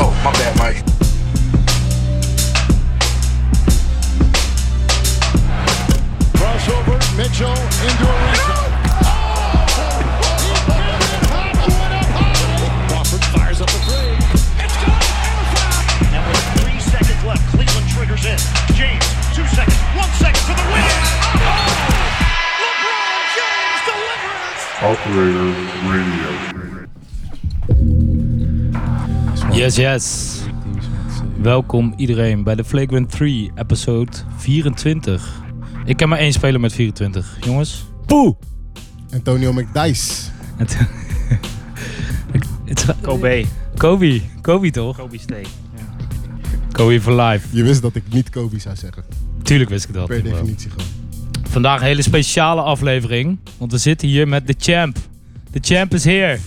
Oh, my bad, Mike. Crossover, Mitchell into Ariza. Crawford fires up a three. It's good. And with three seconds left, Cleveland triggers in. James, two seconds, one second to the win. Oh! LeBron James delivers. Operator Radio. Yes, yes. Welkom iedereen bij de Flagrant 3, episode 24. Ik ken maar één speler met 24, jongens. Poeh! Antonio McDice. Het, het, Kobe, Kobe, Kobe toch? Kobe Steak. Kobe for life. Je wist dat ik niet Kobe zou zeggen. Tuurlijk wist ik dat. Per bro. definitie gewoon. Vandaag een hele speciale aflevering, want we zitten hier met de champ. De champ is here.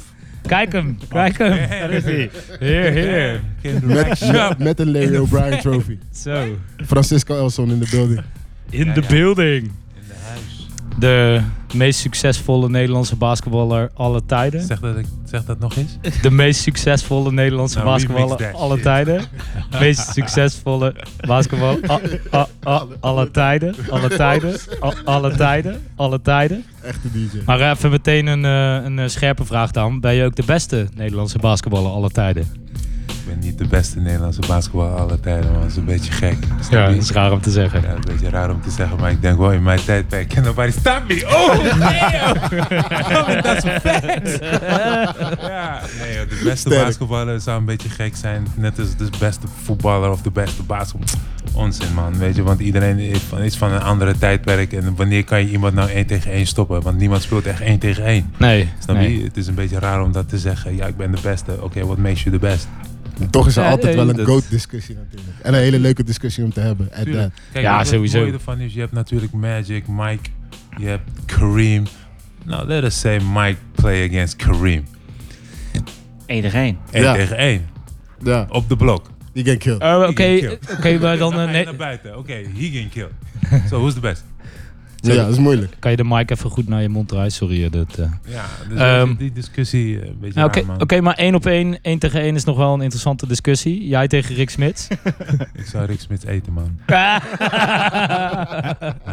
Kijk hem, kijk hem. Daar is hij. Here, here. Met, met, met een Larry O'Brien trophy. Zo. Francisco Elson in de building. In de building. In de huis. De meest succesvolle Nederlandse basketballer alle tijden. Zeg dat, ik, zeg dat nog eens. De meest succesvolle Nederlandse Nou, basketballer remix that alle shit. tijden. meest succesvolle basketballer a- a- a- alle tijden. Alle tijden. a- alle tijden. Alle tijden. Echte DJ. Maar even meteen een, eh, een eh, scherpe vraag dan. Ben je ook de beste Nederlandse basketballer alle tijden? Ik ben niet de beste Nederlandse basketbal aller tijden, maar dat is een beetje gek. Snap Ja, je? dat is raar om te zeggen. Ja, een beetje raar om te zeggen, maar ik denk wel in mijn tijdperk. Can nobody stop me? Oh, oh, damn! Dat is een fact! Ja, nee, joh, de beste Sterk. basketballer zou een beetje gek zijn. Net als de beste voetballer of de beste basketballer. Onzin, man. Weet je, want iedereen is van, is van een andere tijdperk. En wanneer kan je iemand nou één tegen één stoppen? Want niemand speelt echt één tegen één. Nee. Snap je? nee. Het is een beetje raar om dat te zeggen. Ja, ik ben de beste. Oké, what makes you the best? Toch is er Ja, altijd nee, wel een dat- goat discussie natuurlijk. En een hele leuke discussie om te hebben. En dat. Kijk, Ja, wat sowieso. Het mooie ervan is, je hebt natuurlijk Magic, Mike, je hebt Kareem. Nou, let us say Mike play against Kareem. Eén tegen één. Eén Ja. tegen één. eh, ja, Op de blok. die get killed. Eh, He Oké, getting killed. oké, maar dan... eh, ga je nee. naar buiten. Oké, he getting killed. So, who's the best? Ja, dat is moeilijk. Kan je de mic even goed naar je mond draaien? Sorry, eh, dat... eh. Ja, dus Ehm, die discussie eh, een beetje Ja, Oké, raar, man. oké, maar één op één, één tegen één is nog wel een interessante discussie. Jij tegen Rick Smits. Ik zou Rick Smith eten, man. Hij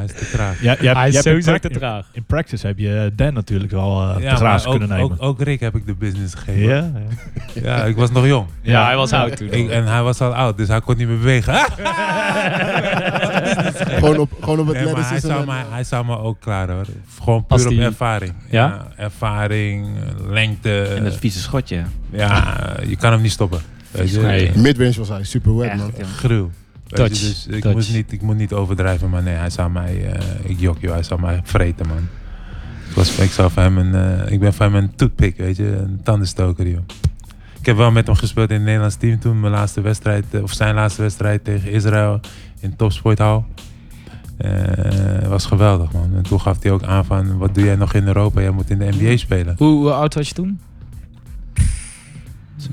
is te traag. Ja, je hebt, Hij je is hebt in sowieso te prac- traag. In, in practice heb je Dan natuurlijk wel eh Ja, te grazen maar ook, kunnen nemen. Ook, ook Rick heb ik de business gegeven. ja, ja. ja ik was nog jong. Ja, hij was oud toen. Ik- en hij was al oud, dus hij kon niet meer bewegen. Gewoon op, gewoon op het Nee, maar hij, athleticism zou en- me, hij zou me ook klaar hoor. Gewoon Als puur op die- ervaring. Ja? Ervaring, lengte. En dat vieze schotje. Ja, je kan hem niet stoppen. Weet je? Nee. Midrange was hij super wet, man. Echt, joh. Gruw. Weet je, Touch, Dus ik, touch. Moest niet, ik moet niet overdrijven, maar nee, hij zou mij, eh, ik jok joh, hij zou mij vreten man. Ik, was, ik, zou van hem een, eh, ik ben van hem een toothpick, weet je, een tandenstoker joh. Ik heb wel met hem gespeeld in het Nederlands team toen, mijn laatste wedstrijd, eh, of zijn laatste wedstrijd tegen Israël in Topsport Hall. Eh, was geweldig man. En toen gaf hij ook aan van, wat doe jij nog in Europa? Jij moet in de NBA spelen. Hoe, hoe oud was je toen?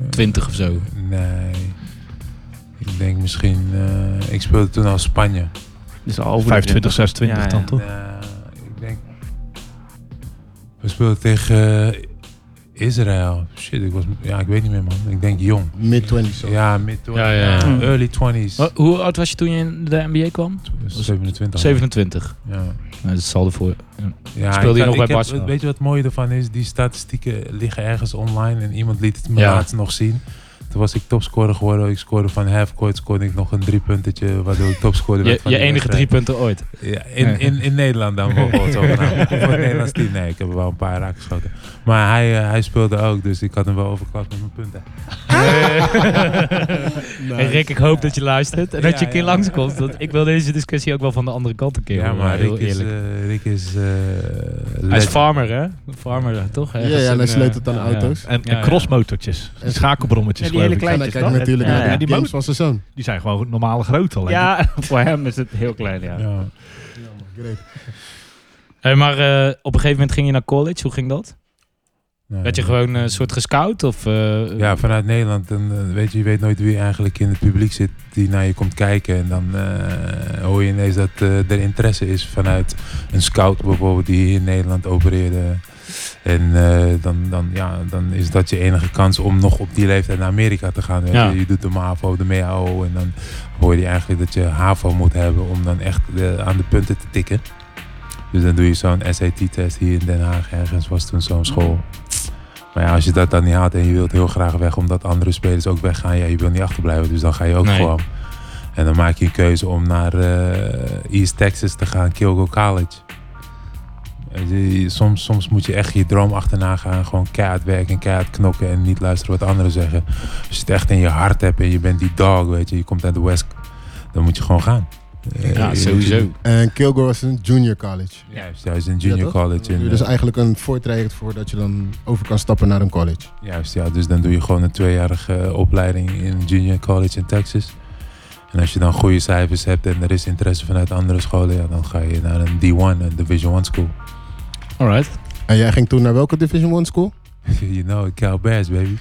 Twintig of zo. Nee. Ik denk misschien, eh, ik speelde toen al Spanje. Dus al over de 25, 26 Ja, ja. dan toch? Nou, ik denk. We speelden tegen eh, Israël. Shit, ik was. Ja, ik weet niet meer, man. Ik denk jong. Mid-twenties. zo. Ja, mid-20s. Ja, ja, ja. Mm. Early 20s. Wa- Hoe oud was je toen je in de NBA kwam? 27. 27. Ja. Nou, dat zal ervoor. Speelde Ja, ik je kan- nog bij ik heb- Barcelona? Weet je wat het mooie ervan is? Die statistieken liggen ergens online en iemand liet het me Ja. laatst nog zien. Toen was ik topscorer geworden. Ik scoorde van halfcourt, scoorde ik nog een driepuntetje, waardoor ik topscorer werd Je, van je die enige wedstrijd. drie punten ooit. Ja, in, in, in Nederland dan bijvoorbeeld. zo Of voor het Nederlands team. Nee, ik heb er wel een paar raakgeschoten. Maar hij, eh, hij speelde ook, dus ik had hem wel overklapt met mijn punten. En Rick, ik hoop dat je luistert en dat Ja, je een keer ja. langskomt. Want ik wil deze discussie ook wel van de andere kant een keer. Ja, horen, maar heel Rick is... eerlijk. eh, Rick is eh, Hij is legend. farmer, hè? Farmer, toch? Ja, ja, Ergens en hij in, eh, sleutelt aan ja. auto's. En, Ja, en crossmotortjes. ja. Schakelbrommetjes Ja, die hele geloof ik. kleine- En Kleintjes, hij kijkt toch? natuurlijk Ja, naar ja. de Die games boot. van zijn zoon. Die zijn gewoon normale groot alleen. Ja, voor hem is het heel klein, ja. Ja. Great. Hey, maar eh, op een gegeven moment ging je naar college. Hoe ging dat? Nee. Werd je gewoon een soort gescout? Of, eh, Ja, vanuit Nederland. Dan, eh, weet je, je weet nooit wie eigenlijk in het publiek zit die naar je komt kijken. En dan eh, hoor je ineens dat eh, er interesse is vanuit een scout bijvoorbeeld die hier in Nederland opereerde. En eh, dan, dan, ja, dan is dat je enige kans om nog op die leeftijd naar Amerika te gaan. Weet Ja. je. je doet de MAVO, de MEAO en dan hoor je eigenlijk dat je HAVO moet hebben om dan echt eh, aan de punten te tikken. Dus dan doe je zo'n SAT-test hier in Den Haag. Ergens was toen zo'n school. Maar ja, als je dat dan niet haalt en je wilt heel graag weg omdat andere spelers ook weggaan, ja, je wil niet achterblijven, dus dan ga je ook Nee. gewoon. En dan maak je een keuze om naar eh, East Texas te gaan, Kilgo College. Weet je, Soms, soms moet je echt je droom achterna gaan. Gewoon keihard werken, keihard knokken en niet luisteren wat anderen zeggen. Als je het echt in je hart hebt en je bent die dog, weet je, je komt uit de West, dan moet je gewoon gaan. Eh, ja, je- sowieso. En Kilgore was een junior college. Juist, juist een junior Ja, toch? college. En, Dus eh, eigenlijk een voortraject voordat je dan over kan stappen naar een college. Juist, ja. Dus dan doe je gewoon een tweejarige eh, opleiding in een junior college in Texas. En als je dan goede cijfers hebt en er is interesse vanuit andere scholen, ja, dan ga je naar een D1, een Division 1 school. Alright. En jij ging toen naar welke Division 1 school? you know, Cal Bears, baby.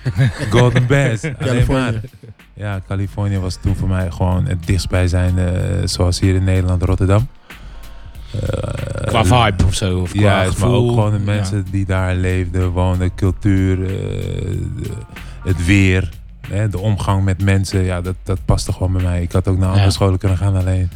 Golden Bears. Alleen maar. Californië. Ja, Californië was toen voor mij gewoon het dichtstbijzijnde, eh, zoals hier in Nederland, Rotterdam. Eh, Qua vibe of zo. Of qua Ja, is gevoel. maar ook gewoon de Ja. mensen die daar leefden, woonden, cultuur, eh, de- het weer, hè, de omgang met mensen. Ja, dat, dat paste gewoon bij mij. Ik had ook naar andere Ja. scholen kunnen gaan, alleen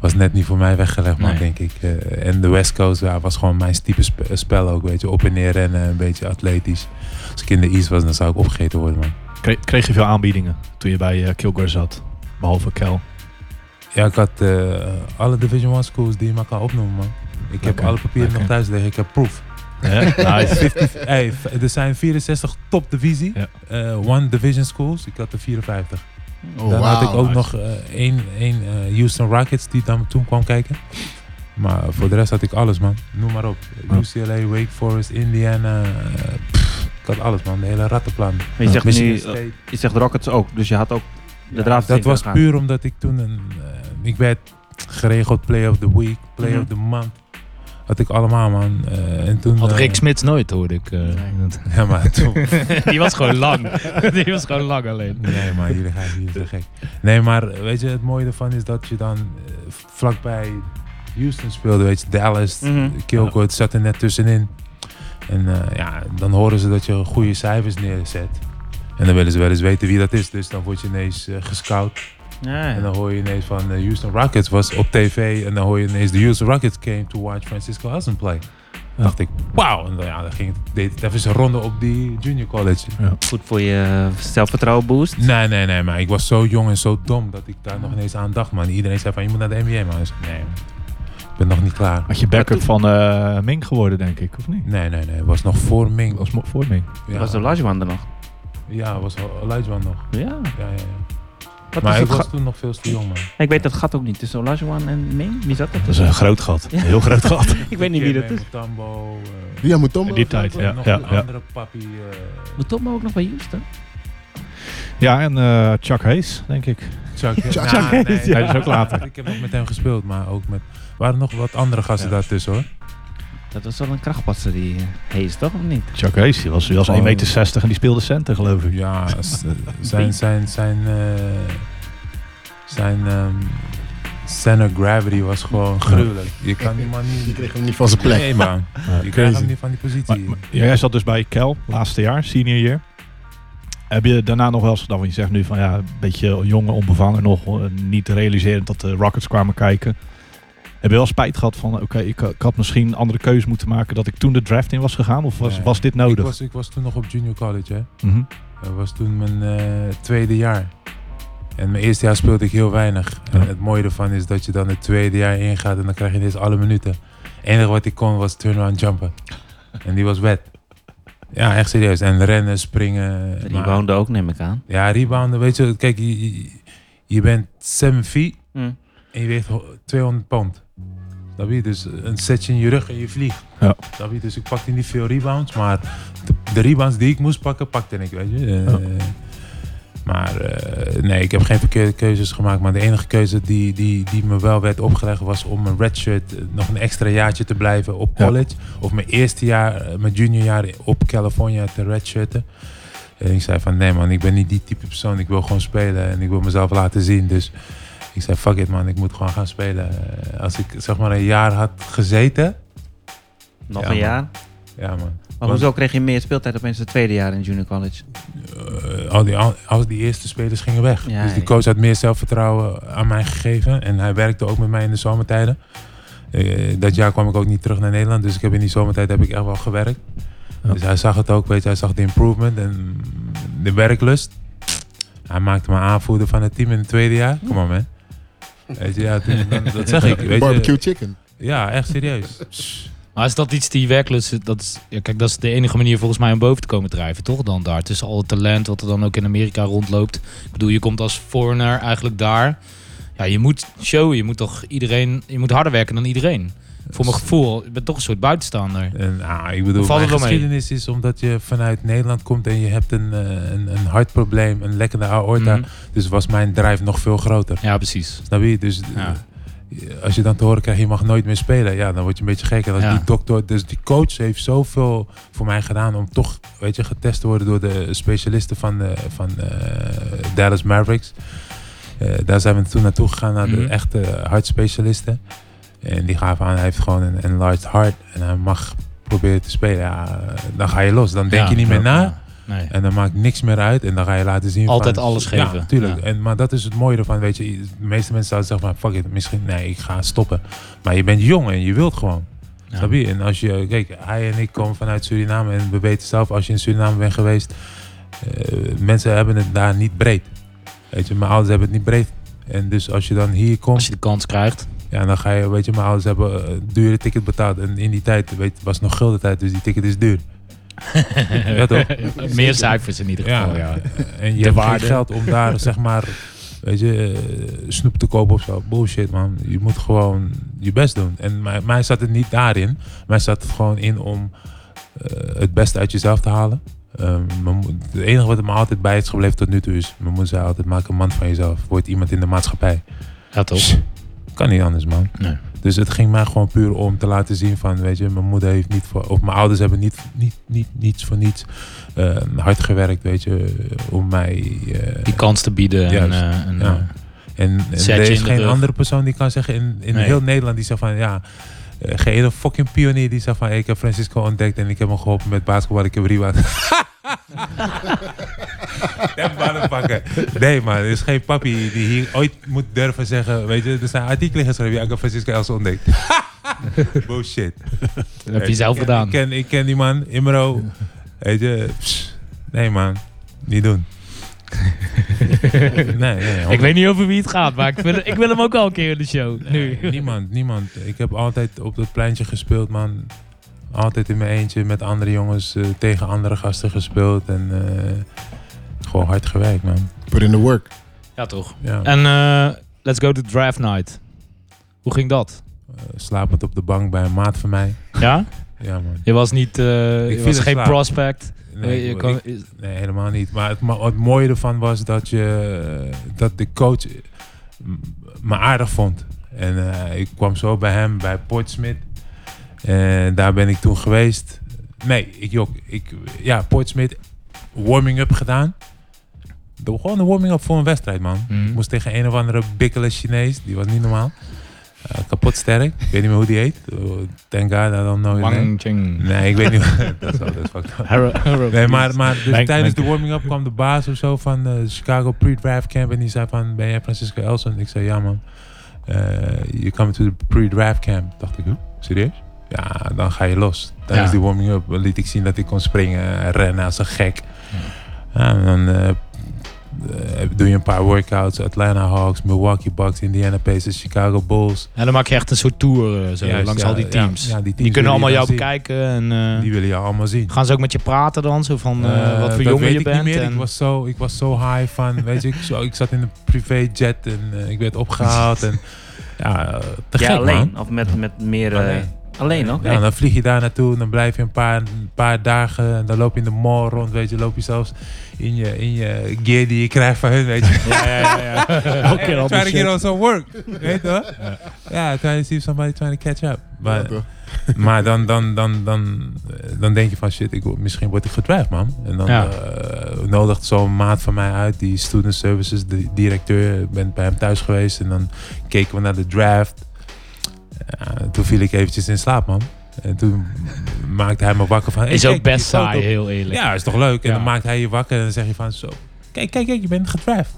was net niet voor mij weggelegd, man, Nee. denk ik. Eh, en de West Coast ja, was gewoon mijn type spe- spel ook, weet je. Op en neer rennen, een beetje atletisch. Als ik in de East was, dan zou ik opgegeten worden, man. Kreeg, kreeg je veel aanbiedingen toen je bij eh, Kilgore zat? Behalve Kel. Ja, ik had eh, alle Division 1 schools die je maar kan opnoemen, man. Ik heb Oké, alle papieren oké. nog thuis liggen. Ik heb proof. Ja, nice. Hey, v- er zijn 64 topdivisie. Ja. Eh, one Division Schools. Ik had er 54. Oh, dan had ik wauw. ook Nice. nog eh, één, één eh, Houston Rockets die dan toen kwam kijken. Maar voor de rest had ik alles, man. Noem maar op. Oh. Ja. UCLA, Wake Forest, Indiana. eh, pff, ik had alles, man. De hele rattenplan. Maar je zegt Michigan nu, State. je zegt Rockets ook, dus je had ook de draad Dat tegen was gaan. puur omdat ik toen een. eh, ik werd geregeld play of the week, play Mhm. of the month. Had ik allemaal, man. Eh, en toen, Had eh, Rick Smits nooit, hoorde ik. eh. Ja, maar toen, Die was gewoon lang. Die was gewoon lang alleen. Nee, maar jullie gaan hier te gek. Nee, maar weet je, het mooie ervan is dat je dan eh, vlakbij Houston speelde, weet je, Dallas, Mhm. Kilco, het zat er net tussenin. En eh, ja, dan horen ze dat je goede cijfers neerzet. En dan willen ze wel eens weten wie dat is, dus dan word je ineens eh, gescout. Ja, En dan hoor je ineens van eh, Houston Rockets was op tv en dan hoor je ineens de Houston Rockets came to watch Francisco Hudson play. Ja. dacht ik, wauw. En dan, ja, dan ging het, deed het even een ronde op die junior college. goed voor je eh, zelfvertrouwen boost. Nee, nee, nee, maar ik was zo jong en zo dom dat ik daar nog ineens aan dacht, man. Iedereen zei van, je moet naar de NBA, man. Ik zei, nee, man. ik ben nog niet klaar. Had je backup van eh, Ming geworden, denk ik, of niet? Nee, nee, nee, het was nog voor Ming. Dat was mo- voor Ming. ja. Was de Olajuwon er nog? Ja, het was Olajuwon nog. Ja. Ja, ja, ja. Wat Maar is ik het was gat? toen nog veel te jong, man. Ik weet dat gat ook niet. Tussen Olajuwon en Ming? Wie zat dat? Dat is een groot gat. Een heel groot gat. Ik weet niet wie dat is. Tambo. eh, Ja, moet Tom. In die tijd, ja. nog ja, een ja. andere papi. eh, Moet Tom ook nog bij Houston? ja en eh, Chuck Hayes, denk ik. Chuck, Chuck Nou, Hayes, nee, ja. Dat is ook later. Ik heb nog met hem gespeeld, maar ook met... Er waren nog wat andere gasten Ja. daartussen, hoor. Dat was wel een krachtpatser die eh, Hayes, toch? Of niet? Chuck Hayes, die was, die was Oh. 1,60 meter en die speelde center, geloof ik. Ja, s- eh, zijn, zijn, zijn, eh, zijn ehm, center gravity was gewoon gruwelijk. Je kan die man Die niet... kreeg hem niet van zijn plek. Nee, man. Je krijgt hem niet van die Maar, positie. maar jij zat dus bij Kel, laatste jaar, senior jaar. Heb je daarna nog wel eens gedaan, want je zegt nu van ja, een beetje jongen, onbevangen nog, eh, niet realiserend dat de Rockets kwamen kijken. Heb je wel spijt gehad van oké, ik, ik had misschien een andere keuze moeten maken dat ik toen de draft in was gegaan of was, Nee. was dit ik, nodig? was, ik was toen nog op junior college, hè. Mhm. Dat was toen mijn eh, tweede jaar. En mijn eerste jaar speelde ik heel weinig. Ja. En het mooie ervan is dat je dan het tweede jaar ingaat en dan krijg je ineens alle minuten. Het enige wat ik kon was turnaround jumpen. En die was wet. Ja, echt serieus. En rennen, springen. Die maar- woonde ook, neem ik aan. Ja, rebounden, weet je, kijk, je, je- je bent 7 feet Mm. en je weegt ho- 200 pond. Snap je? Dus een setje in je rug en je vliegt. Ja. Snap je? Dus ik pakte niet veel rebounds, maar de, de rebounds die ik moest pakken, pakte ik, weet je. Eh, Maar eh, nee, ik heb geen verkeerde keuzes gemaakt. Maar de enige keuze die, die, die me wel werd opgelegd was om een redshirt eh, nog een extra jaartje te blijven op Ja. college. Of mijn eerste jaar, eh, mijn juniorjaar op California te redshirten. En Eh, ik zei van nee man, ik ben niet die type persoon. Ik wil gewoon spelen en ik wil mezelf laten zien. Dus ik zei fuck it man, ik moet gewoon gaan spelen. Eh, Als ik zeg maar een jaar had gezeten. Nog Ja, een man. jaar. Ja man. Maar hoezo kreeg je meer speeltijd opeens het tweede jaar in junior college? eh, al die, al, al die eerste spelers gingen weg. Ja, dus die ja. coach had meer zelfvertrouwen aan mij gegeven. En hij werkte ook met mij in de zomertijden. Eh, dat jaar kwam ik ook niet terug naar Nederland. Dus ik heb in die zomertijd heb ik echt wel gewerkt. Ja. Dus hij zag het ook, weet je, hij zag de improvement en de werklust. Hij maakte me aanvoerder van het team in het tweede jaar. Kom op man. Weet je, ja, toen- dan- dat zeg ik. Weet Barbecue je, chicken. ja, echt serieus. Psst. Maar is dat iets die werkelijk... Dat is, ja, kijk, dat is de enige manier volgens mij om boven te komen drijven, toch? Dan daar. Tussen al het talent wat er dan ook in Amerika rondloopt. Ik bedoel, je komt als foreigner eigenlijk daar. Ja, je moet showen. Je moet toch iedereen... Je moet harder werken dan iedereen. Voor mijn gevoel. Je bent toch een soort buitenstaander. En, ah, ik bedoel, Valt het mijn wel mee? geschiedenis is omdat je vanuit Nederland komt en je hebt een, eh, een, een hartprobleem, een lekkende aorta. Mhm. Dus was mijn drijf nog veel groter. Ja, precies. Snap je? Dus Ja. eh, als je dan te horen krijgt, je mag nooit meer spelen. Ja, dan word je een beetje gek. En als Ja. die dokter, dus die coach heeft zoveel voor mij gedaan om toch, weet je, getest te worden door de specialisten van, eh, van eh, Dallas Mavericks. Eh, daar zijn we toen naartoe gegaan, naar Mhm. de echte hartspecialisten. En die gaven aan, hij heeft gewoon een enlarged heart en hij mag proberen te spelen. Ja, dan ga je los. Dan denk Ja. je niet meer na. Ja. Nee. En dan maakt niks meer uit. En dan ga je laten zien. Altijd van- alles Ja, geven. tuurlijk. Ja. En, maar dat is het mooie ervan. Weet je, de meeste mensen zouden zeggen: van, fuck it, misschien nee, ik ga stoppen. Maar je bent jong en je wilt gewoon. Ja. Snap je? En als je, kijk, hij en ik komen vanuit Suriname. En we weten zelf, als je in Suriname bent geweest, eh, mensen hebben het daar niet breed. Weet je, mijn ouders hebben het niet breed. En dus als je dan hier komt, Als je de kans krijgt. ja, dan ga je, weet je, mijn ouders hebben eh, een dure ticket betaald. En in die tijd, weet je, was nog gulden tijd, dus die ticket is duur. ja, toch? Meer cijfers in ieder Ja, geval. Ja. en je hebt waarde. geen geld om daar zeg maar, weet je, eh, snoep te kopen of zo. Bullshit man, je moet gewoon je best doen. En mij, mij zat het niet daarin, mij zat het gewoon in om eh, het beste uit jezelf te halen. Ehm, mijn mo- het enige wat me altijd bij is gebleven tot nu toe is, mijn moeder zei altijd, maak een man van jezelf. Word iemand in de maatschappij. Ja, toch? Kan niet anders man. Nee. Dus het ging mij gewoon puur om te laten zien van, weet je, mijn moeder heeft niet voor, of mijn ouders hebben niet, niet, niet, niets voor niets eh, hard gewerkt, weet je, om mij. eh, Die kans te bieden. En, Juist. eh, en, Ja. eh, en, en Zet je er is in de geen rug. andere persoon die kan zeggen in, in Nee. heel Nederland die zegt van, ja, eh, geen ene fucking pionier die zegt van, hey, ik heb Francisco ontdekt en ik heb hem geholpen met basketbal, ik heb rebound. Dat motherfucker. Nee man, er is geen papi die hier ooit moet durven zeggen, weet je, er zijn artikelen geschreven, ja, ik heb Francisco Els ontdekt. Bullshit. dat heb je zelf Ik ken- gedaan. Ik ken, ik ken die man, Imro. Weet je, pss, nee man, niet doen. nee, nee, Ik weet niet over wie het gaat, maar ik wil, ik wil hem ook al een keer in de show. Nu. Eh, Niemand, niemand. Ik heb altijd op dat pleintje gespeeld, man. Altijd in mijn eentje met andere jongens, eh, tegen andere gasten gespeeld. En eh, gewoon hard gewerkt, man. Put in the work. Ja, toch? Ja. En eh, let's go to draft night. Hoe ging dat? Eh, slapend op de bank bij een maat van mij. Ja? Ja, man. Je was niet... eh Ik je viel was in geen slaap. prospect. Nee, Eh, je ik- kon, ik- Nee, helemaal niet. Maar het, ma- het mooie ervan was dat, je, dat de coach eh, m- me aardig vond. En eh, ik kwam zo bij hem, bij Portsmouth. En daar ben ik toen geweest. Nee, ik jok. Ik, ja, Portsmouth, warming-up gedaan. De, gewoon een warming-up voor een wedstrijd, man. Mhm. Ik moest tegen een of andere bikkele Chinees. Die was niet normaal. Eh, kapot sterk. Ik weet niet meer hoe die heet. Eh, Thank God, I don't know his name. Wang Ching. Nee, ik weet niet. dat is wel, dat is fucked up. Nee, maar, maar dus Mijn- tijdens mijn- de warming-up kwam de baas of zo van eh, de Chicago pre-draft camp. En die zei van, ben jij Francisco Elson? Ik zei, ja man. Eh, Je komt to the pre-draft camp. Dacht ik, "Huh? serieus? Ja, dan ga je los. Tijdens Ja. die warming-up liet ik zien dat ik kon springen en rennen als een gek. Ja, en dan eh, eh, doe je een paar workouts. Atlanta Hawks, Milwaukee Bucks, Indiana Pacers, Chicago Bulls. En dan maak je echt een soort tour eh, zo, Juist, langs ja, al die ja, teams. ja, die teams die wil je kunnen allemaal dan jou zien. bekijken. En, eh, Die willen je allemaal zien. gaan ze ook met je praten dan? Zo van eh, Eh, wat voor dat jongen weet je ik bent. Niet meer. en- Ik, was zo, ik was zo high van, weet je, ik, zo, ik zat in een privéjet en eh, ik werd opgehaald. En, ja, eh, te Ja, gek, alleen. man. Of met, met meer... eh, Alleen. Alleen nog? Ja, dan vlieg je daar naartoe, dan blijf je een paar, een paar dagen, en dan loop je in de mall rond, weet je, loop je zelfs in je, in je gear die je krijgt van hun, weet je. Ja, ja, ja. Elke keer trying to anders. get on some work, weet je wel? Ja, trying to see if somebody trying to catch up. Maar, toch? maar dan, dan, dan, dan, eh, dan denk je van shit, ik, word- misschien word ik gedreigd, man. En dan Ja. eh, nodigt zo'n maat van mij uit, die student services di- directeur, ik ben bij hem thuis geweest en dan keken we naar de draft. Ja, toen viel ik eventjes in slaap, man. En toen maakte hij me wakker van... hey, Is kijk, ook best die foto. saai, heel eerlijk. Ja, is toch leuk? En Ja. dan maakt hij je wakker en dan zeg je van zo... Kijk, kijk, kijk, je bent gedraft.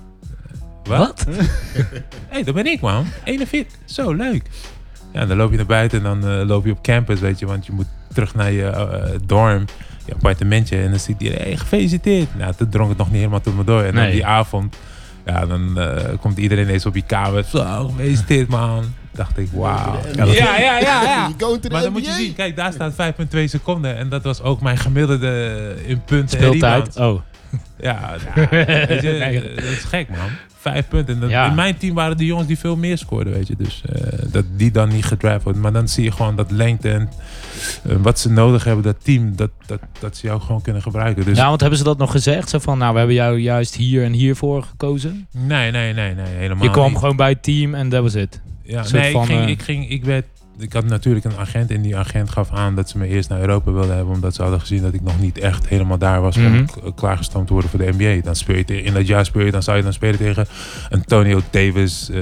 Wat? Wat? Hé, hey, dat ben ik, man. 41. Zo, leuk. Ja, dan loop je naar buiten en dan eh, loop je op campus, weet je. Want je moet terug naar je eh, dorm, je appartementje. En dan ziet hij, hey, gefeliciteerd. Nou, toen dronk het nog niet helemaal tot me door. En Nee. dan die avond, ja, dan eh, komt iedereen eens op je kamer. Zo, gefeliciteerd, man. Dacht ik, wauw. Ja, dat- ja, ja, ja. ja. You going to the Maar dan moet je NBA? zien, kijk, daar staat 5,2 seconden. En dat was ook mijn gemiddelde eh, in punten en Speeltijd. Oh, rebounds. Ja, ja, weet je, Nee. eh, dat is gek, man. Vijf punten. En dat- Ja. In mijn team waren de jongens die veel meer scoorden, weet je. Dus eh, dat die dan niet gedraft wordt. Maar dan zie je gewoon dat lengte en eh, wat ze nodig hebben, dat team, dat, dat, dat ze jou gewoon kunnen gebruiken. Dus ja, Nou, want hebben ze dat nog gezegd? Zo van, nou, we hebben jou juist hier en hiervoor gekozen. nee, nee, nee, nee, helemaal Je kwam niet. gewoon bij het team en dat was het. Ja, soort nee, ik, van, ging, eh, ik, ging, ik, werd, ik had natuurlijk een agent en die agent gaf aan dat ze me eerst naar Europa wilden hebben. Omdat ze hadden gezien dat ik nog niet echt helemaal daar was Mhm. om k- klaargestoomd te worden voor de NBA. Dan speel je te- in dat jaar speel je, dan zou je dan spelen tegen Antonio Davis, eh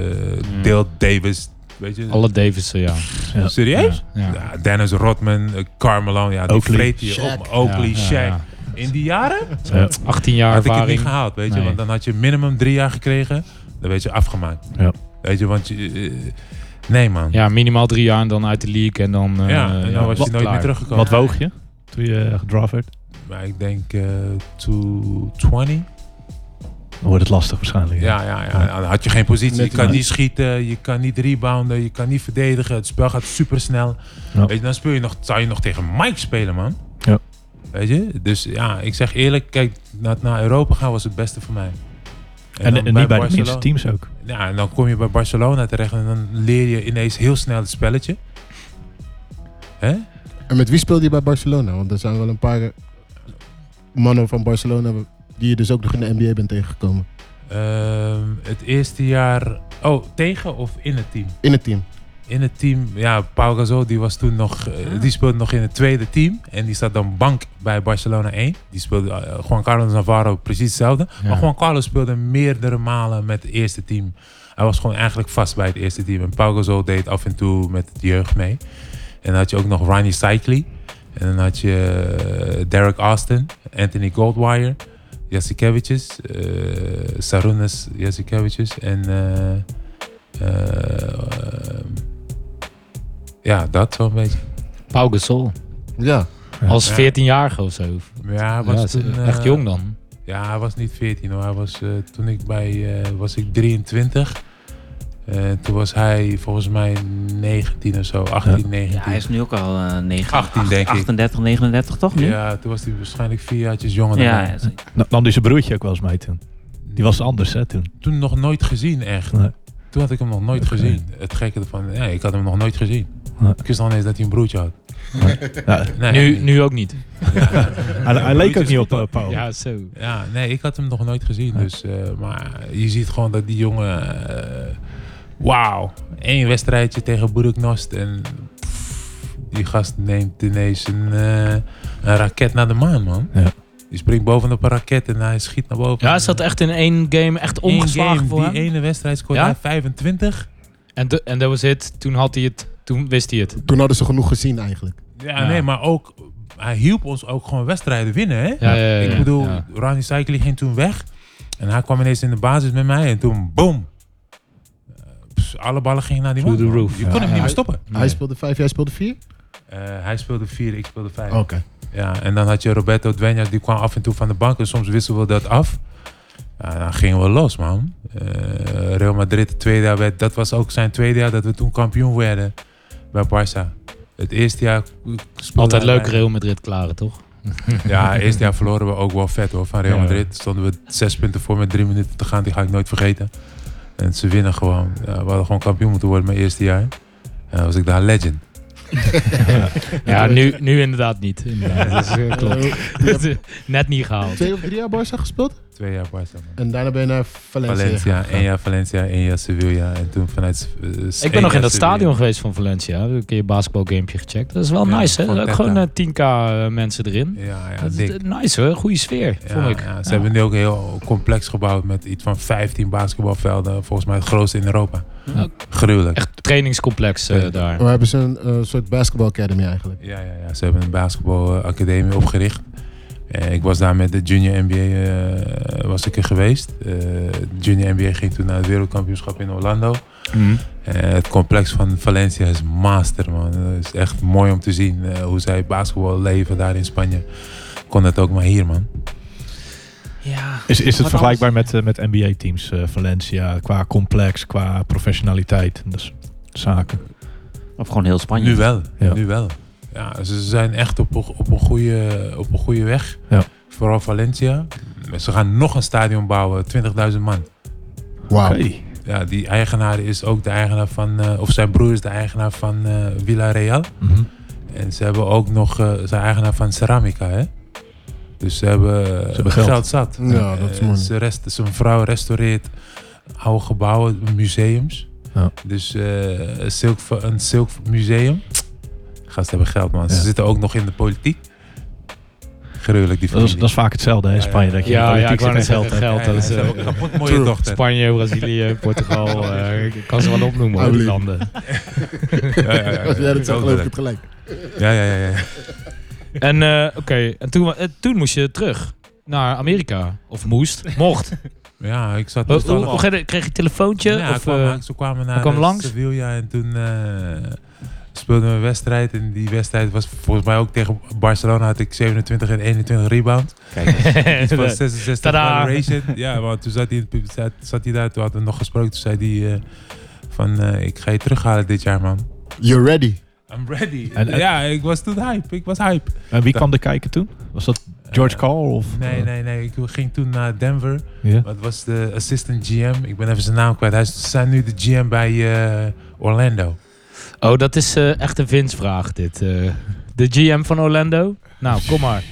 Dale Davis. Weet je, Alle Davissen, ja. Ja. serieus? Ja. Ja, Dennis Rodman, eh, Carmelo, ja, die Oakley, vreet je Shaq. op. Oakley, Ja, ja, Shaq. ja. In die jaren Ja. 18 jaar had ik het niet ervaring. gehaald, weet je. Nee. Want dan had je minimum drie jaar gekregen, dan werd je afgemaakt. Ja. Weet je, want je... eh, nee, man. Ja, minimaal drie jaar en dan uit de league en dan... eh, Ja, en dan was je nooit klaar. meer teruggekomen. Wat woog je toen je eh, gedraft werd? Maar ik denk eh 220. Dan wordt het lastig waarschijnlijk. Ja, ja, ja. Dan had je geen positie. Net Je kan niet. niet schieten, je kan niet rebounden, je kan niet verdedigen. Het spel gaat super snel. Ja. Weet je, dan speel je nog, zou je nog tegen Mike spelen, man. Ja. Weet je? Dus ja, ik zeg eerlijk, kijk, naar, naar Europa gaan was het beste voor mij. En, dan en niet bij de Barcelona- minste teams ook. Ja, en dan kom je bij Barcelona terecht en dan leer je ineens heel snel het spelletje. Hè? En met wie speelde je bij Barcelona? Want er zijn wel een paar eh, mannen van Barcelona die je dus ook nog in de NBA bent tegengekomen. Ehm, het eerste jaar... Oh, tegen of in het team? In het team. in het team, ja, Pau Gasol die was toen nog, eh, die speelde nog in het tweede team en die zat dan bank bij Barcelona 1. Die speelde eh, Juan Carlos Navarro precies hetzelfde, Ja. maar Juan Carlos speelde meerdere malen met het eerste team. Hij was gewoon eigenlijk vast bij het eerste team en Pau Gasol deed af en toe met het jeugd mee. En dan had je ook nog Ronnie Cycli en dan had je eh, Derek Austin, Anthony Goldwire, Jasikevičius, eh Sarunas Jasikevičius en eh, eh, ja, dat zo'n beetje. Pau Gasol. Ja. Als Ja. 14-jarige of zo. Ja, hij Ja, was is toen, eh, echt jong dan. Ja, hij was niet 14 hoor. Hij was, eh, toen ik bij, eh, was ik 23. Eh, toen was hij volgens mij 19 of zo, 18, 19. Ja, hij is nu ook al eh 9, 18, denk ik. 38, 39 toch nu? Ja, toen was hij waarschijnlijk vier jaartjes jonger dan Ja, mij. ja, zo- Nou, nam hij zijn broertje ook wel eens mee toen. Die was anders hè toen. Toen nog nooit gezien echt. Nee. Toen had ik hem nog nooit Oké. gezien. Het gekke ervan, nee, ik had hem nog nooit gezien. Nee. Ik wist nog niet eens dat hij een broertje had. Ja, Nee, Nu, nu ook niet. hij, hij leek ook niet op eh, Oh. Paul. Ja, zo. Ja, nee, ik had hem nog nooit gezien. Dus, eh, maar je ziet gewoon dat die jongen... eh, Wauw. Eén wedstrijdje tegen Buruk Nost en... pff, die gast neemt ineens een, eh, een raket naar de maan, man. Ja. Die springt bovenop een raket en hij schiet naar boven. Ja, hij zat echt in één game echt Eén omgeslagen game, voor hem. Die ene wedstrijd scoorde Ja? hij 25. En de- en dat was het. Toen had hij het. Toen wist hij het. Toen hadden ze genoeg gezien eigenlijk. Ja, Ja. nee, maar ook... Hij hielp ons ook gewoon wedstrijden winnen, hè? Ja, ja, ja, ik ja. bedoel, Eh, Ja. Ronnie Cycli ging toen weg. En hij kwam ineens in de basis met mij. En toen, boom. Eh, pss, alle ballen gingen naar die man. Through the roof. Je kon Ja. hem niet meer stoppen. Nee. Hij speelde vijf, jij speelde vier? Eh, hij speelde vier, ik speelde vijf. Oh. Oké. Ja, en dan had je Roberto Duenas, die kwam af en toe van de bank. En soms wisselden we dat af. Ja, dan gingen we los, man. Eh, Real Madrid, het tweede jaar, werd, dat was ook zijn tweede jaar dat we toen kampioen werden bij Barça. Het eerste jaar... speelde Altijd hij leuk bij- Real Madrid klaren, toch? Ja, eerste jaar verloren we ook wel vet hoor. Van Real Ja. Madrid stonden we zes punten voor met drie minuten te gaan. Die ga ik nooit vergeten. En ze winnen gewoon. Ja, we hadden gewoon kampioen moeten worden mijn eerste jaar. Ja, was ik daar legend. Ja, nu, nu inderdaad niet. Inderdaad. Dat is, eh, klopt. Dat is Net niet gehaald. Twee of drie jaar Barca gespeeld. Twee jaar Barca, man. En daarna ben je naar Valencia. Valencia, gegaan. één jaar Valencia, één jaar Sevilla. En toen vanuit. eh, Ik één ben nog in jaar dat Sevilla. stadion geweest van Valencia. Heb ik een keer een basketbalgamepje gecheckt. Dat is wel Ja, nice, hè? Fonteta. Ook gewoon eh, 10k mensen erin. Ja, ja, Dat is, dik. eh, nice, hoor. Goede sfeer, Ja, vond ik. ja, ze Ja. hebben nu ook een heel complex gebouwd met iets van 15 basketbalvelden. Volgens mij het grootste in Europa. Ja. Gruwelijk. Echt trainingscomplex eh, Ja. daar. Maar hebben ze een eh, soort basketball academy eigenlijk. Ja, ja, ja, ze hebben een basketbalacademie opgericht. Eh, ik was daar met de junior NBA eh, was ik er geweest. Eh, junior NBA ging toen naar het wereldkampioenschap in Orlando. Mhm. Eh, het complex van Valencia is master, man. Het is echt mooi om te zien eh, hoe zij basketbal leven daar in Spanje. Kon het ook maar hier, man. Ja. Is, is het Wat vergelijkbaar met, eh, met NBA-teams, Valencia, qua complex, qua professionaliteit en dat soort zaken? Of gewoon heel Spanje. Nu wel, Ja. nu wel. Ja, ze zijn echt op, een- op, een, goede, op een goede weg. Ja. Vooral Valencia. Ze gaan nog een stadion bouwen, 20.000 man. Wauw. Ja, die eigenaar is ook de eigenaar van, eh, of zijn broer is de eigenaar van eh Villarreal. Mhm. En ze hebben ook nog, eh, zijn eigenaar van Ceramica, hè? Dus ze hebben, ze hebben geld. zat. Ja, Eh, dat is mooi. Ze rest, zijn vrouw restaureert oude gebouwen, museums. Ja. Dus eh, een, silk, een silk museum. Gasten hebben geld, man. Ze Ja. zitten ook nog in de politiek. Gruwelijk, die Dat, familie. is, dat is vaak hetzelfde, hè, Ja, Spanje. ja. Dat je Ja, in de ja, ik politiek wou net zit en zeggen, geld geld. hebt. Ja, ja, dat is, ze eh, hebben ook een kapot mooie True. dochter. Spanje, Brazilië, Portugal. eh, ik kan ze wel opnoemen, hoor, die Olie. landen. Ja, ja, ja, Als ja. jij dat zegt, geloof ik Dodelijk. het gelijk. Ja, ja, ja, ja. En eh, oké, en toen, eh, toen moest je terug naar Amerika. Of moest, mocht. Ja, ik zat Hoe- dus hoe- al- hoe ging het? kreeg je een telefoontje? Ja, of, kwam eh, langs, ze kwamen naar kwam eh, langs? Sevilla en toen eh, speelden we een wedstrijd. En die wedstrijd was volgens mij ook tegen Barcelona. Had ik 27 en 21 rebound. Kijk, Iets van 66 Tadaa. valuation. Ja, want toen zat hij, in het pub- zat, zat hij daar. Toen hadden we nog gesproken. Toen zei hij eh, van eh, ik ga je terughalen dit jaar man. You're ready. I'm ready. En- en- ja, ik was toen hype. Ik was hype. En wie kwam er kijken toen? Was dat George Eh, Carl? Of, Nee, nee, nee. Ik ging toen naar Denver. Ja. Dat was de assistant GM. Ik ben even zijn naam kwijt. Hij is zijn nu de GM bij eh, Orlando. Oh, dat is eh, echt een Vince-vraag, dit. eh. de GM van Orlando? Nou, kom maar.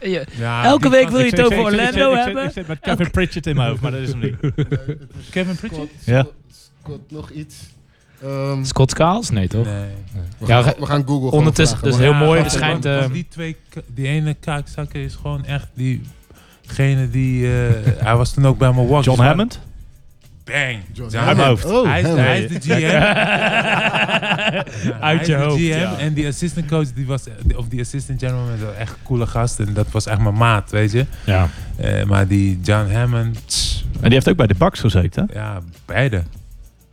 Ja, Ja, Elke die week kan- wil je ik het zeg- over ik zeg- ik zeg- Orlando ik zeg- hebben? Ik zit met Kevin Pritchett in mijn hoofd, maar dat is hem niet. Eh, Kevin Pritchett? Ja. Scott, nog iets. Ehm, Scott Kaals? Nee, toch? Nee. we, Ja, gaan, we gaan Google gewoon ondertussen- vragen, dus maar- heel mooi, want- het schijnt, want- want ehm, die, twee, k- die ene kaakzakker is gewoon echt diegene die... eh, hij was toen ook bij Milwaukee. John Dus- Hammond? Bang. John John Hammond. Hammond. hoofd. Oh, Hij is, hem. hij is de GM. Ja, hij Uit is je de hoofd. GM ja. en die assistant coach, die was, eh, of die assistant general manager, echt een coole gast. En dat was echt mijn maat, weet je. Ja. Eh, maar die John Hammond, tss, En die heeft ook bij de Bucks gezeten, ja, beide.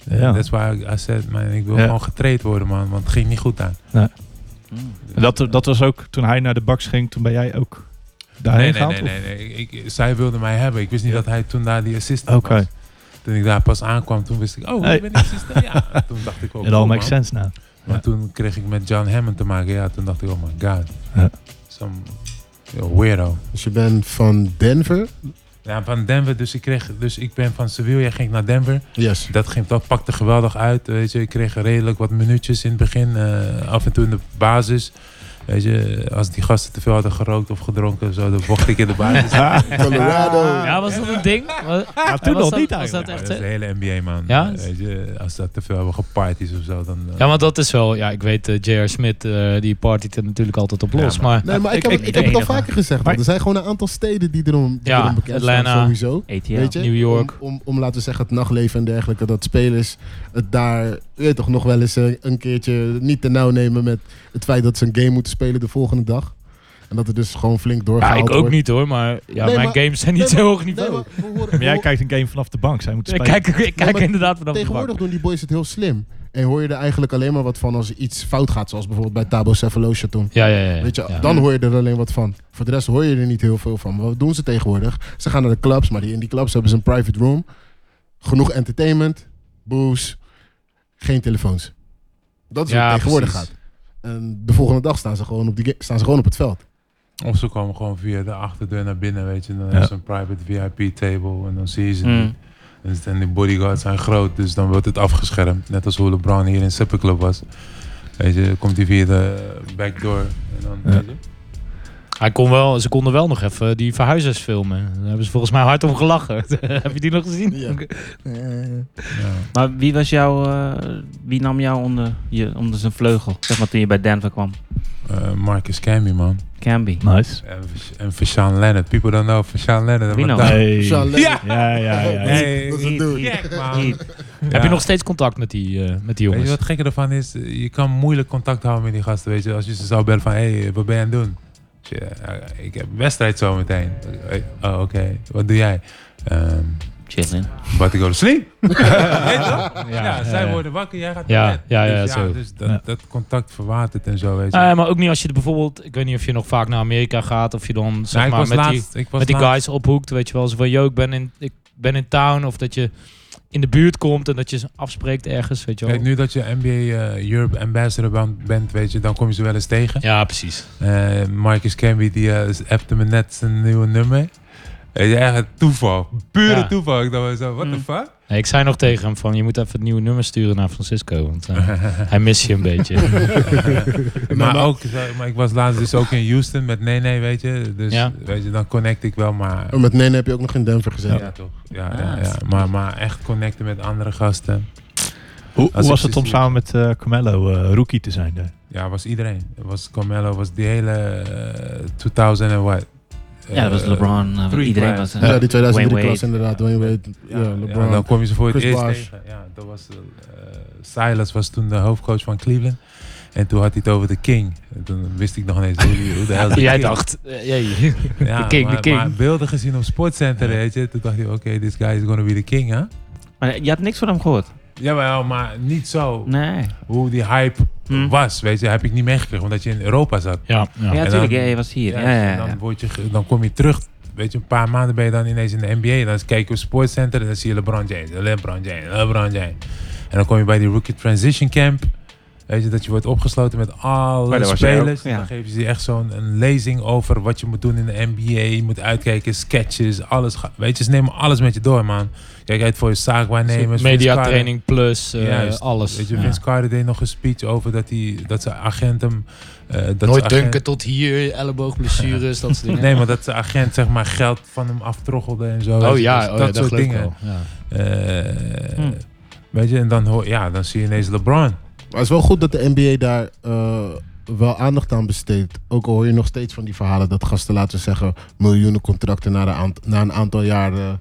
hè? Ja. Dat is waar ik I said, man, ik wil Ja. gewoon getraind worden, man. Want het ging niet goed aan. En Dat, dat was ook toen hij naar de Bucks ging, toen ben jij ook daarheen Nee, nee, gehaald? nee, of? nee, nee. Ik, ik- zij wilde mij hebben. Ik wist niet dat hij toen daar die assistant Oké. was. Toen ik daar pas aankwam, toen wist ik, oh, Hey. ik ben die assistant. Ja, toen dacht ik ook. oh, It all makes sense now. Maar toen kreeg ik met John Hammond te maken. Ja, toen dacht ik, oh my god. Ja. Some you're a weirdo. Dus je bent van Denver? Ja, van Denver, dus ik, kreeg, dus ik ben van Sevilla, ging ik naar Denver. Yes. Dat, ging, dat pakte geweldig uit. Weet je. Ik kreeg redelijk wat minuutjes in het begin. eh, af en toe in de basis. Weet je, als die gasten te veel hadden gerookt of gedronken, of zo, dan vocht ik in de basis. Colorado. Ja, was dat een ding? Was, Ja, toen was nog dat- niet Was dat eigenlijk. echt dat is de zo? hele NBA, man. Ja? Eh, Weet je, als dat te veel hebben geparties of zo, dan... eh, Ja, want dat is wel... Ja, ik weet, eh, J.R. Smith, eh, die partyt er natuurlijk altijd op los. Ja, maar Nee, maar ik, Ik- heb, ik- het, ik heb het al enige. vaker gezegd. Maar- man. Er zijn gewoon een aantal steden die erom, die Ja, erom bekend Atlanta, zijn sowieso. ETL. Weet je? New York. Om, om, om, laten we zeggen, het nachtleven en dergelijke. Dat spelers het daar je weet toch nog wel eens eh, een keertje niet te nauw nemen met het feit dat ze een game moeten spelen de volgende dag. En dat het dus gewoon flink Ja, doorgaat. ik ook niet hoor, maar ja, Nee, mijn maar- games zijn niet nee, zo maar- hoog niveau. Maar jij kijkt een game vanaf de bank. Zij moeten ik spelen. kijk, ik kijk maar inderdaad vanaf de Tegenwoordig bank. doen die boys het heel slim. En hoor je er eigenlijk alleen maar wat van als iets fout gaat. Zoals bijvoorbeeld bij Tabo Cephalosha toen. Ja, ja, ja. ja. Weet je, Ja. dan hoor je er alleen wat van. Voor de rest hoor je er niet heel veel van. Maar Wat doen ze tegenwoordig? Ze gaan naar de clubs, maar die, in die clubs hebben ze een private room. Genoeg entertainment, booze, geen telefoons. Dat is Ja, hoe het tegenwoordig precies. gaat. En de volgende dag staan ze gewoon op, die, ga- staan ze gewoon op het veld. Of ze komen gewoon via de achterdeur naar binnen, weet je. Dan Ja. hebben ze een private VIP-table en dan zie je ze niet. Mm. En en die bodyguards zijn groot, dus dan wordt het afgeschermd. Net als hoe LeBron hier in Club was. Weet je, komt hij via de backdoor. En dan, Ja. weet je. Hij kon wel, ze konden wel nog even die verhuizers filmen. Daar hebben ze volgens mij hard om gelachen. Heb je die nog gezien? Ja. Ja. Maar wie was jouw, eh, wie nam jou onder, je, onder zijn vleugel? Zeg maar toen je bij Denver kwam. Eh, Marcus Camby, man. Camby. Nou, Nice. En, en Fashawn Leonard. People don't know Fashawn Leonard. Wie Wat nou? daar- Hey. Sean Lennon. Ja! Ja, ja, ja. ja. Hey. Dat is een dude. Heat, man. heat. Heb je Ja. nog steeds contact met die, eh, met die Weet jongens? je wat gekker ervan is? Je kan moeilijk contact houden met die gasten, weet je. Als je ze zou bellen van, hé, hey, wat ben je aan het doen? Dus je, eh, ik heb een wedstrijd zo meteen. Hey, oh, oké. Wat doe jij? Ehm Chillen. about to go to sleep. Weet je wel? ja, ja, zij ja. worden wakker, jij gaat Ja, naar bed. ja, ja, dus, zo. dus dat, Ja. dat contact verwatert en zo, weet je. Nou ja, maar ook niet als je er bijvoorbeeld, ik weet niet of je nog vaak naar Amerika gaat, of je dan zeg Nou, ik maar was met die, laatst, ik was met die laatst- guys ophoekt, weet je wel, zo van yo, ik ben in, ik ben in town, of dat je in de buurt komt en dat je ze afspreekt ergens, weet je wel. Kijk, nu dat je NBA eh, Europe Ambassador ban- bent, weet je, dan kom je ze wel eens tegen. Ja, precies. Eh, Marcus Camby die eh, appte me net zijn nieuwe nummer. Weet je, echt een toeval. Pure Ja. toeval. Ik dacht wel zo, what the Mm. fuck? Nee, ik zei nog tegen hem van, je moet even het nieuwe nummer sturen naar Francisco, want eh, hij mist je een beetje. maar, ook, zo- maar ik was laatst dus ook in Houston met Nee Nee, weet je. Dus Ja. weet je, dan connect ik wel, maar... Oh, Met Nene heb je ook nog in Denver gezeten. Ja, toch. Ja, ja, Ah. ja. Maar, maar echt connecten met andere gasten. Hoe, hoe ik was ze het om zie- samen met eh, Carmelo eh, rookie te zijn? daar? Ja, was iedereen. Was Carmelo, was die hele eh, 2000 en wat? Ja, dat was Eh, LeBron. eh, Three iedereen players. was... Ja, die 2003 Wade. klas inderdaad. Dwayne Wade, ja, LeBron. Ja, dan kom je ze voor het Chris eerst Bosh. tegen. Ja, dat was, eh, eh, Silas was toen de hoofdcoach van Cleveland. En toen had hij het over de King. En toen wist ik nog niet eens hoe, die- hoe de hel de Jij King- dacht, eh, jee. Ja, de King, de maar, King. Maar beelden gezien op Sportcenter, weet je. Toen dacht ik, oké, this guy is gonna be the king, hè? Maar je had niks van hem gehoord? Jawel, maar niet zo Nee. hoe die hype Hm. was, weet je. Heb ik niet meegekregen, omdat je in Europa zat. Ja, ja. Ja, En natuurlijk. dan- Ja, je was hier. Ja, Ja, ja, en ja. Dan, word je, ge- dan kom je terug. Weet je, een paar maanden ben je dan ineens in de NBA. En dan kijk je op Sportcenter en dan zie je LeBron James, LeBron James, LeBron James. En dan kom je bij die Rookie Transition Camp. Weet je, dat je wordt opgesloten met Maar alle daar was jij spelers. ook, ja. Dan geven ze je echt zo'n een lezing over wat je moet doen in de NBA. Je moet uitkijken, sketches, alles. ga- Weet je, ze nemen alles met je door, man. Kijk uit voor je zaakwaarnemers. Vince Carter. Mediatraining plus, eh, Juist. alles. Weet je, Ja. Vince Carter deed nog een speech over dat, hij, dat zijn agent hem... eh, dat zijn Nooit agent- dunken tot hier, elleboogblessures, dat soort dingen. Nee, maar dat zijn agent zeg maar geld van hem aftroggelde en zo. Oh Dus ja, dat, oh, ja, dat soort geloof ik dingen. wel. Ja. Eh, Hm. Weet je, en dan, hoor, ja, dan zie je ineens LeBron. Maar het is wel goed dat de NBA daar eh, wel aandacht aan besteedt. Ook al hoor je nog steeds van die verhalen dat gasten, laten we zeggen, miljoenen contracten na, de aant- na een aantal jaren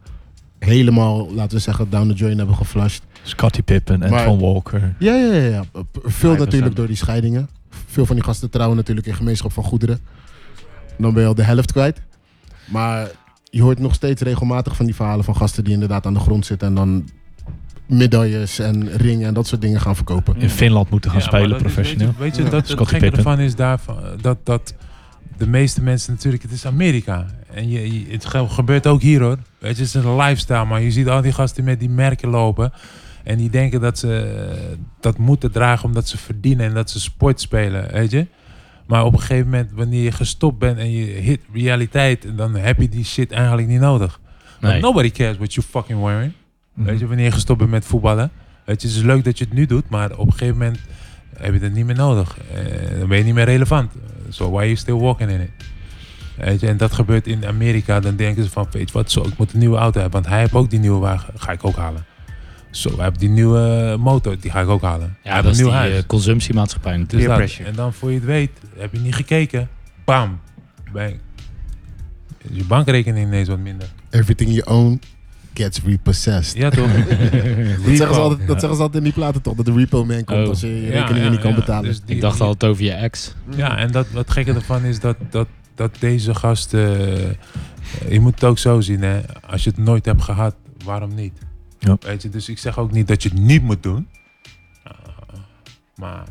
helemaal, laten we zeggen, down the drain hebben geflasht. Scottie Pippen en Maar- Tom Walker. Ja, ja, ja. ja. Veel 5%. natuurlijk door die scheidingen. Veel van die gasten trouwen natuurlijk in gemeenschap van goederen. Dan ben je al de helft kwijt. Maar je hoort nog steeds regelmatig van die verhalen van gasten die inderdaad aan de grond zitten en dan medailles en ringen en dat soort dingen gaan verkopen. In Finland moeten gaan Ja, maar spelen, dat is- professioneel. Weet je, weet je, dat, het Scottie gekke Pippen. ervan is daarvan, dat, dat de meeste mensen natuurlijk, het is Amerika. En je, je- het ge- gebeurt ook hier hoor. Weet je, het is een lifestyle, maar je ziet al die gasten met die merken lopen. En die denken dat ze eh, dat moeten dragen omdat ze verdienen en dat ze sport spelen, weet je. Maar op een gegeven moment, wanneer je gestopt bent en je hit realiteit, dan heb je die shit eigenlijk niet nodig. Want Nee. nobody cares what you fucking wearing. Mhm. Weet je, wanneer je gestopt bent met voetballen. Weet je, het is leuk dat je het nu doet, maar op een gegeven moment heb je het niet meer nodig. Eh, dan ben je niet meer relevant. So why are you still walking in it? Weet je, en dat gebeurt in Amerika. Dan denken ze van, weet je wat, zo, ik moet een nieuwe auto hebben. Want hij heeft ook die nieuwe wagen, ga ik ook halen. Zo, hij heeft die nieuwe motor, die ga ik ook halen. hij Ja, heeft dat is een die nieuw huis. eh, consumptiemaatschappij Dus natuurlijk. peer dat. pressure. En dan voor je het weet, heb je niet gekeken. Bam. Bang. Is Je bankrekening ineens wat minder. Everything you own gets repossessed. Ja, toch? Dat zeggen, ze altijd, dat zeggen ze altijd in die platen toch, dat de repo man komt Oh. als je je Ja, rekeningen ja, niet kan ja. betalen. Dus die- Ik dacht die- al het over je ex. Ja, en dat, wat gekke ervan is dat, dat, dat deze gasten... eh, je moet het ook zo zien, hè. Als je het nooit hebt gehad, waarom niet? Ja. Weet je, dus ik zeg ook niet dat je het niet moet doen. Ah, maar...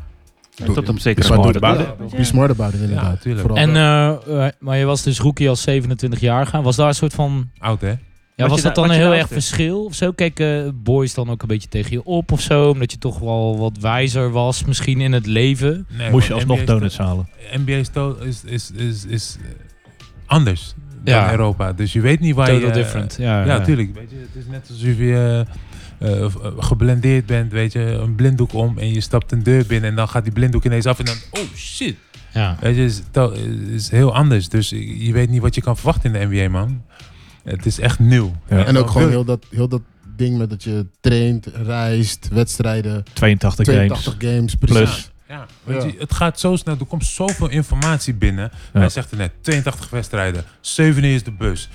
Doe- Tot op zekere Maar hoogte. doe- Be smart about it Ja, inderdaad. tuurlijk. Vooral En, dat. eh, eh, maar je was dus rookie als 27 jaar gaan. Was daar een soort van... Oud, hè? Ja, Wat was je daar- dat dan een wat je heel daar erg achter- verschil of zo? Keek eh, boys dan ook een beetje tegen je op of zo? Omdat je toch wel wat wijzer was misschien in het leven? Nee, Moest want je alsnog NBA is donuts halen. to- NBA sto- is, is, is, is eh, anders dan Ja. Europa. Dus je weet niet waar Total je... different. Ja, Ja, ja. tuurlijk. Weet je, het is net alsof je eh, eh, of, eh, geblendeerd bent, weet je, een blinddoek om en je stapt een deur binnen en dan gaat die blinddoek ineens af en dan, oh shit. Ja. Weet je, is, to- is heel anders. Dus je weet niet wat je kan verwachten in de NBA, man. Het is echt nieuw. Ja. En ook gewoon heel heel dat, heel dat ding met dat je traint, reist, wedstrijden, 82 82 games. games, Plus. precies. Ja, weet Ja. Je, het gaat zo snel. Er komt zoveel informatie binnen. Hij zegt er net, 82 wedstrijden, 7 uur is de bus.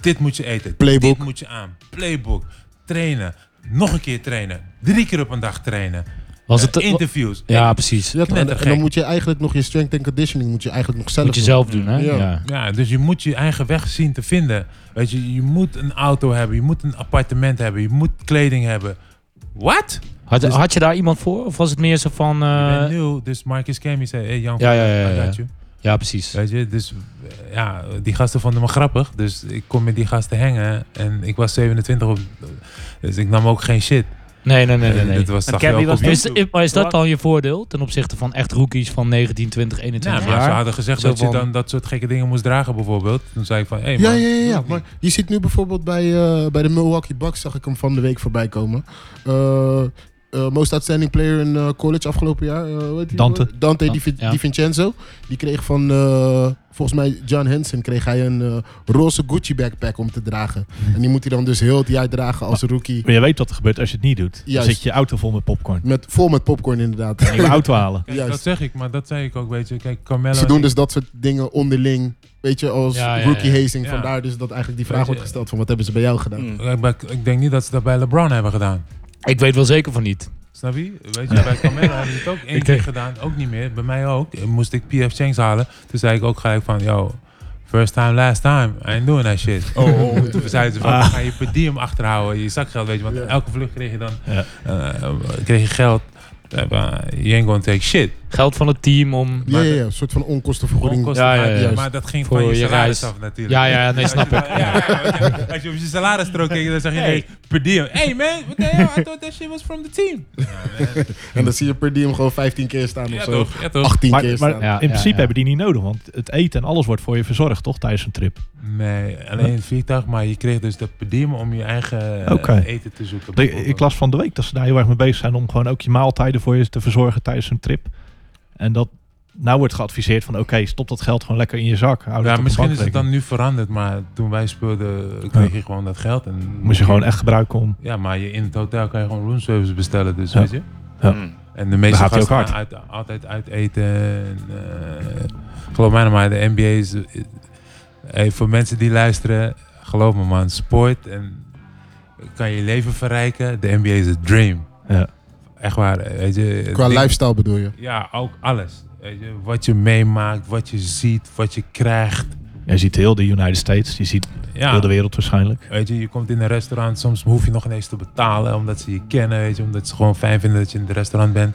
Dit moet je eten, Playbook. dit moet je aan. Playbook, trainen, nog een keer trainen. Drie keer op een dag trainen. Was het, Eh, interviews. ja, precies. Ja, toch? en, en Knettergek. dan moet je eigenlijk nog je strength en conditioning moet je eigenlijk nog zelf Moet je doen. zelf doen, hè? Ja. Ja. Ja, dus je moet je eigen weg zien te vinden. Weet je, je moet een auto hebben, je moet een appartement hebben, je moet kleding hebben. Wat? Had, Dus- had je daar iemand voor? Of was het meer zo van... eh, je bent nieuw, dus Marcus Cammy zei, hey Jan, Ja, ja, ja, I ja. got you. ja, precies. Weet je, dus eh, ja, die gasten vonden me grappig. Dus ik kon met die gasten hangen. En ik was 27, op, dus ik nam ook geen shit. Nee, nee, nee, nee. nee. Dit was, En zag je Cabby ook was op Is, YouTube. maar is dat dan je voordeel ten opzichte van echt rookies van 19, 20, Ja, 21 maar ze jaar? hadden gezegd Zo dat je van- dan dat soort gekke dingen moest dragen bijvoorbeeld. Toen zei ik van, hé hey, Ja, man, ja, ja, doe ja. het Maar niet. je ziet nu bijvoorbeeld bij, eh, bij de Milwaukee Bucks, zag ik hem van de week voorbij komen. Eh, eh, most outstanding player in eh, college afgelopen jaar. eh, hoe heet die? Dante. Dante Di, Ja. Di Vincenzo. Die kreeg van, eh, volgens mij, John Henson kreeg hij een eh, roze Gucci backpack om te dragen. En die moet hij dan dus heel het jaar dragen als rookie. Maar je weet wat er gebeurt als je het niet doet. Dan Juist. zit je auto vol met popcorn. Met, vol met popcorn inderdaad. En je auto halen. Kijk, Juist. dat zeg ik, maar dat zei ik ook, weet je. Kijk, Carmelo... Ze doen dus dat soort dingen onderling. Weet je, als Ja, ja, ja. rookie hazing. Ja. Vandaar dus dat eigenlijk die vraag Weet je- wordt gesteld van wat hebben ze bij jou gedaan. dus- Mm. Ik, ben- ik denk niet dat ze dat bij LeBron hebben gedaan. Ik weet wel zeker van niet. Snap je? Weet je, bij Carmelo hebben ze het ook één Ik keer denk- gedaan. Ook niet meer. Bij mij ook. Moest ik PF Changs halen. Toen zei ik ook gelijk van, yo, first time, last time. I ain't doing that shit. Oh, Toen zeiden ze Ah. van, dan ga je per diem achterhouden. Je zakgeld, weet je. Want Ja. elke vlucht kreeg je dan Ja. eh, kreeg je geld. Eh, maar You ain't gonna take shit. Geld van het team om... Ja, ja, ja, een soort van onkostenvergoeding. Onkosten, Ja, ja, maar- juist. Maar dat ging Voor van je, je salaris reis. af natuurlijk. Ja, ja, nee, Als je snap dan- ik. ja, ja, ja, ja. Als je op je salarisstrook keek, dan zeg je nee, per diem. Hey man, what the hell? I thought that shit was from the team. En dan zie je per diem gewoon 15 keer staan of Ja zo. toch, ja toch. 18 Maar, keer maar staan. Ja, in ja, principe ja. hebben die niet nodig, want het eten en alles wordt voor je verzorgd, toch? Tijdens een trip. Nee, alleen het vliegtuig, maar je kreeg dus dat per diem om je eigen eh, Oké. eten te zoeken. Ik, ik las van de week dat ze daar heel erg mee bezig zijn om gewoon ook je maaltijden voor je te verzorgen tijdens een trip. En dat nou wordt geadviseerd van oké, stop dat geld gewoon lekker in je zak. Hou Ja, misschien is het dan nu veranderd, maar toen wij speelden kreeg je gewoon dat geld. En Moet je gewoon echt gebruiken om. Ja, maar je, in het hotel kan je gewoon roomservice bestellen, dus Ja. weet je. Ja. Mm. En de meeste Daar gaat hij ook gasten hard. gaan uit, altijd uit eten. en, eh, geloof mij nou maar, de NBA is... eh, hey, voor mensen die luisteren, geloof me man, sport en kan je leven verrijken. De NBA is een dream. Ja. Echt waar, eh, weet je. het Qua ding- lifestyle bedoel je. Ja, ook alles. Weet je, wat je meemaakt, wat je ziet, wat je krijgt. Je ziet heel de United States, je ziet heel Ja, de wereld waarschijnlijk. weet je, je komt in een restaurant, soms hoef je nog ineens te betalen omdat ze je kennen, weet je, omdat ze gewoon fijn vinden dat je in het restaurant bent.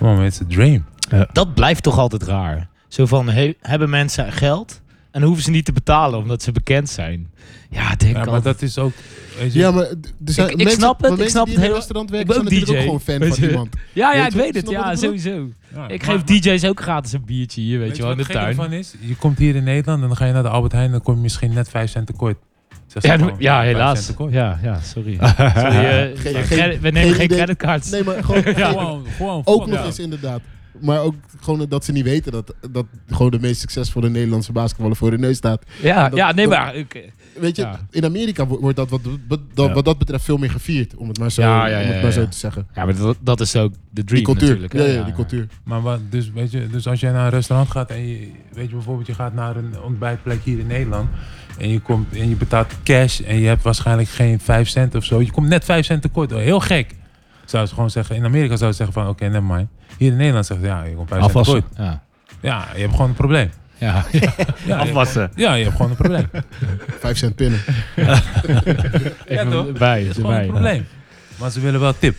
Maar man, it's a dream. Dat blijft toch altijd raar. Zo van, he- hebben mensen geld en hoeven ze niet te betalen omdat ze bekend zijn. Ja, denk Ja, maar altijd- dat is ook, weet je, Ja, maar d- er zijn Ik- ik mensen, snap het, maar ik mensen snap die in het een heel- restaurant ik werken ben zijn ook natuurlijk DJ. ook gewoon fan Weet van je? iemand. ja, ja, Weet ik je wat- weet het. snap wat Ja, ik bedoel? sowieso. Ja, Ik maar- geef maar DJ's ook gratis een biertje hier, weet je wel, in de wat het gekke tuin. ervan is? Je komt hier in Nederland en dan ga je naar de Albert Heijn en dan kom je misschien net 5 cent tekort. Zeg ze Ja, gewoon, d- ja, vijf cent helaas. tekort. Ja, ja, sorry. Sorry, eh, Geen- cre- geen- we nemen geen geen idee. creditcards. Nee, maar gewoon, Gewoon, gewoon ook fuck nog ja. eens inderdaad. Maar ook gewoon dat ze niet weten dat, dat gewoon de meest succesvolle Nederlandse basketballer voor hun neus staat. Ja, dat- ja, nee, dat- maar... oké. Weet je, Ja. in Amerika wo- wordt dat wat, wat- dat, Ja. wat dat betreft veel meer gevierd, om het maar zo, Ja, ja, om het ja, maar ja. zo te zeggen. Ja, maar dat, dat is ook de dream Die cultuur. natuurlijk. hè? Ja, ja, die cultuur. Maar wat, dus, weet je, dus als jij naar een restaurant gaat en je, weet je bijvoorbeeld, je gaat naar een ontbijtplek hier in Nederland. En je, komt, en je betaalt cash en je hebt waarschijnlijk geen 5 cent of zo. Je komt net 5 cent tekort. Heel gek. Zou ze gewoon zeggen, in Amerika zou ze zeggen van oké, never mind. Hier in Nederland zeggen ze ja, je komt 5 cent Afwassen. tekort. Ja, Ja, je hebt gewoon een probleem. ja. Ja, Afwassen. Je, ja, je hebt gewoon een probleem. Vijf cent pinnen. Ik toch? ben bij, Het is gewoon een probleem. Maar ze willen wel tip.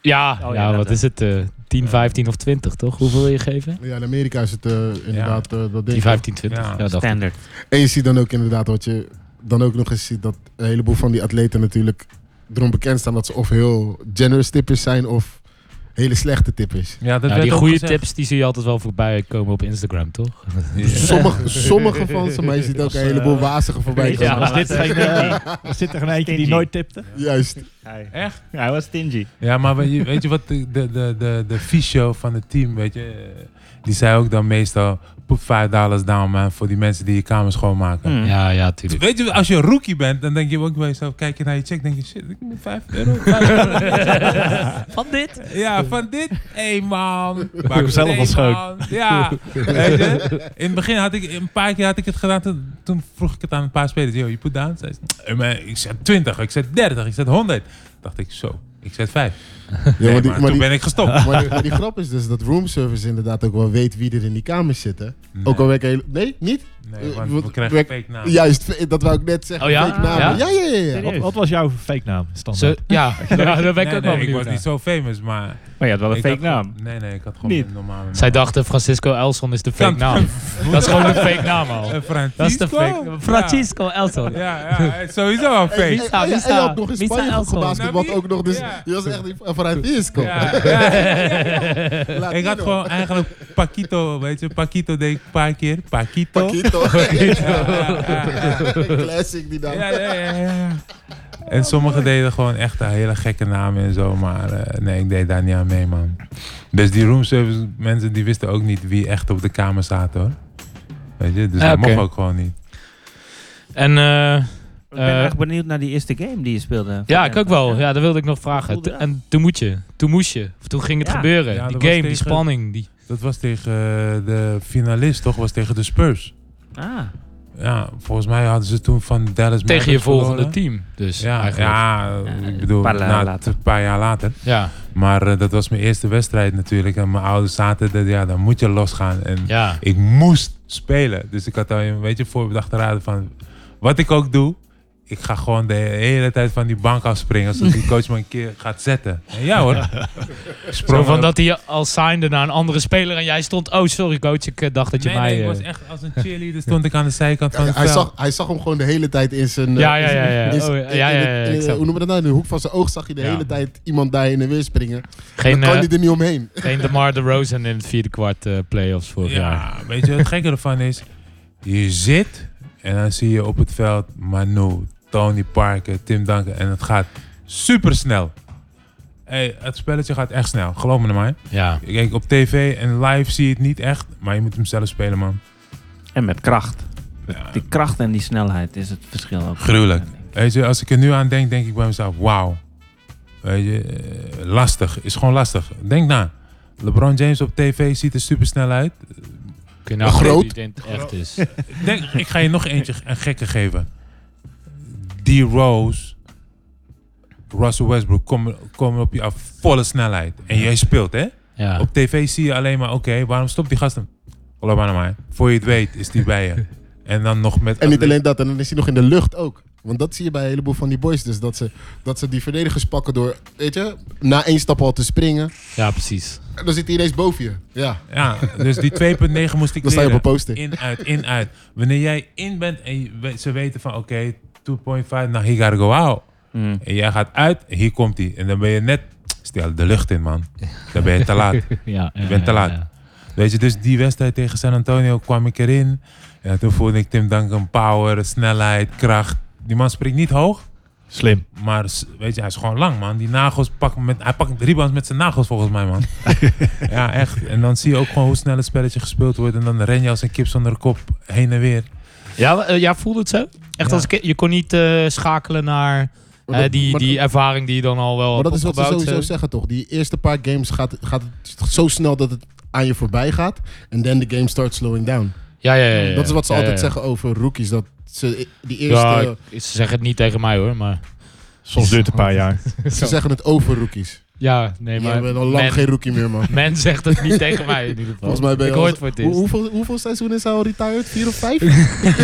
Ja, Oh, ja, ja, wat dat- is het? eh 10, 15 of 20, toch? Hoeveel wil je geven? Ja, in Amerika is het eh, inderdaad eh, dat ding. 10, 15, 20. Ja. Ja, dat Standard. En je ziet dan ook inderdaad wat je dan ook nog eens ziet dat een heleboel van die atleten natuurlijk erom bekend staan dat ze of heel generous tippers zijn of hele slechte tippers. Ja, dat Ja, werd die ook goede gezegd. tips die zie je altijd wel voorbij komen op Instagram, toch? Sommige, sommige van ze, maar je ziet ook Als, een eh, heleboel wazige voorbij Ja. komen. Was, dit geen, eh, was dit er geen eentje die Stingy. nooit tipte? Juist. Hij, Echt? Ja, hij was stingy. Ja, maar weet je, weet je wat de, de, de, de, de fysio van het team, weet je, eh, die zei ook dan meestal, put five dollars down man, voor die mensen die je kamer schoonmaken. Hmm. Ja, ja, tuurlijk. Weet je, als je een rookie bent, dan denk je ook bij jezelf, kijk je naar je check, denk je, shit, ik moet 5 euro. vijf euro. Van dit? ja, van dit, hé man. Maak hem zelf Nee, wel schoon. man. Ja, weet je. In het begin had ik, een paar keer had ik het gedaan, toen, toen vroeg ik het aan een paar spelers, yo, je put down? Zei ze, "Eh, maar ik zet 20, ik zet 30, ik zet 100. dacht ik, zo, ik zet 5. Ja, Nee, maar die- maar maar toen die- Ah. ben ik gestopt. maar, die- maar die grap is dus dat roomservice inderdaad ook wel weet wie er in die kamers zitten. Ook al werken hele... Nee, niet? Nee, Eh, want wat- we krijgen werk- fake naam. Juist, dat wou ik net zeggen. Oh ja? Fake namen. Ja, Ja? ja, ja. ja. Serieus? Wat, wat was jouw fake naam? Zo, Standaard? ja, ja, daar ben ik Nee, ook wel nee, ik benieuwd was niet naar. zo famous, maar... Maar je had wel een ik fake had gewoon- naam. Nee, nee, ik had gewoon Niet. een normale naam. Zij dachten Francisco Elson is de fake Kan- naam. Dat is gewoon een fake naam al. Eh, Francisco? Dat is de fake. Francisco Elson. Ja, ja, ja, sowieso een Hey, fake. Misa, en- en- en je had Misa. nog in Misa Spanje Elson. gebasketbald Nou, wie- ook nog. Dus ja. je was echt die- vanuit Isco. Ja, ja. Latino. Ik had gewoon eigenlijk Paquito, weet je. Paquito deed ik een paar keer. Paquito. Paquito. Ja, ja, Classic die dan. ja, ja, ja, ja. En sommigen deden gewoon echt een hele gekke namen en zo. Maar eh, nee, ik deed daar niet aan mee, man. Dus die roomservice mensen die wisten ook niet wie echt op de kamer zaten, hoor. Weet je, dus Ah, dat oké. mocht ook gewoon niet. En eh, Ik ben Eh, echt benieuwd naar die eerste game die je speelde. ja, ik ook wel. Ja, dat wilde ik nog vragen. Goed, T- ja. en toen moet je. Toen moest je. Of toen ging het Ja. gebeuren. Ja, die dat game, die was tegen- spanning. Die... Dat was tegen eh, de finalist, toch? Was tegen de Spurs. Ah, Ja, volgens mij hadden ze toen van Dallas Mavericks Tegen je volgende verloren. team. Dus Ja, eigenlijk. ja, Ja, ik bedoel, een paar jaar na- later. een paar jaar later. Ja. Maar eh, dat was mijn eerste wedstrijd natuurlijk. En mijn ouders zaten er, ja, dan moet je losgaan. En ja. ik moest spelen. Dus ik had al een beetje voorbedachte raden van... Wat ik ook doe, ik ga gewoon de hele tijd van die bank afspringen. Zodat die coach me een keer gaat zetten. En ja hoor. Zo Sprong van op. dat hij al signde naar een andere speler en jij stond... Oh, sorry coach, ik eh, dacht dat je Nee, mij... nee, ik eh, was echt als een cheerleader stond ik aan de zijkant van het Hij veld. zag, hij zag hem gewoon de hele tijd in zijn... eh, Ja, ja, ja, ja. in zijn- Oh, ja, ja, ja, ja, in- in- ik snap. Hoe noem je dat nou? In de hoek van zijn oog zag je de Ja. hele tijd iemand daar in en weer springen. Dan geen, kan eh, hij er niet omheen. geen DeMar DeRozan in het vierde kwart eh, playoffs vorig jaar. Ja, weet je wat het gekke ervan is? Je zit en dan zie je op het veld Manu, Tony Parker, Tim Duncan en het gaat supersnel. Hey, het spelletje gaat echt snel, geloof me nou, maar. Ja. Ik kijk op tv en live zie je het niet echt, maar je moet hem zelf spelen man. en met kracht. Ja, Die kracht en die snelheid is het verschil ook. Gruwelijk. Weet je, als ik er nu aan denk, denk ik bij mezelf, wauw. Weet je, eh, lastig, is gewoon lastig. Denk na. LeBron James op tv ziet er supersnel uit. Kun je nou Groot. groot. die het echt is. Denk, ik ga je nog eentje een gekke geven. Die Rose, Russell Westbrook komen, komen op je af volle snelheid. En jij speelt, hè? Ja. Op tv zie je alleen maar, oké, waarom stopt die gast hem? Geloof maar naar mij. Voor je het weet is die bij je. En dan nog met... En niet alleen dat, en dan is hij nog in de lucht ook. Want dat zie je bij een heleboel van die boys. Dus dat ze, dat ze die verdedigers pakken door, weet je, na één stap al te springen. ja, precies. En dan zit hij ineens boven je. Ja, Ja, dus die 2.9 moest ik dan sta je op leren. een poster. In, uit, in, uit. Wanneer jij in bent en je we- ze weten van, oké, 2.5, nou, hier gotta go out. Mm. En jij gaat uit, en hier komt hij. En dan ben je net... Stel de lucht in, man. Dan ben je te laat. Ja, Je bent te laat. Weet je, dus die wedstrijd tegen San Antonio kwam ik erin. En toen voelde ik Tim Duncan power, snelheid, kracht. Die man springt niet hoog, Slim. maar s- weet je, hij is gewoon lang, man. Die nagels pakken met, hij pakt rebounds met zijn nagels, volgens mij, man. ja, echt. En dan zie je ook gewoon hoe snel het spelletje gespeeld wordt. En dan ren je als een kip zonder kop heen en weer. Ja, wa- eh, ja voelde het zo? Echt Ja. als ik, je kon niet eh, schakelen naar Maar eh, dat- die, maar- die ervaring die je dan al wel Maar dat hebt is wat ze opgebouwd, sowieso eh. zeggen, toch? Die eerste paar games gaat, gaat het zo snel dat het aan je voorbij gaat. En dan de game starts slowing down. Ja, ja, ja, ja. Dat is wat ze Ja, ja, altijd ja. zeggen over rookies. Dat ze die eerste... Ja, ik- ze zeggen het niet tegen mij hoor, maar... Soms duurt het een paar jaar. ze zeggen het over rookies. Ja, je nee, maar... bent al lang men, geen rookie meer, man. men zegt het niet tegen mij in ieder geval. Volgens mij ben je ik al- hoor het voor het Hoe, eerst. hoeveel, hoeveel seizoenen is hij al retired? Vier of vijf? Of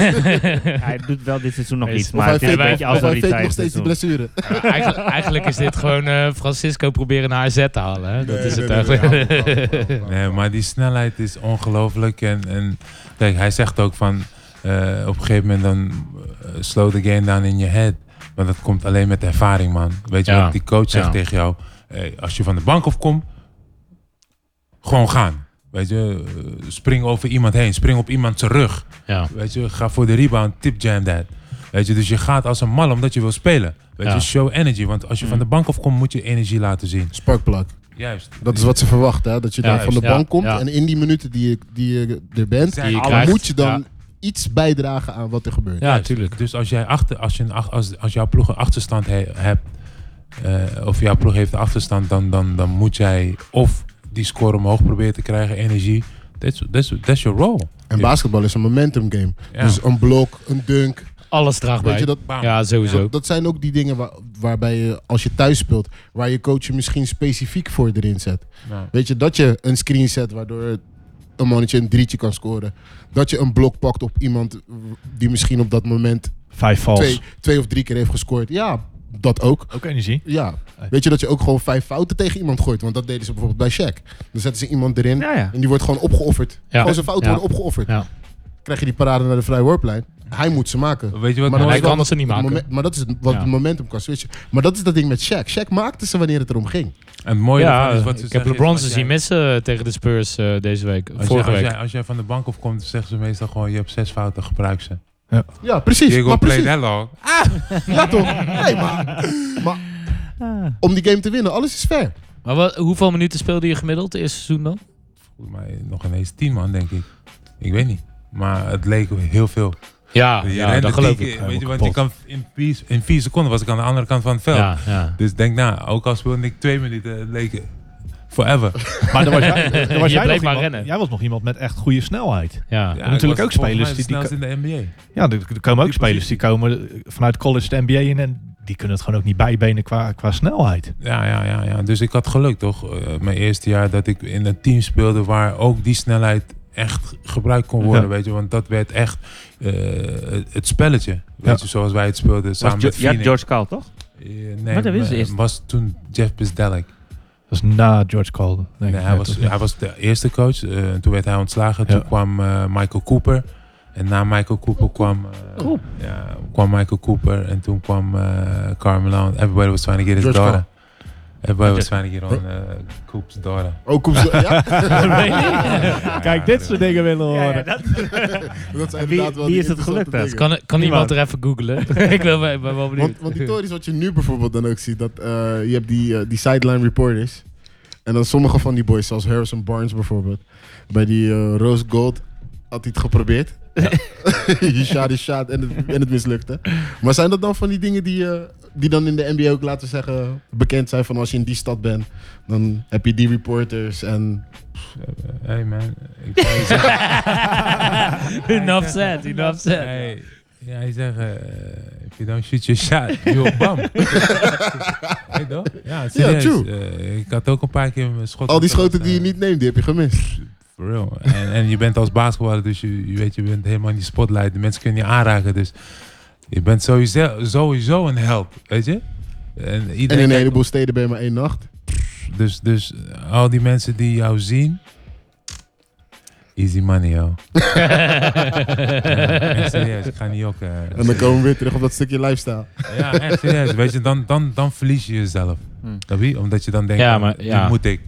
Hij doet wel dit seizoen nog Hij is- iets, maar hij het is een fake- fake- beetje of als hij een fake nog retired steeds seizoen. die blessure. Ja, eigenlijk, eigenlijk is dit gewoon eh, Francisco proberen naar AZ te halen. Hè? Dat is het eigenlijk. Nee, maar die snelheid is ongelooflijk. En, en kijk, hij zegt ook van eh, op een gegeven moment dan eh, slow the game down in your head. Maar dat komt alleen met ervaring, man. Weet je Ja. wat die coach zegt Ja. tegen jou? Hey, als je van de bank afkomt, gewoon gaan. Weet je, eh, spring over iemand heen, spring op iemand zijn rug. Ja. Weet je, ga voor de rebound, tip jam that. Weet je, dus je gaat als een mal omdat je wil spelen. Weet Ja. Mm. je, show energy. Want als je van de bank afkomt, moet je energie laten zien. Sparkplug. Juist. Dat is wat ze verwachten, hè? dat je Ja, dan van de juist, ja, bank komt. ja. En in die minuten die je, die je er bent, Zijn Die je alle krijgt. moet je dan Ja. iets bijdragen aan wat er gebeurt. Ja, tuurlijk. Dus als, jij achter, als, je een, ach- als, als jouw ploeg een achterstand he- hebt, eh, of jouw ploeg heeft een achterstand, dan, dan, dan moet jij of die score omhoog proberen te krijgen, energie. That's, that's, that's your role. En Ja. basketbal is een momentum game. Ja. Dus een blok, een dunk. Alles draagt bij. Weet je, dat, Bam. Ja, sowieso. dat zijn ook die dingen waar, waarbij je, als je thuis speelt, waar je coach je misschien specifiek voor erin zet. Ja. Weet je, dat je een screen zet waardoor een mannetje een drietje kan scoren. Dat je een blok pakt op iemand die misschien op dat moment Vijf twee, vals. twee of drie keer heeft gescoord. Ja, dat ook. Ook energie. Ja. Weet je dat je ook gewoon vijf fouten tegen iemand gooit? Want dat deden ze bijvoorbeeld bij Shaq. Dan zetten ze iemand erin Ja, ja. en die wordt gewoon opgeofferd. Ja. Gewoon zijn fouten Ja. worden opgeofferd. Ja. Krijg je die parade naar de vrije worplijn? Hij moet ze maken. Weet je wat? Maar dan hij is wel kan wat ze niet het maken. moment- maar dat is het- wat Ja. het momentum kan switchen. Maar dat is dat ding met Shaq. Shaq maakte ze wanneer het erom ging. En het mooie Ja, ervan is wat ze ik heb zeggen is LeBron als ze jij- zien missen tegen de Spurs eh, deze week. Als, Vorige jij, als, week. jij, als jij van de bank afkomt, zeggen ze meestal gewoon: je hebt zes fouten, gebruik ze. Ja, precies. Diego maar play precies. that long. Ja, toch? Nee, maar, maar Ah. om die game te winnen, alles is fair. Maar wat, hoeveel minuten speelde je gemiddeld het eerste seizoen dan? Volgens mij nog ineens tien man, denk ik. Ik weet niet. Maar het leek heel veel. Ja, Je Ah, ja rende dat geloof tien ik. keer, Weet je, want je eh, kapot. kan in, vier, in vier seconden was ik aan de andere kant van het veld. Ja, ja. Dus denk na, ook al speelde ik twee minuten, het leek forever. Maar dan was jij, dan Je was jij bleef nog maar iemand, rennen. Jij was nog iemand met echt goede snelheid. ja. Ja, ja. ik natuurlijk was ook volgens mij spelers de die- die snelste in de NBA. Ja, er, er komen ook Die spelers die komen eh, vanuit college de NBA in en die kunnen het gewoon ook niet bijbenen qua, qua snelheid. Ja, ja, ja, ja. Dus ik had geluk toch. Eh, mijn eerste jaar dat ik in een team speelde waar ook die snelheid echt gebruikt kon worden. Ja. Weet je, want dat werd echt eh, het spelletje. Weet Ja. je, zoals wij het speelden samen Was Jo- met ja, Phoenix. George Karl, toch? Eh, Maar nee, dat wist eh, ze eerst. was toen Jeff Bisdelic. Dat is na George Calden. denk Nee, ik. hij, Ja, was, toch? hij was de eerste coach. eh, toen werd hij ontslagen. Ja. Toen kwam eh, Michael Cooper. En na Michael Cooper kwam, eh, Cool. ja, kwam Michael Cooper. En toen kwam eh Carmelo. and Everybody was trying to get his George daughter. Everybody was trying to get on eh, Coop's daughter. Ook om zo, ja, Kijk, dit soort dingen willen we horen. dat zijn Wie- inderdaad wel wie die is het gelukt, interessante hè? dingen. Kan, kan iemand er even googlen? ik ben, wel- ik ben wel benieuwd. Want, want die tories wat je nu bijvoorbeeld dan ook ziet, dat eh, je hebt die, eh, die sideline reporters. En dan sommige van die boys, zoals Harrison Barnes bijvoorbeeld. Bij die eh, Rose Gold had hij het geprobeerd. Die shot is shot en het, en het mislukte. Maar zijn dat dan van die dingen die, eh, die dan in de NBA ook, laten we zeggen, bekend zijn van als je in die stad bent, dan heb je die reporters en... Hey man. Ik wou je zeggen. enough said, enough said. Hey, ja, hij zegt, eh, if you don't shoot your shot, you're bam. hey, toch? Ja, serieus. true. Eh, ik had ook een paar keer mijn schot. Al die op de lat, schoten die je eh, niet neemt, die heb je gemist. For real. En, en je bent als basketballer, dus je, je weet, je bent helemaal in die spotlight. De mensen kunnen je aanraken, dus je bent sowieso, sowieso een held, weet je? En En iedereen, in een heleboel steden ben je maar één nacht. dus, dus al die mensen die jou zien, easy money, yo. ja, echt serieus, ik ga niet jokken. eh. En dan komen we weer terug op dat stukje lifestyle. Ja, Hm. echt serieus, weet je, dan, dan, dan verlies je jezelf. Hmm. Snap je? Omdat je dan denkt, Ja, ja, maar- ja. moet ik.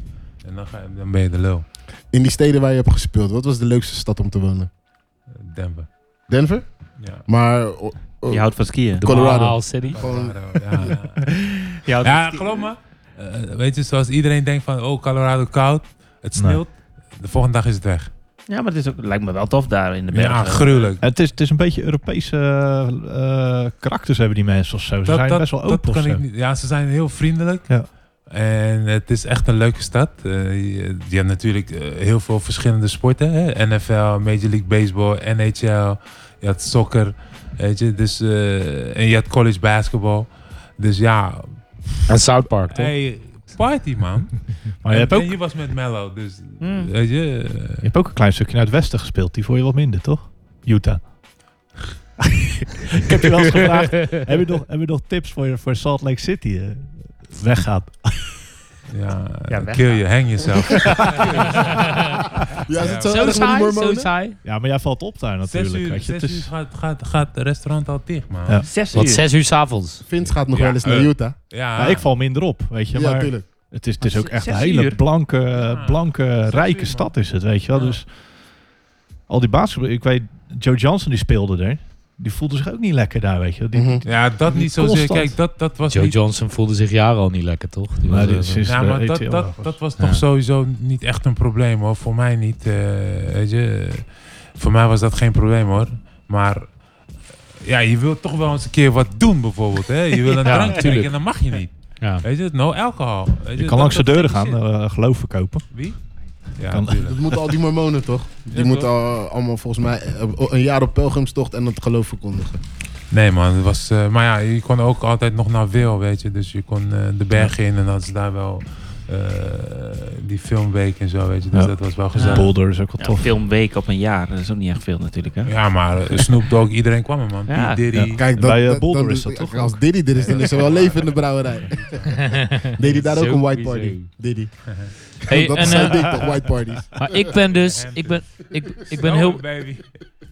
En dan, ga, dan ben je de lul. In die steden waar je hebt gespeeld, wat was de leukste stad om te wonen? Denver. Denver? Ja. Maar oh, oh, Je houdt van skiën. Colorado. Mile City. Gewoon- ja, ja. Je houdt Ja, geloof me. Eh, weet je, zoals iedereen denkt van, oh, Colorado koud. Het sneeuwt. De volgende dag is het weg. Ja, maar het is ook, lijkt me wel tof daar in de bergen. Ja, gruwelijk. Het is, het is een beetje Europese eh, eh, karakters hebben die mensen of zo. Ze zijn best wel open dat of kan zo. ik niet. Ja, ze zijn heel vriendelijk. Ja. En het is echt een leuke stad. Eh, je, je hebt natuurlijk eh, heel veel verschillende sporten. Hè? NFL, Major League Baseball, NHL. Je had soccer. Weet je, dus, eh, en je had college basketbal. Dus ja, En South Park, toch? hey, party man. Maar je hebt, en, ook, en je was met Mello, dus Hmm. weet je... eh, je hebt ook een klein stukje naar het westen gespeeld. Die vond je wat minder, toch? Utah. ik heb je wel eens gevraagd. heb, je nog, heb je nog tips voor, je- voor Salt Lake City? eh, weggaan. Ja, Ja, weg nou. kill je, hang jezelf. Ja, is het zo, Zo erg met die saai, zo mormonen? saai. Ja, maar jij valt op daar zes natuurlijk. uur, weet je. zes Het uur is- gaat, gaat, gaat het restaurant al dicht, man. Ja. Ja, Zes Wat, uur. zes uur s'avonds? Vince gaat nog Ja, wel eens naar eh, Utah. ja, ik val minder op, weet je. Ja, Maar tuurlijk. het is, het is ook echt een Zes hele uur. blanke, Ja. blanke uur, rijke man. stad is het, weet je wel. Ja. Dus al die basketbal... Ik weet, Joe Johnson die speelde er. die voelde zich ook niet lekker daar, weet je. Die, Mhm. Ja, dat niet zozeer. Constant. Kijk, dat, dat was Joe niet... Johnson voelde zich jaren al niet lekker, toch? Die Maar was, dit eh, is- Ja, de maar dat, ETL dat, was. dat was toch Ja. sowieso niet echt een probleem hoor. Voor mij niet. eh, weet je, voor mij was dat geen probleem hoor. Maar eh, ja, je wilt toch wel eens een keer wat doen bijvoorbeeld. Hè? Je wil een Ja, drankje tuurlijk. drinken en dan mag je niet. ja. Weet je, no alcohol. Weet Je dat- kan langs de dat deuren gaan, gekke shit. eh, geloof verkopen. Wie? Ja, Kan- natuurlijk. Dat moeten al die mormonen toch? Die Ja, moeten toch? al- allemaal volgens mij eh, een jaar op pelgrimstocht en het geloof verkondigen. Nee man, het was, eh, maar ja, je kon ook altijd nog naar Wil, weet je. Dus je kon eh, de bergen in en dat is daar wel eh, die filmweek en zo, weet je. Dus Ja. dat was wel gezellig. Boulder is ook wel Ja, tof. filmweek op een jaar, dat is ook niet echt veel natuurlijk. Hè? Ja, maar eh, Snoop Dogg, iedereen kwam er man. Ja. P. Diddy. Ja. Kijk, Bij, eh, Boulder is dat toch Als Diddy er is, dan is er wel leven in de brouwerij. Deed hij daar ook een white party? Diddy. Hey, dat en, is zijn eh, ding toch, white parties. Maar ik ben dus, ik ben, ik, ik ben heel, baby.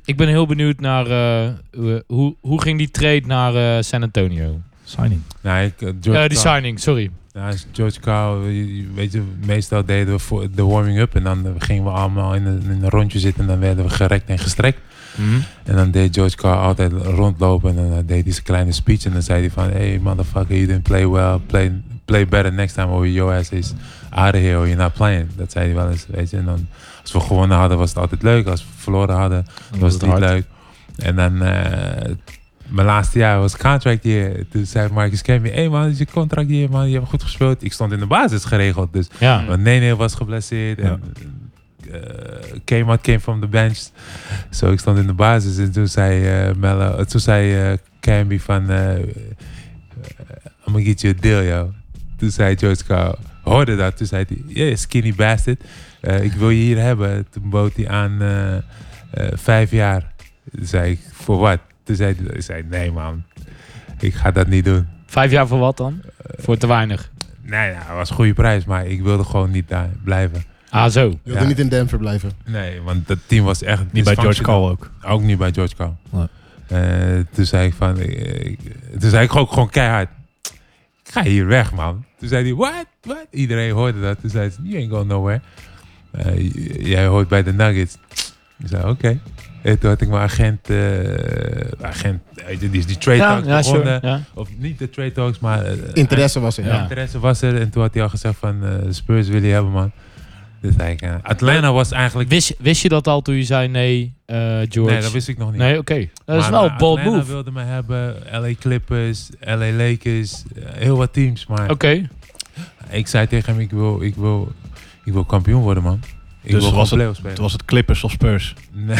ik ben heel benieuwd naar eh, hoe- hoe, hoe ging die trade naar eh, San Antonio? Signing. Nee, ik, eh, George Eh Cow- die signing, sorry. Ja, is George Cow, je- je- weet je, meestal deden we voor de warming-up en dan eh, gingen we allemaal in een, in een rondje zitten en dan werden we gerekt en gestrekt. Mhm. En dan deed George Carl altijd rondlopen en dan eh, deed hij zijn kleine speech. En dan zei hij van, hey motherfucker, you didn't play well. Play, play better next time or your ass is out of here or you're not playing. Dat zei hij wel eens, weet je. En dan, als we gewonnen hadden was het altijd leuk. Als we verloren hadden Dan was was het het niet hard. leuk. En dan, eh, mijn laatste jaar was contract year. Toen zei Marcus Camby, hey man, het is je contract year man. Je hebt goed gespeeld. Ik stond in de basis geregeld. Dus Ja. want Nene was geblesseerd. En, eh, Kmart came from the bench. Zo, ik stond in de basis. En toen zei eh Mello, eh, toen zei eh Camby van... eh eh, I'm gonna get you a deal, yo. Toen zei George Carl, hoorde dat. Toen zei hij, yeah, skinny bastard. Eh, ik wil je hier hebben. Toen bood hij aan eh, eh, vijf jaar. Toen zei ik, voor wat? Toen zei hij, ik zei, nee man, ik ga dat niet doen. Vijf jaar voor wat dan? Voor te weinig. Nee, nou, het was een goede prijs, maar ik wilde gewoon niet daar blijven. Ah, zo. Je wilde Ja. niet in Denver blijven. Nee, want dat team was echt Niet bij George dysfunctional. Call ook. Ook niet bij George Call. Nee. Eh, toen zei ik van, eh, ik- toen zei ik ook gewoon keihard, ik ga hier weg man. Toen zei hij, what, what? Iedereen hoorde dat. Toen zei ze, you ain't going nowhere. Eh, j- jij hoort bij de Nuggets. Ik zei, oké. En toen had ik mijn agent, eh, agent, eh, die is die trade talks begonnen. Ja. Of niet de trade talks, maar... eh, Interesse was er. Ja. Ja. interesse was er. En toen had hij al gezegd van eh, Spurs wil je hebben, man. Dus zei ik, eh, Atlanta was eigenlijk... Wist, wist je dat al toen je zei nee, eh, George? Nee, dat wist ik nog niet. Nee, oké. Dat is Maar, wel eh, een bold Atlanta move. wilde me hebben. LA Clippers, LA Lakers. eh, heel wat teams. Maar Oké. ik zei tegen hem, ik wil, ik wil, ik wil kampioen worden, man. Ik wil Dus gewoon was het- playoffs Het spelen. was het Clippers of Spurs. Nee.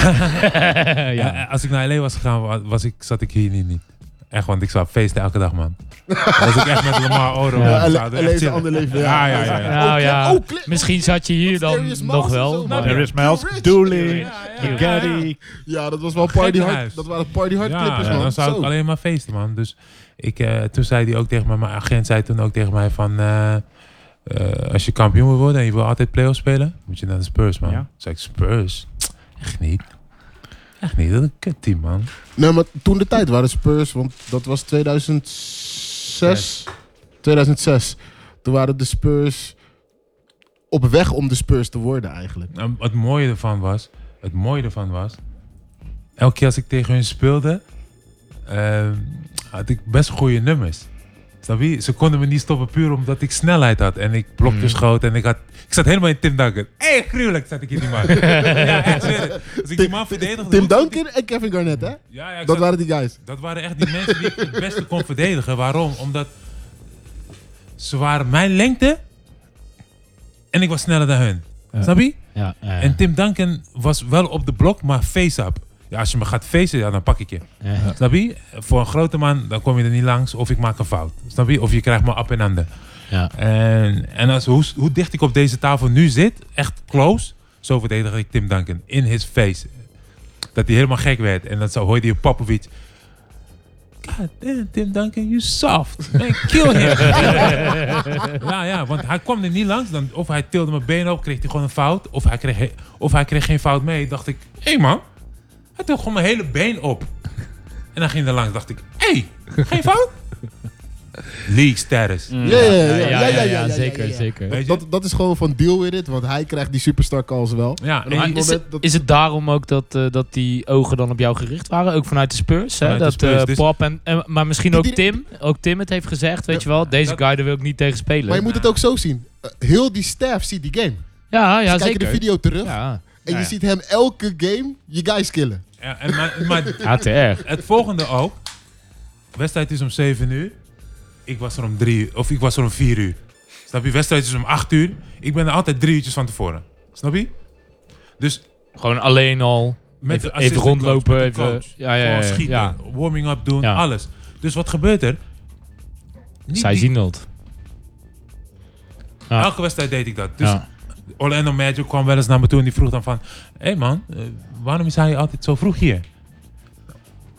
Ja. eh, Als ik naar LA was gegaan, wa- was ik, zat ik hier niet. niet. Echt, want ik zou feesten elke dag, man. was ik echt met Lamar Odom. Ja, we Alleen zouden echt alleen een chillen. ander leven. Oh, Ja, ja, ja. ja. Nou Oak- ja, Oak- misschien zat je hier dan Darius Miles nog en wel. zo, maar- man. There is Miles Rich. Dooley, Ja. Gaddy. Ja, dat was wel party hard. Gekkenhuis. Dat waren party hard Ja, clippers, ja, man. dan zou Zo. ik alleen maar feesten, man. Dus ik, eh, toen zei hij ook tegen mij, mijn agent zei toen ook tegen mij van... eh, eh, als je kampioen wil worden en je wil altijd play-offs spelen, moet je naar de Spurs, man. Ja. Toen zei ik, Spurs? Echt niet. Echt niet, dat is een kut team, man. Nee, maar toen de tijd waren Spurs, want dat was 2006. 2006. Toen waren de Spurs op weg om de Spurs te worden eigenlijk. En Nou, het mooie ervan was, het mooie ervan was... Elke keer als ik tegen hun speelde, eh, had ik best goede nummers. Snap je? Ze konden me niet stoppen puur omdat ik snelheid had. En ik blokte Hmm. Mm. schoot en ik had... Ik zat helemaal in Tim Duncan. Hé, hey, gruwelijk zat ik in die man. ja, echt. serieus. Als ik die man verdedigde... Tim hoe zat Duncan en Kevin Garnett, hè? ik- Ja, ja, ik Dat zat- waren die guys. dat waren echt die mensen die ik het beste kon verdedigen. Waarom? Omdat ze waren mijn lengte en ik was sneller dan hun. Ja. Snap je? Ja, ja, ja. En Tim Duncan was wel op de blok, maar face-up. Ja, als je me gaat facen, ja, dan pak ik je. Ja. Snap je? Voor een grote man, dan kom je er niet langs of ik maak een fout. Snap je? Of je krijgt me up en under. Ja. En, en als, hoe, hoe dicht ik op deze tafel nu zit, echt close, zo verdedig ik Tim Duncan. In his face. Dat hij helemaal gek werd. En dan zo hoorde je Popovic. God damn, Tim Duncan, you soft. Man, kill him. ja, ja, want hij kwam er niet langs. Dan, of hij tilde mijn been op, kreeg hij gewoon een fout. Of hij kreeg, he- of hij kreeg geen fout mee. Dacht ik, hé hey man, hij tilde gewoon mijn hele been op. En dan ging hij er langs. Dacht ik, hé, hey, geen fout? League status. Mm. Ja, ja, ja, ja, ja, ja, ja, ja, ja, zeker, ja. zeker. Weet je? Dat, dat is gewoon van deal with it, want hij krijgt die superstar calls wel. Ja, en- Maar die is, het, moment dat- is het daarom ook dat, eh, dat die ogen dan op jou gericht waren? Ook vanuit de Spurs? Hè? Vanuit de dat Spurs, eh, dus- Pop en, en- maar misschien ook Die- Tim. Ook Tim het heeft gezegd, weet je wel. Deze dat- guy, daar wil ik niet tegen spelen. Maar je moet het ook zo zien. Eh, Heel die staff ziet die game. ja, ja, Ze kijken de zeker. video terug Ja, en je ja. ziet hem elke game je guys killen. ja, en maar, maar ATR. het volgende ook. Wedstrijd is om 7 uur. Ik was er om 3 uur. Of ik was er om 4 uur. Snap je? Wedstrijd is om 8 uur. Ik ben er altijd drie uurtjes van tevoren. Snap je? Dus Gewoon alleen al. met Even- de even assistant rondlopen, coach, met de even- coach. ja, ja, Gewoon ja, ja. schieten, Ja. warming up doen, Ja. alles. Dus wat gebeurt er? Niet Zij die- zien dat. Ja. Elke wedstrijd deed ik dat. Dus Ja. Orlando Magic kwam wel eens naar me toe en die vroeg dan van... Hé hey man, eh, waarom is hij altijd zo vroeg hier?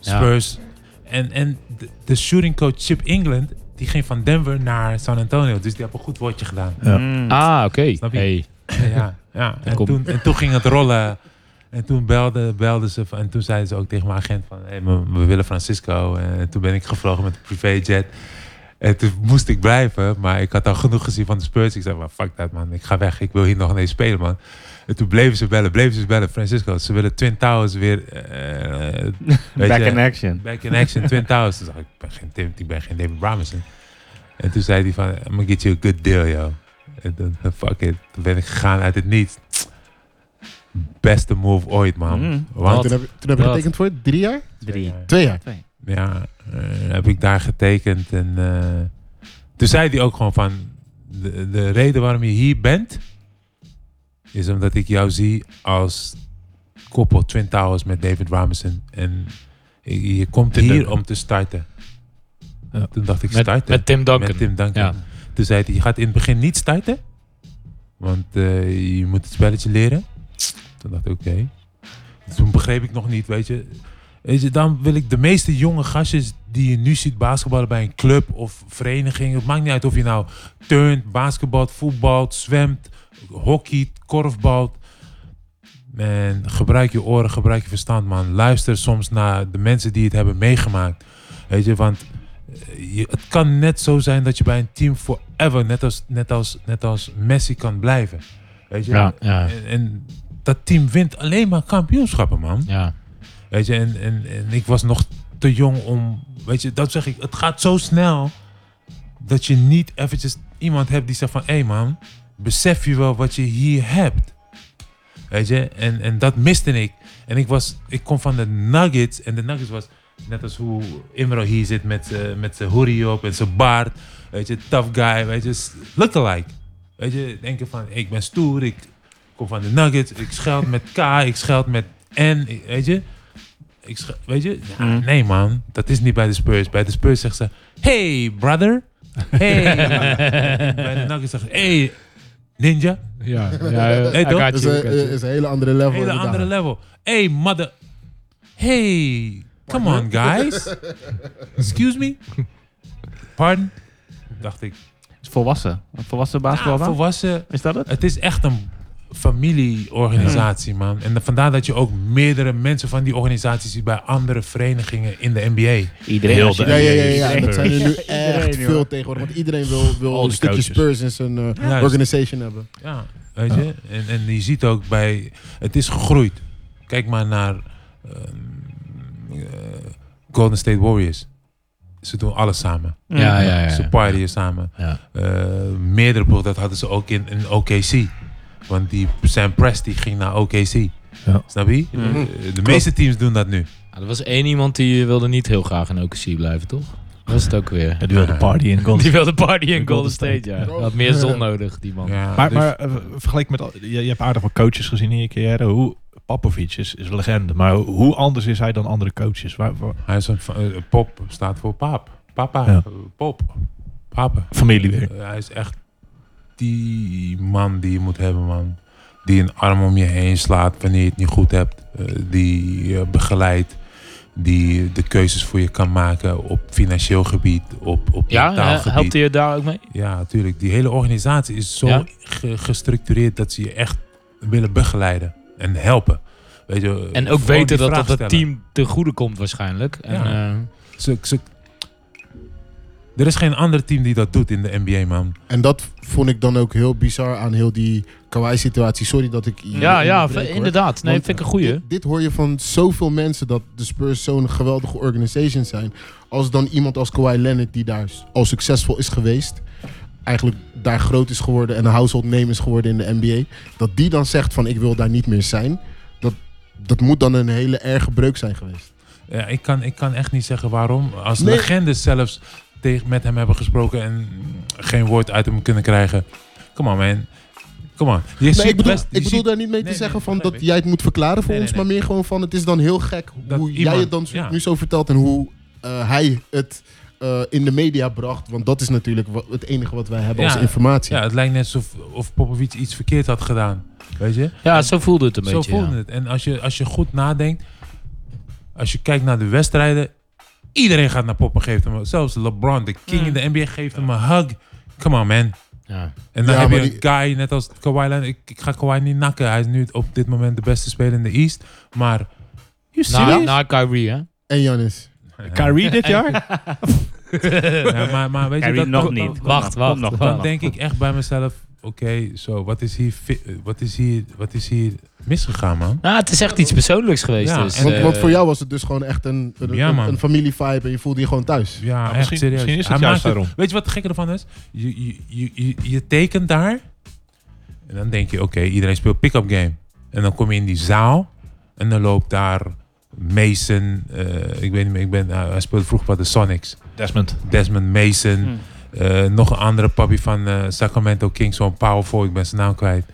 Ja. Spurs. En, en de, de shooting coach Chip England, die ging van Denver naar San Antonio. Dus die had een goed woordje gedaan. Mm. Ah, oké. Snap je? Hey. ja, ja. En, komt- toen, en toen ging het rollen. En toen belden belde ze van- en toen zeiden ze ook tegen mijn agent van... Hey, we, we willen Francisco. En toen ben ik gevlogen met een privéjet. En toen moest ik blijven, maar ik had al genoeg gezien van de Spurs. Ik zei, maar fuck dat man, ik ga weg. Ik wil hier nog ineens spelen man. En toen bleven ze bellen, bleven ze bellen. Francisco, ze willen Twin Towers weer... eh, eh, weet Back je, in action. Back in action, Twin Towers. Toen dacht ik, ik ben geen, Tim, ik ben geen David Robinson. En toen zei hij van, I'm gonna get you a good deal, yo. En toen, fuck it. Toen ben ik gegaan uit het niets. Beste move ooit, man. Mm. Want, Ah, toen heb, je- toen heb je Wat? getekend voor drie jaar? Drie. Twee jaar. ja, eh, heb ik daar getekend. En eh, toen zei hij ook gewoon van, de, de reden waarom je hier bent, is omdat ik jou zie als koppel Twin Towers met David Robinson. En je je komt Tim hier Duncan. om te starten. Ja. Toen dacht ik, Met, starten? met Tim Duncan. Met Tim Duncan. Ja. Toen zei hij, je gaat in het begin niet starten. Want eh, je moet het spelletje leren. Toen dacht ik, oké. Toen begreep ik nog niet, weet je. Weet je, dan wil ik de meeste jonge gastjes die je nu ziet basketballen bij een club of vereniging. Het maakt niet uit of je nou turnt, basketbalt, voetbalt, zwemt, hockeyt, korfbalt. Man, gebruik je oren, gebruik je verstand, man. Luister soms naar de mensen die het hebben meegemaakt. Weet je, want eh, je, het kan net zo zijn dat je bij een team forever, net als, net als, net als Messi, kan blijven. Weet je? Ja, ja. En, en dat team wint alleen maar kampioenschappen, man. Ja. Weet je, en, en, en ik was nog te jong om. Weet je, dat zeg ik. Het gaat zo snel dat je niet eventjes iemand hebt die zegt van: hé hey man, besef je wel wat je hier hebt? Weet je, en, en dat miste ik. En ik, was, ik kom van de Nuggets en de Nuggets was net als hoe Imro hier zit met, z'n- met zijn hoodie op en zijn baard. Weet je, tough guy, weet je, s- lookalike. Weet je, denken van: hey, ik ben stoer, ik kom van de Nuggets, ik scheld met K, ik scheld met N, weet je. Ik sch- weet je? Ja, Mm. Nee man, dat is niet bij de Spurs. Bij de Spurs zegt ze, hey brother. Hey. bij de Nuggets zegt ze, hey ninja. Ja, ja, Hey, I toch? Dus, eh, got Dat is, you, I een- got you. is een hele andere level. Hele inderdaad. andere level. Hey mother. Hey, come on guys. Excuse me? Pardon? Dacht ik. Is volwassen. Een volwassen Ja, basketbalbaan? volwassen. is dat het? Het is echt een familieorganisatie, man. En vandaar dat je ook meerdere mensen van die organisatie ziet bij andere verenigingen in de NBA. Iedereen. Heel als je- de- Ja, ja, ja, ja. Iedereen. En dat zijn er nu echt joh. veel tegenwoordig. Want iedereen wil, wil Al een die stukje coaches. Spurs in zijn eh, Juist. organization hebben. Ja, weet je. En, en je ziet ook bij... Het is gegroeid. Kijk maar naar ehm, eh, Golden State Warriors. Ze doen alles samen. ja, ja, ja, Ze ja. partyen samen. Ja. Eh, meerdere ploegen, dat hadden ze ook in, in OKC. Want die Sam Presti ging naar OKC. Ja. Snap je? Mhm. Eh, De meeste teams doen dat nu. Ah, er was één iemand die wilde niet heel graag in OKC blijven, toch? Dat was het ook weer. Ja, die wilde party in Golden Die wilde party in In Golden Golden State, ja. State. Had meer zon nodig, die man. Ja, Maar, dus- maar eh, vergeleken met... al- Je, je hebt aardig wat coaches gezien in je carrière. Hoe, Popovic is, is een legende. Maar hoe anders is hij dan andere coaches? Waar, waar- Hij is een fa- eh, pop, staat voor paap. Papa, Ja. eh, pop, papa. familie weer. Eh, hij is echt die man die je moet hebben, man. Die een arm om je heen slaat wanneer je het niet goed hebt. Eh, die je begeleidt. Die de keuzes voor je kan maken op financieel gebied, op, op Ja, mentaal eh, helpt gebied. hij je daar ook mee? Ja, natuurlijk. Die hele organisatie is zo Ja? ge- gestructureerd dat ze je echt willen begeleiden en helpen. Weet je, En Eh, gewoon ook weten die dat vraag dat het stellen. eh, team ten goede komt waarschijnlijk. En, Ja. eh, Ze- ze- Er is geen ander team die dat doet in de NBA, man. En dat vond ik dan ook heel bizar aan heel die Kawhi-situatie. Sorry dat ik... je Ja, ja, onderbreek, hoor. inderdaad. Nee, Want vind ik een goeie. Dit, dit hoor je van zoveel mensen dat de Spurs zo'n geweldige organisation zijn. Als dan iemand als Kawhi Leonard, die daar al succesvol is geweest, eigenlijk daar groot is geworden en een household name is geworden in de NBA, dat die dan zegt van ik wil daar niet meer zijn, dat, dat moet dan een hele erge breuk zijn geweest. Ja, ik, kan, ik kan echt niet zeggen waarom. Als Nee. legendes zelfs tegen, met hem hebben gesproken en geen woord uit hem kunnen krijgen. Come on, man. Come on. Je Nee, ziet ik bedoel, best- je ik bedoel ziet- daar niet mee te Nee, nee, zeggen van begrijp dat ik. jij het moet verklaren voor Nee, nee, ons, nee. maar meer gewoon van het is dan heel gek Dat hoe iemand- jij het dan ja. nu zo vertelt en hoe eh, hij het eh, in de media bracht. Want dat is natuurlijk wa- het enige wat wij hebben Ja, als informatie. Ja, het lijkt net alsof of Popovic iets verkeerd had gedaan. Weet je? Ja, zo voelde het een Zo beetje. ja. voelde het. En als je, als je goed nadenkt, als je kijkt naar de wedstrijden, iedereen gaat naar Poppen, geeft hem. Zelfs LeBron, de Hmm. king in de NBA, geeft hem een hug. Come on, man. Ja. En dan Ja, heb je maar een guy, net als Kawhi Leonard. Ik, ik ga Kawhi niet nakken. Hij is nu op dit moment de beste speler in de East. Maar... You Na, serious? na Kyrie, hè? En Janis. Kyrie dit jaar? eh, Ja, maar, maar weet je, Kyrie dat, nog dat- niet. dat- Kom wacht, nog, wacht. kom nog, kom Dan nog. denk ik echt bij mezelf, oké, zo, wat is hier, fi- eh, wat is hier, wat is hier misgegaan, man? Nou, het is echt iets persoonlijks geweest. Ja, dus, en- Want, eh, want voor jou was het dus gewoon echt een, een, Ja, een- man. een familievibe en je voelde je gewoon thuis. Ja, echt Nou, misschien- serieus. misschien is het Hij juist maakt daarom. Weet je wat het gekke ervan is? Je, je, je, je, je tekent daar en dan denk je, oké, iedereen speelt pick-up game. En dan kom je in die zaal en dan loopt daar Mason, eh, ik weet niet meer, ik ben, nou, hij speelde vroeger bij de Sonics. Desmond. Desmond Mason, Hmm. eh, nog een andere papi van eh, Sacramento Kings, zo'n powerful, ik ben zijn naam kwijt.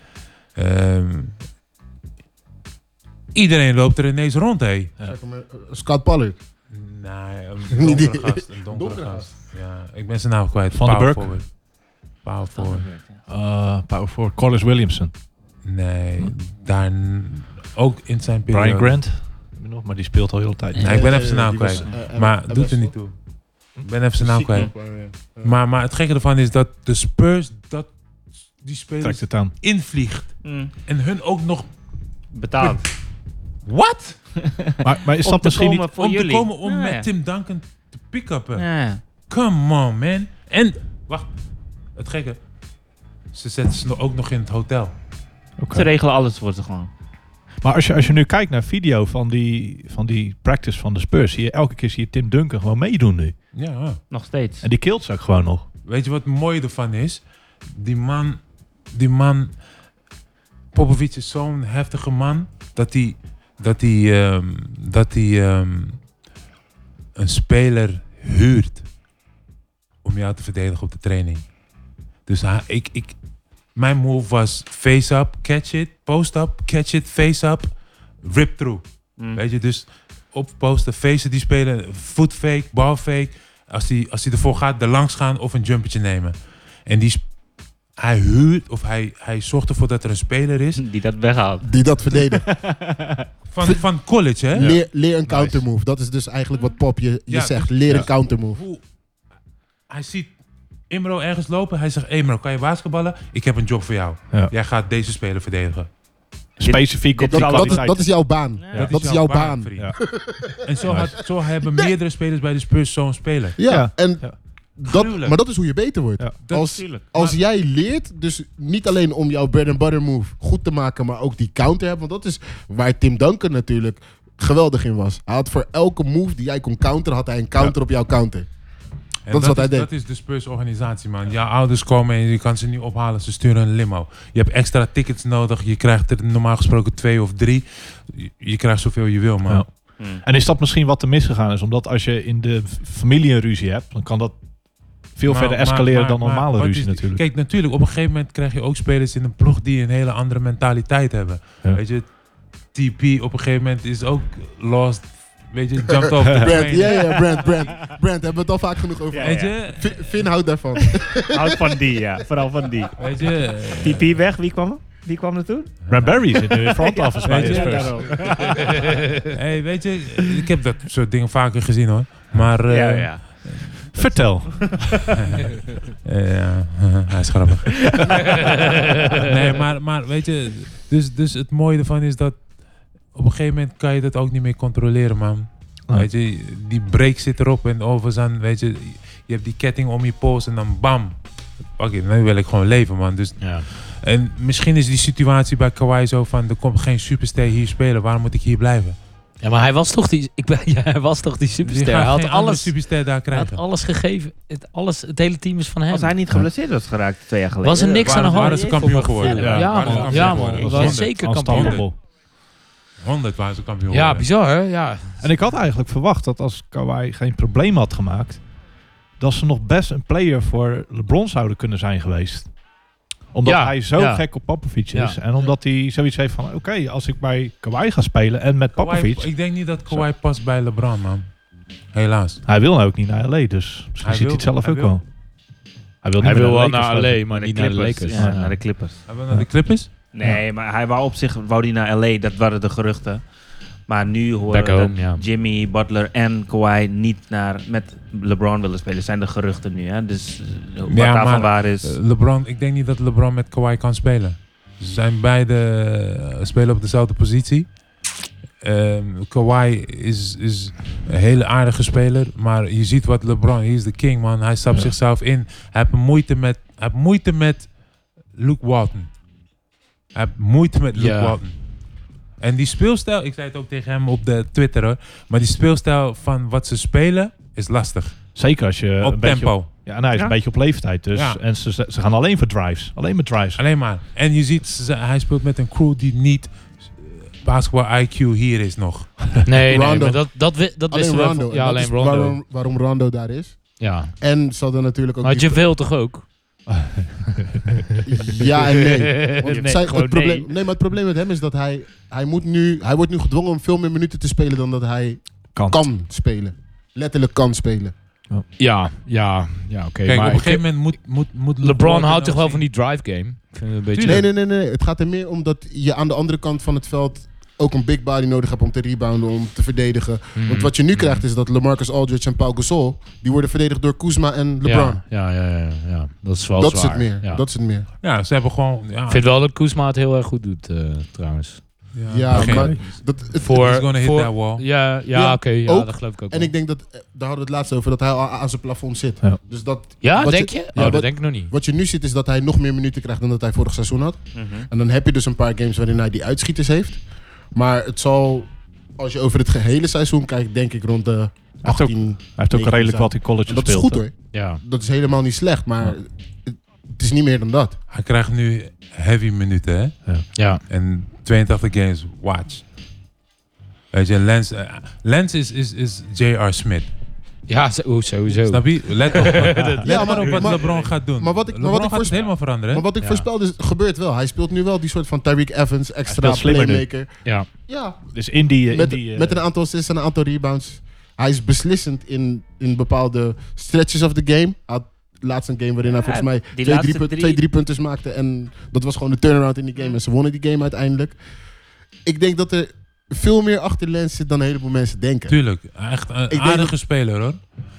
Ehm, iedereen loopt er ineens rond, hé. Zeg maar, eh, Scott Pollard. Nee, een donkere Die- gast. Een donkere, donkere gast. Ja, ik ben zijn naam kwijt. Van den Power Burg? forward. Power forward. Hmm. Eh power forward Collis Williamson. Nee, daar ook in zijn periode. Brian Grant. Ik weet nog, Maar die speelt al heel de tijd. Nee, ik ben even zijn Eh, naam die kwijt. was, Hm? eh, eh, Maar eh, doet best er wel. niet toe. Ik ben even zijn naam kwijt. Ja. Maar, maar het gekke ervan is dat de Spurs dat die spelers Trekt het aan. invliegt. Mm, En hun ook nog Betaald. Wat? Maar, maar is Om dat te misschien komen niet... voor om jullie. te komen om Ja, met ja. Tim Duncan te pick-uppen. Ja. Come on, man. En, wacht, het gekke. Ze zetten ze nog- ook nog in het hotel. Oké. Ze regelen alles voor ze gewoon. Maar als je, als je nu kijkt naar video van die, van die practice van de Spurs, zie je elke keer zie je Tim Duncan gewoon meedoen nu. Ja. Nog steeds. En die kilt ze ook gewoon nog. Weet je wat mooi ervan is? Die man, die man, Popovic is zo'n heftige man dat hij, dat hij, ehm, dat hij ehm, een speler huurt om jou te verdedigen op de training. Dus hij, ik, ik, mijn move was face-up, catch it, post-up, catch it, face-up, rip-through. Mm. Weet je, dus opposten, feesten die spelen, foot fake, ball fake. Als hij als die ervoor gaat, er langs gaan of een jumpertje nemen. En die, sp- hij huurt of hij, hij zorgt ervoor dat er een speler is Die dat weghaalt. Die dat verdedigen. van, van college, hè? Leer, leer een countermove. Dat is dus eigenlijk wat Pop je, je Ja, dus- zegt. Leer ja. een countermove. Hoe, hij ziet Imro ergens lopen. Hij zegt, Imro, kan je basketballen? Ik heb een job voor jou. Ja. Jij gaat deze speler verdedigen. Specifiek dit op die Dat, kan dat, is, kwaliteit. dat is jouw baan. Ja. Dat is jouw baan. vriend. Ja. En zo, had, zo hebben meerdere spelers bij de Spurs zo'n speler. Ja, Ja. en Ja. Dat, maar dat is hoe je beter wordt. Ja. Dat- als tuurlijk. als jij leert, dus niet alleen om jouw bread and butter move goed te maken, maar ook die counter hebben. Want dat is waar Tim Duncan natuurlijk geweldig in was. Hij had voor elke move die jij kon counteren, had hij een counter op jouw counter. En Dat is wat hij deed. Dat is de Spurs-organisatie, man. Jouw ouders komen en je kan ze niet ophalen. Ze sturen een limo. Je hebt extra tickets nodig. Je krijgt er normaal gesproken twee of drie. Je, je krijgt zoveel je wil, man. Ja. En is dat misschien wat er misgegaan is? Omdat als je in de f- familie een ruzie hebt, dan kan dat veel Maar- verder Nou, maar- escaleren maar- dan maar normale wat ruzie is- natuurlijk. Kijk, natuurlijk, op een gegeven moment krijg je ook spelers in een ploeg die een hele andere mentaliteit hebben. Ja. Weet je, TP op een gegeven moment is ook lost. Weet je, jumped off. the Brand, plane. ja, ja, Brand, Brand. Brand, hebben we het al vaak genoeg over. Ja, Weet gehad. je, Vin, Vin houdt daarvan. Houd van die, ja. Vooral van die. weet je. eh, TP weg, wie kwam er? Wie kwam er toen? Brad Barry zit nu in front office bij weet de je, Spurs. daarom. hey, weet je, ik heb dat soort dingen vaker gezien hoor. Maar eh, Ja, ja. Vertel. Eh, Ja, hij is grappig. nee, maar, maar weet je, dus, dus het mooie ervan is dat op een gegeven moment kan je dat ook niet meer controleren, man. Nee. Weet je, die break zit erop en over zijn, weet je, Je hebt die ketting om je pols en dan bam. Pak je, nu wil ik gewoon leven, man. Dus, Ja. en misschien is die situatie bij Kawhi zo van... er komt geen superster hier spelen, waarom moet ik hier blijven? ja, maar hij was toch die, ik ben, ja, hij was toch die superster. Je Hij gaat had geen andere alles, superster daar hij had krijgen. alles gegeven. Het, alles, het hele team is van hem. Als hij niet geblesseerd was geraakt twee jaar geleden. Was er niks aan de hand? waren ze kampioen geworden. Ja, waren ze man. kampioen Ja, man. geworden. Hij Dat was was zeker kampioen. Unstoppable. 100 waren ze kampioen Ja, geworden. bizar hè? Ja. En ik had eigenlijk verwacht dat als Kawhi geen probleem had gemaakt, dat ze nog best een player voor LeBron zouden kunnen zijn geweest. Omdat Ja, hij zo ja. gek op Popovic Ja. is. En omdat hij zoiets heeft van, oké, als ik bij Kawhi ga spelen en met Kawhi- Popovic. Ik denk niet dat Kawhi past bij LeBron, man. Helaas. Hij wil nou ook niet naar LA, dus Hij misschien ziet hij wil- het zelf hij ook wil- wel. Hij wil, Hij niet wil wel Lakers naar blijven. LA, maar niet naar de Lakers. Ja, Ja. naar de Clippers. Hebben we naar de Clippers? Nee, maar hij wou op zich wou die naar LA, dat waren de geruchten. Maar nu horen Back we dat home, ja. Jimmy, Butler en Kawhi niet naar, met LeBron willen spelen. zijn de geruchten nu, hè? Dus eh, wat Ja, daarvan maar- waar is. Eh, LeBron, ik denk niet dat LeBron met Kawhi kan spelen. Ze zijn beide eh, spelen op dezelfde positie. Ehm Kawhi is, is een hele aardige speler, maar je ziet wat LeBron, hij is de king man. Hij stapt zichzelf in. Hij heeft moeite met, hij heeft moeite met Luke Walton. Hij heeft moeite met Luke Ja. Walton. En die speelstijl, ik zei het ook tegen hem op de Twitter hoor, maar die speelstijl van wat ze spelen is lastig. Zeker als je een op beetje tempo. ja, en hij is Ja. een beetje op leeftijd. Dus. Ja. En ze, ze gaan alleen voor drives. Alleen met drives. Alleen maar. En je ziet, ze- hij speelt met een crew die niet eh, basketball IQ hier is nog. Nee, nee, Rondo. maar dat, dat, wi- dat Alleen wisten we. Rondo. wel. En Ja, dat alleen is Rondo. Waarom, waarom Rondo daar is. Ja. En ze hadden natuurlijk ook... Maar die- Javale toch ook? Ja en nee. Want Nee, zij- gewoon het probleem, nee. nee. maar het probleem met hem is dat hij... Hij, moet nu, hij wordt nu gedwongen om veel meer minuten te spelen dan dat hij Kan. kan spelen. Letterlijk kan spelen. Ja, ja, ja, oké. Kijk, maar op een ik- gegeven moment moet, moet, moet LeBron houdt dan toch wel ook van die drive game? Ik vind het een beetje... Nee, nee, nee, nee. Het gaat er meer om dat je aan de andere kant van het veld ook een big body nodig hebt om te rebounden, om te verdedigen. Hmm. Want wat je nu krijgt is dat LaMarcus Aldridge en Paul Gasol, die worden verdedigd door Kuzma en LeBron. Ja, ja, ja, ja, ja. Dat is wel dat zwaar. is het meer. Ja. Dat is het meer. zien. Ja, ze hebben gewoon... Ja, Ik vind wel dat Kuzma het heel erg goed doet, eh, trouwens. Ja, Geen- maar dat, het- Voor, He's gonna hit voor- that wall. Ja, ja, Oh. Ja, oké. ja, ook. dat geloof ik ook en wel. ik denk dat, eh, daar hadden we het laatst over, dat hij al aan zijn plafond zit. Ja. Dus dat, ja, wat denk je? oh, dat wat- denk ik nog niet. Wat je nu ziet is dat hij nog meer minuten krijgt dan dat hij vorig seizoen had. En dan heb je dus een paar games waarin hij die uitschieters heeft. Maar het zal, als je over het gehele seizoen kijkt, denk ik rond de heeft ook- 18... Hij heeft ook Nee, redelijk zo. wat in college En dat is gespeeld. goed hè. hoor. Ja. Dat is helemaal niet slecht, maar het, het is niet meer dan dat. Hij krijgt nu heavy minuten, hè? Ja. En 82 games, watch. Weet je, Lens, eh, Lens is, is, is J.R. Smith. Ja, zo- oh, sowieso. Snap je? Let op, let Ja, maar maar- op wat maar- LeBron gaat doen. maar wat ik- maar wat ik LeBron gaat het voorspel- helemaal veranderen. hè? Maar wat ik Ja. voorspelde, is- gebeurt wel. Hij speelt nu wel die soort van Tyreek Evans, extra speelt slimmer nu. playmaker. Ja. Ja, Dus in die... eh, in met, die eh, met een aantal assists en een aantal rebounds. Hij is beslissend in, in bepaalde stretches of the game. Hij had laatst een game waarin hij Ja, volgens mij die twee, laatste drie, pun- drie- twee drie punters maakte. En dat was gewoon de turnaround in die game. En ze wonnen die game uiteindelijk. Ik denk dat er veel meer achter Lens zit dan een heleboel mensen denken. Tuurlijk, echt een denk aardige dat- speler hoor.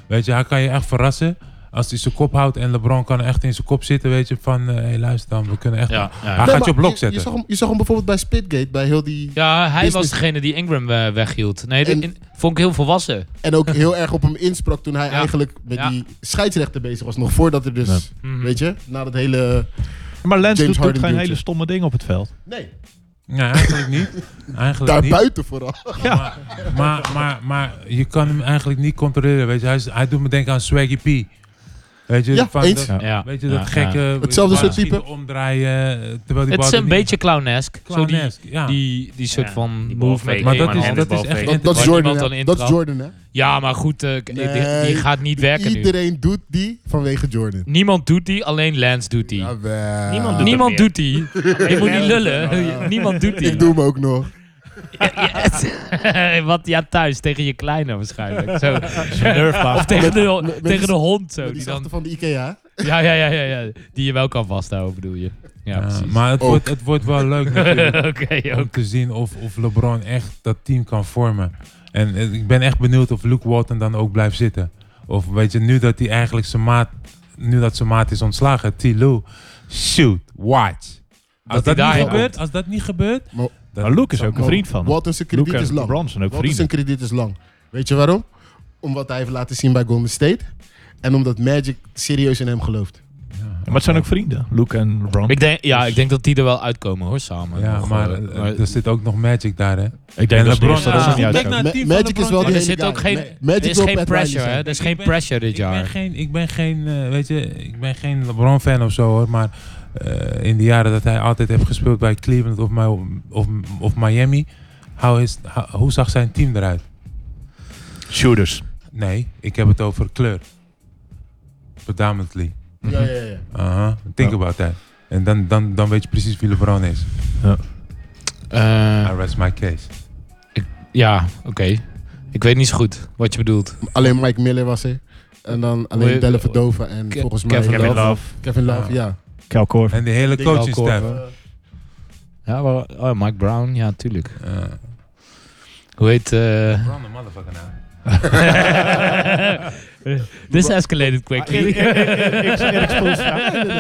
Weet je, hij kan je echt verrassen. Als hij zijn kop houdt en LeBron kan echt in zijn kop zitten, weet je, van... eh, hey, luister dan, we kunnen echt... Ja, ja. Hij Nee, gaat je maar op blok Je, zetten. zag hem, je zag hem bijvoorbeeld bij Spitgate, bij heel die... Ja, hij was Business. degene die Ingram eh, weghield. Nee, dat En- in- vond ik heel volwassen. En ook heel erg op hem insprak toen hij Ja. eigenlijk met Ja. die scheidsrechter bezig was. Nog voordat er dus, Mhm. weet je, na dat hele... Maar Lens James doet, doet Harden geen duwtje. hele stomme dingen op het veld. Nee, Ja, eigenlijk niet. Eigenlijk niet. daarbuiten vooral. Maar, maar, maar je kan hem eigenlijk niet controleren, weet je. Hij, is- hij doet me denken aan Swaggy P. Weet je, Ja, van eens. dat- Ja. Weet je, Ja, dat ja. gekke... Hetzelfde waar soort schieten, type. Omdraaien, eh, terwijl die Het bal is er een niet- beetje clownesk. Zo die, Clownesk, ja. die, die soort Ja, van die movement. balfake, maar dat man, is, dat is handbal echt... vegen. Dat is waar Jordan, niemand hè? dan Dat is intrapt. Jordan, hè? Ja, maar goed, eh, k- die, die Nee, gaat niet werken nu. Iedereen doet die vanwege Jordan. Ah, Niemand doet die, alleen Lance doet die. Jawel. Niemand doet Niemand meer. doet die. Je moet niet lullen. Niemand doet die. Ik doe hem ook nog. Ja, Wat ja, thuis tegen je kleine waarschijnlijk. Zo. Nerfbaas. Of tegen de, met- met tegen de die- hond zo. Die Die dan, zachte van de Ikea. ja, ja, ja, ja, ja. Die je wel kan vasthouden, bedoel je. Ja, Ja, precies. maar het Ook. wordt, het wordt wel leuk natuurlijk. Oké, ook. om te zien of, of LeBron echt dat team kan vormen. En eh, ik ben echt benieuwd of Luke Walton dan ook blijft zitten. Of weet je, nu dat hij eigenlijk zijn maat, nu dat zijn maat is ontslagen, T. Lou, shoot, watch. hij Als dat, niet daarheen gebeurt, als dat niet gebeurt, Maar- dan- Maar Luke is dan- ook een vriend van hem. Walton zijn krediet Luke Oh, is en lang. LeBron zijn ook Walton vrienden. zijn krediet is lang. Weet je waarom? Om wat hij heeft laten zien bij Golden State. En omdat Magic serieus in hem gelooft. Maar het zijn ook vrienden, Luke en LeBron. Ik denk, ja, ik denk dat die er wel uitkomen hoor, samen. Ja, Nog, maar eh, eh, er zit ook nog Magic daar, hè? Ik denk En dat ze LeBron- eerst dat Ja, ze niet kijk uitkomen. Ma- Magic is wel Maar die er hele zit guy. ook geen, Ma- er is wil geen Pat pressure, Riley hè? zijn. Er is Ik geen ben- pressure dit Ik ben jaar. geen, ik ben geen, eh, weet je, ik ben geen LeBron-fan of zo hoor, maar eh, in de jaren dat hij altijd heeft gespeeld bij Cleveland of, Mi- of, of Miami, how is, how- hoe zag zijn team eruit? Shooters. Nee, ik heb het over kleur. Predominantly. Ja, ja, ja. Aha, think Ja. about that. En dan, dan, dan weet je precies wie LeBron is. I Eh, rest my case. ja, oké. Ik weet niet zo goed wat je bedoelt. Alleen Mike Miller was er. En dan alleen Wil- Delle Verdova en Ke- volgens mij... Kevin Kevin Love. Love, Kevin Love, Ah. ja. Cal Korver. En de hele Denk wel, coaching Cor, staff. hoor. Ja, wel- oh, Mike Brown, ja, tuurlijk. Eh, Hoe heet... eh, LeBron the motherfucker nou. This escalated quickly. Nee, nee,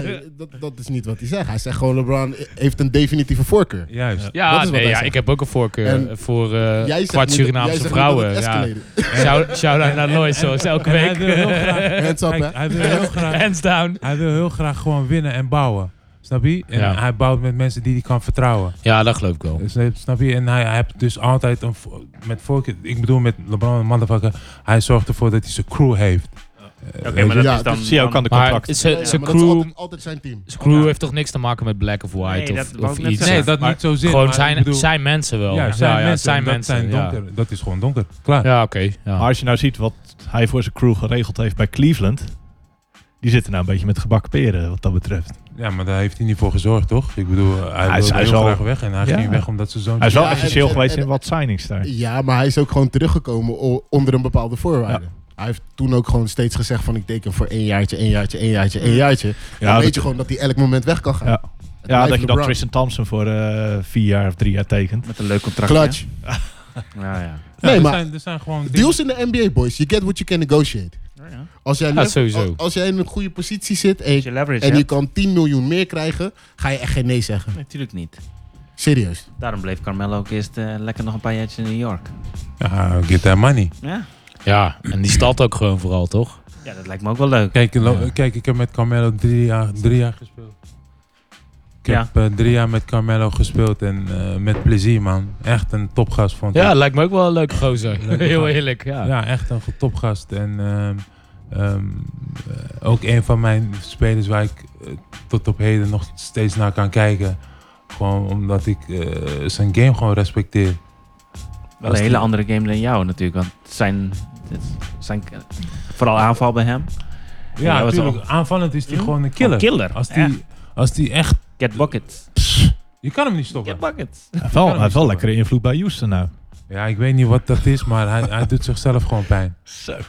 nee, dat, dat is niet wat hij zegt. Hij zegt gewoon LeBron heeft een definitieve voorkeur. Juist. Ja, Dat is wat nee, hij ja zegt. ik heb ook een voorkeur En voor eh, Jij zegt kwart niet- jij Surinaamse zegt niet dat het vrouwen. Ja. escalated. Shout, shout out naar Lois, zoals elke En hij week. wil heel graag- Hands up, hè? Kijk, hij wil heel graag Hands down. Hij wil heel graag gewoon winnen en bouwen. Snap je? En Ja. hij bouwt met mensen die hij kan vertrouwen. Ja, dat geloof ik wel. Snap- Snap je? En hij, hij heeft dus altijd een vo- met voorkeur. Ik bedoel, met LeBron, een motherfucker. Hij zorgt ervoor dat hij zijn crew heeft. Eh, Oké, weet maar je? dat Ja, is dan... Dat zie je ook aan de Maar contract. ze- Ja, zijn maar dat is crew, altijd, altijd zijn team. zijn crew Ja. heeft toch niks te maken met black of white Nee, of, dat wou of ik net iets. zeggen. Nee, dat Maar niet zo zin. Gewoon maar zijn, ik bedoel- zijn mensen wel. Ja, zijn mensen. zijn dat mensen, zijn ja. donker. Dat is gewoon donker. Klaar. Ja, oké. ja. Maar als je nou ziet wat hij voor zijn crew geregeld heeft bij Cleveland. Die zitten nou een beetje met gebakken peren wat dat betreft. Ja, maar daar heeft hij niet voor gezorgd, toch? Ik bedoel, hij, Hij is- wilde hij is heel wel- graag weg. En hij Ja. ging weg omdat zijn Hij zoontje... is wel Ja, en- essentieel en- geweest en- in wat signings daar. Ja, maar hij is ook gewoon teruggekomen o- onder een bepaalde voorwaarde. Hij heeft toen ook gewoon steeds gezegd van ik teken voor één jaartje, één jaartje, één jaartje, één jaartje. Dan Ja, weet dat- je gewoon dat hij elk moment weg kan gaan. Ja. Het Ja, blijft dat je dan LeBron. Tristan Thompson voor eh, vier jaar of drie jaar tekent. Met een leuk contract. Clutch. hè? Ja, ja. Ja, Nee, er maar- Zijn, er zijn gewoon dingen- Deals in de NBA, boys. You get what you can negotiate. Ja, ja. Als jij, Ja, lef- sowieso. als- Als jij in een goede positie zit en, Als je leverage en je hebt... kan 10 miljoen meer krijgen, ga je echt geen nee zeggen. Natuurlijk niet. Serieus. Daarom bleef Carmelo ook eerst eh, lekker nog een paar jaartjes in New York. Ja, get that money. Ja? Ja, en die stad ook gewoon vooral, toch? ja, dat lijkt me ook wel leuk. Kijk, lo- Ja. kijk, ik heb met Carmelo drie jaar, drie jaar gespeeld. Ik Ja. heb eh, drie jaar met Carmelo gespeeld en eh, met plezier, man. Echt een topgast vond ik. Ja, lijkt me ook wel een leuke gozer. Leuke Heel gozer. eerlijk, ja. Ja, echt een goed topgast. En ehm, ehm, eh, ook een van mijn spelers waar ik eh, tot op heden nog steeds naar kan kijken. Gewoon omdat ik eh, zijn game gewoon respecteer. Wel Als een die- hele andere game dan jou natuurlijk. Want het zijn, het zijn vooral aanval bij hem. Ja, Ja, wat natuurlijk. Aanvallend is die Hm? gewoon een killer. Killer. Als die, Ja. als die echt... Get buckets. Je kan hem niet stoppen. Get buckets. Hij heeft Kan wel, hij hem heeft wel niet lekkere invloed bij Houston nou. Ja, ik weet niet wat dat is, maar hij, hij doet zichzelf gewoon pijn.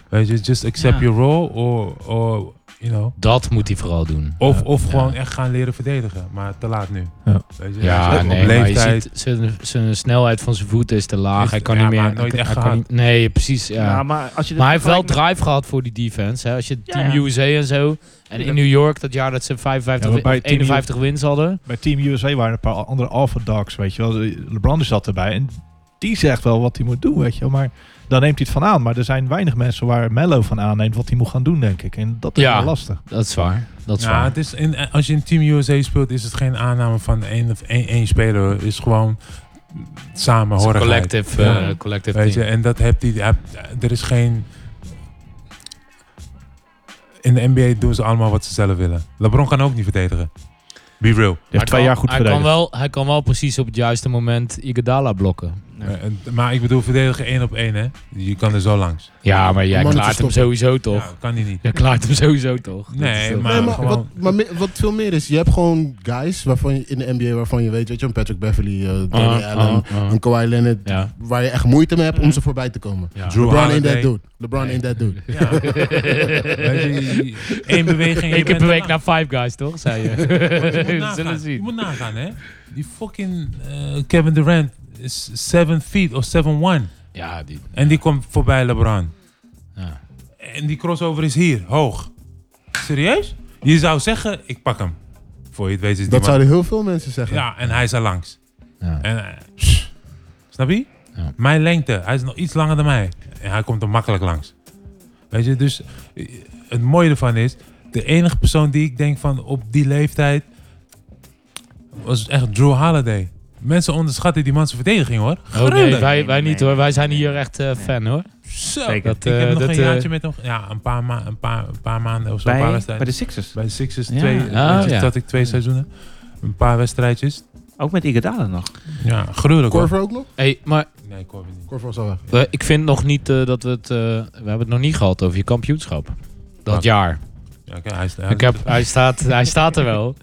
Weet je, just accept Ja. your role or, or you know. Dat moet hij vooral doen. Of, Ja. of Ja. gewoon echt gaan leren verdedigen, maar te laat nu. Ja. Weet je, hij Ja, zit nee, op maar je leeftijd. ziet, zijn, zijn snelheid van zijn voeten is te laag. Is- hij kan ja, niet meer... maar nooit hij echt kan gehad. niet- nee, precies, ja. Ja, maar als je dit Maar hij heeft wel vergelijkt met- drive gehad voor die defense. Hè? Als je Ja, Team ja. USA en zo... En in Tuurlijk. New York, dat jaar dat ze 55, Ja, maar bij Team 51 wins hadden. Bij Team USA waren een paar andere alpha dogs, weet je wel. LeBron zat erbij en die zegt wel wat hij moet doen, weet je wel. Maar dan neemt hij het van aan. Maar er zijn weinig mensen waar Mello van aanneemt wat hij moet gaan doen, denk ik. En dat is Ja. wel lastig. Dat is waar. Dat is Ja, waar. het is in, als je in Team USA speelt, is het geen aanname van één, of één, één speler. hoor. Het is gewoon samen Het is een horen. collective, Ja. eh, collective Weet je, team. en dat hebt hij. hij- Er is geen. In de NBA doen ze allemaal wat ze zelf willen. LeBron kan ook niet verdedigen. Be real. Hij heeft twee kan- jaar goed hij kan, verdedigd. wel, hij kan wel precies op het juiste moment Iguodala blokken. Ja. Eh, en- maar ik bedoel, verdedigen één op één, hè? Je kan er zo langs. Ja, maar jij Om mannen te klaart hem stoppen. sowieso toch? Ja, kan hij niet. Jij klaart hem sowieso toch? Nee, Dat is toch- Maar nee, Eh, maar, gewoon- wat, maar me- wat veel meer is, je hebt gewoon guys waarvan je, in de NBA waarvan je weet, weet je, een Patrick Beverly, eh Donny Ah, Allen, ah, ah. een Kawhi Leonard, Ja. waar je echt moeite mee hebt om ze voorbij te komen. Ja. Drew LeBron ain't Holiday. that dude. LeBron ain't that dude. Ja. Weet je, Eén beweging. Eén keer per week naar Five Guys, toch? Zei je. We zullen Je zien. moet nagaan, hè? Die fucking eh, Kevin Durant is 7 feet of 7-1. Ja, die. En die komt voorbij LeBron. Ja. En die crossover is hier, hoog. Serieus? Je zou zeggen, ik pak hem. Voor je het weet is die Dat man- zouden heel veel mensen zeggen. Ja, en hij is er langs. Ja. En, eh, pff, snap je? Ja. Mijn lengte, hij is nog iets langer dan mij. En hij komt er makkelijk langs. Weet je, dus eh, het mooie ervan is, de enige persoon die ik denk van op die leeftijd was echt Drew Holiday. Mensen onderschatten die man zijn verdediging hoor. Oh, nee, Gruwelijk. wij, wij Nee, niet nee, hoor. Wij zijn nee. hier echt eh, fan hoor. Zo, Zeker. Dat, ik heb eh, nog dat, een eh, jaartje met hem. Ja, een paar, ma- een paar, een paar maanden of zo. een paar Bij, wedstrijden. bij de Sixers. Bij de Sixers Ja. twee, Ah, wedstrijdjes ja. zat ik twee seizoenen. Een paar wedstrijdjes. Ook met Iguodala nog. Ja, gruwelijk hoor. Corvo ook nog? Hey, maar Nee, Corver niet. Corvo is al weg. we- ik vind nog niet eh, dat we het... eh, we hebben het nog niet gehad over je kampioenschap. Dat Wat? jaar. Ja, Oh. oké, hij is, hij Ik is- heb, hij, staat, hij staat er wel.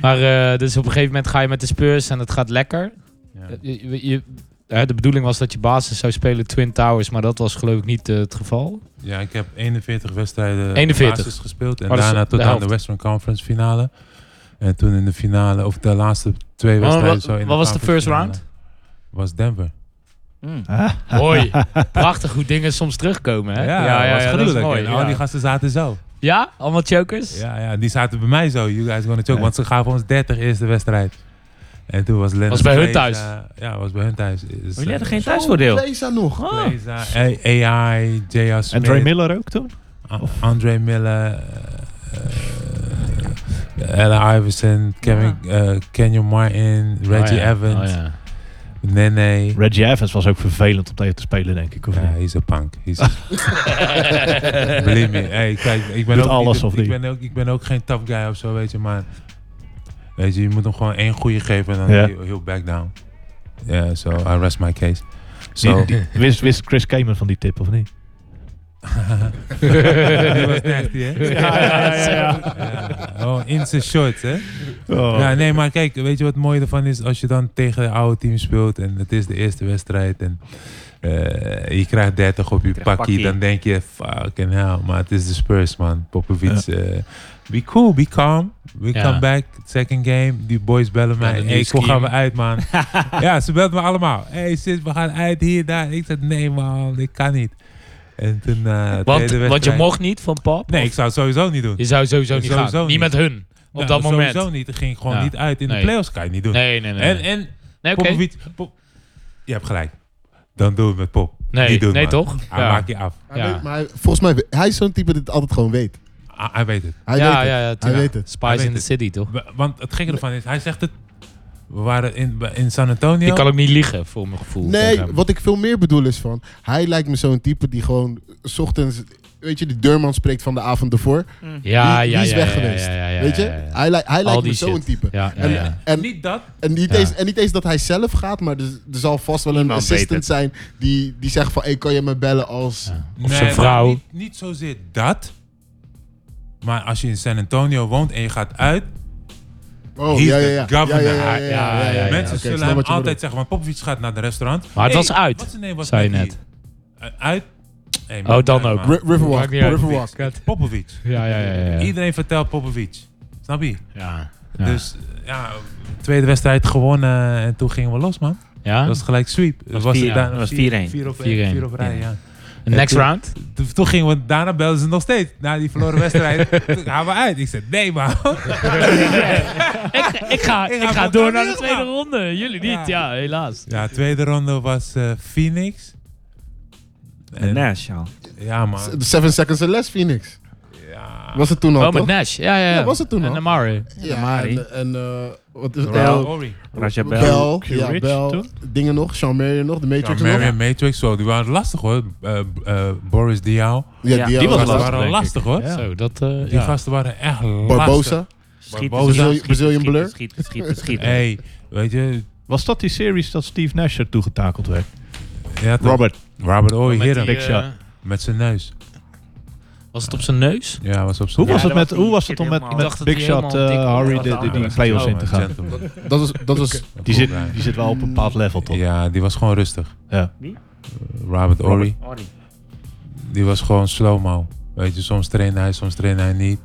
Maar eh, dus op een gegeven moment ga je met de Spurs en het gaat lekker. ja. Eh, je- je- je- hè, de bedoeling was dat je basis zou spelen Twin Towers, maar dat was geloof ik niet eh, het geval. Ja, ik heb 41 wedstrijden 41. basis gespeeld. En Oh, dat is daarna de tot aan de helft. Western Conference finale. En toen in de finale, of de laatste twee wedstrijden. wat- zo in Oh, wat was de conference first finale, Was Denver. Hm. Mooi. Prachtig hoe dingen soms terugkomen. Hè? was dat is gruwelijk. mooi, en ja. al die gasten zaten zo. Ja? Allemaal chokers? Ja, ja, die zaten bij mij zo. You guys gonna choke. Ja. Want ze gaven ons 30 eerste wedstrijd. En toen was Lennon Was bij hun thuis? Oh, ja, was bij hun thuis. Is, Maar eh, jij had geen thuisvoordeel. Leza nog. Blazer, A- AI, J.R. En Smith, Dre Miller ook toen? A- Andre Miller, eh, eh, Allen Iverson, Kevin, eh, Kenyon Martin, Reggie Oh ja. Evans, Oh ja. Nene. Reggie Evans was ook vervelend om tegen te spelen, denk ik. Of Ja, niet? hij is een punk. Hij is een- Believe me. Hey, kijk, ik ben, Doet ook, alles niet- of ik, niet? ben ook, ik ben ook geen tough guy of zo, weet je, maar weet je, je moet hem gewoon één goede geven en dan Ja. heel heel back down. Ja, so I rest my case. Die- So, die- wist, wist Chris Kamen van die tip of niet? die was nasty, hè? Ja, ja, ja, ja. Ja, Oh, in zijn shorts, hè? Oh. Ja, nee, maar kijk, weet je wat mooi ervan is? Als je dan tegen een oude team speelt en het is de eerste wedstrijd en eh, je krijgt 30 op je krijgt pakkie, pakkie. dan denk je, fucking hell, maar het is de Spurs, man. Popovic, eh, be cool, be calm. We Ja. come back, second game. Die boys bellen mij. de hey, new hoe scheme. gaan we uit, man? ja, ze belt me allemaal. hey, sis, we gaan uit hier, daar. Ik zei, nee, man, ik kan niet. En toen, Want, eh, tweede want je wedstrijd- mocht niet van pap? Nee, Of- ik zou het sowieso niet doen. Je zou sowieso niet Sowieso gaan. Niet niet. met hun. Op Nou, dat moment. Sowieso niet. Het ging gewoon Ja. niet uit. In Nee. de playoffs kan je het niet doen. Nee, nee, nee. En, nee. en nee, oké. Popovic, Pop- je hebt gelijk. Dan doen we het met Pop. Nee, Niet doen, nee man. Ah, toch? Hij Ja. maakt je af. Hij Ja. weet- maar hij- volgens mij, we- hij is zo'n type dat het altijd gewoon weet. Hij, hij weet het. Hij ja, weet ja, het. ja, hij tuurlijk. weet het. Spies Hij in weet the het. City, toch? We- Want het gekke ervan is, hij zegt het. We waren in, in San Antonio. Die kan ook niet liegen, voor mijn gevoel. Nee, tegen hem. wat ik veel meer bedoel is van... Hij lijkt me zo'n type die gewoon... s ochtends, weet je, die deurman spreekt van de avond ervoor. Ja, die, ja, die is ja, weg ja, geweest. ja, ja, ja, weet je? ja, ja, ja. Hij, lij- hij Al lijkt die me zo'n shit. type. Ja, ja, En, ja. en, Niet dat. en, niet Ja. eens, en niet eens dat hij zelf gaat, maar er, er zal vast wel een Iemand weet assistant het. zijn die, die zegt van... Hey, kan je me bellen als... Of Nee, zijn vrouw. Niet, niet zozeer dat. Maar als je in San Antonio woont en je gaat uit. Oh, He's ja, ja, the ja. Ja, ja, governor. ja, ja, ja, ja, ja. mensen Oké, ik snap zullen hem wat je altijd bedoelt. zeggen, want Popovic gaat naar de restaurant. Maar het Hey, was uit, Wat zijn naam was zei je met net. die- eh, Uit. Hey, Oh, maakt dan niet uit, ook. man. Ri- Riverwalk. Maakt niet uit. Riverwalk. Popovic. Ja, ja, ja. ja, ja. Iedereen vertelt Popovic. Snap je? Ja. Ja. Dus ja, tweede wedstrijd gewonnen en toen gingen we los, man. ja? Dat was gelijk sweep. Dat was, vier- daarna dat was vier- 4-1. vier op- 4-1. vier op rij, ja. Next toen- round? Toen, toen gingen we, daarna belden ze nog steeds. Na die verloren wedstrijd, toen gaan we uit. Ik zei, nee man. ik, ik ga, Ik ik ga ga voor door Camille naar de tweede gaan. ronde. Jullie niet, ja, helaas. Ja, tweede ronde was eh, Phoenix. En- Nash al. Ja man. Seven Seconds or Less, Phoenix. Ja. Was het toen al, Oh, met toch? Nash. Ja, ja, ja. Ja, was het toen en al? Amari. Ja, Amari. en, en eh, wat is het? Terwijl- Eh, Raja Bell. Bel, Q ja, Rich Bel, toen? dingen nog, Sean Marion nog, de Matrix Ja, Mary nog. en Matrix, zo, die waren lastig hoor. Eh, eh, Boris Diaw. Ja, die die was Die lastig. waren denk ik. lastig hoor. Ja. Zo, dat... eh, Die ja. gasten waren echt lastig. Barbosa. Schieten, Barbosa. schieten, Brazilian- Brazilian schieten, Blur. Schieten, schieten, schieten. Hey, weet je, Was dat die series dat Steve Nash er toegetakeld werd? je had een- Robert. Robert Ory, Met die, Heren. Big shot. eh, Met zijn neus. Was het op zijn neus? Ja, was op Hoe zijn was Ja, het, dat met, was hoe die was het om shit met, helemaal- Ik met dacht Big dat die Shot helemaal dik eh, was. Harry Dat de, was de, die anders. play-offs Oh, in te gaan? Dat was, dat was Die zit, die zit wel op een bepaald level, toch? Ja, die was gewoon rustig. Eh, Ja. Robert Ory, Ori. die was gewoon slow-mo. Weet je, soms trainde hij, soms trainde hij niet.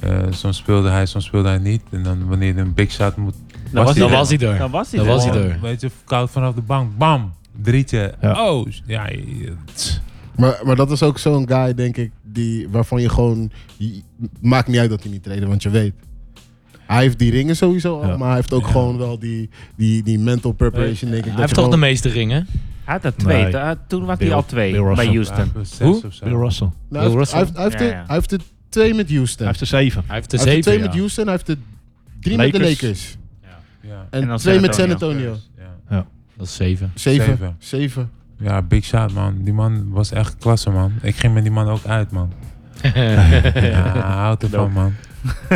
Eh, soms speelde hij, soms speelde hij niet. En dan wanneer hij een big shot moet... Dan was Dan hij was hij Dan er. was hij Dan was hij er. er. Gewoon, Weet je, koud vanaf de bank. Bam! Drietje. Ja. Oh, ja. je- tss. maar, maar dat is ook zo'n guy, denk ik, die, waarvan je gewoon... je- maakt niet uit dat hij niet traden, want je weet. Hij heeft die ringen sowieso al, Ja. maar hij heeft ook Ja. gewoon wel die, die, die mental preparation, denk ik. Hij dat heeft je toch de gewoon- meeste ringen? Hij Hij had er twee. Nee. Toen- hij- Toen was hij Bill- al twee Bill bij Russell. Houston. Ja, zes Hoe? of zo. Bill Russell. Nou, hij, heeft, Russell? hij, heeft, hij heeft Ja, er- ja. hij heeft er twee met Houston. Hij heeft er zeven. Hij heeft de Hij heeft er twee zeven, met ja. Houston, hij heeft er drie met de Lakers. Lakers. Ja. En, En dan twee San met San Antonio. Antonio. Ja. Dat is zeven. Zeven. Zeven. Zeven. Ja, big shot man. Die man was echt klasse man. Ik ging met die man ook uit man. Ja, houd ervan man.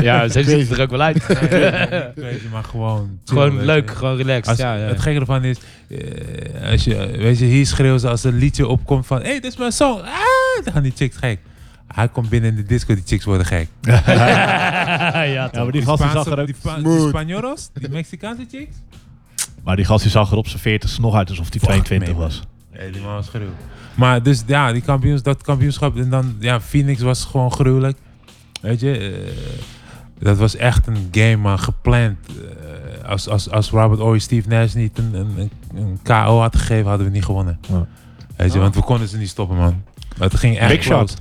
ja, ze ziet er ook wel uit. Crazy, maar gewoon. chill, gewoon weet leuk, je. gewoon relaxed. Als, Ja, ja. Het gekke ervan is, eh, als je, weet je, hier schreeuwen ze als een liedje opkomt van, hé, hey, dit is mijn song. Ah, dan gaan die chicks gek. Hij komt binnen in de disco, die chicks worden gek. ja, Ja, maar toch. die gast die zag er Spaanse- ook... die, Spa- die smooth. Spanjoros, die Mexicaanse chicks. Maar die gast die zag er op zijn veertigste nog uit alsof hij Fuck, 22 man. was. Nee, die man was gruwelijk. Maar dus ja, die kampioens, dat kampioenschap en dan, ja, Phoenix was gewoon gruwelijk. Weet je, eh, dat was echt een game, man, gepland. Eh, als, als, als Robert Ory Steve Nash niet een, een, een, een KO had gegeven, hadden we niet gewonnen. Ja. Weet je, want we konden ze niet stoppen, man. Maar het ging echt Big close. shot.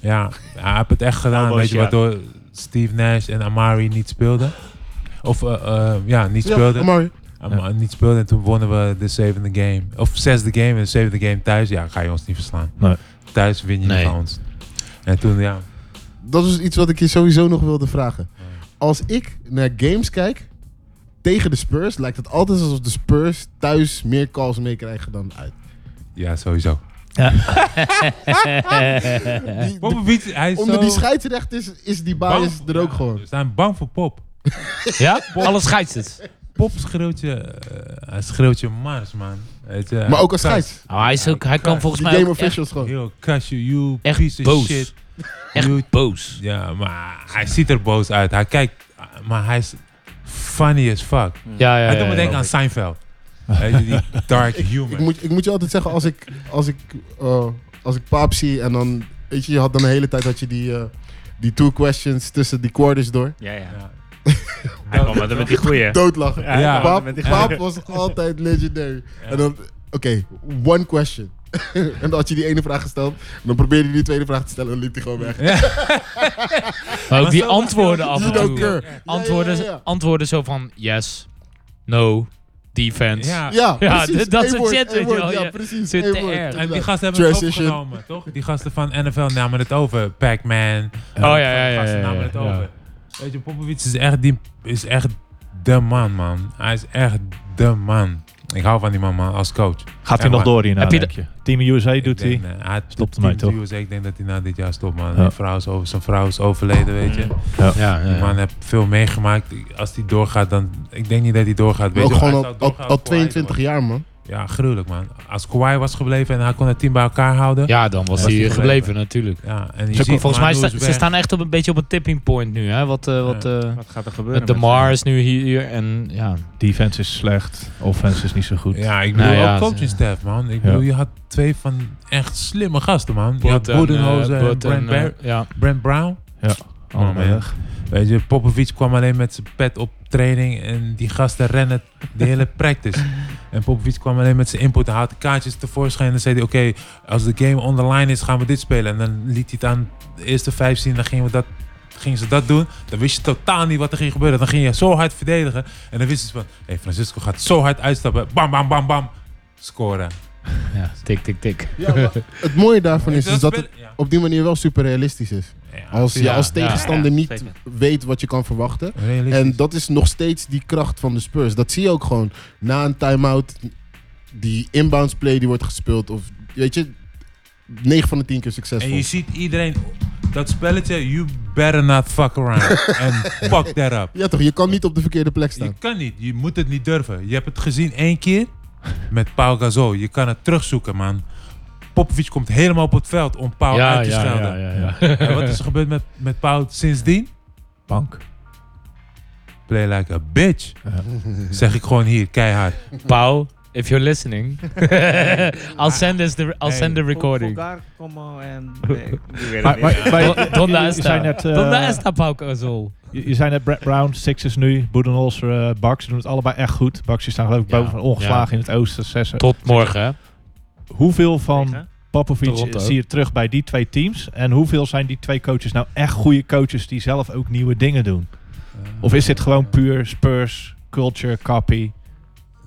Ja, hij heeft het echt gedaan, Elbow weet je, shot. waardoor Steve Nash en Amari niet speelden. Of eh, eh, ja, niet Ja, speelden. mooi. Ja, maar niet speelde en toen wonnen we de zevende game. Of zesde game en de zevende game thuis. Ja, ga je ons niet verslaan. Nee. Thuis win je Nee. niet van ons. En toen, ja. Dat is iets wat ik je sowieso nog wilde vragen. Als ik naar games kijk tegen de Spurs, lijkt het altijd alsof de Spurs thuis meer calls meekrijgen dan uit. Ja, sowieso. Die- de- Popovic, hij is onder zo die scheidsrecht is, is die bang. bias er ook Ja, gewoon. We zijn bang voor Pop. ja? Alles scheidt het. Pop schreeuwt je, eh, hij schreeuwt je mars, man. Weet je, Maar ook als hij- scheids. Nou, hij, is ook, hij kan volgens Die mij game ook echt, officials gewoon. Yo, cuss you, you Echt piece boos. of shit. echt boos. Ja, maar hij ziet er boos uit. Hij kijkt, maar hij is funny as fuck. Ja, ja, Hij ja. doet me denken aan Seinfeld. Weet je, die dark humor. Ik moet, ik moet je altijd zeggen, als ik, als ik, eh, als ik paap zie en dan, weet je, je had dan de hele tijd had je die, eh, die two questions tussen die quarters door. Ja, ja. Ja. Hij kwam maar dan met die goeie. Doodlachen. Ja, ja. Paap, Met die- Paap was altijd legendary. En dan, oké, one question. en dan had je die ene vraag gesteld, en dan probeerde hij die tweede vraag te stellen en dan liep hij gewoon weg. Maar ook Maar die zo- antwoorden af en You don't toe. care. Ja, Antwoorden, ja, ja, ja. antwoorden zo van yes, no, defense. Ja, Ja, Ja, precies. d- dat Eén soort woord, shit, één weet je woord. wel. Ja, Ja. precies. Zit één te woord, erg. En En die inderdaad. gasten hebben het Transition. overgenomen, toch? Die gasten van NFL namen het over. Pac-Man. Oh ja, ja, ja, gasten ja, namen ja, het ja. over. Weet je, Popovic is echt, die, is echt de man, man. Hij is echt de man. Ik hou van die man, man, als coach. Gaat hij Ja, nog maar- door hierna, Heb je denk je? Team USA doet hij. denk, eh, hij Stopt Team ermee, toch? USA, ik denk dat hij na dit jaar stopt, man. Ja. Zijn vrouw is over, zijn vrouw is overleden, weet je. ja, ja, Die man heeft veel meegemaakt. Als hij doorgaat, dan... Ik denk niet dat hij doorgaat, weet Ook je. Hij gewoon zou al, al, doorgaan al voor hij doorgaat. 22 jaar, man. Ja, gruwelijk, man. Als Kawhi was gebleven en hij kon het team bij elkaar houden... Ja, dan was Ja, hij was hij gebleven, gebleven. natuurlijk. Ja, en je Ze- ziet, volgens mij Manu sta- is ze weg. staan echt op een beetje op een tipping point nu. Hè? Wat, eh, wat, Ja. eh, Wat gaat er gebeuren? met de Mar is nu hier, hier en ja. Defense is slecht. Offense is niet zo goed. Ja, ik bedoel Nou ja, ook ze- coaching staff, man. Ik bedoel, Ja. je had twee van echt slimme gasten, man. Je had Bud en, eh, Boedenhozer en, Bud Brent, eh, Bar- ja. Brent Brown. Allemaal Oh, man. weg. Weet je, Popovic kwam alleen met zijn pet op training en die gasten rennen de hele practice. En Popovic kwam alleen met zijn input, hij had de kaartjes tevoorschijn en dan zei hij, oké, als de game on the line is, gaan we dit spelen. En dan liet hij het aan de eerste vijf zien, dan gingen, we dat, gingen ze dat doen. Dan wist je totaal niet wat er ging gebeuren. Dan ging je zo hard verdedigen en dan wisten ze van, hé, Francisco gaat zo hard uitstappen, bam, bam, bam, bam, scoren. ja, tik, tik, tik. Ja, maar het mooie daarvan is, is dus dat het spelen- ja. op die manier wel super realistisch is. Ja, Als je ja, als tegenstander ja, niet zeker. weet wat je kan verwachten, realistisch. En dat is nog steeds die kracht van de Spurs. Dat zie je ook gewoon na een time-out. Die inbounds play die wordt gespeeld. Of weet je, 9 van de 10 keer En succesvol. je ziet iedereen dat spelletje, you better not fuck around. En fuck that up. Ja toch, je kan niet op de verkeerde plek Je staan. kan niet, je moet het niet durven. Je hebt het gezien één keer met Pau Gasol. Je kan het terugzoeken, man. Popovic komt helemaal op het veld om Pau ja, uit te ja, schelden. ja, ja, ja. En wat is er gebeurd met, met Pau sindsdien? Bank. Play like a bitch. Zeg ik gewoon hier, keihard. Pau, if you're listening, I'll send, us the, I'll send the recording. Daar komen en... Maar, maar, maar je- Donda je, je Esta. zei net, eh, Donda Esta Pau Gasol. je, je zei net Brett Brown, Sixers nu, Boedenholzer, eh Bucks. Ze doen het allebei echt goed. Bucks die staan geloof ik Ja. boven ongeslagen in het oosten. Zes. Tot morgen, hè? Hoeveel van Popovic Toronto. zie je terug bij die twee teams? En hoeveel zijn die twee coaches nou echt goede coaches die zelf ook nieuwe dingen doen? Of is dit gewoon puur Spurs, culture, copy?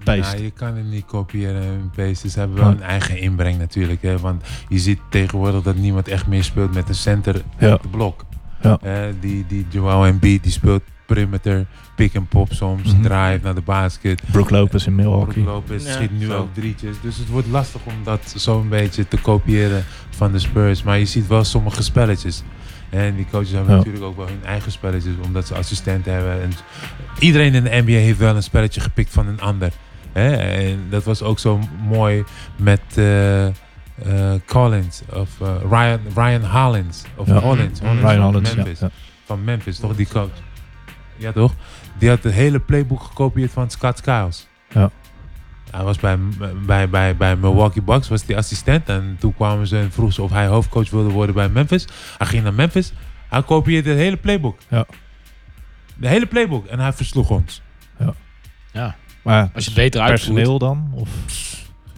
paste. Ja, Nou, je kan het niet kopiëren en pasten. Ze hebben wel een eigen inbreng natuurlijk. Hè? Want je ziet tegenwoordig dat niemand echt meer speelt met een center Ja. op de blok. Ja. Eh, die, die Joao Embiid die speelt perimeter, pick and pop soms, Mhm. drive naar de basket. Brook Lopez in Milwaukee. Brook Lopez Ja. schiet nu Zo. ook drietjes. Dus het wordt lastig om dat zo'n beetje te kopiëren van de Spurs. Maar je ziet wel sommige spelletjes. En die coaches hebben Ja. natuurlijk ook wel hun eigen spelletjes, omdat ze assistenten hebben. En iedereen in de NBA heeft wel een spelletje gepikt van een ander. Hè? En dat was ook zo mooi met eh, eh, Collins of eh, Ryan, Ryan Hollins. Of Ja. Mm-hmm. Hollins, Hollins Ryan van Hollins, ja, Memphis ja. van Memphis, toch? Die coach. Ja, toch? Die had het hele playbook gekopieerd van Scott Skiles. Ja. Hij was bij, bij, bij, bij Milwaukee Bucks, was die assistent. En toen kwamen ze en vroegen ze of hij hoofdcoach wilde worden bij Memphis. Hij ging naar Memphis. Hij kopieerde het hele playbook. Ja. De hele playbook. En hij versloeg ons. Maar Als je het beter uitvoert. personeel dan? Of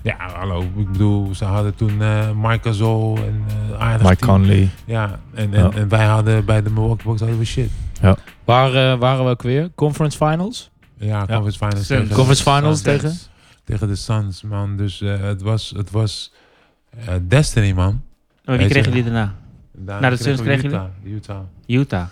Ja, hallo. Ik bedoel, ze hadden toen eh Mike Gasol en eh aardig Mike team. Conley? Ja, en, en, Ja. en wij hadden bij de Milwaukee Bucks hadden we shit. Waar eh, waren we ook weer? Conference Finals? Ja, conference finals. Suns. tegen- Conference Finals Suns. tegen? tegen de Suns, man. Dus eh, het was, het was eh, Destiny, man. Maar Weet Oh, wie je- kregen jullie daarna? Daarna Nou, de Suns kregen we kregen Utah. Utah. Utah.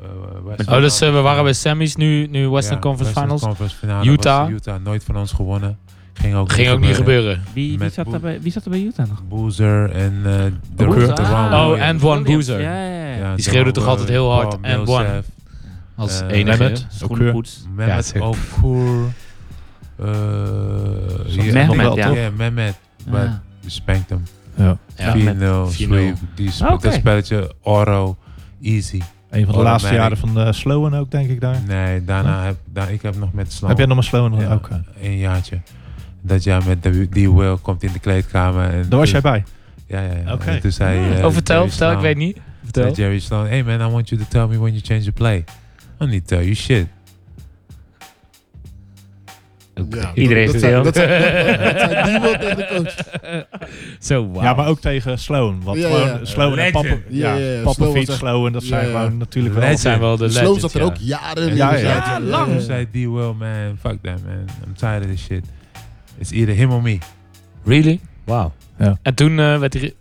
Eh, eh, Oh, Western dus eh, we Conference. waren bij Sammy's nu, nu Western Ja, Conference Western Finals. Conference finale was Utah. Utah, nooit van ons gewonnen. Ging ook Ging ook niet gebeuren. Wie, wie, Met zat Bo- daar bij, wie zat er bij Utah nog? Boozer en eh, de Boozer. de Ron Ah. Oh, Williams. en Juan Williams. Boozer. Ja, ja, ja. Ja, die schreeuwde Jamal toch altijd heel Murray, hard, Paul en Juan. Millsap, Als Eh, enige. Mehmet. Schoenenpoets. Mehmet zeker. Okur. eh, hier- Mehmet, nog wel, ja. toch? Ja, Mehmet. Maar Ah. die spankt hem. Ja. Ja. 4-0. 4-0, sweep. Die sp- Ah, oké. Dat spelletje Oro, easy. Een van de Oh, laatste mijn- jaren van de Slowen ook, denk ik daar. Nee, daarna heb daar, ik heb nog met Slam Heb jij nog maar Slowen? Ja. Ook, eh, een jaartje. Dat jij met de- die Will komt in de kleedkamer. En daar was jij toen- bij. Ja, ja, ja. Oké. En toen zei, eh, Oh, vertel, Jerry vertel, ik Sloan- weet niet. zei Vertel. Jerry Sloan, hey man, I want you to tell me when you change the play. I need to tell you shit. Ja, Iedereen dat, is zei- stil. dat, zei- dat zei die wel tegen de coach. Zo, wauw. Ja, maar ook tegen Sloan. Want Ja, ja, gewoon ja. Sloan en Legend. Pappen. Ja, Ja, ja, ja. Sloan Pappen, was echt- Sloan, dat Ja, zijn ja. gewoon natuurlijk wel... Dat zijn wel de De legends. Sloan zat er ja. ook jaren. Ja, in. ja. Ja, lang. Toen zei die Will, man, fuck that man. I'm tired of this shit. It's either him or me. Really? Wauw. Ja. En toen eh, werd hij...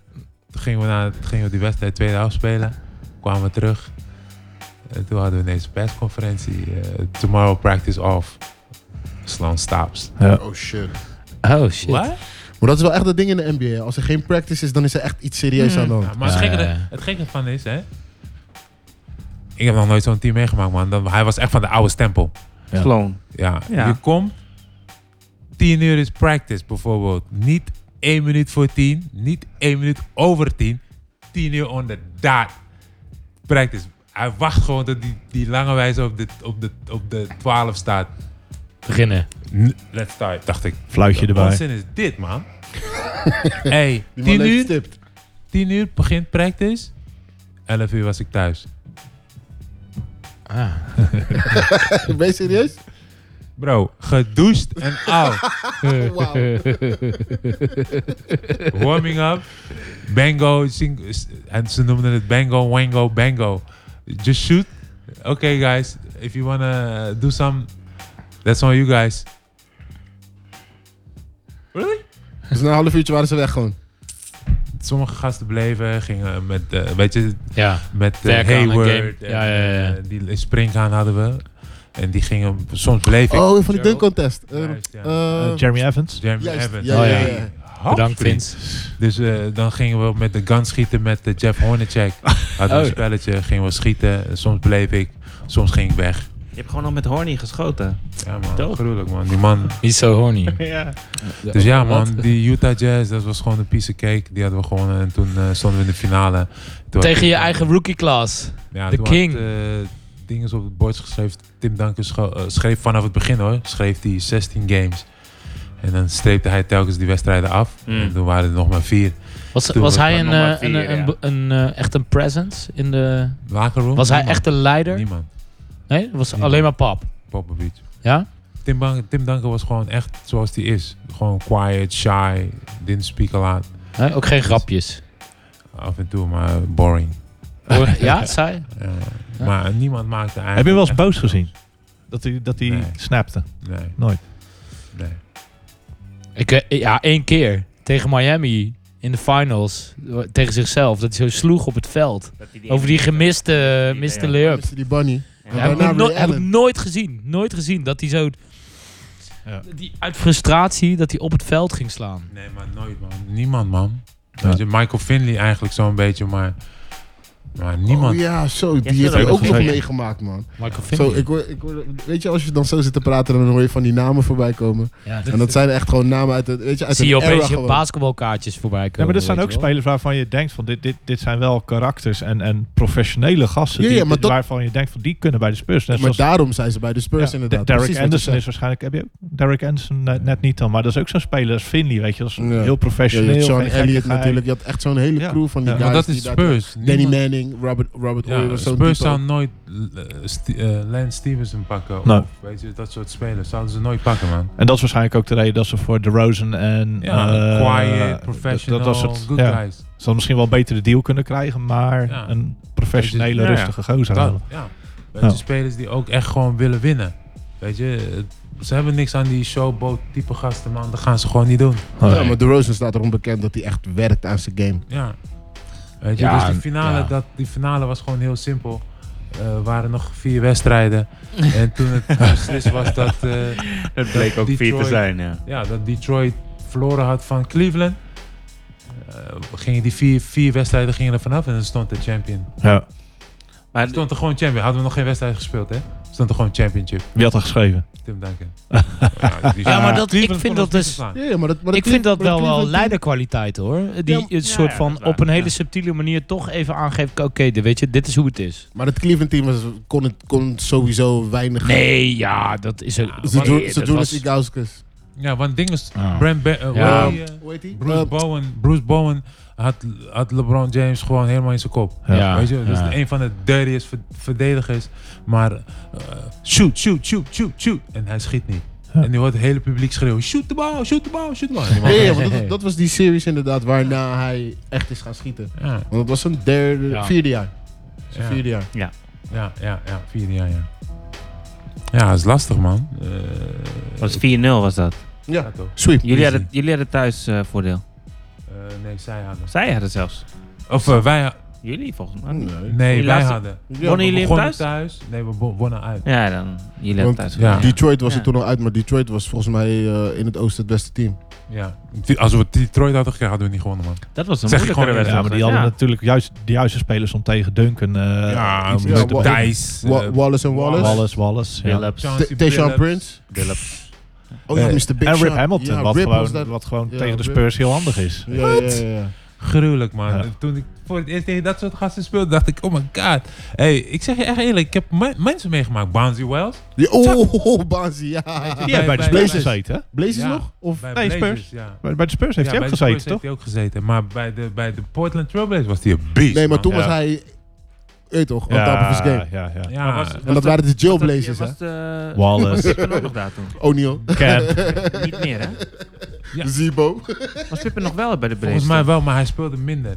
Toen gingen we, na, toen gingen we die wedstrijd tweede helft spelen. Kwamen we terug. En toen hadden we ineens persconferentie. eh, tomorrow practice off. Sloan stops. Oh shit. Oh, shit. Maar dat is wel echt dat ding in de NBA. Als er geen practice is, dan is er echt iets serieus aan de hand. Hmm. Ja, maar het, Ja, gekke, ja, ja. het gekke van is, hè. Ik heb nog nooit zo'n team meegemaakt, man. Dan, hij was echt van de oude stempel. Ja. Sloan. Ja. Ja. Je komt, 10 uur is practice bijvoorbeeld. Niet 1 minuut voor 10, niet 1 minuut over 10. 10 uur on the dot. Practice. Hij wacht gewoon tot die, die lange wijze op de, op, de, op de 12 staat. Beginnen. N- Let's start, dacht ik. Fluitje Wat erbij. onzin is dit, man? hey, Die man 10 leeft uur, stipt. 10 uur begint practice. 11 uur was ik thuis. Ben je serieus? Bro, gedoucht en al. Oh, Warming up. Bango. sing- s- En ze noemden het bango, wango, bango. Just shoot. Okay guys, if you wanna do some, that's on you guys. Really? Dus na een half uurtje waren ze weg gewoon. Sommige gasten bleven, gingen met, eh, weet je, ja. met eh, Werken aan een Hayward. game. Ja, ja, ja, ja. en, eh, Die springhaan hadden we. En die gingen, soms bleef ik. Oh, van die dunk contest. Eh, Juist, ja. eh, Eh, Jeremy Evans. Jeremy juist, Evans. ja, Oh, ja, ja. Bedankt, Vince. Dus eh, dan gingen we met de gun schieten met eh, Jeff Hornacek. Hadden we Oh. een spelletje, gingen we schieten. Soms bleef ik, soms ging ik weg. Je hebt gewoon al met Horny geschoten. Ja man, Dope. gruwelijk man. Die man. He's so horny. Ja. Dus ja Wat? man, die Utah Jazz, dat was gewoon een piece of cake. Die hadden we gewonnen en toen eh, stonden we in de finale. Toen had Tegen ik, je eh, eigen rookie class. ja, de toen king. Had, eh, dingen op het bord geschreven. Tim Duncan scho- eh, schreef vanaf het begin hoor, schreef hij 16 games. En dan streepte hij telkens die wedstrijden af. Mm. En toen waren er nog maar vier. Was, Toen was was hij het een, nog maar eh, een, vier, een, ja. een, eh, echt een presence in de... Locker room? Was hij Niemand. echt de leider? Niemand. Nee, was Niemand. alleen maar pap. Popovich. Ja? Tim, Ban- Tim Duncan was gewoon echt zoals hij is. Gewoon quiet, shy, didn't speak a lot. Hè, ook geen grapjes. Af en toe, maar boring. Hoor- ja, zij? Ja. Ja. Maar niemand maakte eigenlijk... Heb je hem wel eens echt- boos gezien? Dat hij, dat hij Nee. snapte. Nee. Nooit. Nee. Ik, eh, ja, één keer. Tegen Miami. In de finals. Tegen zichzelf. Dat hij zo sloeg op het veld. Over die gemiste miste lay-up. Die bunny. Ja, Ja, heb, ik Daarna nog nooit- Ray heb ik Allen. nooit gezien. Nooit gezien dat hij zo... Ja. Die, uit frustratie dat hij op het veld ging slaan. Nee, maar nooit, man. Niemand, man. Ja. Weet je, Michael Finley eigenlijk zo'n beetje, maar, maar niemand. Oh ja, zo. Die speelde heeft hij ook ook nog nog mee. meegemaakt, man. Michael Zo, Finley. ik hoor, ik hoor, weet je, als je dan zo zit te praten, dan hoor je van die namen voorbij komen. ja, En dat zijn echt gewoon namen uit het, weet je, uit zie je een era opeens je gewoon. basketbalkaartjes voorbij komen. Ja, maar dat zijn weet ook je wel. spelers waarvan je denkt van dit, dit, dit zijn wel karakters en, en professionele gasten Ja, die, ja, maar dit- dat- waarvan je denkt van die kunnen bij de Spurs. Net Maar zoals daarom zijn ze bij de Spurs Ja, inderdaad. Derek Precies wat je Anderson zegt. is waarschijnlijk. Heb je ook Derek Anderson net, net niet dan, maar dat is ook zo'n speler als Finley, weet je, dat is Ja. heel Ja, professioneel. je had Sean geen Elliott gekkigheid. natuurlijk. Je had echt zo'n hele Ja. crew van die Ja, maar guys dat die is daar- Spurs. Danny Niemand- Manning, Robert, Robert Ja, Oyer, zo'n Spurs type. zou nooit eh, Sti- eh, Lance Stevenson pakken. Nee. Of, weet je, dat soort spelers zouden ze nooit pakken, man. En dat is waarschijnlijk ook de reden dat ze voor DeRozan en Ja, eh, quiet, dat- professional, dat, dat soort, good ja, guys. ze hadden misschien wel een betere deal kunnen krijgen, maar Ja. een professionele, Ja, ja. rustige gozer. Dat, halen. ja. Weet Ja. je, spelers die ook echt gewoon willen winnen. Weet je, het- ze hebben niks aan die showboat type gasten, man. Dat gaan ze gewoon niet doen. Ja, maar DeRozan staat erom bekend dat hij echt werkt aan zijn game. Ja. Weet je, Ja, dus die finale, ja. dat, die finale was gewoon heel simpel. Eh, Er waren nog vier wedstrijden. en toen het beslist was dat, eh, Het bleek ook vier te Detroit- zijn, ja. ja, dat Detroit verloren had van Cleveland. eh, gingen die vier, vier wedstrijden gingen er vanaf en dan stond de champion. Ja. Maar Stond er gewoon champion. Hadden we nog geen wedstrijd gespeeld, hè? Stond er gewoon championship. Wie had dat geschreven? Tim Duncan. Ja, maar dat, ik Cleveland vind kon dat ons niet dus... verslaan. Ja, ja, maar dat, maar Ik vind dat maar wel wel Cleveland- leiderkwaliteit hoor. Die Ja, een soort ja, dat van is waar. op een hele Ja. subtiele manier toch even aangeeft. Oké, dit- weet je, dit is hoe het is. Maar het Cleveland team was, kon, het, kon sowieso weinig. Nee, ja, dat is een. Ze nee, doen, ze dat doen was- het Igauskas. Ja, want ding is... Ah. Brent Be- eh, Ja. hoe heet die, eh, Hoe heet die? Bruce, Eh, Bowen, Bruce Bowen had, had LeBron James gewoon helemaal in zijn kop. Ja, Weet je, dat is ja. een van de dirtiest verd- verdedigers. Maar eh, shoot, shoot, shoot, shoot, shoot. En hij schiet niet. En nu hoort het hele publiek schreeuwen: shoot de bal, shoot de bal, shoot de bal. En die man- ja, ja, want dat, dat was die series inderdaad waarna hij echt is gaan schieten. Ja, Want dat was zijn derde, Ja. vierde jaar. Zijn Ja. vierde jaar. ja, ja, ja, vierde jaar, ja. Ja, dat is lastig, man. Eh, was 4-0 was dat. Ja. gaat ook. Sweep. Jullie hadden, jullie hadden thuis eh, voordeel. Eh, nee, zij hadden. Zij hadden zelfs. Of eh, wij, ha- Jullie volgens mij. Nee. nee, Die wij laatste- hadden. Ja, Wonnen We jullie hem begonnen thuis? thuis. Nee, we bo- wonnen uit. Ja, dan. Jullie Want- hebben thuis. ja. gewonnen. Detroit was Ja. er toen al uit, maar Detroit was volgens mij eh, in het oosten het beste team. Ja. Als we Detroit hadden gekregen, hadden we niet gewonnen, man. Dat was een Zeg je moeilijkere gewoon- wedstrijd. Ja, Nou, maar die hadden natuurlijk juist de juiste spelers om tegen Duncan. eh ja, iets ja, meer te- wa- Thijs. Wa- eh, Wallace en Wallace. Wallace, Wallace. Ja. Phillips. Chauncey T- Tayshaun Billups. Prince. Oh ja, Eh, Mr. Big En Rip Shot. Hamilton, Ja, wat, Rip was gewoon, daar- wat gewoon Ja, tegen de Rip. Spurs heel handig is. Ja, ja, ja, ja. Gruwelijk, man. Ja. Toen ik voor het eerst tegen dat soort gasten speelde, dacht ik, oh my god. Hey, ik zeg je echt eerlijk, ik heb me- mensen meegemaakt. Bouncy Wells. Die- Oh, oh, oh, Basie, ja. Weet je, Die heeft bij de Spurs Blazers. gezeten, hè? Blazers Ja. nog? Of bij nee, Blazers, Spurs. Ja. Bij, bij de Spurs heeft Ja, hij bij ook de gezeten, Spurs heeft toch? hij ook gezeten. Maar bij de, bij de Portland Trailblazers was hij een beest, Nee, maar toen man. was Ja. hij, weet toch, on top of his game. ja, ja. Ja, was, En dat waren de Joe Blazers, hè? Was de, Wallace, Pippen ook nog daar toen? O'Neal, Cam. Niet meer, hè? Ja. Zibo. Was Pippen nog wel bij de Braves? volgens mij wel, maar hij speelde minder.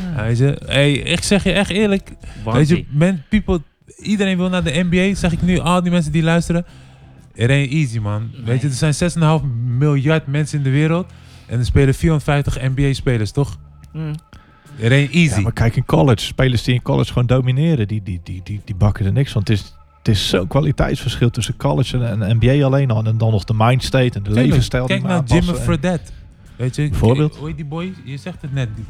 Hij zei, hey, ik zeg je echt eerlijk, Weet je, men, people, iedereen wil naar de NBA. Zeg ik nu, al die mensen die luisteren. It ain't easy, man. Weet je, er zijn 6,5 miljard mensen in de wereld. En er spelen 450 NBA-spelers, toch? Mm. It ain't easy. Ja, maar kijk in college. Spelers die in college gewoon domineren, die, die, die, die, die bakken er niks van. Het is, het is zo'n kwaliteitsverschil tussen college en, en NBA alleen al. En dan nog de mindstate en de Tuurlijk. levensstijl. die Kijk moet naar aanpassen Jimmy en- Fredette. Weet je, Bijvoorbeeld. Hoe heet die boy? Je zegt het net. die-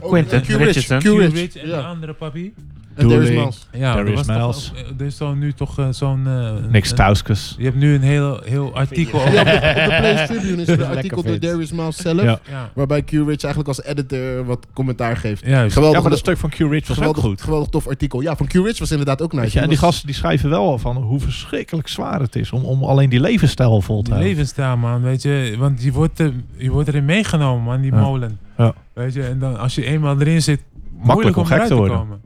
Quentin Oh, Q-Rich, Richardson. Q-Rich, Q Rich en ja. de andere papi. En Darius Dooley. Miles. Ja, Terry er, was toch Miles. ook- eh, er is zo nu toch eh, zo'n... eh, Niks een- Stauskas. Je hebt nu een heel, heel artikel Ja, over... op de, op de Players Tribune is er een Lekker artikel door vet. Darius Miles zelf, Ja. Ja, waarbij Q-Rich eigenlijk als editor wat commentaar geeft. juist. Ja, Geweldig, maar dat stuk van Q-Rich was ook geweldig, goed. geweldig tof artikel. Ja, van Q-Rich was inderdaad ook nice. Weet je, en Die die was- gasten die schrijven wel al van hoe verschrikkelijk zwaar het is om, om alleen die levensstijl vol te Die houden. levensstijl, man, weet je. Want je wordt, er, je wordt erin meegenomen, man, die Ja. molen. Ja. Weet je, en dan als je eenmaal erin zit, moeilijk Makkelijk om gek eruit te worden. komen.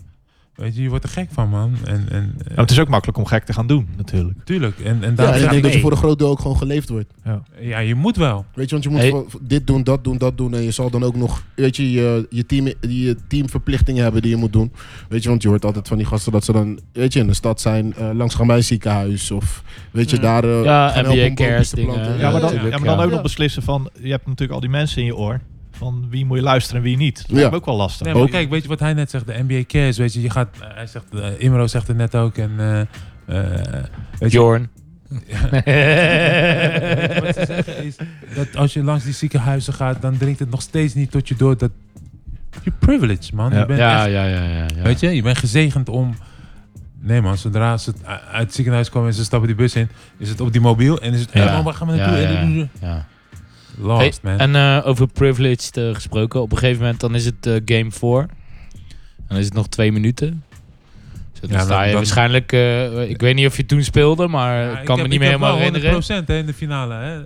Weet je, je wordt er gek van, man. En, en, eh, Nou, het is ook makkelijk om gek te gaan doen, natuurlijk. Tuurlijk. En, en Ja, daar en ik ja, denk dat je nee. voor een groot deel ook gewoon geleefd wordt. dus- ja, je moet wel. Weet je, want je moet Hey. voor- voor dit doen, dat doen, dat doen. En je zal dan ook nog, weet je, je, je, team, je teamverplichtingen hebben die je moet doen. Weet je, want je hoort altijd van die gasten dat ze dan, weet je, in de stad zijn. eh, langs gaan wij een ziekenhuis of, weet je, Ja. daar... eh, Ja, gaan helpen NBA om boompjes cares te dingen. planten. Ja, maar dan, ja, tuurlijk, maar dan ja. ook Ja. nog beslissen van... Je hebt natuurlijk al die mensen in je oor. Van wie moet je luisteren en wie niet. Dat lijkt Ja. me ook wel lastig. Nee, maar Ook. kijk, weet je wat hij net zegt? De NBA cares, weet je. je gaat, eh, hij zegt, eh, Imro zegt het net ook. En, eh, eh, weet je, Jorn. wat ze zeggen is dat als je langs die ziekenhuizen gaat, dan dringt het nog steeds niet tot je door dat... Je privilege, man. Ja. Je bent ja, echt- ja, ja, ja, ja. Weet je, je bent gezegend om... Nee man, zodra ze uit het ziekenhuis komen en ze stappen die bus in, is het op die mobiel en is het... Ja. Ja. man, waar gaan we Ja, naartoe? ja, En- ja. Hey, Lost, man. en eh, over privileged eh, gesproken. Op een gegeven moment dan is het eh, game 4. En dan is het nog twee minuten. Dus dan Ja, sta dan- je dan- waarschijnlijk... eh, ik weet niet of je toen speelde, maar Ja, eh, ik kan heb- me niet meer heb helemaal wel herinneren. 100% hè, in de finale. Hè.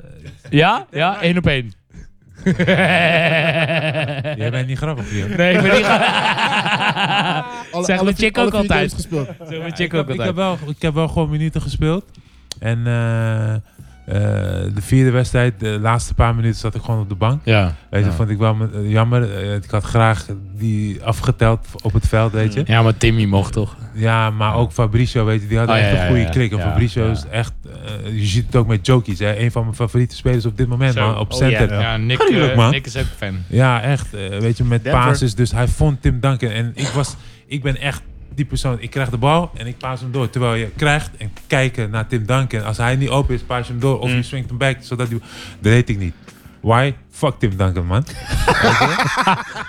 Ja? Ja, één op één. Jij bent niet grappig hier. Nee, ik ben niet... Zegt Alle- Zeggen alle we vier- chick alle ook vier games altijd. gespeeld. Zeggen we Ja, chick ik, ook heb, ik, heb altijd. wel, ik heb wel gewoon minuten gespeeld. En eh, eh, de vierde wedstrijd, de laatste paar minuten zat ik gewoon op de bank. Ja. Weet je, Ja. vond ik wel eh, jammer. Eh, ik had graag die afgeteld op het veld, weet je. Ja, maar Timmy mocht toch? Ja, maar ook Fabricio, weet je, die had Oh, echt ja, ja, een goede ja, klik. En ja, Fabricio ja. is echt, eh, je ziet het ook met Jokies, hè. Een van mijn favoriete spelers op dit moment, Zo. man, op Oh, center. Ja, ja Nick, Tuurlijk, eh, man. Nick is ook fan. Ja, echt. eh, weet je, met Denver. passes. Dus hij vond Tim Duncan. En ik, was, ik ben echt die persoon. Ik krijg de bal en ik paas hem door. Terwijl je krijgt en kijken naar Tim Duncan. Als hij niet open is, paas je hem door. Of Mm. je swingt hem back. Zodat hij... Dat weet ik niet. Why? Fuck Tim Duncan, man.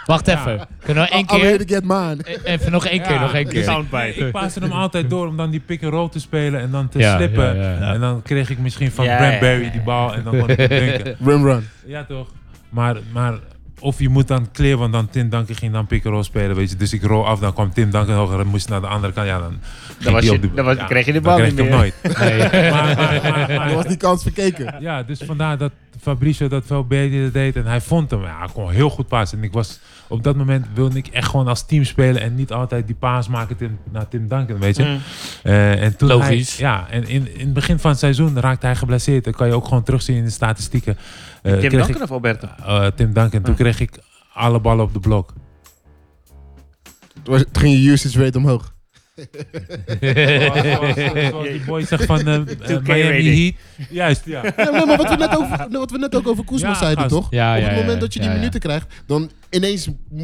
Wacht even. Kunnen we één I'm here keer... to get mine. e- Even nog één keer, Ja, nog één die keer. Ik soundbite. paasde hem altijd door om dan die pick-and-roll te spelen en dan te Ja, slippen. ja, ja. En dan kreeg ik misschien van Ja, Brent ja, Barry ja, die bal en dan kon ik hem dunken. Rim run. Ja, toch? Maar, maar of je moet dan clear, want dan Tim Duncan ging dan pick-and-roll spelen, weet je. Dus ik rol af, dan kwam Tim Duncan hoger en moest naar de andere kant. Ja, dan ging was die je- op de- dan was- ja, kreeg je de dan bal kreeg niet ik hem meer. nooit. Nee. Maar, maar, maar, maar- Er was die kans verkeken. ja, dus vandaar dat Fabricio dat veel beter deed en hij vond hem. Ja, hij kon heel goed passen. En ik was, op dat moment wilde ik echt gewoon als team spelen en niet altijd die paas maken Tim, naar Tim Duncan, Mm. weet je. Eh, en toen Logisch. Hij, ja, en in, in het begin van het seizoen raakte hij geblesseerd. Dat kan je ook gewoon terugzien in de statistieken. Eh, Tim kreeg ik- Duncan of Alberto? eh, Tim Duncan. Toen kreeg ik alle ballen op de blok. Het was- het ging je usage rate omhoog. Die boy zegt van eh, eh, 2K rating. Miami Heat. Juist, ja. Ja, nee, maar wat we net, over, wat we net ook over Koesman Ja, zeiden, gast. toch? Ja, Op ja, het ja, moment dat je die ja, ja. minuten krijgt, dan ineens m,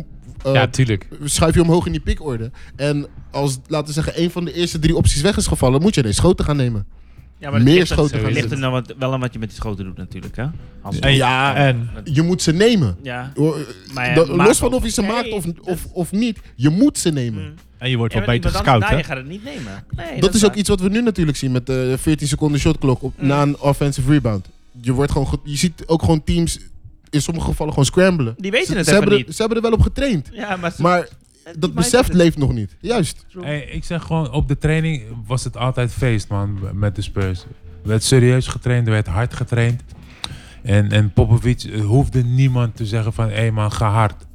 eh, Ja, tuurlijk. schuif je omhoog in die pickorde. En als, laten we zeggen, een van de eerste drie opties weg is gevallen, moet je ineens schoten gaan nemen. Ja, maar dat Meer ligt er- schoten gaan ligt doen. er nou wat, wel aan wat je met die schoten doet natuurlijk, hè? Als- En, ja, en Je moet ze nemen. Ja. Hoor, eh, Maar Ah ja, dat- maak los van ook. of je ze Nee, Mm. maakt of, dat- of, of niet, je moet ze nemen. En je wordt wel maar beter iemand gescout, anders- hè? Nee, je gaat het niet nemen. Nee, dat is ook waar. iets wat we nu natuurlijk zien met de 14 seconden shotklok Mm. op, na een offensive rebound. Je, wordt gewoon, ge- je ziet ook gewoon teams in sommige gevallen gewoon scramblen. Die weten Ze- het ze even hebben er- niet. ze hebben er wel op getraind. Ja, maar, ze- Maar die dat meiden besef het- leeft nog niet. Juist. Hey, ik zeg gewoon, op de training was het altijd feest, man, met de Spurs. Er werd serieus getraind, er werd hard getraind. En, en Popovic eh, hoefde niemand te zeggen van, hé hey man, ga hard.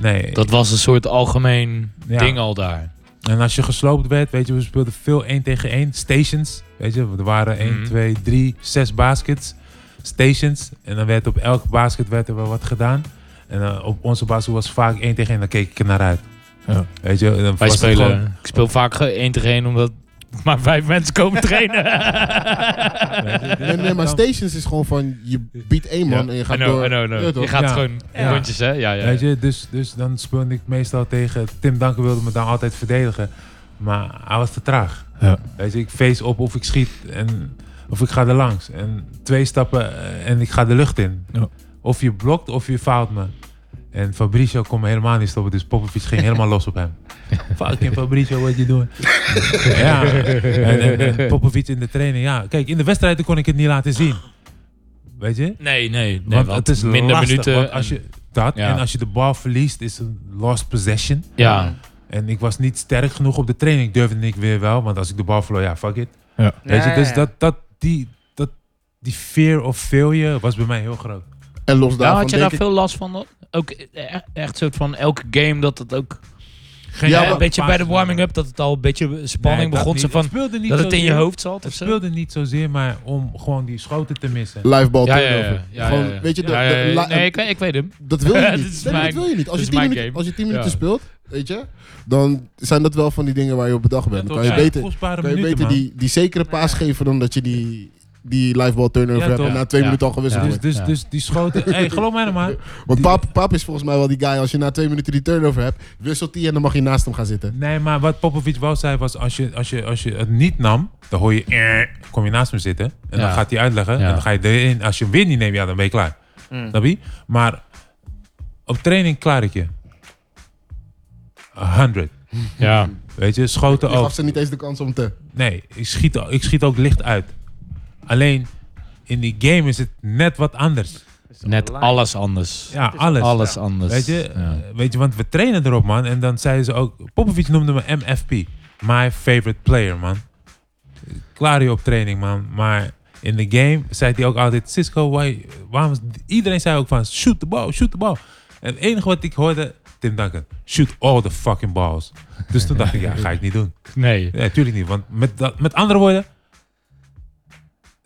Nee, Dat was een soort algemeen Ja. ding al daar. En als je gesloopt werd, weet je, we speelden veel 1 tegen 1. Stations, weet je, er waren 1, Mhm. 2, 3, 6 baskets. Stations. En dan werd op elk basket werd er wel wat gedaan. En eh, op onze basket was vaak 1 tegen 1, dan keek ik er naar uit. Ja. Weet je, en dan Wij was het spelen. gewoon- Ik speel vaak ge- één tegen één omdat maar vijf mensen komen trainen. Nee, nee, maar Stations is gewoon van je biedt één man en je I gaat know, door. I know, I know. Ja, toch? Je gaat Ja. gewoon Ja. rondjes, hè? Ja, ja. Weet je, dus, dus dan speelde ik meestal tegen Tim Duncan, wilde me dan altijd verdedigen. Maar hij was te traag. Ja. Weet je, ik face op of ik schiet en of ik ga er langs. En twee stappen eh, en ik ga de lucht in. Ja. Of je blokt of je fout me. En Fabricio kon me helemaal niet stoppen, dus Popovic ging helemaal los op hem. Fucking Fabricio, wat je doet. ja, en, en, en Popovic in de training. Ja, kijk, in de wedstrijden kon ik het niet laten zien. Weet je? Nee, nee. nee want, het is minder lastig, minuten. want als en- je dat Ja. en als je de bal verliest, is een lost possession. ja. En ik was niet sterk genoeg op de training, durfde ik weer wel. Want als ik de bal verloor, ja, fuck it. Ja. Weet je, Ja, dus ja. dat, dat, die, dat, die fear of failure was bij mij heel groot. En los Nou, daarvan had je denk daar ik- veel last van? Ook e- echt soort van elke game dat het ook Geen Ja, ja, een maar- beetje bij de warming-up dat het al een beetje spanning Nee, dat begon. niet. Ze van, speelde niet dat het in je zozeer- hoofd zat Het of zo. speelde niet zozeer maar om gewoon die schoten te missen. Livebal Ja, ja, turnover. ja, ja, Gewoon, ja, ja. weet je, de, Ja, de ja, ja. la- nee, ik, ik weet hem. dat wil je Dit niet. is Nee, mijn- dat wil je niet. Als je, dit is 10 mijn minuten, game. als je 10 minuten Ja. speelt, weet je, dan zijn dat wel van die dingen waar je op bedacht bent. Dan kan je beter, kostbare kan je minuten, beter man. die, die zekere paas geven dan dat je die, die livebal turnover Ja, hebt toch? en na twee Ja. minuten al gewisseld Dus, wordt. dus, Ja. dus die schoten... hey, geloof mij nou maar. Want pap, pap is volgens mij wel die guy, als je na twee minuten die turnover hebt, wisselt die en dan mag je naast hem gaan zitten. Nee, maar wat Popovic wel zei was... Als je, als je, als je het niet nam, dan hoor je... eh, Kom je naast me zitten. En Ja. dan gaat hij uitleggen. Ja. En dan ga je erin. Als je hem weer niet neemt, ja, dan ben je klaar. Snap je? Maar op training klaar ik je. 100. Ja. Weet je, schoten Je ook. gaf ze niet eens de kans om te... Nee, ik schiet, ik schiet ook licht uit. Alleen in die game is het net wat anders. Net alles anders. Ja, alles. Alles anders. Weet je, Ja. eh, weet je, want we trainen erop, man. En dan zeiden ze ook... Popovic noemde me MFP. My favorite player, man. Klaar hier op training, man. Maar in de game zei hij ook altijd... Cisco, why, waarom... Iedereen zei ook van... Shoot the ball, shoot the ball. En het enige wat ik hoorde... Tim Duncan, shoot all the fucking balls. Dus toen dacht ik, ja, ga ik niet doen. Nee. Nee, natuurlijk niet. Want met, dat- met andere woorden...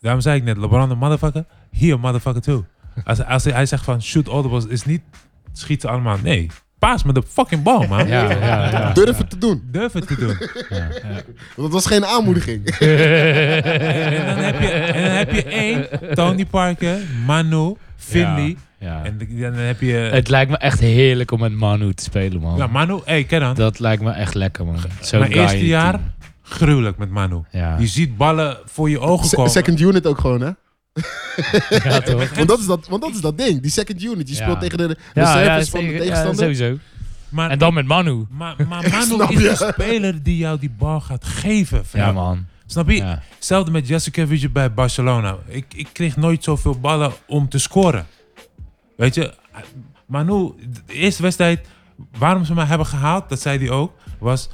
Daarom zei ik net, LeBron de motherfucker. Hier, motherfucker too. Als, als hij, hij zegt van shoot all the balls, is niet schiet ze allemaal. Nee, paas met de fucking bal, man. Ja, ja, ja. Durf het te doen. Durf het te doen. Want dat was geen aanmoediging. En dan heb je, en dan heb je één, Tony Parker, Manu, Finley. Ja. En dan dan heb je... Het lijkt me echt heerlijk om met Manu te spelen, man. Ja, Manu, hey, ken dan. Dat lijkt me echt lekker, man. Zo'n Mijn guy in eerste je jaar, team. gruwelijk met Manu. Ja. Je ziet ballen voor je ogen Se- komen. Second unit ook gewoon, hè? Ja, toch? Want dat is dat, want dat, is dat ding. Die second unit. Je Ja. speelt tegen de de Ja, reserves ja, van de zeker. Ja, tegenstander. sowieso. Maar En dan met Manu. Maar, maar Manu snap is je. de speler die jou die bal gaat geven. vriend. Ja, man. Snap je? Ja. Hetzelfde met Jessica Vidje bij Barcelona. Ik, ik kreeg nooit zoveel ballen om te scoren. Weet je, Manu, de eerste wedstrijd, waarom ze mij hebben gehaald, dat zei hij ook, was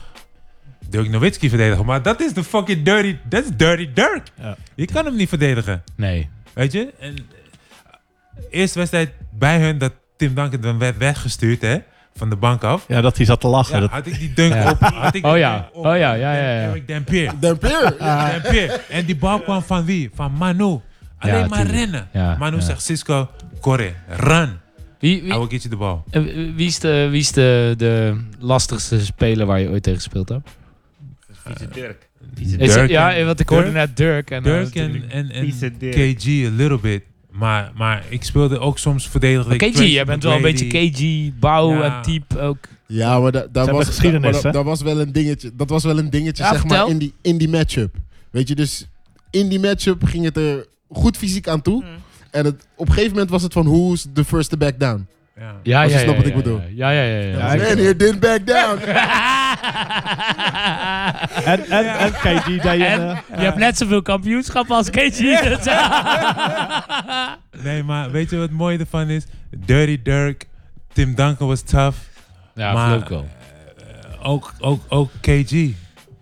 Dirk Nowitzki verdedigen. Maar dat is de fucking dirty, dat is dirty Dirk. Ja. Je kan hem niet verdedigen. Nee. Weet je? En eh, eerste wedstrijd bij hun dat Tim Duncan dan werd weggestuurd, hè? Van de bank af. Ja, dat hij zat te lachen. Ja, dat, had ik die dunk Ja. op. Had ik die Oh ja. dunk op Oh ja, ja, ja, ja. Eric Dampier. Dampier. Ah. Dampier. Eh, En die bal kwam van wie? Van Manu. Alleen maar tuurlijk. rennen. Ja, Manu ja. zegt, Cisco, Corre, run. Wie, I wie, will get you the ball. eh, wie is, de, wie is de, de lastigste speler waar je ooit tegen gespeeld hebt? Vieze Dirk. Is- Eh, Dirk ja, eh, en- want ik hoorde Dirk- net Dirk. En, Dirk eh, en, en, en Vieze Dirk. KG a little bit. Maar, maar ik speelde ook soms verdedigde Maar ik KG, Tracy jij bent wel een McGrady. beetje KG, bouw Ja. en type ook. Ja, maar da- daar hebben was, geschiedenis, da- maar da- hè? daar was wel een dingetje. Dat was wel een dingetje, Ja, zeg vertel. maar, in die, in die matchup. Weet je, dus in die matchup ging het er goed fysiek aan Mm. toe. En het, op een gegeven moment was het van, who's the first to back down? Ja. Ja, Als ja, je snapt ja, wat ik ja, bedoel. Ja, ja, ja. ja, ja. Man here didn't back down. en, en, en KD deed En een, eh, je hebt net zoveel kampioenschappen als KG. Nee, maar weet je wat mooi ervan is? Dirty Dirk, Tim Duncan was tough. Ja, Maar- geloof ik wel. ook, ook, ook KG.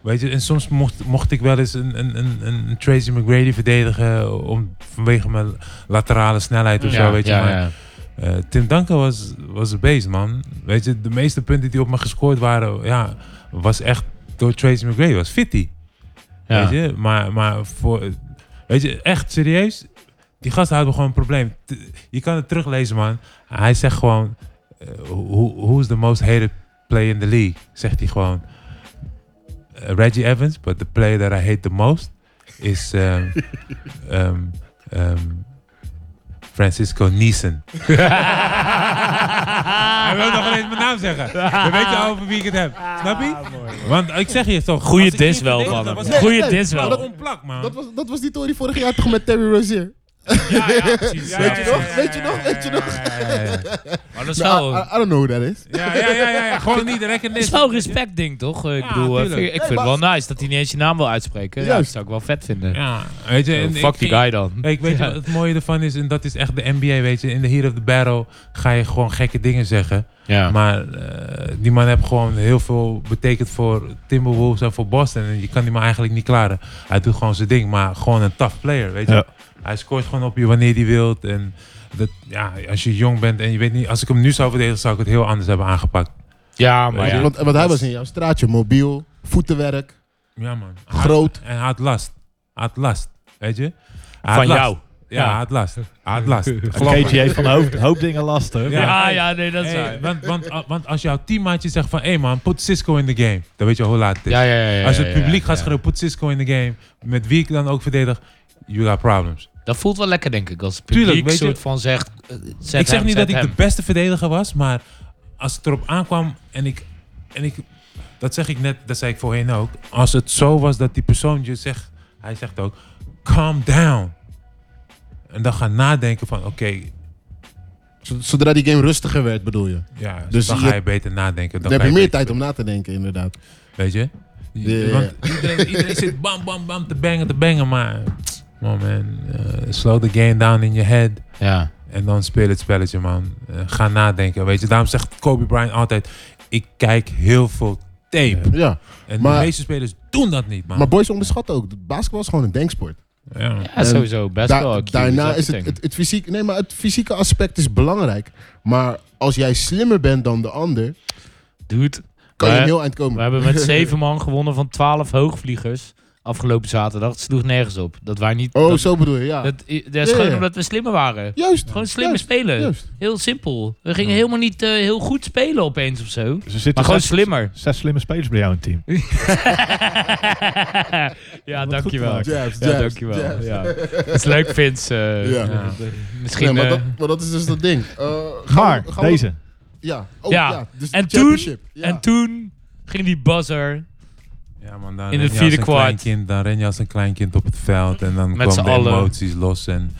Weet je, en soms mocht, mocht ik wel eens een, een, een, een Tracy McGrady verdedigen om, vanwege mijn laterale snelheid of zo, weet je. maar, eh, Tim Duncan was, was een beest, man. Weet je, de meeste punten die op me gescoord waren, ja, was echt door Tracy McGrady, was 50. Ja. Weet je, maar, maar voor, weet je, echt serieus, die gast had gewoon een probleem. T- Je kan het teruglezen, man. Hij zegt gewoon, eh, who, who is the most hated player in the league? Zegt hij gewoon. Eh, Reggie Evans, but the player that I hate the most is ehm, ehm, ehm, Francisco Neeson. Hij wil nog wel eens mijn naam zeggen. Dan weet je al over wie ik het heb. Snap je? Want ik zeg je toch. Goeie als ik dis niet wel verdedigde, van hem. was Nee, hij Goeie nee, dis maar wel. wel onplak, man. Dat was, dat was die tory vorig jaar toch met Terry Rozier. Ja, ja, precies. Ja, Weet je ja, nog? ja, Weet je ja, nog? ja, Weet je ja, nog? ja, ja, ja, ja. Maar dat is Nou, ah, I, wel, I don't know who that is. Ja, ja, ja, ja, ja. Gewoon niet de dat is recognition. wel een respectding, toch? Ik Ja, bedoel, eh, vind- tuurlijk. ik Nee, vind het maar- wel nice dat hij niet eens je naam wil uitspreken. Ja, dat Juist. zou ik wel vet vinden. Ja, weet je. Oh, en fuck ik- die guy dan. Ik weet je Ja. wat het mooie ervan is, en dat is echt de NBA, weet je. In de heat of the battle ga je gewoon gekke dingen zeggen. Ja. Maar eh, die man heeft gewoon heel veel betekend voor Timberwolves en voor Boston. En je kan die man eigenlijk niet klaren. Hij doet gewoon zijn ding, maar gewoon een tough player, weet je. Ja. Hij scoort gewoon op je wanneer hij wilt. En dat, ja, als je jong bent en je weet niet... Als ik hem nu zou verdedigen, zou ik het heel anders hebben aangepakt. Ja, maar Want- ja. want, want hij was in jouw straatje, mobiel, voetenwerk. Ja, man. Groot. En hij had last. Hij had last. Weet je? Hij had Van last. jou. Ja, Ja. hij had last. Hij had last. Keetje heeft van een hoop, hoop dingen last, hè? Ja. Ja, ja, nee, dat is Hey, waar. want, want, a- want als jouw teammaatje zegt van, hé hey man, put Cisco in de game. Dan weet je al hoe laat het is. Ja, ja, ja, ja, als het ja, publiek ja, gaat ja. schreeuwen, put Cisco in de game. Met wie ik dan ook verdedig, you got problems. Dat voelt wel lekker, denk ik. Als het Tuurlijk, publiek weet je- soort van zegt... eh, zet ik zeg hem, niet zet dat ik hem. de beste verdediger was, maar als het erop aankwam en ik, en ik... Dat zeg ik net, dat zei ik voorheen ook. Als het zo was dat die persoon je zegt... Hij zegt ook, calm down. En dan gaan nadenken van, oké, Z- Zodra die game rustiger werd, bedoel je. ja, Dus dus dan je- ga je beter nadenken. Dan ga heb je meer beter- tijd om na te denken, inderdaad. Weet je? Ja. Want iedereen, iedereen zit bam, bam, bam te bangen, te bangen, maar... Oh man, eh, slow the game down in your head. Ja. En dan speel het spelletje, man. Eh, ga nadenken, weet je. Daarom zegt Kobe Bryant altijd... Ik kijk heel veel tape. Ja. En Maar- de meeste spelers doen dat niet, man. Maar boys onderschatten ook. Basketbal is gewoon een denksport. ja. Ja, sowieso. Best Da- wel. daarna is het, het, het fysiek. Nee, maar het fysieke aspect is belangrijk. Maar als jij slimmer bent dan de ander, Dude, kan je Maar- een heel eind komen. we hebben met zeven man gewonnen van twaalf hoogvliegers afgelopen zaterdag. Het sloeg nergens op. Dat wij niet... Oh, dat, zo bedoel je, ja. Dat, dat is Ja, gewoon ja. omdat we slimmer waren. juist. Gewoon slimmer juist, spelen. Juist. Heel simpel. We gingen helemaal niet eh, heel goed spelen opeens of zo. Ze zitten Maar gewoon zes- slimmer. Zes slimme spelers bij jou in het team. ja, Wat dankjewel. goed Ja, Jabs, jabs, dankjewel. jabs. Ja. Het is leuk, Vince. eh, Ja. ja. Nee, Misschien... maar, eh, dat, maar dat is dus dat ding. Eh, gaan Maar, we- gaan we- deze. ja. Oh, ja. Ja. Dus En de toen- championship. Ja. En toen ging die buzzer Ja, man, dan In het ren je als vierde een klein kwart. kind- Dan ren je als een klein kind op het veld. En dan Met z'n kwamen de allen. emoties los. En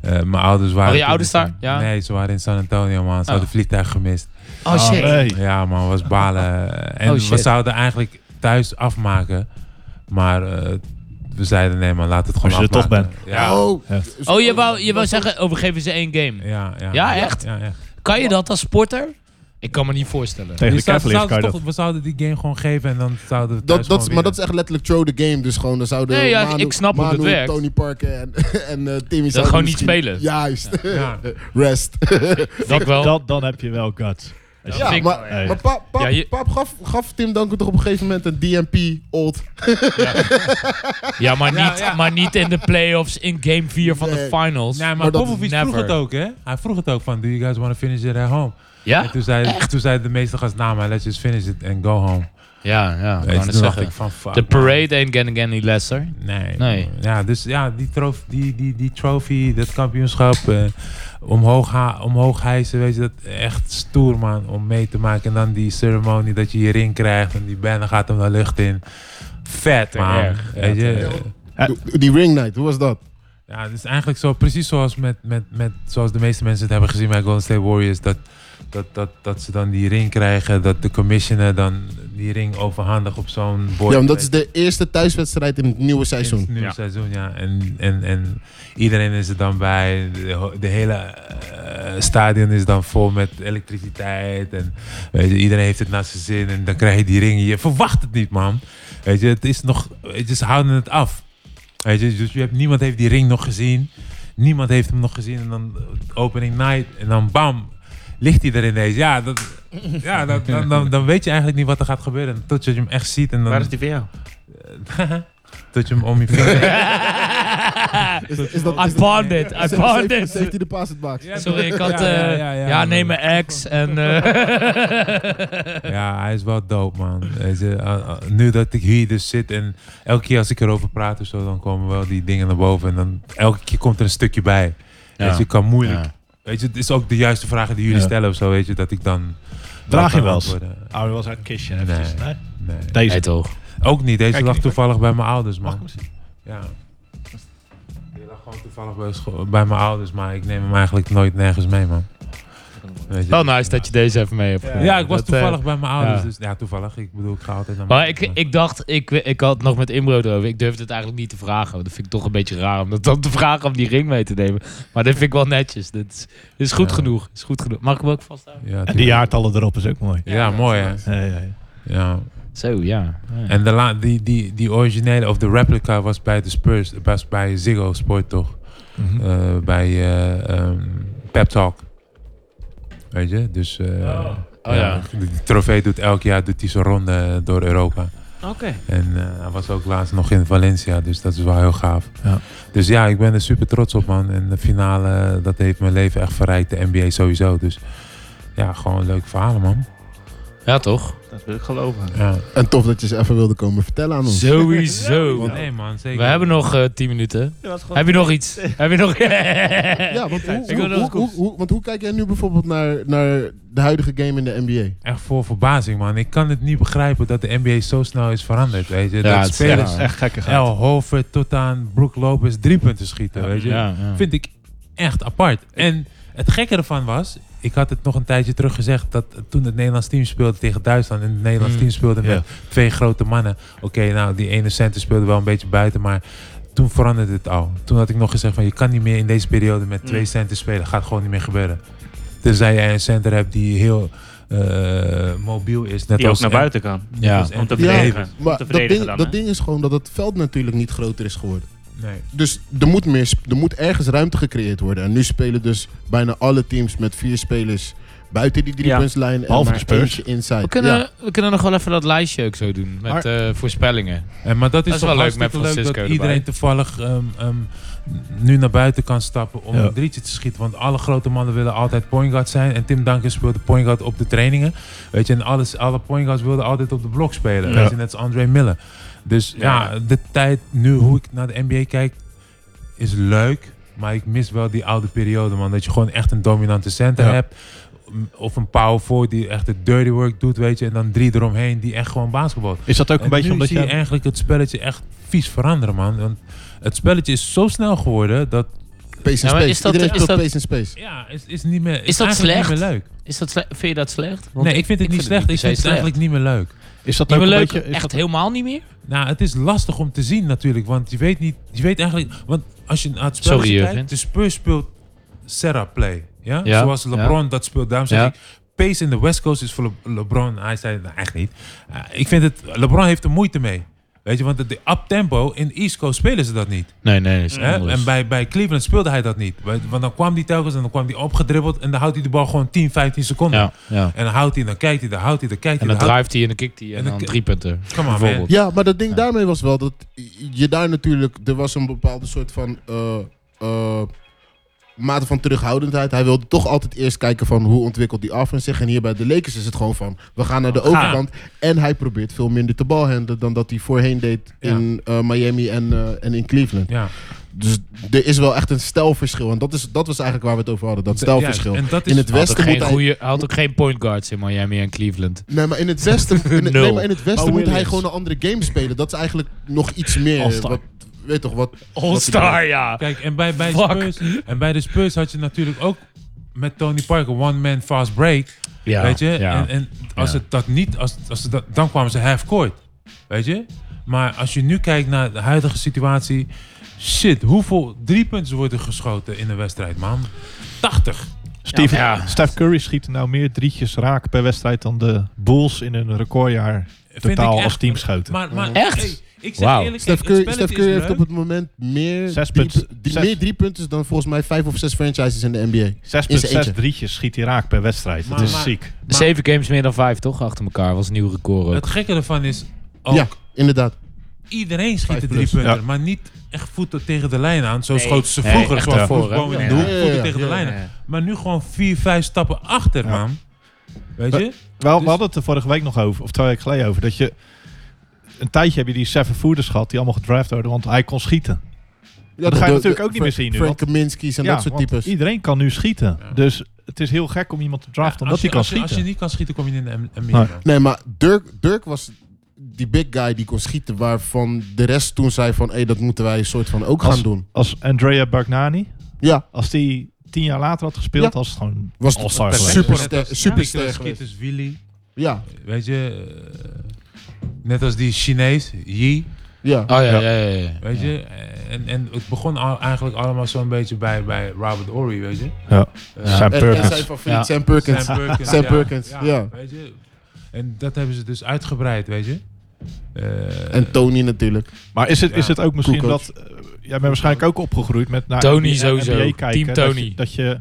eh, mijn ouders waren... Waren je toen- ouders daar? Ja. Nee, ze waren in San Antonio, man. Ze Oh. hadden vliegtuig gemist. Oh shit. Ah, nee. Ja, man, was balen. En Oh, we shit. zouden eigenlijk thuis afmaken. Maar eh, we zeiden nee, man, laat het gewoon Als je er toch afmaken. bent. Ja, Oh, Ja. dus- Oh, je wou, je wou zeggen, oh, we geven ze één game. ja, ja. Ja, echt? Ja, echt. Kan je dat als sporter? Ik kan me niet voorstellen. Tegen Je de zou- Cavaliers zouden kan je toch- dat. We zouden die game gewoon geven en dan zouden we Dat, thuis dat, gewoon maar dat is winnen. echt letterlijk throw the game. Dus gewoon, dan zouden Nee, ja, Manu- ik snap hoe Manu, het werkt. Tony Parker en, en eh, Timmy zouden gewoon niet misschien- spelen. Juist. Ja. Rest. Dat wel. Dan, dan heb je wel guts. Als je- Ja, vind ik maar, wel, ja. maar pap, pap, Ja, je- pap gaf, gaf Tim Duncan toch op een gegeven moment een DMP old. Ja, maar niet, Maar niet in de playoffs in game 4 van Nee. de finals. Nee, maar maar dat- Popovic vroeg Never. het ook, hè? Hij vroeg het ook van, do you guys want to finish it at home? En Ja? toen zei, toen zei de meeste gast, nou, maar let's just finish it and go home. Ja, ja. Weet kan je, het toen dacht zeggen. ik van, fuck. De man. parade ain't gonna get any lesser. Nee. Nee. Ja, dus ja, die, trof, die, die, die trofee, dat kampioenschap, eh, omhoog, ha- omhoog hijsen, weet je, dat echt stoer man, om mee te maken. En dan die ceremonie dat je je ring krijgt en die banner gaat hem de lucht in. Vet Te man, erg. weet Ja, te je. erg. Die ring night, hoe was dat? Ja, het is eigenlijk zo, precies zoals, met, met, met, zoals de meeste mensen het hebben gezien bij Golden State Warriors, dat, dat, dat, dat ze dan die ring krijgen, dat de commissioner dan die ring overhandigt op zo'n bord. Ja, want dat is weet de eerste thuiswedstrijd in het nieuwe In seizoen. het nieuwe Ja. seizoen, ja. En, en, en iedereen is er dan bij. De, ho- de hele eh, stadion is dan vol met elektriciteit. En weet je, iedereen heeft het naar zijn zin. En dan krijg je die ringen. Je verwacht het niet, man. Weet je, het is nog... Weet je, ze houden het af. Weet je, dus je hebt, niemand heeft die ring nog gezien. Niemand heeft hem nog gezien. En dan eh, opening night. En dan bam. Ligt hij er ineens. Ja, dat, ja dat, dan, dan, dan weet je eigenlijk niet wat er gaat gebeuren. Tot je hem echt ziet. En dan, Waar is die voor jou? Tot je hem om je vinger... Is, is dat, I pawned it. I pawned Safety- it. Safety de pass het box. Sorry, ik had... Ja, ja, eh, ja, ja, Ja, man. neem mijn ex en... eh, Ja, hij is wel dope, man. Weet je, a- a- eh, nu dat ik hier dus zit en elke keer als ik erover praat of zo, dan komen wel die dingen naar boven. En dan elke keer komt er een stukje bij. Weet je, ik kan moeilijk. Ja. Weet je, het is ook de juiste vragen die jullie Ja. stellen of zo, weet je, dat ik dan... Draag je kan wel eens? antwoorden. Oh, dat was uit het kistje. Nee. eventjes. Nee. Nee. Deze. Nee, toch. Ook niet, deze Kijk, lag ik- toevallig bij mijn ouders, Mag ik man. hem zien? Ja. Die lag gewoon toevallig bij, scho- bij mijn ouders, maar ik neem hem eigenlijk nooit nergens mee, man. Weet je. Wel nice dat je deze even mee hebt genomen. Ja, ik was Dat, eh, toevallig bij mijn ouders. ja. Dus, ja, toevallig. Ik bedoel, ik ga altijd naar Maar mijn ik, ouders, ik dacht, ik, ik had het nog met Imbro erover. Ik durfde het eigenlijk niet te vragen. want Dat vind ik toch een beetje raar om dat dan te vragen om die ring mee te nemen. Maar dat vind ik wel netjes. Dat is, dat is goed Ja. genoeg. Is goed genoeg. Mag ik hem ook vasthouden? Ja, En tuurlijk. die jaartallen erop is ook mooi. Ja, mooi hè. Ja, ja, ja. Ja. Zo, ja. Ja. En de la- die, die, die originele, of de replica, was bij de Spurs, was bij Ziggo Sport toch? Mhm. Eh, bij eh ehm, Pep Talk. Weet je? Dus eh, Oh ja. de trofee doet elk jaar doet hij zijn ronde door Europa. Oké. En eh, hij was ook laatst nog in Valencia, dus dat is wel heel gaaf. Ja. Dus ja, ik ben er super trots op, man. En de finale, eh, dat heeft mijn leven echt verrijkt. De NBA sowieso. Dus ja, gewoon leuke verhalen, man. Ja, toch? Dat wil ik geloven. Ja. En tof dat je ze even wilde komen vertellen aan ons. Sowieso. Nee, man, zeker. We hebben nog eh 10 minuten. Heb je nog iets? Heb je nog... Ja, want hoe, Ik wil hoe, dat het hoe, komt. hoe- hoe- want hoe kijk jij nu bijvoorbeeld naar, naar de huidige game in de NBA? Echt voor verbazing, man. Ik kan het niet begrijpen dat de NBA zo snel is veranderd. Weet je? het dat is spelers, Echt gekke El Hofer tot aan Brook Lopez drie punten schieten. weet je? Ja, ja. Vind ik echt apart. En het gekke ervan was, ik had het nog een tijdje terug gezegd, dat toen het Nederlands team speelde tegen Duitsland en het Nederlands Hmm. Mm, team speelde met ja. twee grote mannen. Oké, nou die ene center speelde wel een beetje buiten, maar toen veranderde het al. Toen had ik nog gezegd van je kan niet meer in deze periode met twee Mm. centers spelen. Gaat gewoon niet meer gebeuren. Tenzij jij een center hebt die heel eh, mobiel is. Net Die ook als naar en- buiten kan. Ja. als Om te Anthony verdedigen. Davis. Om Maar te dat verdedigen ding, dan, hè? dat ding is gewoon dat het veld natuurlijk niet groter is geworden. Nee. Dus er moet, meer, sp- er moet ergens ruimte gecreëerd worden. En nu spelen dus bijna alle teams met vier spelers buiten die driepuntslijn. en Behalve maar de Spurs. eentje inside. We kunnen, Ja. we kunnen nog wel even dat lijstje ook zo doen. Met Maar- eh, voorspellingen. En, maar dat is, Dat is toch wel leuk hartstikke met Francisco dat erbij. iedereen toevallig ehm, ehm, nu naar buiten kan stappen om Ja. een drietje te schieten. Want alle grote mannen willen altijd point guard zijn. En Tim Duncan speelde point guard op de trainingen. Weet je, en alles, alle point guards wilden altijd op de blok spelen. Ja. Weet je, net als André Miller. Dus ja. de tijd nu, hoe ik naar de NBA kijk, is leuk. Maar ik mis wel die oude periode, man. Dat je gewoon echt een dominante center Ja. hebt. m- Of een power forward die echt de dirty work doet, weet je. En dan drie eromheen die echt gewoon basketbal. Is dat ook een En beetje nu omdat zie je je... eigenlijk het spelletje echt vies veranderen, man. Want het spelletje is zo snel geworden dat Pace Ja, and maar space. is dat- Iedereen is speelt dat- pace and space. ja, is, is niet meer. Is dat eigenlijk Niet slecht? meer leuk. Is dat sle- vind je dat slecht? Want nee, ik vind het niet slecht. ik per vind se het eigenlijk niet meer leuk. Is dat Niet ook meer een leuk, beetje... Is echt dat, helemaal niet meer? Nou, het is lastig om te zien natuurlijk, want je weet niet, je weet eigenlijk, want als je naar het spel Sorry, Jurgen. kijkt, de Spurs speelt Serra play, ja? Ja, Zoals LeBron dat speelt. Daarom zeg Ja. ik, pace in de West Coast is voor Le- LeBron. Hij zei, nou, echt niet. Eh, ik vind het, LeBron heeft er moeite mee. Weet je, want de up tempo in de East Coast spelen ze dat niet. Nee, nee, is Hè? En bij, bij Cleveland speelde hij dat niet. Bij- Want dan kwam hij telkens en dan kwam hij opgedribbeld. En dan houdt hij de bal gewoon 10, 15 seconden. ja, ja. En dan houdt hij, dan kijkt hij, dan houdt hij, dan kijkt En hij. dan dan houdt drive hij en dan kickt hij en En dan dan ki- drie punten. Come on, man. bijvoorbeeld. Ja, maar dat ding daarmee was wel dat je daar natuurlijk... Er was een bepaalde soort van eh, eh, mate van terughoudendheid. Hij wilde toch altijd eerst kijken van hoe ontwikkelt die offense zich. En hier bij de Lakers is het gewoon van, we gaan naar de Oh, overkant. En hij probeert veel minder te balhandelen dan dat hij voorheen deed Ja. in eh, Miami en, eh, en in Cleveland. Ja. Dus er is wel echt een stijlverschil. En dat, is, dat was eigenlijk waar we het over hadden, dat stijlverschil. Ja, en dat is, in het Hij had, ook Westen geen moet hij... goede, hij had ook geen point guards in Miami en Cleveland. Nee, maar in het Westen, in het- Nul. nee, maar in het westen Oh, moet hij Williams. gewoon een andere game spelen. Dat is eigenlijk nog iets meer. All-star. Wat, weet toch, wat... All-star, ja. Kijk, en bij, bij, Fuck. Spurs, en bij de Spurs had je natuurlijk ook met Tony Parker one man fast break. ja. weet je? ja. En, en als Ja. het dat niet, als, als ze dat, dan kwamen ze half court. Weet je? Maar als je nu kijkt naar de huidige situatie. Shit, hoeveel driepunten worden geschoten in een wedstrijd, man? 80. Steve, Ja. Steph Curry schiet nou meer drietjes raak per wedstrijd dan de Bulls in een recordjaar Vind ik totaal echt. als team schoten. Maar, maar Echt? hey, ik zeg Wauw. eerlijk, Steph kijk, Curry, het Steph spelletje Curry is heeft op leuk. het moment meer, Zes drie, punten- die- zes- meer drie punten dan volgens mij vijf of zes franchises in de NBA. 6,6 eentje. drietjes schiet hij raak per wedstrijd. Dat Maar- dus- is maar- ziek. Zeven games meer dan vijf, toch? Achter elkaar was een nieuw record ook. Het gekke ervan is ook Ja, inderdaad. iedereen schiet Vijf de plus. drie punten, Ja. maar niet echt voeten tegen de lijn aan. Zo Nee. schoten ze Nee, vroeger echt gewoon daarvoor, voet, hè? gewoon in Ja. de hoek, Ja, ja, voeten ja. tegen de Ja, lijn aan. ja. Maar nu gewoon vier, vijf stappen achter, Ja. man. Weet je? Wel, Dus- we hadden het er vorige week nog over, of twee weken geleden over, dat je een tijdje heb je die seven fooders gehad die allemaal gedraft worden, want hij kon schieten. Ja, dat ga je de- natuurlijk de- ook niet meer zien nu, Frank Kaminsky's en dat soort want types. Iedereen kan nu schieten, Ja. dus het is heel gek om iemand te draften Ja, als omdat hij je- kan als je- schieten. Als je niet kan schieten, kom je in de M- NBA. Nee. man. Nee, maar Dirk, Dirk was die big guy die kon schieten, waarvan de rest toen zei van, hé, dat moeten wij een soort van ook Als- gaan doen. Als Andrea Bagnani, Ja, als die tien jaar later had gespeeld, Ja. was het gewoon was All-star geweest. Net superster, als superster Nicolas geweest. Kitters, Willy. Ja, Weet je? eh, net als die Chinees, Yi. ja. Oh ja, ja, ja. ja, ja. Weet je? Eh, En, en het begon al, eigenlijk allemaal zo'n beetje bij, bij Robert Ory, weet je? Ja. Eh, Sam En, en Perkins. zijn favoriet, Ja. Sam Perkins. Sam Perkins. Sam Perkins, ja. Weet je? En dat hebben ze dus uitgebreid, weet je? Eh, En Tony natuurlijk. Maar is het, is Ja. het ook misschien Koekoets. dat... eh, jij bent waarschijnlijk ook opgegroeid met... Naar Tony NBA sowieso. kijken, Team Tony. Dat je, dat je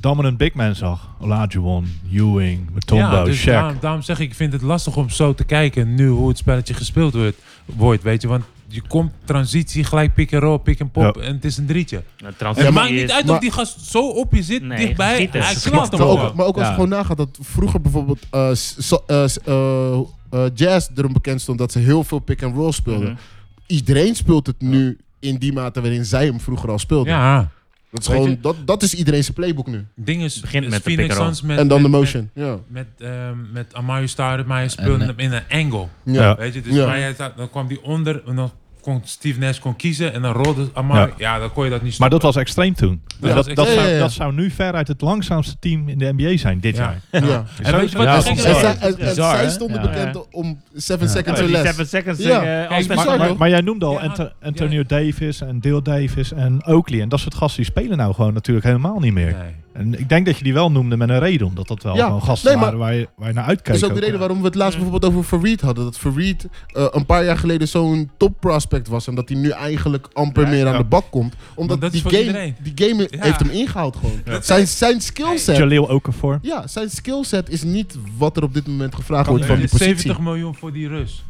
dominant big man zag. Olajuwon, Ewing, Matombo, ja, dus Shaq. daarom, daarom zeg ik, ik vind het lastig om zo te kijken nu hoe het spelletje gespeeld wordt, wordt weet je. Want je komt transitie, gelijk pick and roll, pick and pop Ja. en het is een drietje. Nou, Het transitie maakt is- niet uit maar- of die gast zo op je zit, Nee, dichtbij, schiet het. hij Schiet klapt hem Maar gewoon. ook, maar ook als Ja. je gewoon nagaat dat vroeger bijvoorbeeld eh, s- so- eh, s- eh, eh, jazz erom bekend stond dat ze heel veel pick and roll speelden. Mhm. Iedereen speelt het nu in die mate waarin zij hem vroeger al speelden. Ja, dat, is weet gewoon, je- dat, dat is iedereen zijn playbook nu. ding is, Begint is met de Phoenix pick and roll. Suns met, en dan de met- motion. ja. Met, met, ehm, met Amari Stoudemire, maar hij speelde En, hem in een angle. Ja. Ja. Weet je, dus Ja. maar hij zat- dan kwam die onder en dan kon Steve Nash kon kiezen en dan rolde Amari. Ja. Ja, dan kon je dat niet Maar dat stoppen. was extreem toen. Ja, En dat, dat was dat, extreem. zou, Ja, ja, ja. dat zou nu veruit het langzaamste team in de NBA zijn dit Ja. jaar. Ja. En weet je wat Ja, het dat En is gekke is? zij- en- en Bizar, hè? zij stonden Ja. bekend om 7 seconds Ja, or die less. seven seconds. Ja. eh, Kijk, als maar- best- maar- Maar, maar jij noemde al Ja, Ant- ja. Antonio Davis en Dale Davis en Oakley. En dat soort gasten die spelen nou gewoon natuurlijk helemaal niet meer. Nee. En ik denk dat je die wel noemde met een reden. Omdat dat wel Ja. gewoon gasten Nee, maar- waren waar je, waar je naar Dat uitkeek. is ook de ook. reden waarom we het laatst bijvoorbeeld over Farid hadden. Dat Farid eh, een paar jaar geleden zo'n top prospect was. En dat hij nu eigenlijk amper meer aan ja. de bak komt. Maar Omdat dat die, is voor game, iedereen. die game Ja. heeft hem ingehaald gewoon. Zijn, zijn skillset. Jaleel Okafor. Ja, zijn skillset is niet wat er op dit moment gevraagd Kan wordt van Eh, die positie. 70 miljoen voor die Rus.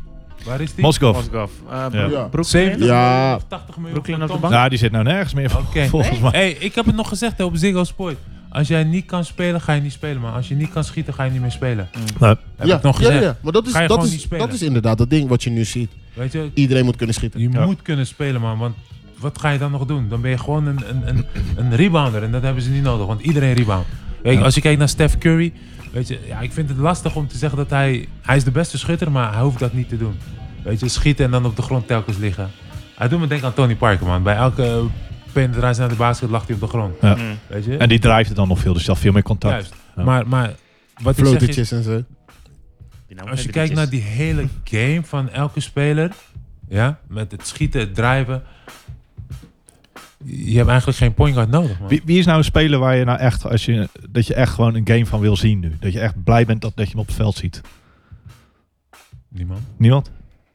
Waar is die? Mosgov. Mozgov. Eh, Bro- Ja. Ja. Brooklyn? 70 Ja. of 80 miljoen. Brooklyn voor op de Thompson. Nou, die zit nou nergens meer vol- Oh. Oké. volgens mij. Hey, ik heb het nog gezegd hè, op Ziggo Sport. Als jij niet kan spelen, ga je niet spelen. Maar als je niet kan schieten, ga je niet meer spelen. Nou, Heb ik nog gezegd. Ja, ja, maar dat is, Ga je dat, gewoon is, niet spelen. dat is inderdaad dat ding wat je nu ziet. Weet je, Iedereen moet kunnen schieten. je Ja. moet kunnen spelen, man. Want wat ga je dan nog doen? Dan ben je gewoon een, een, een, een rebounder. En dat hebben ze niet nodig, want iedereen rebound. Weet je, Ja. Als je kijkt naar Steph Curry. Weet je, ja, ik vind het lastig om te zeggen dat hij... Hij is de beste schutter, maar hij hoeft dat niet te doen. Weet je, schieten en dan op de grond telkens liggen. Hij doet me denken aan Tony Parker, man. Bij elke penetratie naar de basket lag hij op de grond. Ja. Mm. Weet je? En die drijft het dan nog veel, dus dat veel meer contact. Juist. Ja. Maar, maar wat ik zeg is, Floatertjes en zo. Die namen als je hebben kijkt ditjes. naar die hele game van elke speler, ja, met het schieten, het drijven, je hebt eigenlijk geen point guard nodig, man. Wie, wie is nou een speler waar je nou echt, als je, dat je echt gewoon een game van wil zien nu? Dat je echt blij bent dat, dat je hem op het veld ziet? Niemand. Niemand?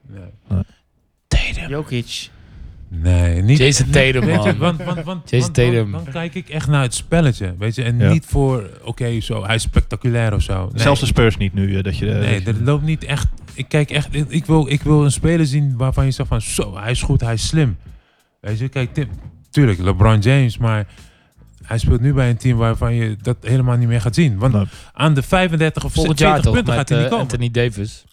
Nee, Jokic. nee niet. Jason Tatum, Weet je, man. want, want, want, Jason want dan- Tatum. Dan, kijk ik echt naar het spelletje, weet je, en Ja. niet voor, oké, zo, hij is spectaculair of zo. Nee. Zelfs de Spurs niet nu. eh, dat je, eh, Nee, dat je- dat loopt niet echt. Ik kijk echt. ik- Ik wil, ik wil een speler zien waarvan je zegt van zo, hij is goed, hij is slim. Weet je, kijk, Tim, tuurlijk, LeBron James, maar hij speelt nu bij een team waarvan je dat helemaal niet meer gaat zien. Want Nee. aan de 35 of Volgend 40 jaar toch punten gaat met hij niet eh, komen. Anthony Davis.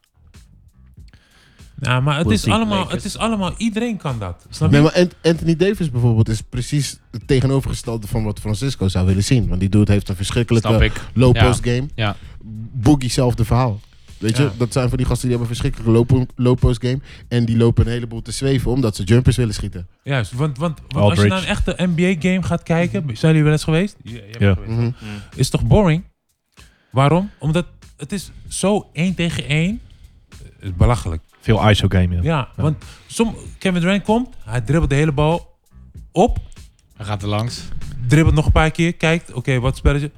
nou, maar het We'll is, see, allemaal, Lakers. het is allemaal, iedereen kan dat. Snap je? Nee, maar Ant- Anthony Davis bijvoorbeeld is precies het tegenovergestelde van wat Francisco zou willen zien. Want die dude heeft een Snap verschrikkelijke ik. Ja. low-post game. Ja. Boogie zelfde verhaal. Weet je, Ja. dat zijn van die gasten die hebben een verschrikkelijke low- low-post game. En die lopen een heleboel te zweven omdat ze jumpers willen schieten. Juist, want, want, want als je nou Aldridge. naar een echte NBA-game gaat kijken, zijn jullie wel eens geweest? Mhm. Ja. jij bent Ja. geweest. Mhm. is toch boring? Waarom? Omdat het is zo één tegen één. Het Eh, is belachelijk. Veel ISO game. Ja. Ja, want som, Kevin Durant komt, hij dribbelt de hele bal op, Hij gaat er langs. dribbelt nog een paar keer, kijkt, oké, wat spelletje.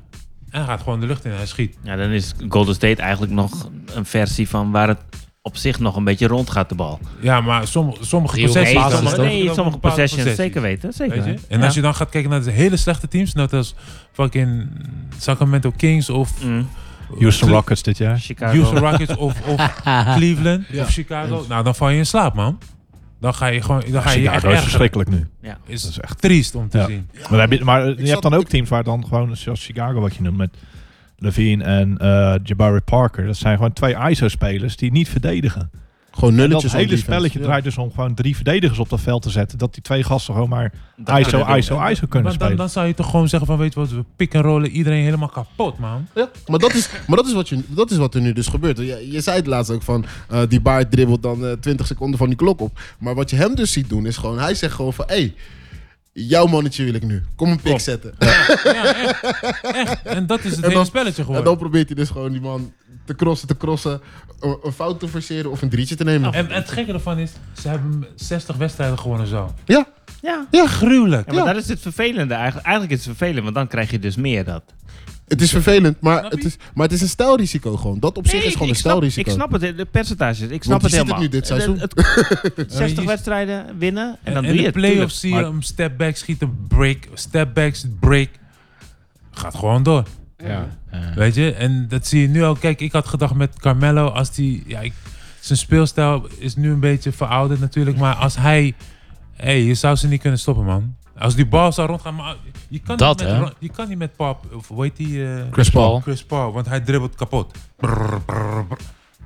En hij gaat gewoon de lucht in en hij schiet. Ja, dan is Golden State eigenlijk nog een versie van waar het op zich nog een beetje rond gaat, de bal. Ja, maar som, sommige Driehoek possessies... basis, dan sommige- lopen nee, er ook sommige bepaalde possessions, zeker weten. Zeker. Weet je? En als je dan gaat kijken naar de hele slechte teams, net als fucking Sacramento Kings of Mm. Houston Cle- Rockets dit jaar. Chicago. Houston Rockets of, of Cleveland Ja. of Chicago, nou dan val je in slaap, man. Dan ga je gewoon, dan ga je, je echt Chicago is ergeren. verschrikkelijk nu. Is, Dat is echt- triest om te Ja. zien. Maar, heb je, maar eh, je zat- hebt dan ook teams waar dan gewoon, zoals Chicago wat je noemt, met Levine en eh, Jabari Parker. Dat zijn gewoon twee ISO-spelers die niet verdedigen. Gewoon En dat nulletjes. op hele defense. spelletje Ja. draait dus om gewoon drie verdedigers op dat veld te zetten. Dat die twee gasten gewoon maar Dat ISO, kunnen ISO, doen. ISO, kunnen Maar dan, spelen. dan zou je toch gewoon zeggen van, weet je wat, we pick en rollen iedereen helemaal kapot, man. Ja, maar dat is, maar dat is, wat, je, dat is wat er nu dus gebeurt. Je, je zei het laatst ook van, eh, die baard dribbelt dan eh, 20 seconden van die klok op. Maar wat je hem dus ziet doen is gewoon, hij zegt gewoon van, hé, hey, jouw mannetje wil ik nu. Kom een pik zetten. Ja, echt. echt. En dat is het dan- hele spelletje En dan geworden. probeert hij dus gewoon die man te crossen, te crossen, een, een fout te forceren of een drietje te nemen. En, en het gekke ervan is, ze hebben 60 wedstrijden gewonnen zo. Ja, Ja. ja. Gruwelijk. Ja, maar Ja. dat is het vervelende eigenlijk. Eigenlijk is het vervelend, want dan krijg je dus meer dat. Het is vervelend, maar Snap je? het is, maar het is een stijlrisico gewoon. Dat op zich is gewoon ik een snap, ik stijlrisico. snap het, de percentages. Ik snap je het ziet het helemaal. nu dit seizoen. Het- het- Ja, 60 je- wedstrijden winnen en En, dan dan doe je in de het. playoffs tuurlijk. zie je hem step back schieten, break. Step back, break. gaat gewoon door. Ja. Ja. Weet je, en dat zie je nu al. Kijk, ik had gedacht met Carmelo, als die. Ja, ik- zijn speelstijl is nu een beetje verouderd natuurlijk, maar als hij. Hé, je zou ze niet kunnen stoppen, man. Als die bal zou rondgaan, maar je kan, Dat, niet, hè? met, Ron- je kan niet met Pop, of hoe heet die? eh, Chris Paul. Chris Paul, want hij dribbelt kapot. Brrr, brrr, brrr.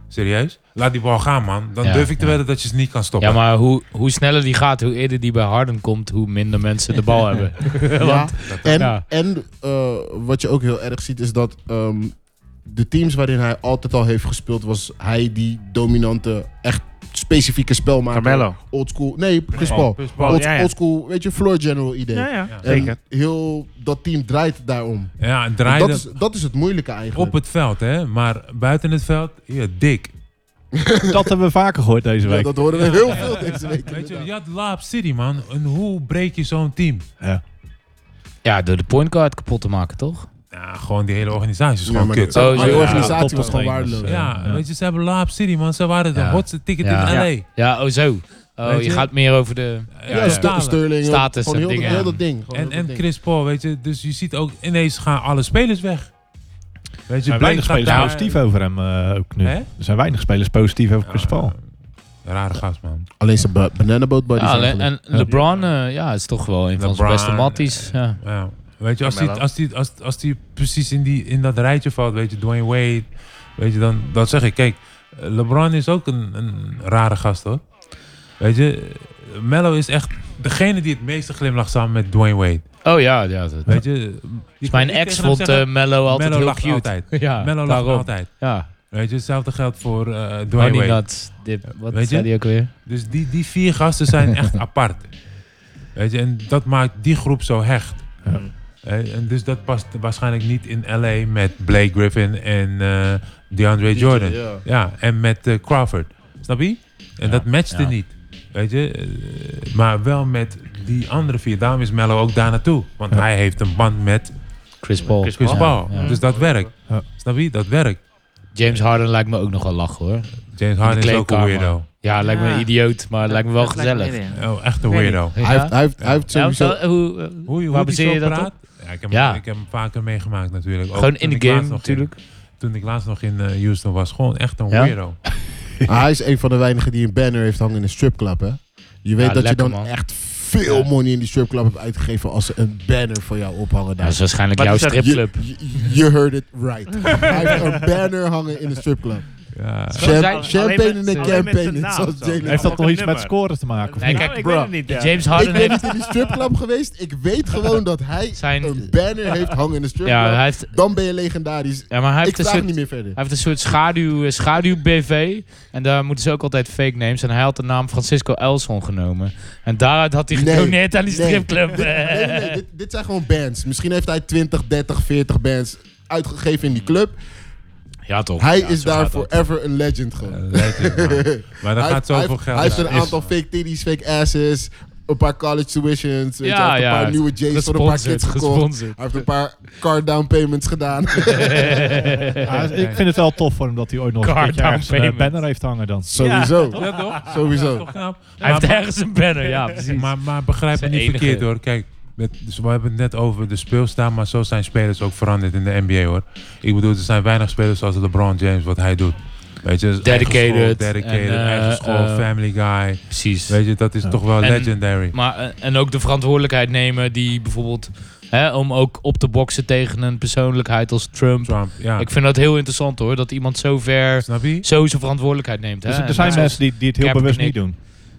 Serieus? Laat die bal gaan, man. Dan Ja, durf ik te ja. wedden dat je ze niet kan stoppen. Ja, maar hoe, hoe sneller die gaat, hoe eerder die bij Harden komt, hoe minder mensen de bal hebben. Ja. En, Ja. en eh, wat je ook heel erg ziet is dat ehm, de teams waarin hij altijd al heeft gespeeld, was hij die dominante, echt specifieke spelmaker. Carmelo. Oldschool. Nee, Chris Paul, Paul. Chris Paul, Old, ja, ja. Oldschool, weet je, floor general idee. Ja, ja, Ja. En zeker. heel dat team draait daarom. Ja, en En draaide Dat is, dat is het moeilijke eigenlijk. op het veld, hè. Maar buiten het veld, ja, dik. Dat hebben we vaker gehoord deze Ja, week. dat horen we heel veel deze week. Weet je, inderdaad. je had Laap City, man. En hoe breek je zo'n team? Ja, door de pointcard kapot te maken, toch? Ja, gewoon die hele organisatie is Ja, gewoon maar Oh, kut. de- Oh, maar de ja. Top organisatie was tot gewoon teen, waardeloos. dus, eh. Ja, Ja. weet je, ze hebben Laap City, man. Ze waren de Ja. hotste ticket Ja. in LA. Ja, oh zo. Oh, Weet je je? gaat meer over de... Ja, Ja, Ster- ja. Sterling. Status gewoon en heel, dingen, heel ja. dat ding. gewoon En, heel dat en ding. Chris Paul, weet je. Dus je ziet ook, ineens gaan alle spelers weg. Weet je, Er zijn Blake weinig gaat spelers daar- positief over hem eh, ook nu. Hè? Er zijn weinig spelers positief over Chris Paul. Ja, rare gast, man. Alleen zijn ba- banana boat body. Ja, en, Ah, en LeBron eh, ja, is toch wel een van zijn LeBron, eh, beste matties. Ja. Ja. Weet je, als hij Carmelo. als die, als, als die precies in, die, in dat rijtje valt, weet je, Dwayne Wade, weet je, dan dat zeg ik. Kijk, LeBron is ook een, een rare gast, hoor. Weet je, Mello is echt degene die het meeste glimlacht samen met Dwayne Wade. Oh ja, ja. Dat, Weet je, je Dus kan mijn niet tegen ex hem vond zeggen, eh, Mello altijd Mello heel lacht cute. altijd. Ja, Mello lacht daarom. altijd. Ja, Weet je, hetzelfde geldt voor eh, Dwayne honey Wade. nut dip. Wat Weet zei je? die ook weer? Dus die, die vier gasten zijn echt apart. Weet je, en dat maakt die groep zo hecht. Ja. Eh, En dus dat past waarschijnlijk niet in LA met Blake Griffin en eh, DeAndre Jordan. Ja. en met eh, Crawford. Snap je? En dat matchte ja. niet. Weet je, eh, maar wel met die andere vier. Daarom is Mello ook daar naartoe. Want Ja. hij heeft een band met Chris Paul. Chris Chris Ja, Paul. ja. Dus dat werkt. Ja. Snap je? Dat werkt. James Harden lijkt me ook nog wel lachen hoor. James Harden is ook een kleedkamer. weerdo. Ja, lijkt me Ja. een idioot, maar lijkt me wel gezellig. Oh, echt een Ik weet weirdo. Ja? Hij heeft, hij heeft, hij heeft Ja, sowieso... wel, hoe, eh, Hoe, hoe Waar die baseer zo je dat praat? Ja, ik, heb, Ja. ik heb hem vaker meegemaakt natuurlijk. Ook Oh, gewoon in toen de ik game laatst nog in- natuurlijk. toen ik laatst nog in eh, Houston was. Gewoon echt een Ja? weirdo. Ah, Hij is een van de weinigen die een banner heeft hangen in een stripclub, hè? Je weet Ja, dat lekker, je dan man. echt veel Ja. money in die stripclub hebt uitgegeven als ze een banner voor jou ophangen Ja, dat daar. is waarschijnlijk Maar jouw die staat- stripclub. Je, je- you heard it right. Hij heeft een banner hangen in een stripclub. Ja. Zo zijn- Cham- champagne alleen in met- de alleen met campaign, zijn naam zoals zo. Jalen Heeft dat zegt. nog iets met nummer. scores te maken? Of Nee, niet? kijk, ik bro. weet het niet. ja. James Ik Harden ben niet heeft... in die stripclub geweest. Ik weet gewoon dat hij Zijn- een banner heeft hangen in een stripclub. Ja, hij heeft, Dan ben je legendarisch. ja, maar hij Ik heeft, een vraag soort, niet hij meer verder. heeft een soort schaduw, eh, schaduw-BV. En daar moeten ze ook altijd fake names. En hij had de naam Francisco Elson genomen. En daaruit had hij Nee. gedoneerd aan die Nee. stripclub. eh. Dit, nee, nee, nee, dit, dit zijn gewoon bands. Misschien heeft hij 20, 30, 40 bands uitgegeven in die club. Ja, toch. Hij Ja, is zo daar gaat dat. forever een legend Eh, gewoon. legend, man. Maar daar Hij heeft- gaat hij zoveel heeft- geld Hij heeft een naar. aantal fake titties, fake asses, een paar college tuitions, weet je, hij heeft een paar nieuwe J's voor een paar Gesponsord, kids gekocht. gesponsord. Hij heeft een paar car down payments gedaan. Ja, ik vind het wel tof voor hem dat hij ooit nog een Card keertje down ergens een payment. banner heeft hangen dan. Sowieso. Ja, toch? Sowieso. Toch knap? Hij heeft ergens een banner, ja, precies. Maar, maar begrijp me Zijn niet enige. verkeerd hoor. Kijk, met, dus we hebben het net over de speelstijl, maar zo zijn spelers ook veranderd in de NBA hoor. Ik bedoel, er zijn weinig spelers zoals LeBron James, wat hij doet. Weet je, dus eigen school, Dedicated dedicated, en, eh, eigen school, eh, family guy. precies. Weet je, dat is toch wel En- legendary. Maar, eh, en ook de verantwoordelijkheid nemen die bijvoorbeeld... Hè, om ook op te boksen tegen een persoonlijkheid als Trump. Trump, ja. Ik vind dat heel interessant hoor. Dat iemand zo ver... Snap je? Zo zijn verantwoordelijkheid neemt. Hè? Dus er En zijn dat- mensen die, die het heel Kaepernick. bewust niet doen.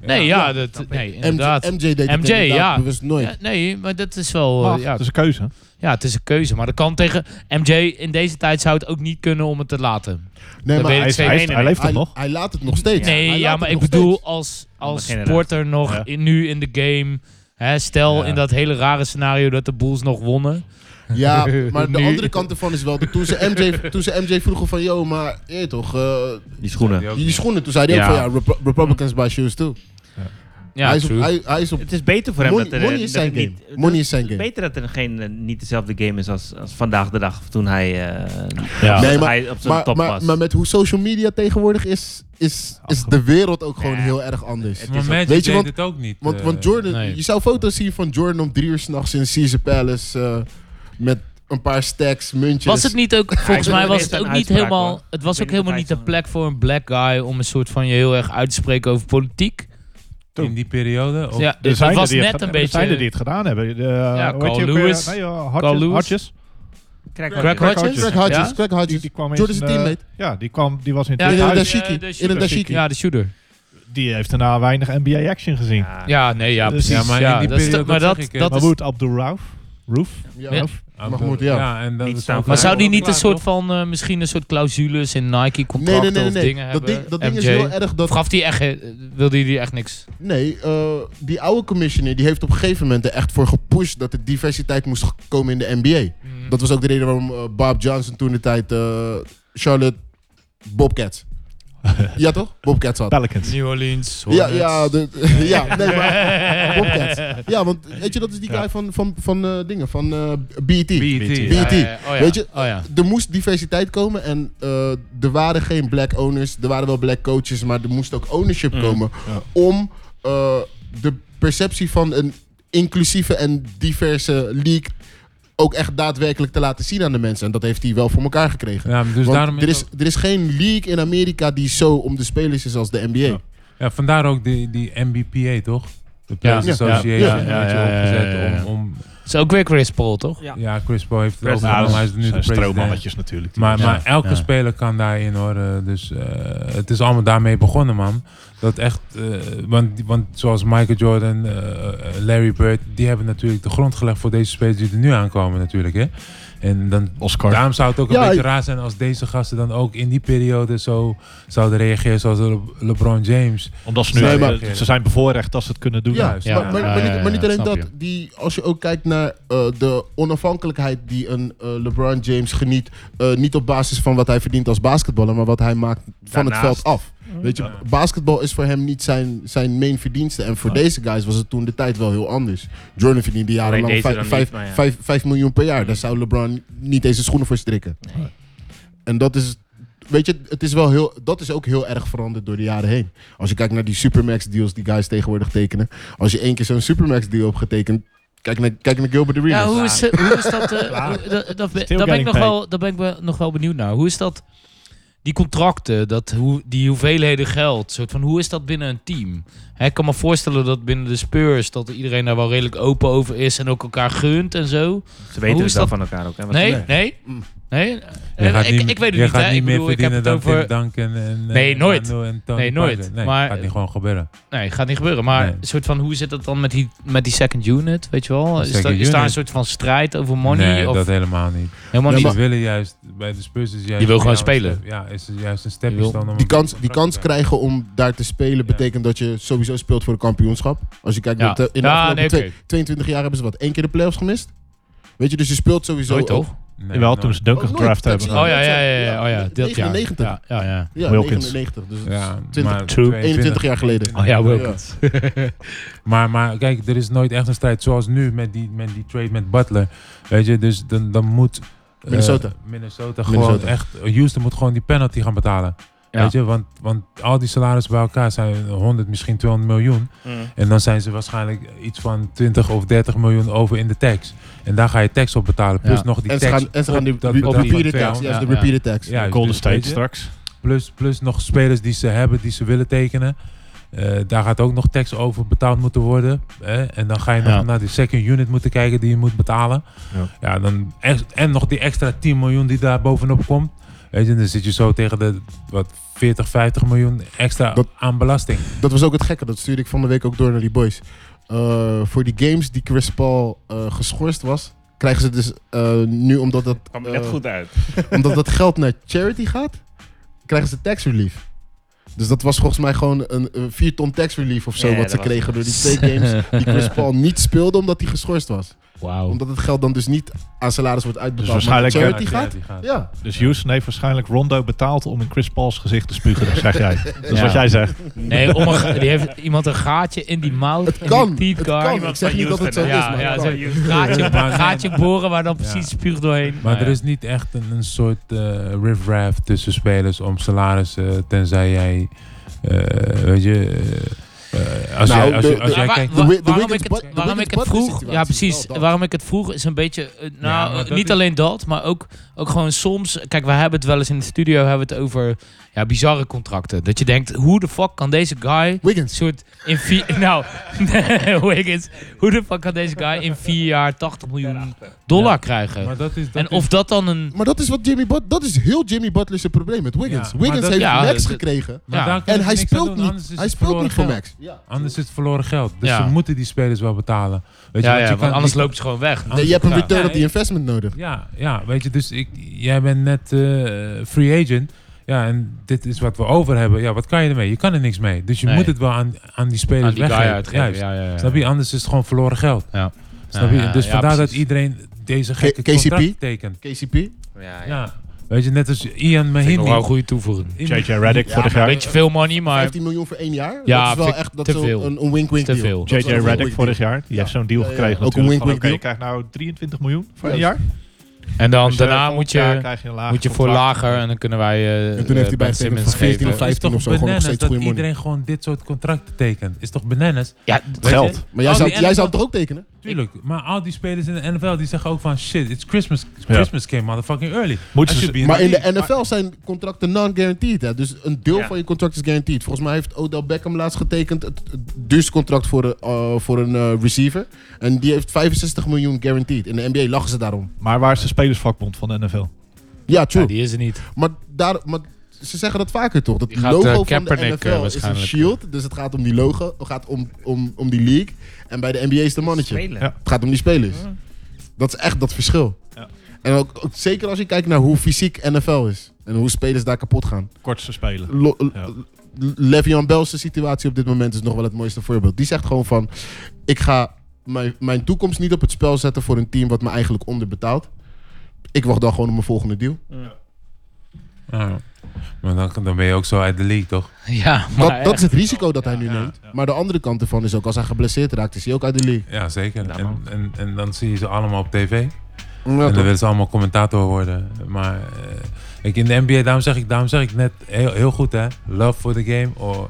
Nee, ja, dat, nee inderdaad. MJ, deed het MJ, inderdaad ja. bewust nooit. Ja, nee, maar dat is wel... eh, Mag, ja, Het is een keuze. ja, het is een keuze. Maar dat kan tegen MJ... In deze tijd zou het ook niet kunnen om het te laten. nee, maar hij, weet ik Hij, is- zeker. hij, is- hij leeft toch hij, nog? hij laat het nog steeds. Hij Nee, laat ja, het maar ik nog bedoel steeds. als, als Andere generatie. sporter nog Ja. in, nu in de game... Hè, stel Ja. in dat hele rare scenario dat de Bulls nog wonnen. Ja, maar de Nu- andere kant ervan is wel... dat Toen ze MJ, toen ze MJ vroegen van... Yo, maar je weet toch... eh, Die schoenen. die schoenen. Toen zei hij Ja. ook van... Ja, Repu- Republicans buy shoes too. Ja, hij, is op, true. hij, hij is op... Het is beter voor hem Money- dat er, eh, money is dat zijn het game. niet- Money dat- is zijn het game. Beter dat er geen, eh, niet dezelfde game is als, als vandaag de dag of toen hij, eh, Ja. Nee, maar- hij op zijn Maar, top maar, was. maar met hoe social media tegenwoordig is... is, is de wereld ook gewoon heel erg anders. Maar Weet Magic je, deed want- het ook niet. Want, eh, want Jordan, nee. je zou foto's zien van Jordan om drie uur s'nachts in Caesar Palace eh, met een paar stacks, muntjes. Was het niet ook, volgens ik mij wil was eerst het een ook niet uitspraak, helemaal, hoor. het was Ik weet ook niet helemaal of niet hij een plek voor een black guy om een soort van je heel erg uit te spreken over politiek. In die periode? Of, Ja, Er dus het was die het net geda- een er zijn er die beetje... het gedaan hebben. De, eh, ja, Carl Lewis. Nee, joh, Carl Hodges. Lewis. Hodges. Kijk, Craig wat- Hodges? Craig Ja? Hodges, Craig Die, Hodges. die kwam Jordan's eens in, eh, teammate. Ja, die, kwam, die was in Ja, het In de ja, huis. de- dashiki. de In de dashiki. Ja, de shooter. Die heeft daarna weinig NBA-action gezien. Ja, nee, ja, Dus- precies. Ja, maar in die dat is periode, toch- maar dat dat, zeg eh, ik, dat Maar is- goed, Abdul Rauf. Roof. Ja, Ja. of- Ah, Mahmoud, bedoel- ja. en dat Niet is staan wel- voor- Maar zou die Nee, niet een soort van, eh, misschien een soort clausules in Nee, Nike-contracten nee, nee, of nee. dingen nee. Dat hebben? ding, dat ding is MJ? heel erg dat Of gaf die echt, eh, wilde jullie echt niks? Nee, eh, die oude commissioner die heeft op een gegeven moment er echt voor gepusht dat er diversiteit moest komen in de NBA. Hmm. Dat was ook de reden waarom eh, Bob Johnson toen de tijd eh, Charlotte Bobcats. ja toch? Bobcats had. Pelicans. New Orleans, Ja, ja, de, ja, nee, maar Bobcats. Ja, want weet je, dat is die guy van, van, van eh, dingen, van eh BET. E BET, ja. BET. oh ja. Weet je, Oh ja. er moest diversiteit komen en eh, er waren geen black owners, er waren wel black coaches, maar er moest ook ownership komen om eh, de perceptie van een inclusieve en diverse league ook echt daadwerkelijk te laten zien aan de mensen. En dat heeft hij wel voor elkaar gekregen. Ja, dus Want daarom er, is, er is geen league in Amerika die zo om de spelers is als de NBA. Ja. Ja, vandaar ook die, die MBPA, toch? De Players Ja. Association Ja, ja, ja, heeft je ja, ja, opgezet ja, ja. Om, om... Het is ook weer Chris Paul, toch? Ja. Ja, Chris Paul heeft het Chris overgenomen. Hij is nu de zijn president. stroomannetjes natuurlijk. die Maar, mensen. maar elke nou, ja. speler kan daarin hoor. Eh, Dus eh, het is allemaal daarmee begonnen, man. Dat echt, eh, want, want zoals Michael Jordan, eh, Larry Bird, die hebben natuurlijk de grond gelegd voor deze spelers die er nu aankomen, natuurlijk. Hè? En dan, Oscar. daarom zou het ook Ja, een beetje ik- raar zijn als deze gasten dan ook in die periode zo zouden reageren, zoals Le- LeBron James. Omdat ze nu Nee, maar- ze zijn bevoorrecht als ze het kunnen doen. Ja, juist. maar, Ja, maar, ja, maar ja, niet, maar niet ja, alleen snap dat. je. Die, als je ook kijkt naar eh, de onafhankelijkheid die een eh, LeBron James geniet. eh, niet op basis van wat hij verdient als basketballer, maar wat hij maakt van het Daarnaast. Oh, veld af. Weet je, basketbal is voor hem niet zijn, zijn main verdienste. En voor deze guys was het toen de tijd wel heel anders. Jordan verdiende jarenlang deed het 5 dan niet, maar ja. Mm. miljoen per jaar. Daar zou LeBron niet eens zijn schoenen voor strikken. En dat is. Weet je, het is wel heel, dat is ook heel erg veranderd door de jaren heen. Als je kijkt naar die Supermax deals die guys tegenwoordig tekenen. Als je één keer zo'n Supermax deal hebt getekend. Kijk naar, kijk naar Gilbert Arenas. Ja, hoe is, hoe is dat... eh, hoe- dat- dat ben- Daar ben ik getting nog paid. wel, daar ben ik wel- nog wel benieuwd naar. Hoe is dat... Die contracten, dat, hoe, die hoeveelheden geld, soort van, hoe is dat binnen een team? Hè, ik kan me voorstellen dat binnen de Spurs... dat iedereen daar wel redelijk open over is en ook elkaar gunt en zo. Ze hoe weten is het wel dat- van elkaar ook. hè, want- Nee, nee, nee. Mm. Je Eh, gaat ik, niet- ik weet het je niet, gaat hè. niet Ik meer bedoel, ik heb verdienen het dan over... Tim Duncan en, eh, Nee, nooit. Manu en Tony Nee, nooit. Parker. Nee, Maar- gaat niet gewoon gebeuren. Nee, gaat niet gebeuren. Maar Nee. een soort van, hoe zit dat dan met die, met die second unit, weet je wel? Is, Second dat, is daar een unit. soort van strijd over money? nee, of dat helemaal niet. helemaal Ja, niet? maar- Die willen juist, bij de Spurs is juist... Die wil gewoon ja, spelen. een step- Ja, is het juist een Die wil- stepje dan om... Die een kans, die contract kans te krijgen om daar te spelen betekent dat je sowieso speelt voor een kampioenschap. Als je kijkt, Ja. naar de- in de Ja, afgelopen nee, twee- oké. 22 jaar hebben ze wat, één keer de playoffs gemist? Weet je, dus je speelt sowieso... Nooit, toch? krijgen. Nee, Jawel, nooit. toen ze Duncan Oh, nooit. gedraft hebben. Dat Oh ja, ja, ja, ja. Ja, Oh, ja. Dat, ja. 99. Ja, ja, ja. Ja, Wilkins. 99. Dus het is Ja, 20 maar True. 21 jaar geleden. Oh ja, Ja. Wilkins. Maar, maar kijk, er is nooit echt een strijd zoals nu met die, met die trade met Butler. Weet je, dus dan, dan moet... eh, Minnesota. Minnesota gewoon Minnesota. echt... Houston moet gewoon die penalty gaan betalen. Ja. Weet je, want, want al die salarissen bij elkaar zijn 100, misschien 200 miljoen. Mm. En dan zijn ze waarschijnlijk iets van 20 of 30 miljoen over in de tax. En daar ga je tax op betalen. Plus Ja. nog die En ze tax gaan, en ze op gaan die dat die bedrag van repeated tax. 200. Ja, ja. de repeated tax. Ja, Golden dus, State weet je, straks. Plus, plus nog spelers die ze hebben, die ze willen tekenen. Eh, daar gaat ook nog tax over betaald moeten worden. Hè? En dan ga je nog Ja. naar die second unit moeten kijken die je moet betalen. Ja. Ja. dan ex- en nog die extra 10 miljoen die daar bovenop komt. Weet je, dan zit je zo tegen de wat, 40, 50 miljoen extra Dat- aan belasting. Dat was ook het gekke. Dat stuurde ik van de week ook door naar die boys. Eh, voor die games die Chris Paul eh, geschorst was, krijgen ze dus eh, nu omdat dat, Kwam eh, er net goed uit. omdat dat geld naar charity gaat, krijgen ze tax relief. Dus dat was volgens mij gewoon een 4 ton tax relief of zo Ja, wat dat ze was- kregen door die twee games die Chris Paul niet speelde omdat hij geschorst was. Wauw. Omdat het geld dan dus niet aan salaris wordt uitbetaald. Dus maar naar waarschijnlijk- charity gaat. Ja. Dus Houston heeft waarschijnlijk Rondo betaald om in Chris Paul's gezicht te spugen, zeg jij. Dat is Ja. wat jij zegt. Nee, om een ga- die heeft iemand een gaatje in die mouth. Het in kan. Die Het teepkar. kan. Ik zeg niet dat het zo is, Ja, maar ja, het zo- kan. gaatje, Maar- gaatje boren waar dan precies spuug doorheen. Maar Nou er ja. is niet echt een, een soort eh riff-raff tussen spelers om salarissen, tenzij jij, eh, weet je, eh, Eh, als Nou, jij, als de- je- als de- jij Maar wa- kijkt... wa- de Wi- de waarom Wiggins ik bad- het, de waarom ik Wiggins het bad vroeg, situatie ja is precies, wel dat. waarom ik het vroeg is een beetje, eh, nou maar dat niet is- alleen dat, maar ook, ook gewoon soms, kijk we hebben het wel eens in de studio, hebben we het over ja, bizarre contracten. Dat je denkt, hoe de fuck kan deze guy een Wiggins. soort in vier, nou Wiggins, hoe de fuck kan deze guy in vier jaar 80 miljoen dollar krijgen? Maar dat is, dat En of dat dan een, Maar dat is wat Jimmy Butler. Dat is heel Jimmy Butler's probleem met Wiggins. Ja, maar Wiggins dat- heeft ja, Max dat- gekregen. Ja. En hij speelt niet. Hij speelt niet voor mij. Max. Anders is het verloren geld. Dus Ja. ze moeten die spelers wel betalen. Weet je, ja, want ja, je kan want anders die- loopt ze gewoon weg. Nee, je hebt een Ja. return Ja, op die investment nodig. Ja, ja, weet je, dus ik, jij bent net eh, free agent. Ja, en dit is wat we over hebben. Ja, wat kan je ermee? Je kan er niks mee. Dus je Nee. moet het wel aan, aan die spelers Aan die guy weggeven. uitgeven, Juist. ja, ja, ja. Snap je? Anders is het gewoon verloren geld. Ja. Snap je? Ja, ja, dus ja, vandaar dat precies. iedereen deze gekke K- KCP? contract tekent. KCP? Ja, ja. Ja. Weet je, net als Ian Vind ik Mahimi. nog wel een goede toevoeging. Ian- JJ Reddick Ja, vorig Een jaar. beetje veel money, maar 15 miljoen voor één jaar? dat Ja, is vind wel ik echt dat te is wel veel. Een, een wink-wink Te deal. veel. Dat is wel JJ een Reddick wink-wink vorig deal. jaar. Die heeft zo'n deal Ja, ja, ja. gekregen Ook een natuurlijk. Van, wink-wink Oké, deal. je krijgt nou 23 miljoen voor een Ja. jaar. en dan Als je daarna volgend moet je... jaar krijg je een lager Moet je voor contract. lager en dan kunnen wij eh En toen heeft hij eh, bij Ben Simmons 14 of geven. 15 of zo gewoon nog bananas steeds dat goede money. iedereen gewoon dit soort contracten tekent. Is toch bananas? Ja, Weet je? geld. Maar jij Oh, Al zou, die jij zou NFL het er ook tekenen? Tuurlijk, maar al die spelers in de NFL die zeggen ook van shit, it's Christmas, Christmas came motherfucking early. Moeten I ze- should be Maar in de league. NFL zijn contracten non-guaranteed. hè. Dus een deel Ja. van je contract is guaranteed. Volgens mij heeft Odell Beckham laatst getekend het, het duurste contract voor, de, eh, voor een eh, receiver. En die heeft 65 miljoen guaranteed. In de NBA lachen ze daarom. Maar waar is de spelersvakbond van de NFL? Ja, true. Ja, die is er niet. maar, daar, maar ze zeggen dat vaker toch? Dat Die gaat, eh, logo van de Kaepernick, eh, NFL is een waarschijnlijk. shield. Dus het gaat om die logo. Het gaat om, om, om die league. En bij de NBA is het een mannetje. Spelen. Ja. Het gaat om die spelers. Dat is echt dat verschil. Ja. En ook, ook zeker als je kijkt naar hoe fysiek NFL is. En hoe spelers daar kapot gaan. Kortste spelen. Lo- Ja. Le- Le'Veon Bell's situatie op dit moment is nog wel het mooiste voorbeeld. Die zegt gewoon van... Ik ga mijn, mijn toekomst niet op het spel zetten voor een team wat me eigenlijk onderbetaalt. Ik wacht dan gewoon op mijn volgende deal. Ja. Maar dan, dan ben je ook zo uit de league, toch? Ja, maar Dat, dat is het risico dat hij nu Ja, ja, neemt. Maar de andere kant ervan is ook als hij geblesseerd raakt, is hij ook uit de league. Ja, zeker. Ja, en, man. en, en dan zie je ze allemaal op tv. Ja, en dan toch? willen ze allemaal commentator worden. Maar eh, ik, in de NBA, daarom zeg ik, daarom zeg ik net heel, heel goed, hè. Love for the game or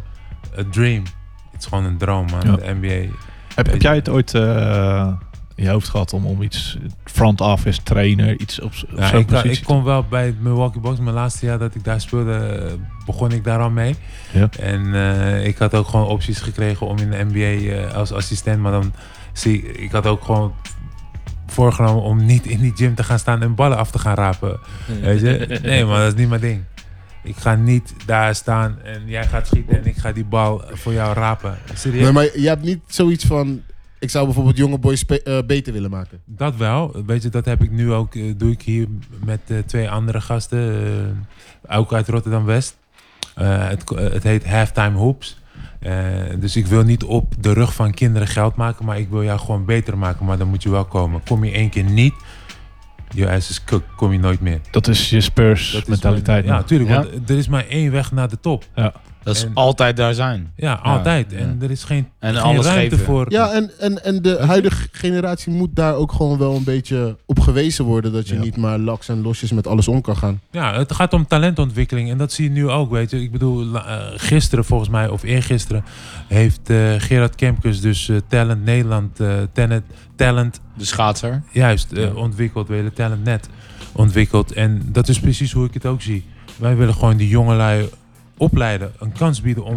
a dream. Het is gewoon een droom, man. Ja. De NBA. Heb, heb jij het ooit eh, in je hoofd gehad om, om iets front office trainer, iets op, z- op Ja, zo'n ik, eh, positie? ik kon wel bij het Milwaukee Bucks. Mijn laatste jaar dat ik daar speelde, eh, begon ik daar al mee. Ja. En eh, ik had ook gewoon opties gekregen om in de NBA eh, als assistent. Maar dan zie ik, ik had ook gewoon voorgenomen om niet in die gym te gaan staan en ballen af te gaan rapen. Weet je? Nee, maar dat is niet mijn ding. Ik ga niet daar staan en jij gaat schieten en ik ga die bal voor jou rapen. Serieus? Nee, maar je hebt niet zoiets van... Ik zou bijvoorbeeld jonge boys spe- eh, beter willen maken. Dat wel. Weet je, dat heb ik nu ook. eh, doe ik hier met eh, twee andere gasten. eh, ook uit Rotterdam West. Eh, het, ko- eh, het heet Halftime Hoops. Eh, dus ik wil niet op de rug van kinderen geld maken, maar ik wil jou gewoon beter maken. Maar dan moet je wel komen. Kom je één keer niet, je ass is cooked. Kom je nooit meer. Dat is je Spurs Dat is mentaliteit. mijn- nog. ja, tuurlijk. Ja. Want er is maar één weg naar de top. dat is en- altijd daar zijn. Ja, altijd. ja. En er is geen, En geen alles ruimte geven. voor. Ja, en, en, en de huidige generatie moet daar ook gewoon wel een beetje op gewezen worden. Dat je Ja. niet maar laks en losjes met alles om kan gaan. Ja, het gaat om talentontwikkeling en dat zie je nu ook, weet je. Ik bedoel, la- eh, gisteren volgens mij, of eergisteren, heeft eh, Gerard Kemkes dus eh, Talent Nederland, eh, talent, talent De schaatser. juist eh, ontwikkeld, we hele Talent Net ontwikkeld. En dat is precies hoe ik het ook zie. Wij willen gewoon die jongelui opleiden, een kans bieden om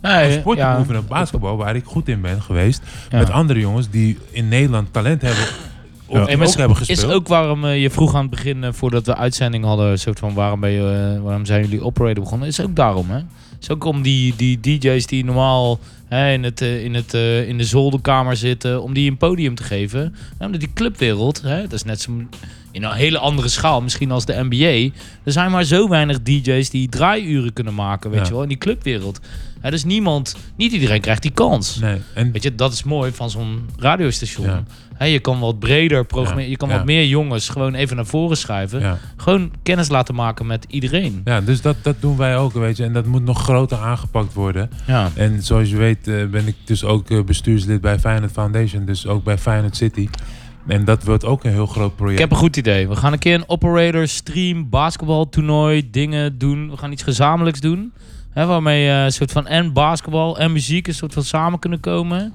een Nee, sport te ja. beoefenen, basketbal, waar ik goed in ben geweest, Ja. met andere jongens die in Nederland talent hebben. Of Ja. die Hey, maar ook hebben is, gespeeld. is ook waarom eh, je vroeg aan het begin, eh, voordat we uitzending hadden, een soort van waarom, ben je, eh, waarom zijn jullie operator begonnen? Is ook daarom, hè? Is ook om die, die DJ's die normaal hè, in, het, eh, in, het, eh, in de zolderkamer zitten, om die een podium te geven. Ja, omdat die clubwereld, hè, dat is net zo in een hele andere schaal, misschien als de NBA. Er zijn maar zo weinig DJ's die draaiuren kunnen maken, weet Ja. je wel, in die clubwereld. Hè, dus niemand, niet iedereen krijgt die kans. Nee, en Weet je, dat is mooi van zo'n radiostation. Ja. Hè, je kan wat breder programmeren. Ja, Je kan ja. wat meer jongens gewoon even naar voren schuiven. ja. Gewoon kennis laten maken met iedereen. Ja, dus dat, dat doen wij ook, weet je. En dat moet nog groter aangepakt worden. Ja. En zoals je weet eh, ben ik dus ook eh, bestuurslid bij Feyenoord Foundation. Dus ook bij Feyenoord City. En dat wordt ook een heel groot Ik project. heb een goed idee. We gaan een keer een operator, stream, basketbal, toernooi, dingen doen. We gaan iets gezamenlijks doen. Hè, waarmee eh, een soort van en basketbal en muziek een soort van samen kunnen komen. En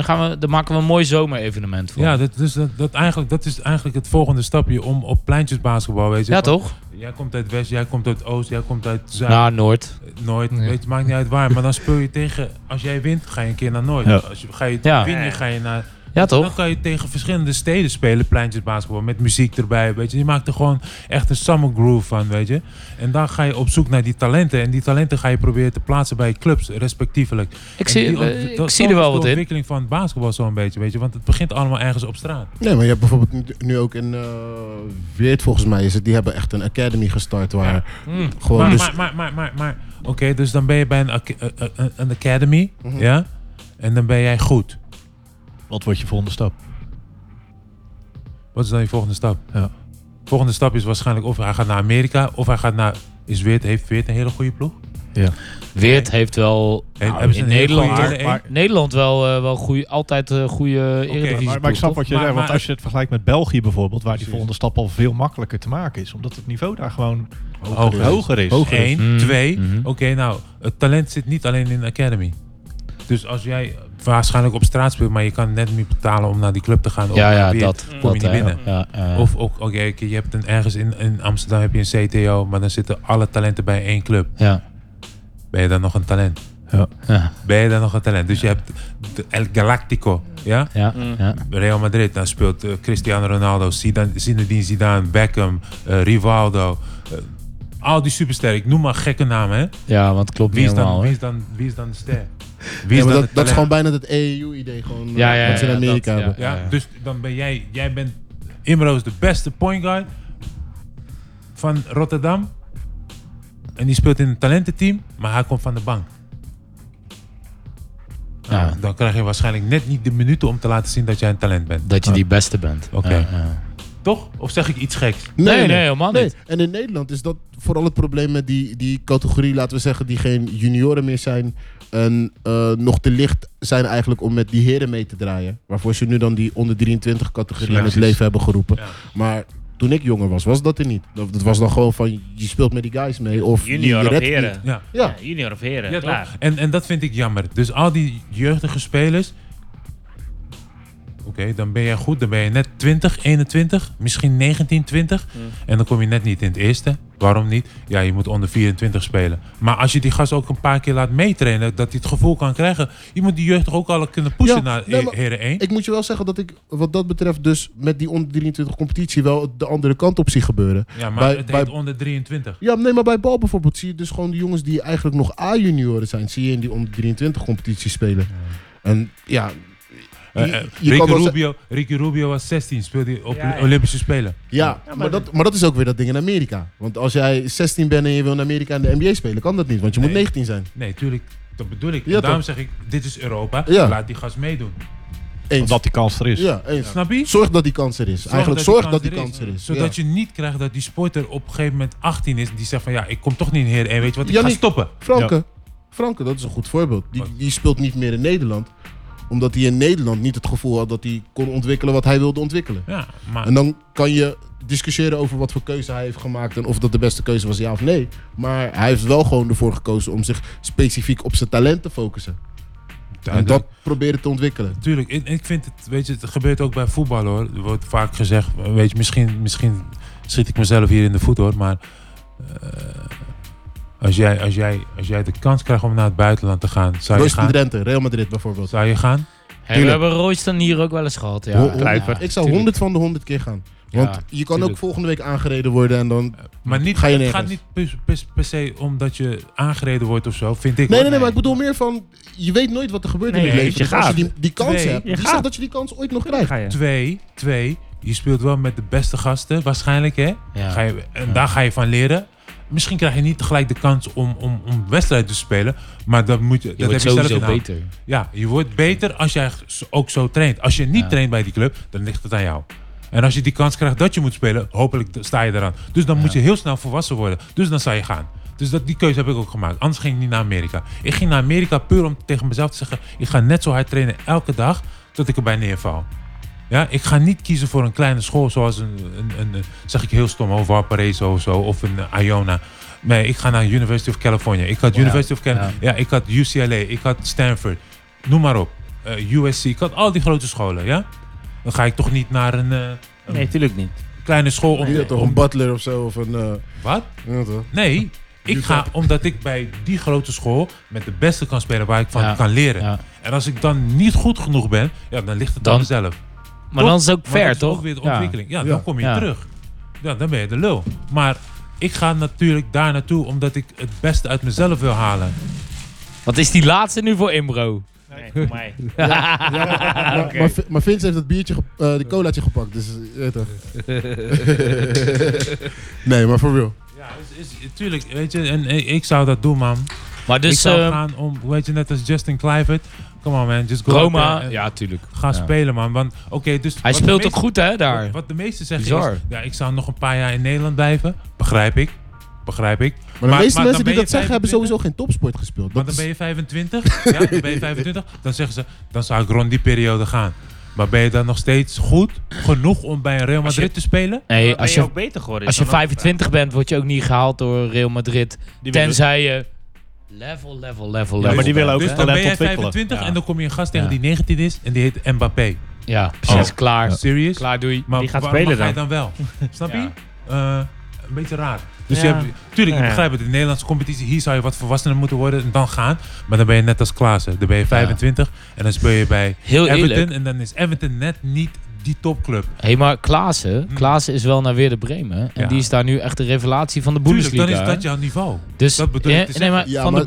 dan, gaan we, dan maken we een mooi zomerevenement voor. Ja, dat, dus dat, dat, eigenlijk, dat is eigenlijk het volgende stapje om op pleintjes basketbal, weet je. Ja, toch? Jij komt uit West, jij komt uit Oost, jij komt uit Zuid. Nou, Noord. Nooit, Nee. weet je, maakt niet uit waar. Maar dan speel je tegen, als jij wint, ga je een keer naar Nooit. Ja. Als je, ga je Ja. win je, ga je naar... Ja, Dan toch? kan je tegen verschillende steden spelen, pleintjesbasketbal, met muziek erbij, weet je. Je maakt er gewoon echt een summer groove van, weet je. En dan ga je op zoek naar die talenten. En die talenten ga je proberen te plaatsen bij clubs, respectievelijk. Ik En zie, die ont- eh, dat- ik zie dat er wel is wat in. de ontwikkeling van het basketbal zo'n beetje, weet je. Want het begint allemaal ergens op straat. Nee, maar je hebt bijvoorbeeld nu- nu ook in eh, Weert, volgens mij is het, die hebben echt een academy gestart waar Hm. gewoon maar, dus... maar, maar, maar, maar, maar. Oké, dus dan ben je bij een, aca- eh, eh, een- een academy, Mhm. ja? En dan ben jij goed. Wat wordt je volgende stap? Wat is dan je volgende stap? Ja. Volgende stap is waarschijnlijk of hij gaat naar Amerika of hij gaat naar. Is Weert, heeft Weert een hele goede ploeg? Weert heeft wel Hey, nou, hebben ze in een hele goede Nederland, Tweede maar- Nederland wel, eh, wel goeie, altijd eh goede eredivisie. maar, maar ik snap wat je Maar- zegt, want maar- als je het vergelijkt met België bijvoorbeeld, waar die Precies. volgende stap al veel makkelijker te maken is, omdat het niveau daar gewoon Hoger is. hoger is. Hoger. Eén, Mm. twee. Mhm. Oké, nou, het talent zit niet alleen in de academy. Dus als jij waarschijnlijk op straat speelt, maar je kan net niet betalen om naar die club te gaan. of Ja, naar ja, Weert, dat. dat Kom je niet eh, binnen. Ja, eh, Of ook, oké, oké, je hebt een, ergens in, in Amsterdam heb je een CTO, maar dan zitten alle talenten bij één club. ja. Ben je dan nog een talent? Ja, Ben je dan nog een talent? Dus je hebt de- El Galactico, ja? ja, ja. Real Madrid, daar speelt eh, Cristiano Ronaldo, Zidane, Zinedine Zidane, Beckham, eh, Rivaldo. eh, al die supersterren, ik noem maar gekke namen, hè? ja, want het klopt Wie niet is dan, helemaal. wie hè. is dan, wie is dan de ster? Wie Ja, is maar dan dat, het dat is gewoon talent? bijna dat EU-idee gewoon eh, Ja, ja, wat ze in ja, Amerika dat, ja. hebben. Ja, dus dan ben jij, jij bent Imro's de beste point guard van Rotterdam. En die speelt in een talententeam, maar hij komt van de bank. Ja. Ah, dan krijg je waarschijnlijk net niet de minuten om te laten zien dat jij een talent bent. Dat je die beste bent. Ah. Oké. Ja, ja. Toch? Of zeg ik iets geks? Nee, nee, helemaal Nee, niet. En in Nederland is dat vooral het probleem met die, die categorie, laten we zeggen, die geen junioren meer zijn. En eh, nog te licht zijn eigenlijk om met die heren mee te draaien. Waarvoor ze nu dan die onder 23 categorie in het Precies. leven hebben geroepen. Ja. Maar toen ik jonger was, was dat er niet. Dat, dat was dan gewoon van, je speelt met die guys mee. Of je- je Junior of redt heren. niet. Ja. Ja. Ja, junior of heren, Ja, klaar. toch? En, en dat vind ik jammer. Dus al die jeugdige spelers. Oké, dan ben jij goed. Dan ben je net 20, 21, misschien 19, 20. Mm. En dan kom je net niet in het eerste. Waarom niet? Ja, je moet onder 24 spelen. Maar als je die gast ook een paar keer laat meetrainen, dat hij het gevoel kan krijgen. Je moet die jeugd toch ook al kunnen pushen Ja, naar nee, he- maar- Heren 1. Ik moet je wel zeggen dat ik wat dat betreft dus met die onder 23 competitie wel de andere kant op zie gebeuren. ja, maar bij- het bij- heet onder 23. Ja, nee, maar bij bal bijvoorbeeld zie je dus gewoon de jongens die eigenlijk nog A-junioren zijn, zie je in die onder 23 competitie spelen. En ja, Eh, eh, je- je Ricky, kan wel ze- Rubio, Ricky Rubio was 16, speelde op Ja, ja. Olympische Spelen. ja, maar, dat, maar dat is ook weer dat ding in Amerika. Want als jij 16 bent en je wil in Amerika in de NBA spelen, kan dat niet, want je moet Nee. 19 zijn. Nee, tuurlijk. Dat bedoel ik. Ja, Daarom zeg ik, dit is Europa. Ja. Laat die gast meedoen. Eens. Omdat die kans er is. ja, eens. Snap je? Zorg dat die kans er is. eigenlijk zorg dat die kans er is. Zodat je niet krijgt dat die sporter op een gegeven moment 18 is. Die zegt van ja, ik kom toch niet in Heer 1, weet je wat, ik Jannie- ga stoppen. Franke, Franke, dat is een goed voorbeeld. Die, die speelt niet meer in Nederland, omdat hij in Nederland niet het gevoel had dat hij kon ontwikkelen wat hij wilde ontwikkelen. Ja, maar En dan kan je discussiëren over wat voor keuze hij heeft gemaakt en of dat de beste keuze was, ja of nee. Maar hij heeft wel gewoon ervoor gekozen om zich specifiek op zijn talent te focussen. En dat proberen te ontwikkelen. Tuurlijk, ik, ik vind het, weet je, het gebeurt ook bij voetbal hoor. Er wordt vaak gezegd, weet je, misschien, misschien schiet ik mezelf hier in de voet hoor, maar eh, als, jij, als, jij, als jij de kans krijgt om naar het buitenland te gaan, zou je Royce gaan? van Drenthe, Real Madrid bijvoorbeeld. Zou je gaan? Hey, we Tuurlijk. hebben Royston hier ook wel eens gehad. Ja, Ho- honderd- ja. ik zou tuurlijk. 100 van de 100 keer gaan. Ja, Want je kan ook tuurlijk. volgende week aangereden worden en dan... Maar niet, Hm. Ga je het gaat nergens. niet per, per- per se omdat je aangereden wordt of zo, vind Nee, ik. hoor. nee, nee, maar ik bedoel meer van... Je weet nooit wat er gebeurt Nee, in je je leven. Dus gaat. als je die, die kans Twee. hebt, Je wie gaat. zegt dat je die kans ooit nog Dan krijgt? ga je. Twee, twee, je speelt wel met de beste gasten, waarschijnlijk hè. Ja. Ga je, en daar ga je van leren. Misschien krijg je niet tegelijk de kans om, om, om wedstrijden te spelen. Maar dat, moet je, Je dat wordt heb je zelf sowieso in de hand. beter. Ja, je wordt beter als jij s- ook zo traint. Als je niet Ja. traint bij die club, dan ligt het aan jou. En als je die kans krijgt dat je moet spelen, hopelijk d- sta je eraan. Dus dan moet je heel snel volwassen worden. Dus dan zou je gaan. Dus dat, die keuze heb ik ook gemaakt. Anders ging ik niet naar Amerika. Ik ging naar Amerika puur om tegen mezelf te zeggen... ik ga net zo hard trainen elke dag tot ik erbij neerval. Ja, ik ga niet kiezen voor een kleine school zoals een, een, een, eh, zeg ik heel stom, of Valparaiso of zo, of een eh, Iona. Nee, ik ga naar University of California. Ik had Ja, University of California. ja. Ja. ik had UCLA. Ik had Stanford. Noem maar op. Eh, USC. Ik had al die grote scholen, ja? Dan ga ik toch niet naar een, eh, een Nee, tuurlijk niet. kleine school om... Je hebt toch een om- butler of zo? Of een, eh, Wat? ja, toch? Nee. Ik ga omdat ik bij die grote school met de beste kan spelen waar ik van Ja, kan leren. ja. En als ik dan niet goed genoeg ben, ja, dan ligt het Dan- aan mezelf. Maar Toch? dan is het ook Maar dat fair, is toch? Ook weer de Ja. ontwikkeling. Ja, Ja. dan kom je Ja. terug. Ja, dan ben je de lul. Maar ik ga natuurlijk daar naartoe omdat ik het beste uit mezelf wil halen. Wat is die laatste nu voor Imro? Nee, voor mij. Ah, Maar- maar, Vi- maar Vince heeft dat biertje, gep- eh die colaatje gepakt. Dus, eh, je weet toch. nee, maar voor real. Ja, is, is, tuurlijk. Weet je, en eh, ik zou dat doen, man. Maar ik dus zou ehm, gaan om, weet je, net als Justin Kluivert. Come on, man. Just go out Roma, there en ja, tuurlijk. Ga Ja. spelen, man. Want, oké, dus Hij wat de speelt ook meeste- goed, hè, daar. Wat de meesten zeggen Bizar. is, ja, ik zou nog een paar jaar in Nederland blijven. Begrijp ik. Begrijp ik. Maar de meeste Maar- maar mensen dan die ben dat je zeggen hebben 25? sowieso geen topsport gespeeld. Dat Maar dan is, ben je 25. ja, dan ben je 25. Dan zeggen ze, dan zou ik rond die periode gaan. Maar ben je dan nog steeds goed genoeg om bij een Real Als je- Madrid te spelen? Nee, ben als je, je, ook beter geworden? als je 25 bent, word je ook niet gehaald door Real Madrid. Tenzij je level, level, level, level. maar die bent. willen ook dus het dan ben talent je ontwikkelen. 25 Ja. en dan kom je een gast tegen Ja. die 19 is en die heet Mbappé. Ja, precies. Oh. Klaar. Serious? Klaar, doei. Maar Die gaat waarom spelen ga je dan wel? Snap je? Ja. Eh, een beetje raar. Dus Ja. je hebt, tuurlijk, ik Ja. begrijp het. In de Nederlandse competitie, hier zou je wat volwassener moeten worden en dan gaan. Maar dan ben je net als Klaassen. Dan ben je 25 en dan speel je bij Heel Everton. eerlijk. En dan is Everton net niet die topclub. Hé, maar Klaassen, Hm. Klaassen is wel naar Weer de Bremen. En Ja. die is daar nu echt de revelatie van de Tuurlijk, Bundesliga. dan is hè? dat jouw niveau. dus, dat bedoel ik eh, te nee, zeggen. maar Ja, van maar- de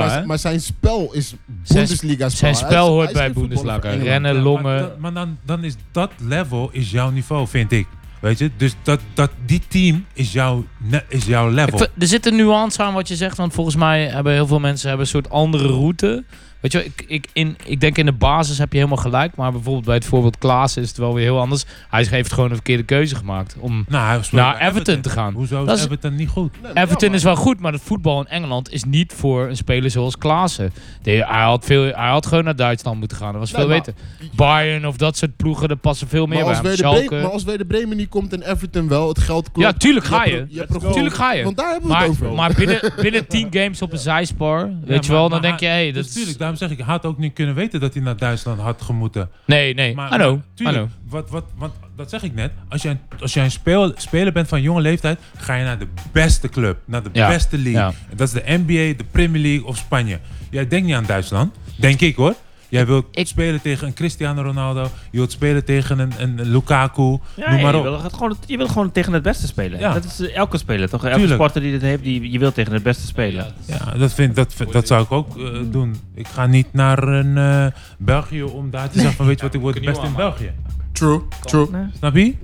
Maar, zijn- hè? maar, maar zijn spel is Zijn- Bundesliga spel. Zijn spel hoort bij Bundesliga. Bundesliga. Rennen, Ja, Maar, longen. dat- maar dan, dan is dat level is jouw niveau, vind ik. Weet je? Dus dat, dat, die team is jouw, ne- is jouw Ik level. vind- er zit een nuance aan wat je zegt, want volgens mij hebben heel veel mensen hebben een soort andere route. Weet je, wel, ik, ik, in, ik denk in de basis heb je helemaal gelijk, maar bijvoorbeeld bij het voorbeeld Klaas is het wel weer heel anders. Hij heeft gewoon een verkeerde keuze gemaakt om nou, hij speelt naar bij Everton, te gaan. Hoezo is Dat is- Everton niet goed? Everton is wel goed, maar het voetbal in Engeland is niet voor een speler zoals Klaassen. Die- Hij had, veel, hij had gewoon naar Duitsland moeten gaan, dat was Nee, veel maar- beter. Bayern of dat soort ploegen, daar passen veel meer Maar bij als, hem. Werder Schalke. Bremen, maar als Werder Bremen niet komt en Everton wel, het geld klopt. Ja, tuurlijk ga hebt je. een- hebt een goal. Tuurlijk ga je. Want daar hebben we het Maar, over. maar binnen, binnen 10 games op een zijspar, weet je wel, dan denk je, hé, hey, dat Natuurlijk, is... dus daarom zeg ik, hij had ook niet kunnen weten dat hij naar Duitsland had gemoeten. Nee, nee, Maar, I know, maar I know. tuurlijk, Wat, wat, want dat zeg ik net. Als jij, een- als jij een speel, speler bent van jonge leeftijd, ga je naar de beste club. Naar de Ja, beste league. ja. En Dat is de NBA, de Premier League of Spanje. Jij denkt niet aan Duitsland. Denk ik hoor. Jij wilt ik- spelen tegen een Cristiano Ronaldo. Je wilt spelen tegen een, een Lukaku. noem maar je, op. wil het gewoon, je wil gewoon tegen het beste spelen. Ja. Dat is eh, elke speler toch? Elke Tuurlijk. sporter die dit heeft, die, je wil tegen het beste spelen. Ja, dat, vind, dat, vind- dat zou ik ook eh, doen. Ik ga niet naar een eh, België om daar te zeggen van weet je wat, ik word het beste in België. True, true. Snap je?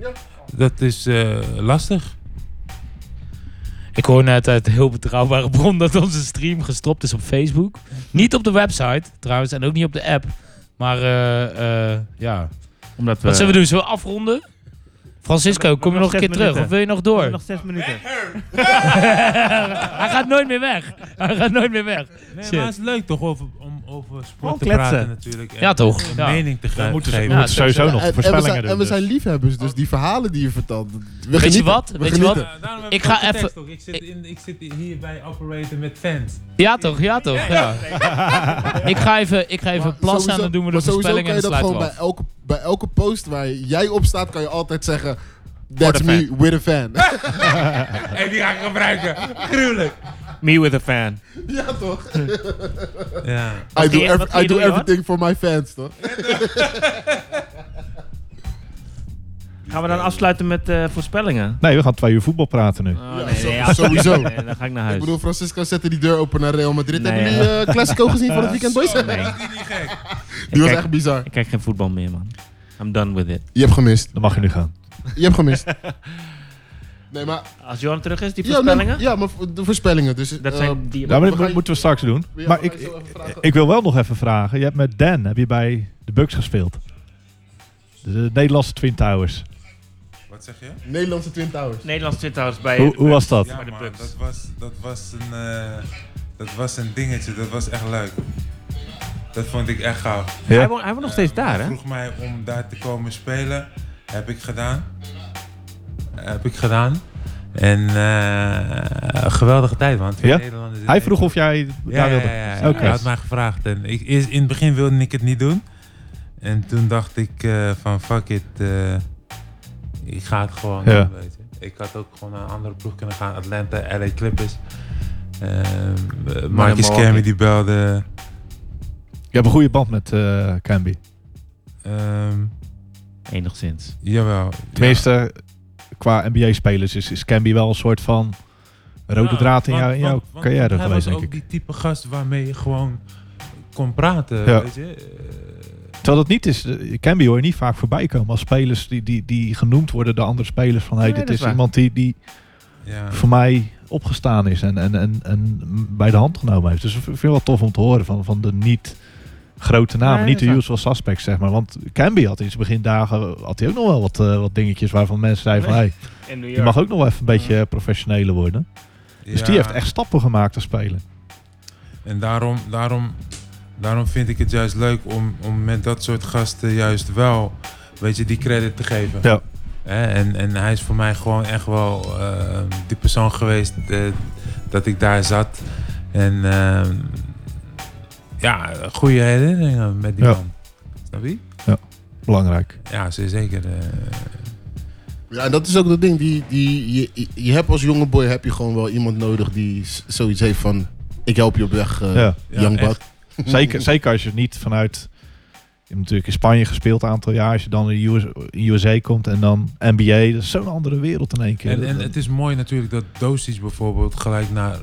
Dat is eh, lastig. Ik hoor net uit een heel betrouwbare bron dat onze stream gestopt is op Facebook. Niet op de website, trouwens, en ook niet op de app. Maar, eh, eh, ja. Omdat we, Wat zullen we doen? Zullen we afronden? Francisco, kom je nog een keer terug? Of wil je nog we door? nog zes minuten. Hij gaat nooit meer weg. Hij gaat nooit meer weg. Nee, Shit. maar het is leuk toch over, om over sport Gewoon te kletsen. praten natuurlijk. En Ja, toch? Een Ja. mening te We ge moeten, geven. we moeten sowieso nog En- en we zijn- voorspellingen En we doen. zijn dus. liefhebbers, dus die verhalen die je vertelt. We Weet je genieten. wat? We Weet je wat? genieten. daarom heb Ik ga ook de tekst even- ook. Ik zit, in, ik zit hier bij Operator met fans. Ja toch, ja toch. Ja. Ik ga even, ik ga even plassen en Sowieso- dan doen we de maar sowieso voorspelling en kan je dan dat sluiten gewoon we bij af. elke, bij elke post waar jij op staat, kan je altijd zeggen... That's a me with a fan. En die ga ik gebruiken. Gruwelijk. Me with a fan. ja, toch? Ja. I do, die- ev- wat die I do doen, joh? everything for my fans, toch? Gaan we dan afsluiten met eh, voorspellingen? Nee, we gaan twee uur voetbal praten nu. Oh, Ja, nee, zo- nee, ja, sowieso. nee, dan ga ik naar huis. Ik bedoel, Francisco zette die deur open naar Real Madrid. Nee, Hebben jullie eh Classico gezien van het weekend, boys? nee. Is die niet gek? Die was Kijk. echt bizar. Ik kijk geen voetbal meer, man. I'm done with it. Je hebt gemist. Dan mag je nu gaan. Je hebt gemist. Nee, maar... Als Johan terug is, die Ja, nee, voorspellingen? ja, maar voor- de voorspellingen. Dus, Dat eh, zijn die... Ja, maar We dit gaan- mo- moeten we straks doen. wil jij Maar mij ik, zo even vragen? ik wil wel nog even vragen. Je hebt met Dan heb je bij de Bucks gespeeld. De Nederlandse Twin Towers. Wat zeg je? Nederlandse Twin Towers. Nederlands zit trouwens bij... Hoe, hoe was dat? Ja, de man, Bucks. dat was, dat, was een, eh, dat was een dingetje, dat was echt leuk. Dat vond ik echt gaaf. Hij, woont, hij woont nog steeds Eh, daar, hij hè? vroeg mij om daar te komen spelen. Heb ik gedaan. Heb ik gedaan. En eh, een geweldige tijd, man. Twee Ja? Nederlanders in Hij vroeg Nederland. of jij ja, daar wilde. Ja, ja, ja. Oké. Hij had mij gevraagd. En ik, eerst- in het begin wilde ik het niet doen. En toen dacht ik eh, van fuck it, eh, ik ga het gewoon Ja. doen, weet je. Ik had ook gewoon naar een andere ploeg kunnen gaan. Atlanta, LA Clippers. Ehm Marcus Milwaukee. Camby die belde. Je hebt een goede band met eh Canby. Ehm, Enigszins. jawel. Tenminste, qua NBA-spelers is, is Canby wel een soort van rode Ja, draad in, want- jou, in jouw want- want carrière geweest, Hij denk was ook ik. die type gast waarmee je gewoon kon praten, Ja. weet je. Eh, Terwijl dat niet is, eh, Canby hoor je niet vaak voorbij komen als spelers die, die, die genoemd worden door andere spelers. Van hé, Nee, dit dat is is waar. iemand die, die ja. voor mij opgestaan is en, en, en, en bij de hand genomen heeft. Dus ik vind het wel tof om te horen van, van de niet grote namen, Nee, niet de dat is usual suspects, zeg maar. Want Canby had in zijn begindagen had hij ook nog wel wat, eh, wat dingetjes waarvan mensen zeiden van hé, hey, In New je York. mag ook nog wel even een beetje professioneler worden. Dus die Ja. heeft echt stappen gemaakt als speler. En daarom, daarom, daarom vind ik het juist leuk om, om met dat soort gasten juist wel, weet je, die credit te geven. Ja. Hè, en, en hij is voor mij gewoon echt wel eh, die persoon geweest eh, dat ik daar zat. En ehm, ja, goede herinneringen met die Ja. man. Snap je? Belangrijk. Ja, ze- zeker. eh, Ja, en dat is ook dat ding. Die, die, je- je, je hebt als jonge boy heb je gewoon wel iemand nodig die s- zoiets heeft van... Ik help je op weg, eh Ja. Ja, young echt. buck. Zeker, zeker als je niet vanuit. Je hebt natuurlijk in Spanje gespeeld een aantal jaar. Als je dan in de US in USA komt en dan NBA. Dat is zo'n andere wereld in één keer. en, en het is mooi natuurlijk dat Doncic bijvoorbeeld gelijk naar...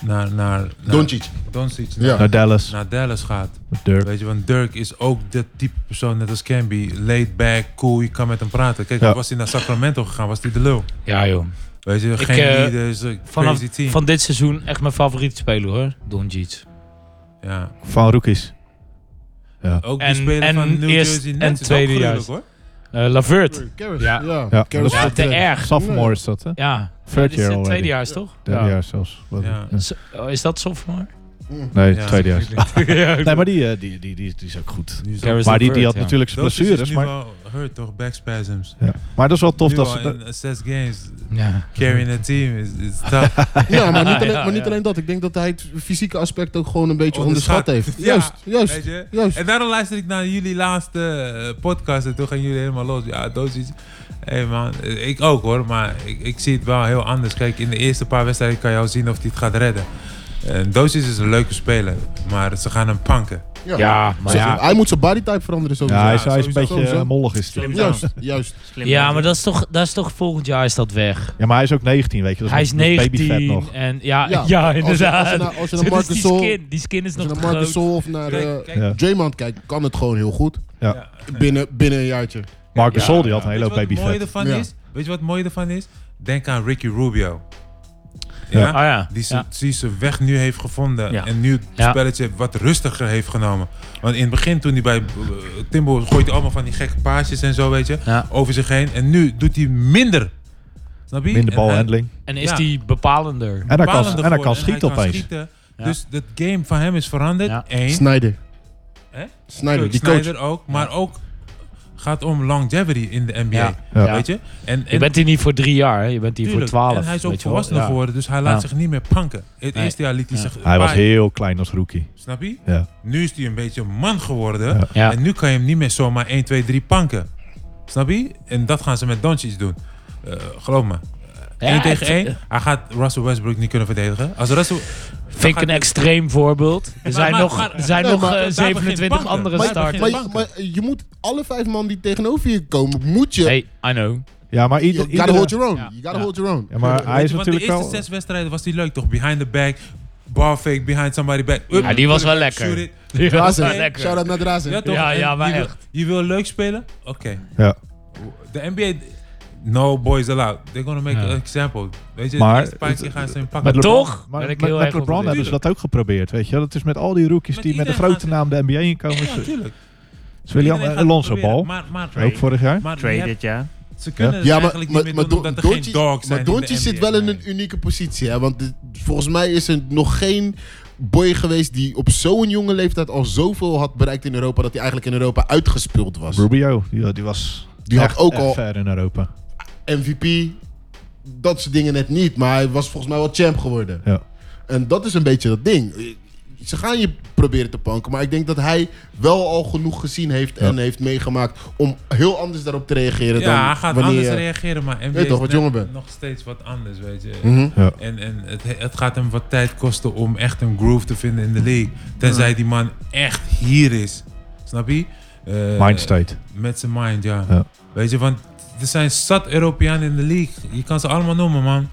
Naar, naar, naar Doncic. Doncic Ja. naar- Naar Dallas, naar Dallas gaat. met Dirk. Weet je, want Dirk is ook dat type persoon, net als Camby. Laid back, cool, je kan met hem praten. Kijk, Ja. was hij naar Sacramento gegaan, was hij de lul. Ja joh. Weet je, Ik, geen eh, leaders, een Vanaf crazy team. van dit seizoen echt mijn favoriete speler hoor. Doncic. ja. Van Rookies. Ook En- die speler en van New eerst- Jersey en Nets is ook tweede gruwelijk, juist. hoor. Eh Lavert. Karras, Ja. ja. Ja. Karras Ja, tot, te eh, erg. Sophomore is dat, hè? Ja. Third Dit is year het already. tweede jaar is toch? Derde Ja. jaar zelfs. Wat- Ja. ja. Zo- oh, Is dat sophomore? Nee, Ja. tweede jaar. ja, Nee, maar die, eh, die, die, die, die is ook goed. Nu is Harris dat- Maar die, die had ja. natuurlijk zijn Doncic is blessures. nu Maar, wel hurt toch, back spasms. ja. maar dat is wel tof. Nu Dat al ze, dat- in eh, zes games, ja. carrying a team is, is tough. Ja, maar niet, alleen, Ja, maar niet ja. alleen dat. Ik denk dat hij het fysieke aspect ook gewoon een Oh, beetje Onderschat. onderschat heeft. Ja, Juist, juist. weet je. Juist. En daarom luister ik naar jullie laatste eh, podcast en toen gaan jullie helemaal los. Ja, Dozic. Hé hey man, eh, ik ook hoor, maar ik, ik zie het wel heel anders. Kijk, in de eerste paar wedstrijden kan je al zien of hij het gaat redden. En Dozic is een leuke speler, maar ze gaan hem panken. Eh, Ja, maar Zo- ja. Hij moet zijn bodytype veranderen sowieso. ja, hij is, hij is een sowieso, beetje sowieso. eh, mollig. Is die. Slim down. Juist, juist. Slim Ja, down. maar dat is toch, dat is toch volgend jaar is dat weg. Ja, maar hij is ook 19, weet je. Dat Hij is nog- dat babyvet 19 nog. en ja, ja, Ja, als je- inderdaad. als je naar- als je naar Dus Marcus die Sol- skin, die skin is Als je nog naar te Marcus groot. Sol of naar Kijk, eh kijk, Ja. Draymond kijkt, kan het gewoon heel goed. Ja. Ja. Binnen, binnen een jaartje. Marcus Sol, die had een Weet hele je hoop wat het mooie babyvet. ervan Ja. is? Weet je wat het mooie ervan is? Denk aan Ricky Rubio. Ja. Ah ja. Die, ze- ja. die zijn weg nu heeft gevonden. Ja. En nu het Ja. spelletje wat rustiger heeft genomen. Want in het begin toen hij bij eh, Timbo gooit hij allemaal van die gekke paasjes en zo, weet je. Ja. Over zich heen. En nu doet hij minder. Snap je? Minder En hij- balhandling. En is Ja. die bepalender? En hij kan, bepalender en hij kan geworden. schieten hij kan opeens. schieten. Ja. Dus dat game van hem is veranderd. Ja. Eén. Snyder. Hè? Snyder, die coach. Snyder ook. Maar ook gaat om longevity in de NBA. Ja. Ja. Weet je? En, en Je bent hier niet voor drie jaar, hè? je bent hier voor tuurlijk. twaalf. En hij is weet ook je wel. volwassener Ja. geworden. Dus hij laat Ja. zich niet meer panken. Het Nee. eerste jaar liet hij Ja. zich... Hij was paaien. heel klein als rookie. Snap je? Ja. Nu is hij een beetje een man geworden. Ja. Ja. En nu kan je hem niet meer zomaar 1, 2, 3 panken. Snap je? En dat gaan ze met Doncic doen. Eh, geloof me. 1 Ja, tegen het- 1. Hij gaat Russell Westbrook niet kunnen verdedigen. Als Russell... Vind ik een extreem voorbeeld. Er zijn maar- nog, maar- er zijn Nee, nog maar- eh, daar begint 27 banken. andere Maar- starters. Maar, de je- banken. maar je moet alle vijf man die tegenover je komen, moet je... Hey, I know. Ja, maar you ieder, gotta iedere- hold your own. Ja. You gotta Ja. hold your own. Ja, maar hij Weet is je, want de natuurlijk eerste wel... zes wedstrijden was hij leuk toch? Behind the back, bar fake, behind somebody back. Up, Ja, die was wel shoot lekker. it. Die was Drazen. wel Shout lekker. out naar Drazen. Ja, toch? Ja, ja, En maar je wil- echt. je wil leuk spelen? Oké. Ja. De NBA... No boys allowed. They're gonna make Ja. an example. Weet je, Maar de eerste paar het- keer gaan ze hem Maar pakken. LeBron- toch Maar ben ik met, heel met erg LeBron op- hebben ze dat ook geprobeerd, weet je. wel. Dat is met al die rookies Met die met een iedereen grote naam de NBA inkomen. Ja, tuurlijk. William Iedereen gaat het Alonso proberen, bal, Maar, maar, ook vorig jaar. maar Trade je hebt- dit jaar. ze kunnen het Ja, maar, eigenlijk maar, niet meer maar doen Don- omdat er Doncic- geen dogs zijn maar in de Doncic zit NBA. wel in een unieke positie. Hè? Want dit- volgens mij is er nog geen boy geweest die op zo'n jonge leeftijd al zoveel had bereikt in Europa. dat hij eigenlijk in Europa uitgespeeld was. Rubio, die, die was Die had echt- ook echt al- ver in Europa. MVP, dat soort dingen net niet. Maar hij was volgens mij wel champ geworden. Ja. En dat is een beetje dat ding. Ze gaan je proberen te panken. Maar ik denk dat hij wel al genoeg gezien heeft en heeft meegemaakt... om heel anders daarop te reageren dan Ja, hij gaat wanneer anders je- reageren, maar NBA Weet is toch, wat net jonger bent. nog steeds wat anders, weet je. Mhm. Ja. En, en het, het gaat hem wat tijd kosten om echt een groove te vinden in de league. Tenzij Hm. die man echt hier is. Snap je? Eh, Mind state. Met zijn mind, ja. Ja. Weet je, want er zijn zat Europeanen in de league. Je kan ze allemaal noemen, man.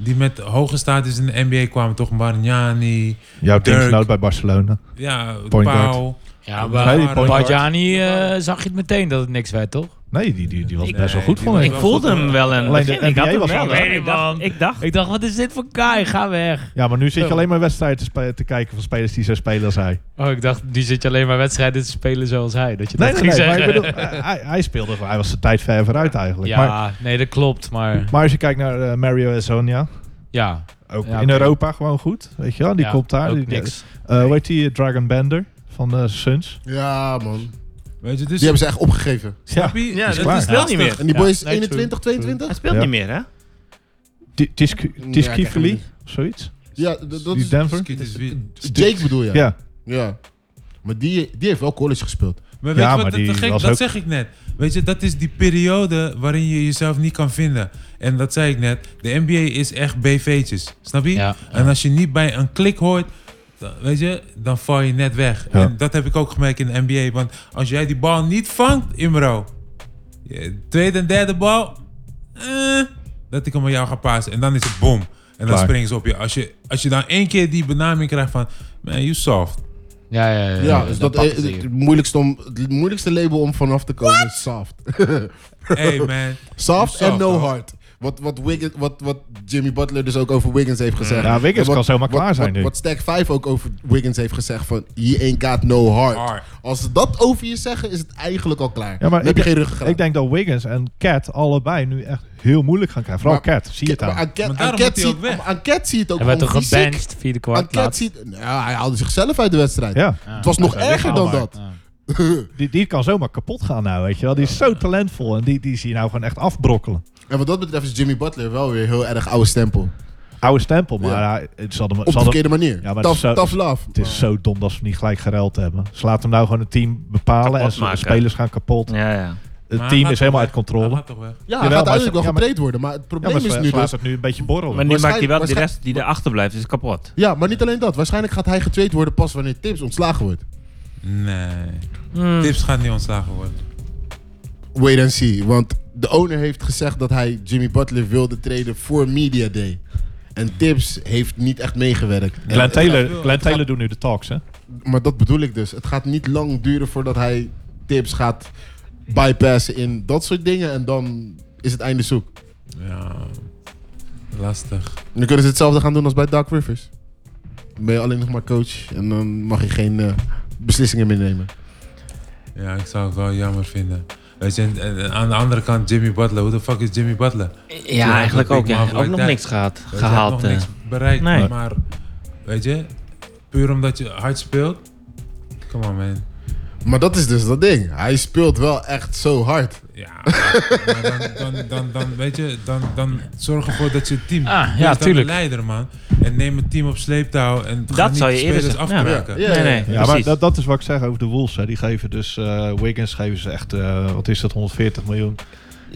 Die met hoge status in de NBA kwamen, toch? Bargnani, Jouw Dirk. teamgenoot bij Barcelona. ja, Point Pau. Ja, Nee, maar die point guard. Barjani eh, zag je het meteen dat het niks werd, toch? Nee, die, die, die was Ik- best wel Nee, goed die vond was ik. Ik voelde hem wel en Alleen de ik NBA had hem was wel. anders. hoor. Ik dacht, ik dacht, Ik dacht, wat is dit voor guy? Ga weg. Ja, maar nu zit je alleen maar wedstrijden te, spe- te kijken van spelers die zo spelen als hij. Oh, ik dacht, die zit je alleen maar wedstrijden te spelen zoals hij. Dat je Nee, dat nee, nee. ging Maar ik zeggen. bedoel, hij, hij- hij speelde, hij was zijn tijd ver vooruit eigenlijk. ja, Maar, nee, dat klopt, maar maar als je kijkt naar eh, Mario en Sonia, ja. ook Ja, in oké. Europa gewoon goed. Weet je wel, die ja, komt daar. ook Die, niks. eh, hoe heet die? eh, Dragon Bender van de Suns. Ja, man. Weet je, dus... Die hebben ze echt opgegeven. Ja, Snap je? Ja, is dat klaar. is wel niet meer. En die boy Ja, is nee, 21, true, 22? Hij speelt Ja. niet meer, hè? Ti- Tisku- Ja, Tiskivili, kijk of zoiets. Ja, dat dat Die is... Denver. Skit is wie- Jake bedoel je? Ja, Ja. Maar die, die heeft wel college gespeeld. Maar weet Ja, je wat maar het die te gek, was dat ook- zeg ik net. Weet je, dat is die periode waarin je jezelf niet kan vinden. En dat zei ik net, de NBA is echt BV'tjes, snap je? Ja. En als je niet bij een klik hoort, dan, weet je, dan val je net weg. Ja. En dat heb ik ook gemerkt in de NBA. Want als jij die bal niet vangt, Imro, je tweede en derde bal, eh, dat ik hem aan jou ga pasen. En dan is het boom. En dan Klaar. springen ze op je. Als, je. als je dan één keer die benaming krijgt van, man, you soft. Ja, ja, ja. Ja, dus dan dat, eh, pakken ze het, je. moeilijkste om, het moeilijkste label om vanaf te komen is soft. Hey man. Soft en Soft, no hoor. hard. Wat, wat, Wiggins, wat, wat Jimmy Butler dus ook over Wiggins heeft gezegd. Ja, Wiggins En wat- kan zomaar wat- klaar zijn wat, nu. Wat Stack 5 ook over Wiggins heeft gezegd van... He ain't got no heart. Hard. Als ze dat over je zeggen, is het eigenlijk al klaar. ja maar Dan heb je ik, geen ruggengraat. ik denk dat Wiggins en Cat allebei nu echt heel moeilijk gaan krijgen. Vooral Maar- Cat, zie je het Maar aan. aan Cat- Maar aan daarom Cat moet hij zie- ook weg. aan Cat zie je het ook Hij werd toch gewoon fysiek. gebankt, vierde Aan kwart. Cat laatst. zie je- nou, hij haalde zichzelf uit de wedstrijd. Ja, Het was nog dat is erger dan wel dat. Ja. die, die kan zomaar kapot gaan nou, weet je wel. Die is zo talentvol en die, die zie je nou gewoon echt afbrokkelen. En wat dat betreft is Jimmy Butler wel weer heel erg oude stempel. Oude stempel, maar Ja. hij- het zal hem... Op de zal hem- verkeerde manier. Ja, maar tough, zo- tough love. Het is zo dom dat ze niet gelijk gereld hebben. Ze laten hem nou gewoon het team bepalen en Kapot s- maken. spelers gaan kapot. Ja, ja. Maar Het hij team gaat is toch weg. helemaal uit Hij controle. gaat toch weg. Ja, Jawel, hij gaat maar uiteindelijk ze- wel ja, maar- getraind worden. Maar het Ja, probleem maar is ze, nu ze dus... laten het nu een beetje borrelen. Maar nu maakt hij wel de waarschijn- rest die erachter blijft, is kapot. Ja, maar niet alleen dat. Waarschijnlijk gaat hij getraind worden pas wanneer Tibbs ontslagen wordt. Nee. Hmm. Tips gaat niet ontslagen worden. Wait and see. Want de owner heeft gezegd dat hij Jimmy Butler wilde treden voor Media Day. En Tibbs heeft niet echt meegewerkt. En- eh, Glenn het Taylor, gaat- Glenn Taylor doet nu de talks, hè? maar dat bedoel ik dus. Het gaat niet lang duren voordat hij Tibbs gaat bypassen in dat soort dingen. En dan is het einde zoek. Ja. Lastig. Nu kunnen ze hetzelfde gaan doen als bij Dark Rivers. Dan ben je alleen nog maar coach en dan mag je geen eh, beslissingen meer nemen. Ja, ik zou het wel jammer vinden. Weet je, en- en- en aan de andere kant Jimmy Butler. Hoe de fuck is Jimmy Butler? Weet Ja, Ja, eigenlijk dat ook. ik Ja. maar Ook nog blijkt. niks gehad, je, hij heeft gehaald. nog eh. niks bereikt. Nee. Maar, weet je, puur omdat je hard speelt. Come on, man. Maar dat is dus dat ding. Hij speelt wel echt zo hard. Ja, maar dan, dan, dan, dan, weet je, dan, dan zorg ervoor dat je het team... Ah, Wees ja, dan tuurlijk. een leider, man. En neem het team op sleeptouw en ga Dat niet zou je de eerder spelers zeggen. Ja. afkraken. Ja, Nee, ja, nee, ja. Ja, maar precies. dat, dat is wat ik zeg over de Wolves. Hè. Die geven dus eh Wiggins geven ze echt, eh, wat is dat, 140 miljoen.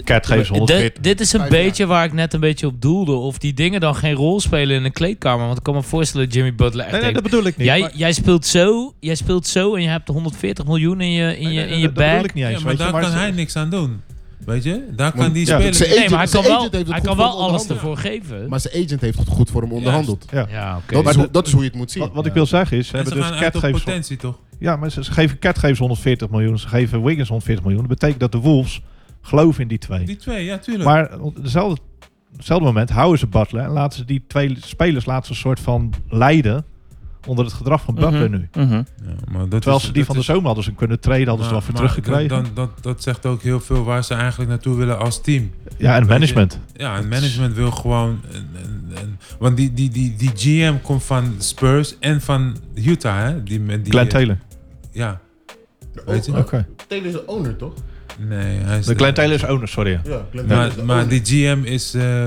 Cat geven ze Dit- 140. dit is een Vijf jaar. beetje waar ik net een beetje op doelde. Of die dingen dan geen rol spelen in een kleedkamer. Want ik kan me voorstellen dat Jimmy Butler echt Nee, nee, denkt, dat bedoel ik niet. jij, maar- jij, speelt zo, jij speelt zo en je hebt 140 miljoen in je, in Nee, je, nee, in je dat bedoel bag. ik niet eens. Ja, maar weet je, daar kan ze- hij niks aan doen. Weet je? Daar kan Want- die Ja, speler... Zijn Nee, maar hij agent- kan zijn wel, agent heeft het hij goed kan voor wel hem alles onderhandeld. ervoor geven. Maar zijn agent heeft het goed voor hem onderhandeld. Ja. ja, oké. Dat, is Maar hoe, dat is hoe je het moet zien. Wat, wat ik wil zeggen is, ze En ze hebben dus gaan uit Cat op geven ze- potentie, toch? Ja, maar ze, ze geven Cat geven ze 140 miljoen. Ze geven Wiggins 140 miljoen. Dat betekent dat de Wolves geloven in die twee. Die twee, ja, tuurlijk. Maar op dezelfde, hetzelfde moment houden ze Butler en laten ze die twee spelers laten ze een soort van leiden onder het gedrag van Butler nu. Mhm. Ja, maar dat Terwijl is- Dus ze die dat van de is- zomer hadden ze kunnen traden, hadden ze maar- er wat voor maar teruggekregen. Dat, dan, dat, dat zegt ook heel veel waar ze eigenlijk naartoe willen als team. ja, en management. Ja, en management wil gewoon... Een, een, een- want die, die, die, die GM komt van Spurs en van Utah, hè? Die, met die, eh, Glenn Taylor. Ja. Weet je? Oké. Taylor Oh, is een owner, toch? Nee, hij is... De Glenn Taylor is owner, sorry. Ja, Glenn Taylor is Maar, de maar owner. die GM is eh,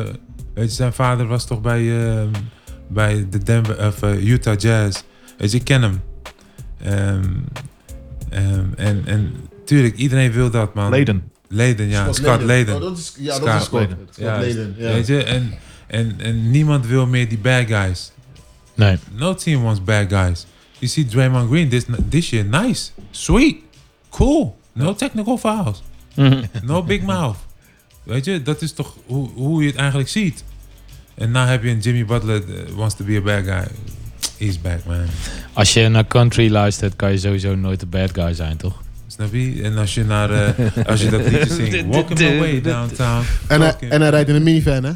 Weet je, zijn vader was toch bij, eh, bij de Denver, of, eh, Utah Jazz. Weet je, ik ken hem. Ehm, ehm, en, en tuurlijk, iedereen wil dat, man. Leden. Leden, ja. Scott Scott, Leden. Leden. Oh, dat is- ja, dat is Scott. Scott Juist. Leden, ja. Weet je, en, en, en niemand wil meer die bad guys. Nee. No team wants bad guys. You see Draymond Green this, this year, nice, sweet, cool. No technical fouls. Mhm. no big mouth. Weet je, dat is toch hoe, hoe je het eigenlijk ziet. En nou heb je een Jimmy Butler eh, wants to be a bad guy. He's back, man. Als je naar country luistert, kan je sowieso nooit de bad guy zijn, toch? Snap je? En als je, naar, eh, als je dat liedje zingt, walking my way downtown. En hij, Walking- en hij rijdt in een minivan, hè?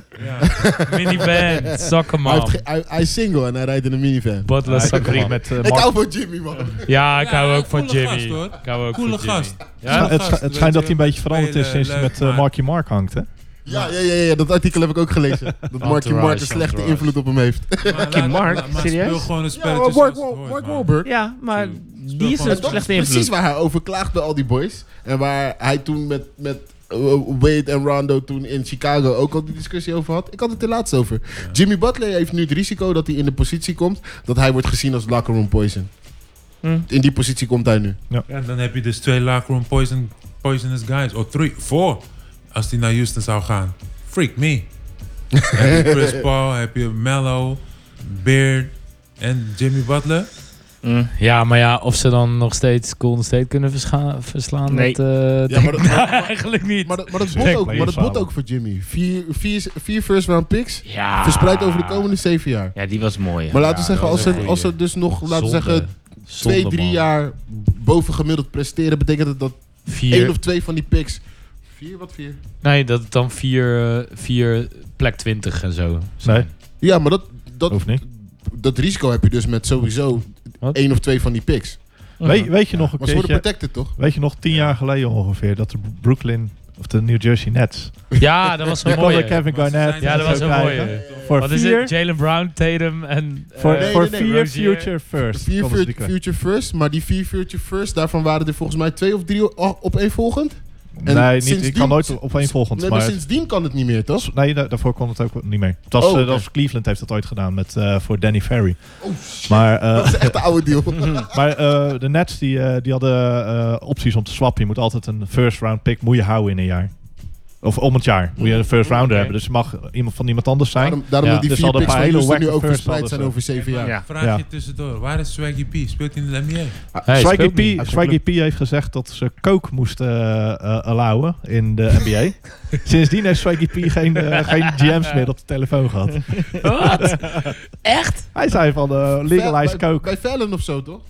Minivan, zak hem Hij, heeft aan. ge- hij, hij is single en hij rijdt in een minivan. Butler Hij zak heeft hem een aan. met eh, Ik Mark- hou van Jimmy, man. Ja, ik hou Ja, ook van coole gast, Jimmy. hoor. Ik hou ook Coole van Jimmy. gast. Ja? het, scha- het schijnt dat hij een beetje veranderd is sinds hij Spelen, met leuk, eh, Marky Mark hangt, hè? Ja, ja, ja, ja, dat artikel heb ik ook gelezen. Dat Marky Mark een slechte entourage. invloed op hem heeft. Maar Kim laat- Mark, laat- maar serieus? Speel gewoon een spelletje Ja, zoals Mark, het hoort, Mark man. Wahlberg. Ja, maar Speel die is gewoon- een Dat is slechte Precies invloed. waar hij over klaagde, al die boys. En waar hij toen met, met eh, Wade en Rondo toen in Chicago ook al die discussie over had. Ik had het er laatst over. Jimmy Butler heeft nu het risico dat hij in de positie komt dat hij wordt gezien als locker room poison. Hm. In die positie komt hij nu. Eh, Ja, dan heb je dus twee locker room poison, poisonous guys. Of drie, four. Als die naar Houston zou gaan. Freak me. heb je Chris Paul, heb je Mello, Beard en Jimmy Butler. Ja, maar ja, of ze dan nog steeds Golden State kunnen verscha- verslaan, Nee. dat, eh, Ja, denk maar ik dat, maar, eigenlijk niet. maar dat, maar dat Zeg, bot ook, maar maar dat je bot zou- ook voor Jimmy. Vier, vier, vier first round picks Ja. verspreid over de komende zeven jaar. Ja, die was mooi. hè. Maar laten we zeggen, dat als is een ze, als ze goeie. dus nog, laten we Zonde. zeggen, twee, Zonde, drie man. jaar boven gemiddeld presteren, betekent het dat Vier, één of twee van die picks. Vier, wat vier? Nee, dat het dan vier, eh, vier plek 20 en zo. Nee, Ja, maar dat, dat, hoeft niet. dat risico heb je dus met sowieso Wat? één of twee van die picks. Weet, weet je nog een Maar ze worden keertje, protected, toch? weet je nog tien jaar geleden ongeveer, dat de Brooklyn, of de New Jersey Nets, Ja, dat was die een konden mooie. Kevin Maar ze Garnett zijn- Ja, dat en was zo een krijgen. mooie. Voor Wat is vier, het? Jalen Brown, Tatum en... eh, voor, Nee, voor nee, nee. vier Rozier. future first. Vier konden ze die fut- future first, maar die vier future first, daarvan waren er volgens mij twee of drie o- o- opeenvolgend. krijgen. en nee, niet, sindsdien- ik kan nooit op één volgend. Nee, maar maar het- sindsdien kan het niet meer, toch? Nee, da- daarvoor kon het ook niet meer. Het was, Oh, eh, oké. Oh, dat was Cleveland heeft dat ooit gedaan met, eh, voor Danny Ferry. maar eh, Dat is echt de oude deal. maar eh, de Nets die, eh, die hadden eh, opties om te swappen. Je moet altijd een first round pick moet je houden in een jaar. Of om het jaar moet je een first rounder Oké. hebben. Dus het mag iemand van iemand anders zijn. Daarom, daarom Ja. dat die Dus vier hadden picks een van hele Houston nu wacke ook first verspreid hadden zijn over ze. zeven jaar. Ja. Vraag je tussendoor, waar is Swaggy P? Speelt hij in de NBA? Hey, Ah, Swaggy speelt niet. P, Swaggy P heeft gezegd dat ze coke moesten eh, eh, allowen in de NBA. Sindsdien heeft Swaggy P geen, eh, geen GM's meer op de telefoon gehad. Wat? Echt? Hij zei van eh, legalize Bij- coke. Bij Fallon of zo, toch?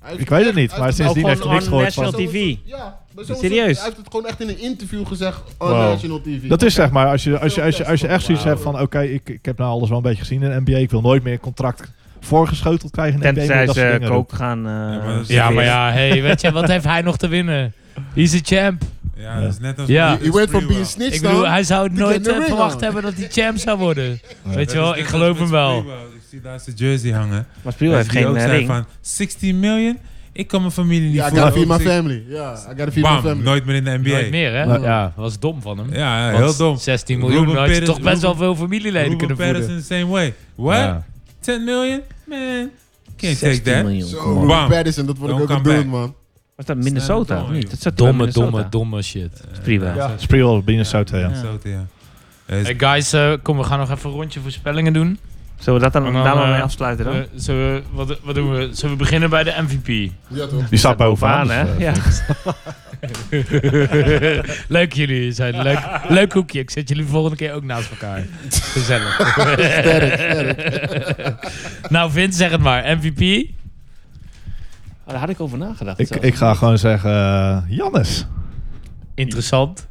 Hij heeft Ik weet het echt- niet, hij maar heeft sindsdien het heeft gewoon hij niks on gehoord van... national TV. Ja, maar zo- Serieus? Hij heeft het gewoon echt in een interview gezegd on Wow. national TV. Dat is zeg maar, als je, als je, als je, als je echt zoiets hebt van... oké, ik, ik heb nou alles wel een beetje gezien in de NBA... ik wil nooit meer een contract voorgeschoteld krijgen in de NBA... Tenzij dat soort ze dingen kook gaan... eh, maar dat is- Ja, maar ja, hey, weet je, wat heeft hij nog te winnen? He's a champ. Ja, dat is net als... Ja. dat is He went from Freewell. being snitched Ik bedoel, on- hij zou het Die nooit kent de eh, ring verwacht al. hebben dat hij champ zou worden. Weet Dat je is wel, net ik als geloof met hem wel. Freewell. Ik zie daar zijn jersey hangen. Maar Spiel heeft Die ook geen eh, zei ring. van 16 miljoen, ik kan mijn familie niet Ja, I voeden. gotta feed my Ook zeg- family. Ja, I gotta feed my Bam, family. nooit meer in de NBA. Nooit meer, hè? Nee. Ja, was dom van hem. Ja, Want heel dom. 16 miljoen, Ruben dan had je Perez- toch best wel veel familieleden Ruben kunnen Perez voeden. in the same way. What? Ja. 10 million? Man, can't 16 take that. miljoen. Zo, Kom op. Ruben Bam. Patterson, dat word ik Don't ook aan come doen, back. man. Was dat Minnesota of niet? Dat zat toch Domme, in Minnesota? domme, domme shit. Dat is prima. doen. Spreel, Minnesota, ja. Ja. Zo, ja. Eh, Hey guys, eh, kom, we gaan nog even een rondje voorspellingen doen. Zullen we dat dan, En dan, daar maar eh, mee afsluiten dan? Eh, zullen we, wat, wat doen we? Zullen we beginnen bij de MVP? Ja, toch? Die staat bovenaan. Bovenaan, hè? dus, eh, Ja. leuk jullie zijn. Leuk, leuk hoekje. Ik zet jullie volgende keer ook naast elkaar. Gezellig. nou, Vince, zeg het maar. MVP? Oh, daar had ik over nagedacht. Ik, zo. ik ga gewoon zeggen... eh Jannes. Interessant.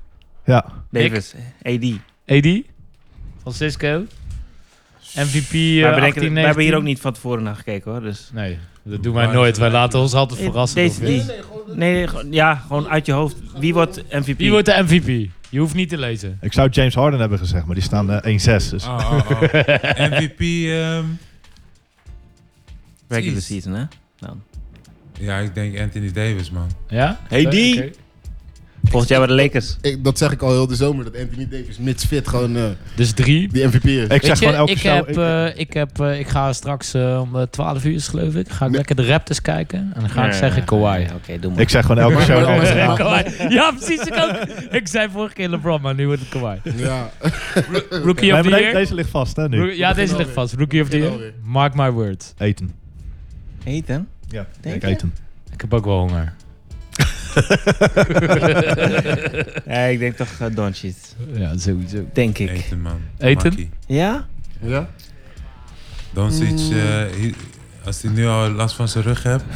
Ja. Davis, AD. AD? Francisco? MVP eh, Wij, 18, bedenken, wij hebben hier ook 19? niet van tevoren naar gekeken hoor. Dus. Nee, dat doen wij nooit. Wij laten ons altijd verrassen. Eh, Deze door Vince. drie. Nee, gewoon- ja, gewoon uit je hoofd. Wie wordt MVP? Wie wordt de MVP? Je hoeft niet te lezen. Ik zou James Harden hebben gezegd, maar die staan eh, 1-6. Dus. Ah, oh, oh, oh. MVP, ehm, regular Jeez. season, hè? Dan. ja, ik denk Anthony Davis, man. Ja? Hey, die. Oké. Volgend jaar bij de Lakers. Ik, dat zeg ik al heel de zomer, dat Anthony Davis mits fit gewoon eh, Dus drie. die MVP is. Ik zeg Weet je, gewoon elke ik show- Heb, ik- eh, ik, heb, eh, ik ga straks eh, om eh, 12 uur, is het, geloof ik, ga ik Nee. lekker de Raptors kijken. En dan ga ik Ja, zeggen ja, Kawhi. ja, Oké, doe maar. Ik zeg gewoon elke Maar- show. maar- eh, maar- Kawhi. Ja, precies. Ik, ook. ik zei vorige keer LeBron, maar nu wordt het Kawhi. Ja. Rookie nee, of maar the deze, year. deze ligt vast, hè, nu. Roo- Ja, deze ligt alweer. vast. Rookie of the Begin year. alweer. Mark my word. Eten. Eten? Ja, Denk ik je? eten. Ik heb ook wel honger. Ja, ik denk toch uh, Doncic. Ja, sowieso. Denk ik. Eten, man. Eten? Makkie. Ja? ja? Doncic, Mm. eh, hi- als hij nu al last van zijn rug hebt.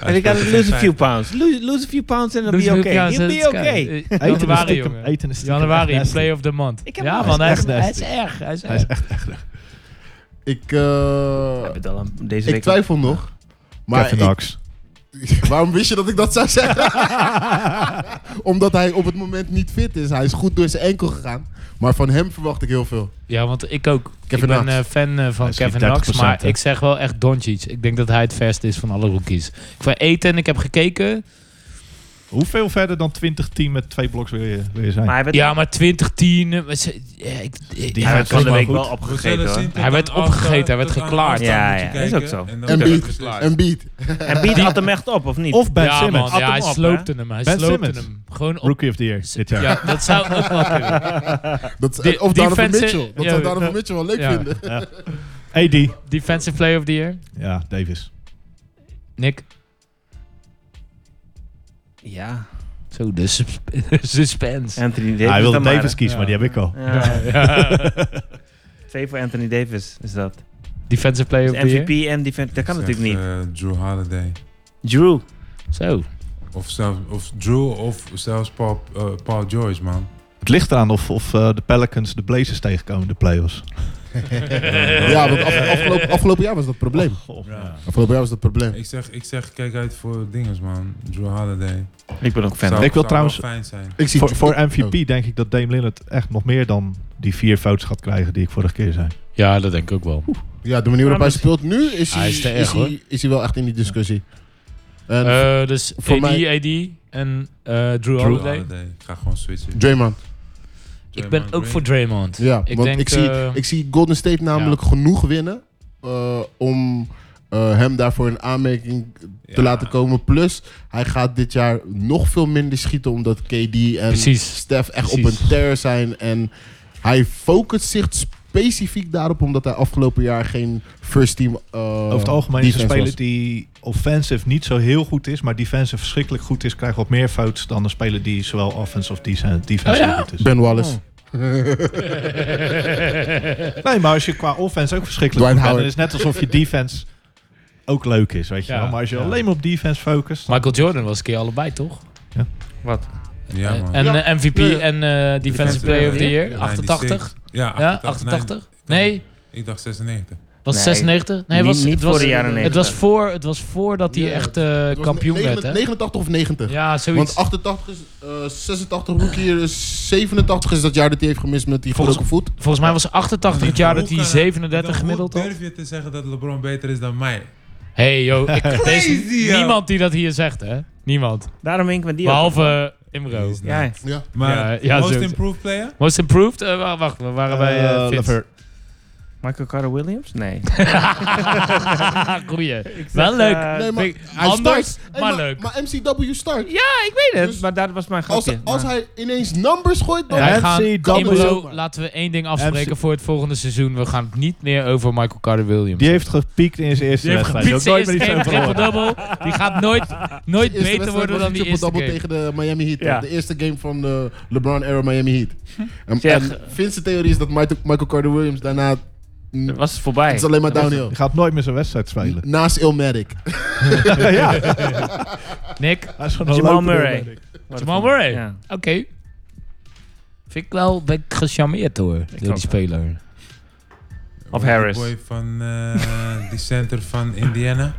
En ik had lose a few pounds. Lose, lose a few pounds en dan be okay. He'll be okay. Januari, jongen. Eten is stiekem Januari, echt nasty. play of the month. Ik heb Ja, hem man, hij is, echt hij is nasty. erg. Hij is Hij is erg. echt echt. Ik, eh, Heb het al aan- deze week ik twijfel nog. Maar Kevin ik- Knox. waarom wist je dat ik dat zou zeggen? Omdat hij op het moment niet fit is. Hij is goed door zijn enkel gegaan. Maar van hem verwacht ik heel veel. Ja, want ik ook. Kevin ik ben Knox. eh, fan eh, van Hij schiet Kevin Knox, 30%, maar hè? ik zeg wel echt Doncic. Ik denk dat hij het verste is van alle rookies. Qua eten, ik heb gekeken. Hoeveel verder dan 2010 met twee bloks wil je, wil je zijn? Maar hij werd, Ja, maar 2010. eh, maar ze- ja, ik- ik- Die hij werd werd van de wel week goed. wel We zullen opgegeten zien hoor. tot Hij werd aan opgegeten, hij werd tot aan geklaard. afstand Ja, moet je ja, is kijken. ook zo. En dan En wordt beat. het beslist. En beat. En biedt had hem echt op, of niet? Of Ben ja, Simmons. Man, ja, hij hem op, sloopte hem. Hij Ben sloopte Simmons. hem. Gewoon op. Rookie of the Year dit jaar. Ja, dat zou ook wel kunnen. Dat, Die- of Donovan defense- Mitchell. Dat ja, zou Donovan Mitchell wel leuk ja. vinden. AD. Defensive Player of the Year. Ja, Davis. Nick. Ja. Zo, de sus- suspense. Anthony Davis. hij wilde dan maar. Davis kiezen, maar die heb ik al. Ja. Twee voor Anthony Davis is dat. Defensive Player Dus of the Year. MVP en defense. Dat kan Zeg, natuurlijk niet. eh, Drew Holiday. eh, Drew. Zo. Of, zelf, of Drew of zelfs Paul, eh, Paul George, man. Het ligt eraan of, of eh, de Pelicans de Blazers tegenkomen in de playoffs. Ja, want af- afgelopen, afgelopen jaar was dat probleem. Goh, Ja. Afgelopen jaar was dat probleem. Ik zeg, ik zeg, kijk uit voor dinges, man. Drew Holiday. Ik ben ook fan. Zou- Ik wil zou trouwens- wel fijn zijn. Ik zie Voor, voor MVP Oh. denk ik dat Dame Lillard echt nog meer dan die vier fouts gaat krijgen die ik vorige keer zei. Oh. Ja, dat denk ik ook wel. Ja, de manier waarop hij speelt nu is hij, Hij is te erg, is hoor. hij, is hij wel echt in die discussie. En Eh, dus voor AD, mij- AD en eh, Drew Drew Holiday. Holiday. Ik ga gewoon switchen. Draymond. Ik ben Draymond ook Green. voor Draymond. Ja, Ik want denk, ik, zie, eh, ik zie Golden State namelijk genoeg winnen eh, om eh, hem daarvoor in aanmerking te Ja. laten komen. Plus, hij gaat dit jaar nog veel minder schieten omdat KD en Precies. Stef echt op Precies. een terror zijn. En hij focust zich specifiek daarop omdat hij afgelopen jaar geen first team eh Over het algemeen is een defense speler was. die offensive niet zo heel goed is, maar defensive verschrikkelijk goed is, krijgt wat meer fouts dan een speler die zowel offense of defense, defense Oh ja? goed is. Ben Wallace. Nee, maar als je qua offense ook verschrikkelijk Dwight goed Howard. bent, dan is het net alsof je defense ook leuk is, weet je Ja, wel. Maar als je ja. alleen maar op defense focust, dan- Michael Jordan was een keer allebei, toch? Wat? Ja, man. en Ja. eh, MVP Ja, ja. en eh, Defensive Player of the Year. 88? 96. Ja, Ja, 88. 88? Nee, Ik dacht 96. was Nee. 96? Nee, Niet- was, niet het was, voor de jaren Het 90. was, voor, het was voordat hij Ja, echt eh, Het was kampioen negen- werd, hè? 89 of 90. Ja, zoiets. Want 88, is, eh 86 rookie, year, dus 87 is dat jaar dat hij heeft gemist met die Volgens- gebroken voet. Volgens mij was 88 het jaar dat hij Hoe kan- 37 hoe gemiddeld had. durf je te zeggen dat LeBron beter is dan mij? hey, yo. Ik, er is Crazy, yo. niemand die dat hier zegt, hè? Niemand. Daarom denk ik met die ook. Behalve eh, Imro. Is niet. Ja, Ja. Maar Ja, ja, most sowieso. improved player? Most improved? Eh, wa- wacht, we waren bij eh, Eh, Vince. Levert. Michael Carter Williams? Nee. Goeie. zeg, Wel leuk. eh, Nee, maar Vind ik hij anders, start. maar Hey, leuk. Maar MCW start. ik weet het, Dus- maar dat was mijn als, grapje. als maar- hij ineens numbers gooit, dan... Wij Ja, gaan, MC Double Imro, zomaar. laten we één ding afspreken MC voor het volgende seizoen. We gaan het niet meer over Michael Carter Williams. Die heeft gepiekt in zijn eerste die heeft wedstrijd. gepietst Daar heb eerst ik nooit meer geen iets over triple gehoord. double. Die gaat nooit, nooit de eerste beter wedstrijd worden was dan een die eerste triple-double game. tegen de Miami Heat. Ja. De eerste game van de LeBron-era Miami Heat. Hm. En, Zeg, en Vince's theorie is dat Michael Michael Carter-Williams daarna... mm, Dat Het was voorbij. is alleen maar Dat was- downhill. Die gaat nooit meer zijn wedstrijd spelen. Naast Ilmatic. ja, Nick, hij is gewoon een Jamal loper, Murray. denk ik. wat Jamal voor- Murray. Ja. Oké. Vind ik wel, ben ik gecharmeerd hoor, door die ook. speler. Of Die Harris. boy van eh die center van Indiana.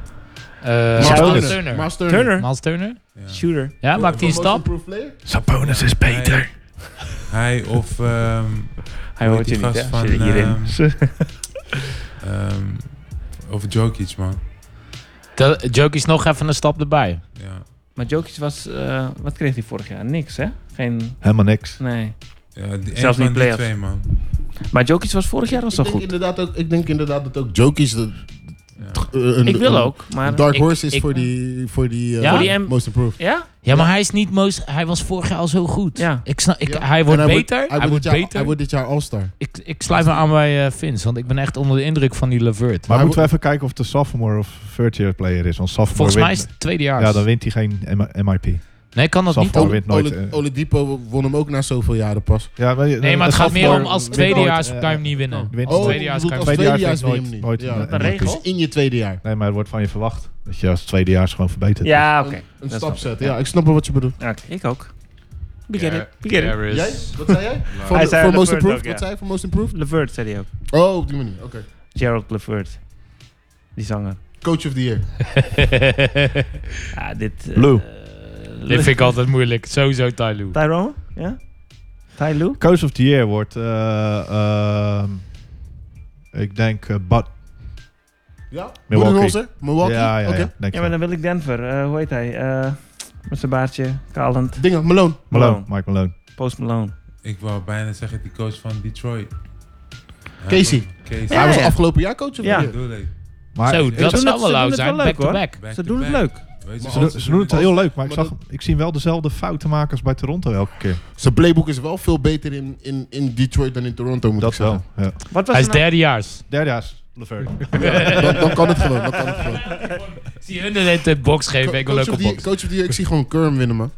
Eh, Miles Turner. Miles Turner. Miles Turner. Turner. Miles Turner? Ja. Shooter. Ja, maakt hij een Most stap? improved player? Sabonis is beter. Hij of... ehm Hij hoe hoort je heet die gast niet, hè? van, Zit eh, hierin. ehm, ehm, of Jokic, man. Dat- Jokic is nog even een stap erbij. Ja. Maar Jokic was, eh, wat kreeg hij vorig jaar? Niks, hè? Geen, Helemaal niks. nee. Ja, die, Zelfs niet een van die playoffs. twee, man. Maar Jokic was vorig jaar al Ik zo denk, goed. Inderdaad ook, ik denk inderdaad dat ook Jokic... de- Ja. eh, een- Ik wil een- ook, maar... een Dark ik- Horse is ik- voor die, voor die, eh, Ja? Voor die M- Most Improved. Ja? Ja, maar hij is niet most, hij was vorig jaar al zo goed. Ja. Ik snap, ik, Ja. hij wordt En beter. hij, dit wordt jaar- beter. Hij wordt dit jaar All-Star. ik, ik sluit me aan bij eh Vince, want ik ben echt onder de indruk van die Levert. Maar Maar hij moeten we even kijken of het een sophomore of third year player is. Want sophomore Volgens mij is wint- het tweedejaars. Ja, dan wint hij geen M- MIP. nee, kan dat niet. Sophomore Ole, wint nooit. Ole- eh, Oladipo won hem ook na zoveel jaren pas. ja, maar, Nee, maar het gaat meer om als tweedejaars eh, kan je hem niet winnen. wint Oh. Als nooit. tweedejaars je kan bedoelt je als hem tweedejaars Tweedejaars win je hem nooit- niet. nooit ja. een- Dat een een regel? Dus in je tweede jaar. Nee, maar het wordt van je verwacht dat je als tweedejaars gewoon verbetert. Ja, oké. Een Dat stap snap ik, zetten. Ja, ik snap wel wat je bedoelt. Ja, oké, Ik ook. Begin Ja, it. Begin it. Harris. Jij? Wat zei jij? Voor, Hij de- zei voor Levert Most ook, Improved? ja. Wat zei je voor Most Improved? Levert, zei hij ook. Oh, op die manier. Oké. Gerald Levert. Die zanger. Coach of the year. Ja, dit... eh, Lou. eh, Dit vind ik altijd moeilijk. Sowieso Tai Lue. Tyrone? Ja? Ty Lue? Coach of the Year wordt, eh, ehm, ik denk, eh, Bud. Ja? Milwaukee. Milwaukee. Milwaukee? Ja, ja, Oké. ja, denk Ja, ik maar wel. dan wil ik Denver. Eh, hoe heet hij? Eh, met zijn baardje. Kalend. Dingen, Malone. Malone, Malone. Mike Malone. Post Malone. Ik wou bijna zeggen, die coach van Detroit. Ja, Casey. Casey. Ja, hij was ja. afgelopen jaar coach of the Ja. year. Bedoel ik. Maar Zo, ze, dat doen zou het- wel ze leuk doen het zijn. wel Back leuk, to hoor. back. Back Ze to doen het back. leuk. Weet je, Ze ze als- doen- ze doen het heel leuk, maar ik, zag, ik zie hem wel dezelfde fouten maken als bij Toronto elke keer. Zijn playbook is wel veel beter in, in, in Detroit dan in Toronto, moet Dat ik zeggen. wel. Ja. Wat was Hij is er nou- derdejaars. Derdejaars, Levert. Dan, dan kan het gewoon. Dan kan het gewoon. Zie hun de net de box geven. Ik wil coach, of ook een the year, box. coach of the year, ik zie gewoon Curm winnen, man.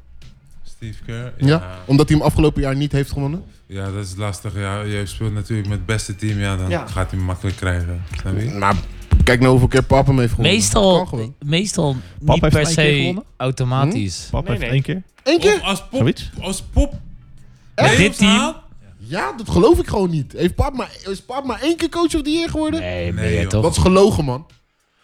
Steve Kerr. Ja. Omdat hij hem afgelopen jaar niet heeft gewonnen. Ja, dat is lastig. Ja, je speelt natuurlijk met het beste team. Ja, dan Ja. gaat hij hem makkelijk krijgen. Snap je? Maar kijk nou hoeveel keer papa hem heeft gewonnen. Kan Meestal, gewoon. meestal Pap niet heeft per één keer gewonnen? se automatisch. Pap Nee, heeft nee. één keer. Eén Of keer? als pop, Zoiets. als pop Met dit playoffs team? haalt, Ja, dat geloof ik gewoon niet. Heeft pap maar, is pap maar één keer coach of the year geworden? Nee, ben Nee, je joh. toch? Dat is gelogen, man. Als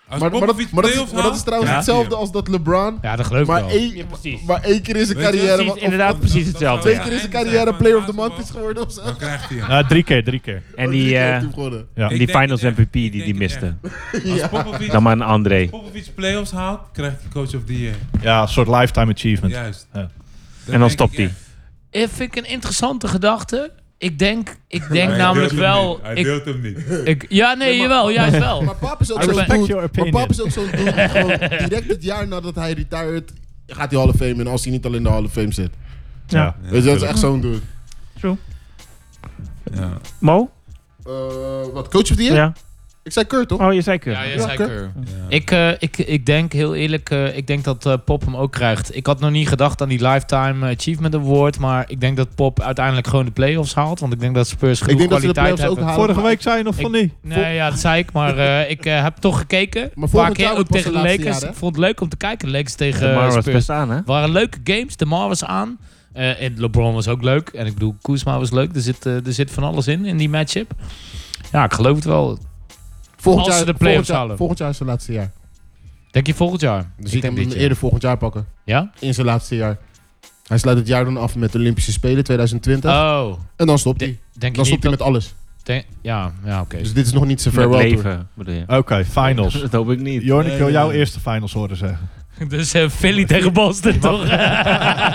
Maar, maar, dat, Popovic maar, dat, is- playoffs maar dat is haalt, trouwens ja. hetzelfde als dat LeBron. Ja, dat geloof ik Maar wel. één, Ja, precies. maar één keer in zijn Weet je, carrière. precies, of- of- inderdaad of precies dat- dat zou- hetzelfde. Twee ja. keer in zijn Ja, carrière maar player of the basketbal. month is geworden of zo. Dan krijgt hij hem. Nou, drie keer, drie keer. En Drie die, keer eh, heeft hij hem gewonnen. Ja. Ik die denk het finals echt. MVP Ik die denk die het echt. miste. Als Popovic, Dan maar een André. Popovic playoffs haalt, krijgt hij coach of the year. Ja, een soort lifetime achievement. Juist. Ja. Dan En dan denk stopt ik hij. echt. Eh, vind ik een interessante gedachte. Ik denk, ik denk Hij namelijk deelt hem wel. niet. Hij Ik, deelt hem niet. ik, ja, nee, jawel, juist wel. Maar pap is ook I zo'n respect dude. your Maar opinion. pap is ook zo'n dude die gewoon direct het jaar nadat hij retired gaat hij Hall of Fame in als hij niet al in de Hall of Fame zit. Ja. Weet je, dat is echt zo'n dude. Ja. Mo? Eh, wat, coach of the year? Ja. Ik zei Kurt, toch? Oh, je zei Keur. Ja, jij Ja, zei oké. Keur. Ja. Ik, eh, ik, ik denk heel eerlijk, eh, ik denk dat eh, Pop hem ook krijgt. Ik had nog niet gedacht aan die Lifetime Achievement Award. Maar ik denk dat Pop uiteindelijk gewoon de playoffs haalt. Want ik denk dat Spurs genoeg Ik denk dat ze de kwaliteit playoffs ook hebben. halen. Vorige maar- week zei je nog van niet. Nee, ja, dat zei ik. Maar eh, ik eh, heb toch gekeken. Een volgend paar keer jaar ook wordt pas tegen de het laatste Lakers. jaar, hè? ik vond het leuk om te kijken. De Lakers tegen De eh, Mar was Spurs. best aan, hè? Het waren leuke games. De Mar was aan. Eh, en LeBron was ook leuk. En ik bedoel, Kuzma was leuk. Er zit, eh, er zit van alles in, in die matchup. Ja, ik geloof het wel. Volgend Als jaar, ze de playoffs volgend jaar- halen. Volgend jaar is zijn laatste jaar. Denk je volgend jaar? Dus ik denk hem hem dit jaar. eerder volgend jaar pakken. Ja? In zijn laatste jaar. Hij sluit het jaar dan af met de Olympische Spelen 2020. Oh, en dan stopt hij. de- denk Dan stopt je niet hij dat... met alles. denk- ja, ja oké. Dus dit is nog niet zijn Met farewell tour. leven, bedoel je. Oké, finals. Dat hoop ik niet. Jorn, ik wil Nee, jouw nee. eerste finals horen zeggen. Dus eh, Philly tegen Boston, toch?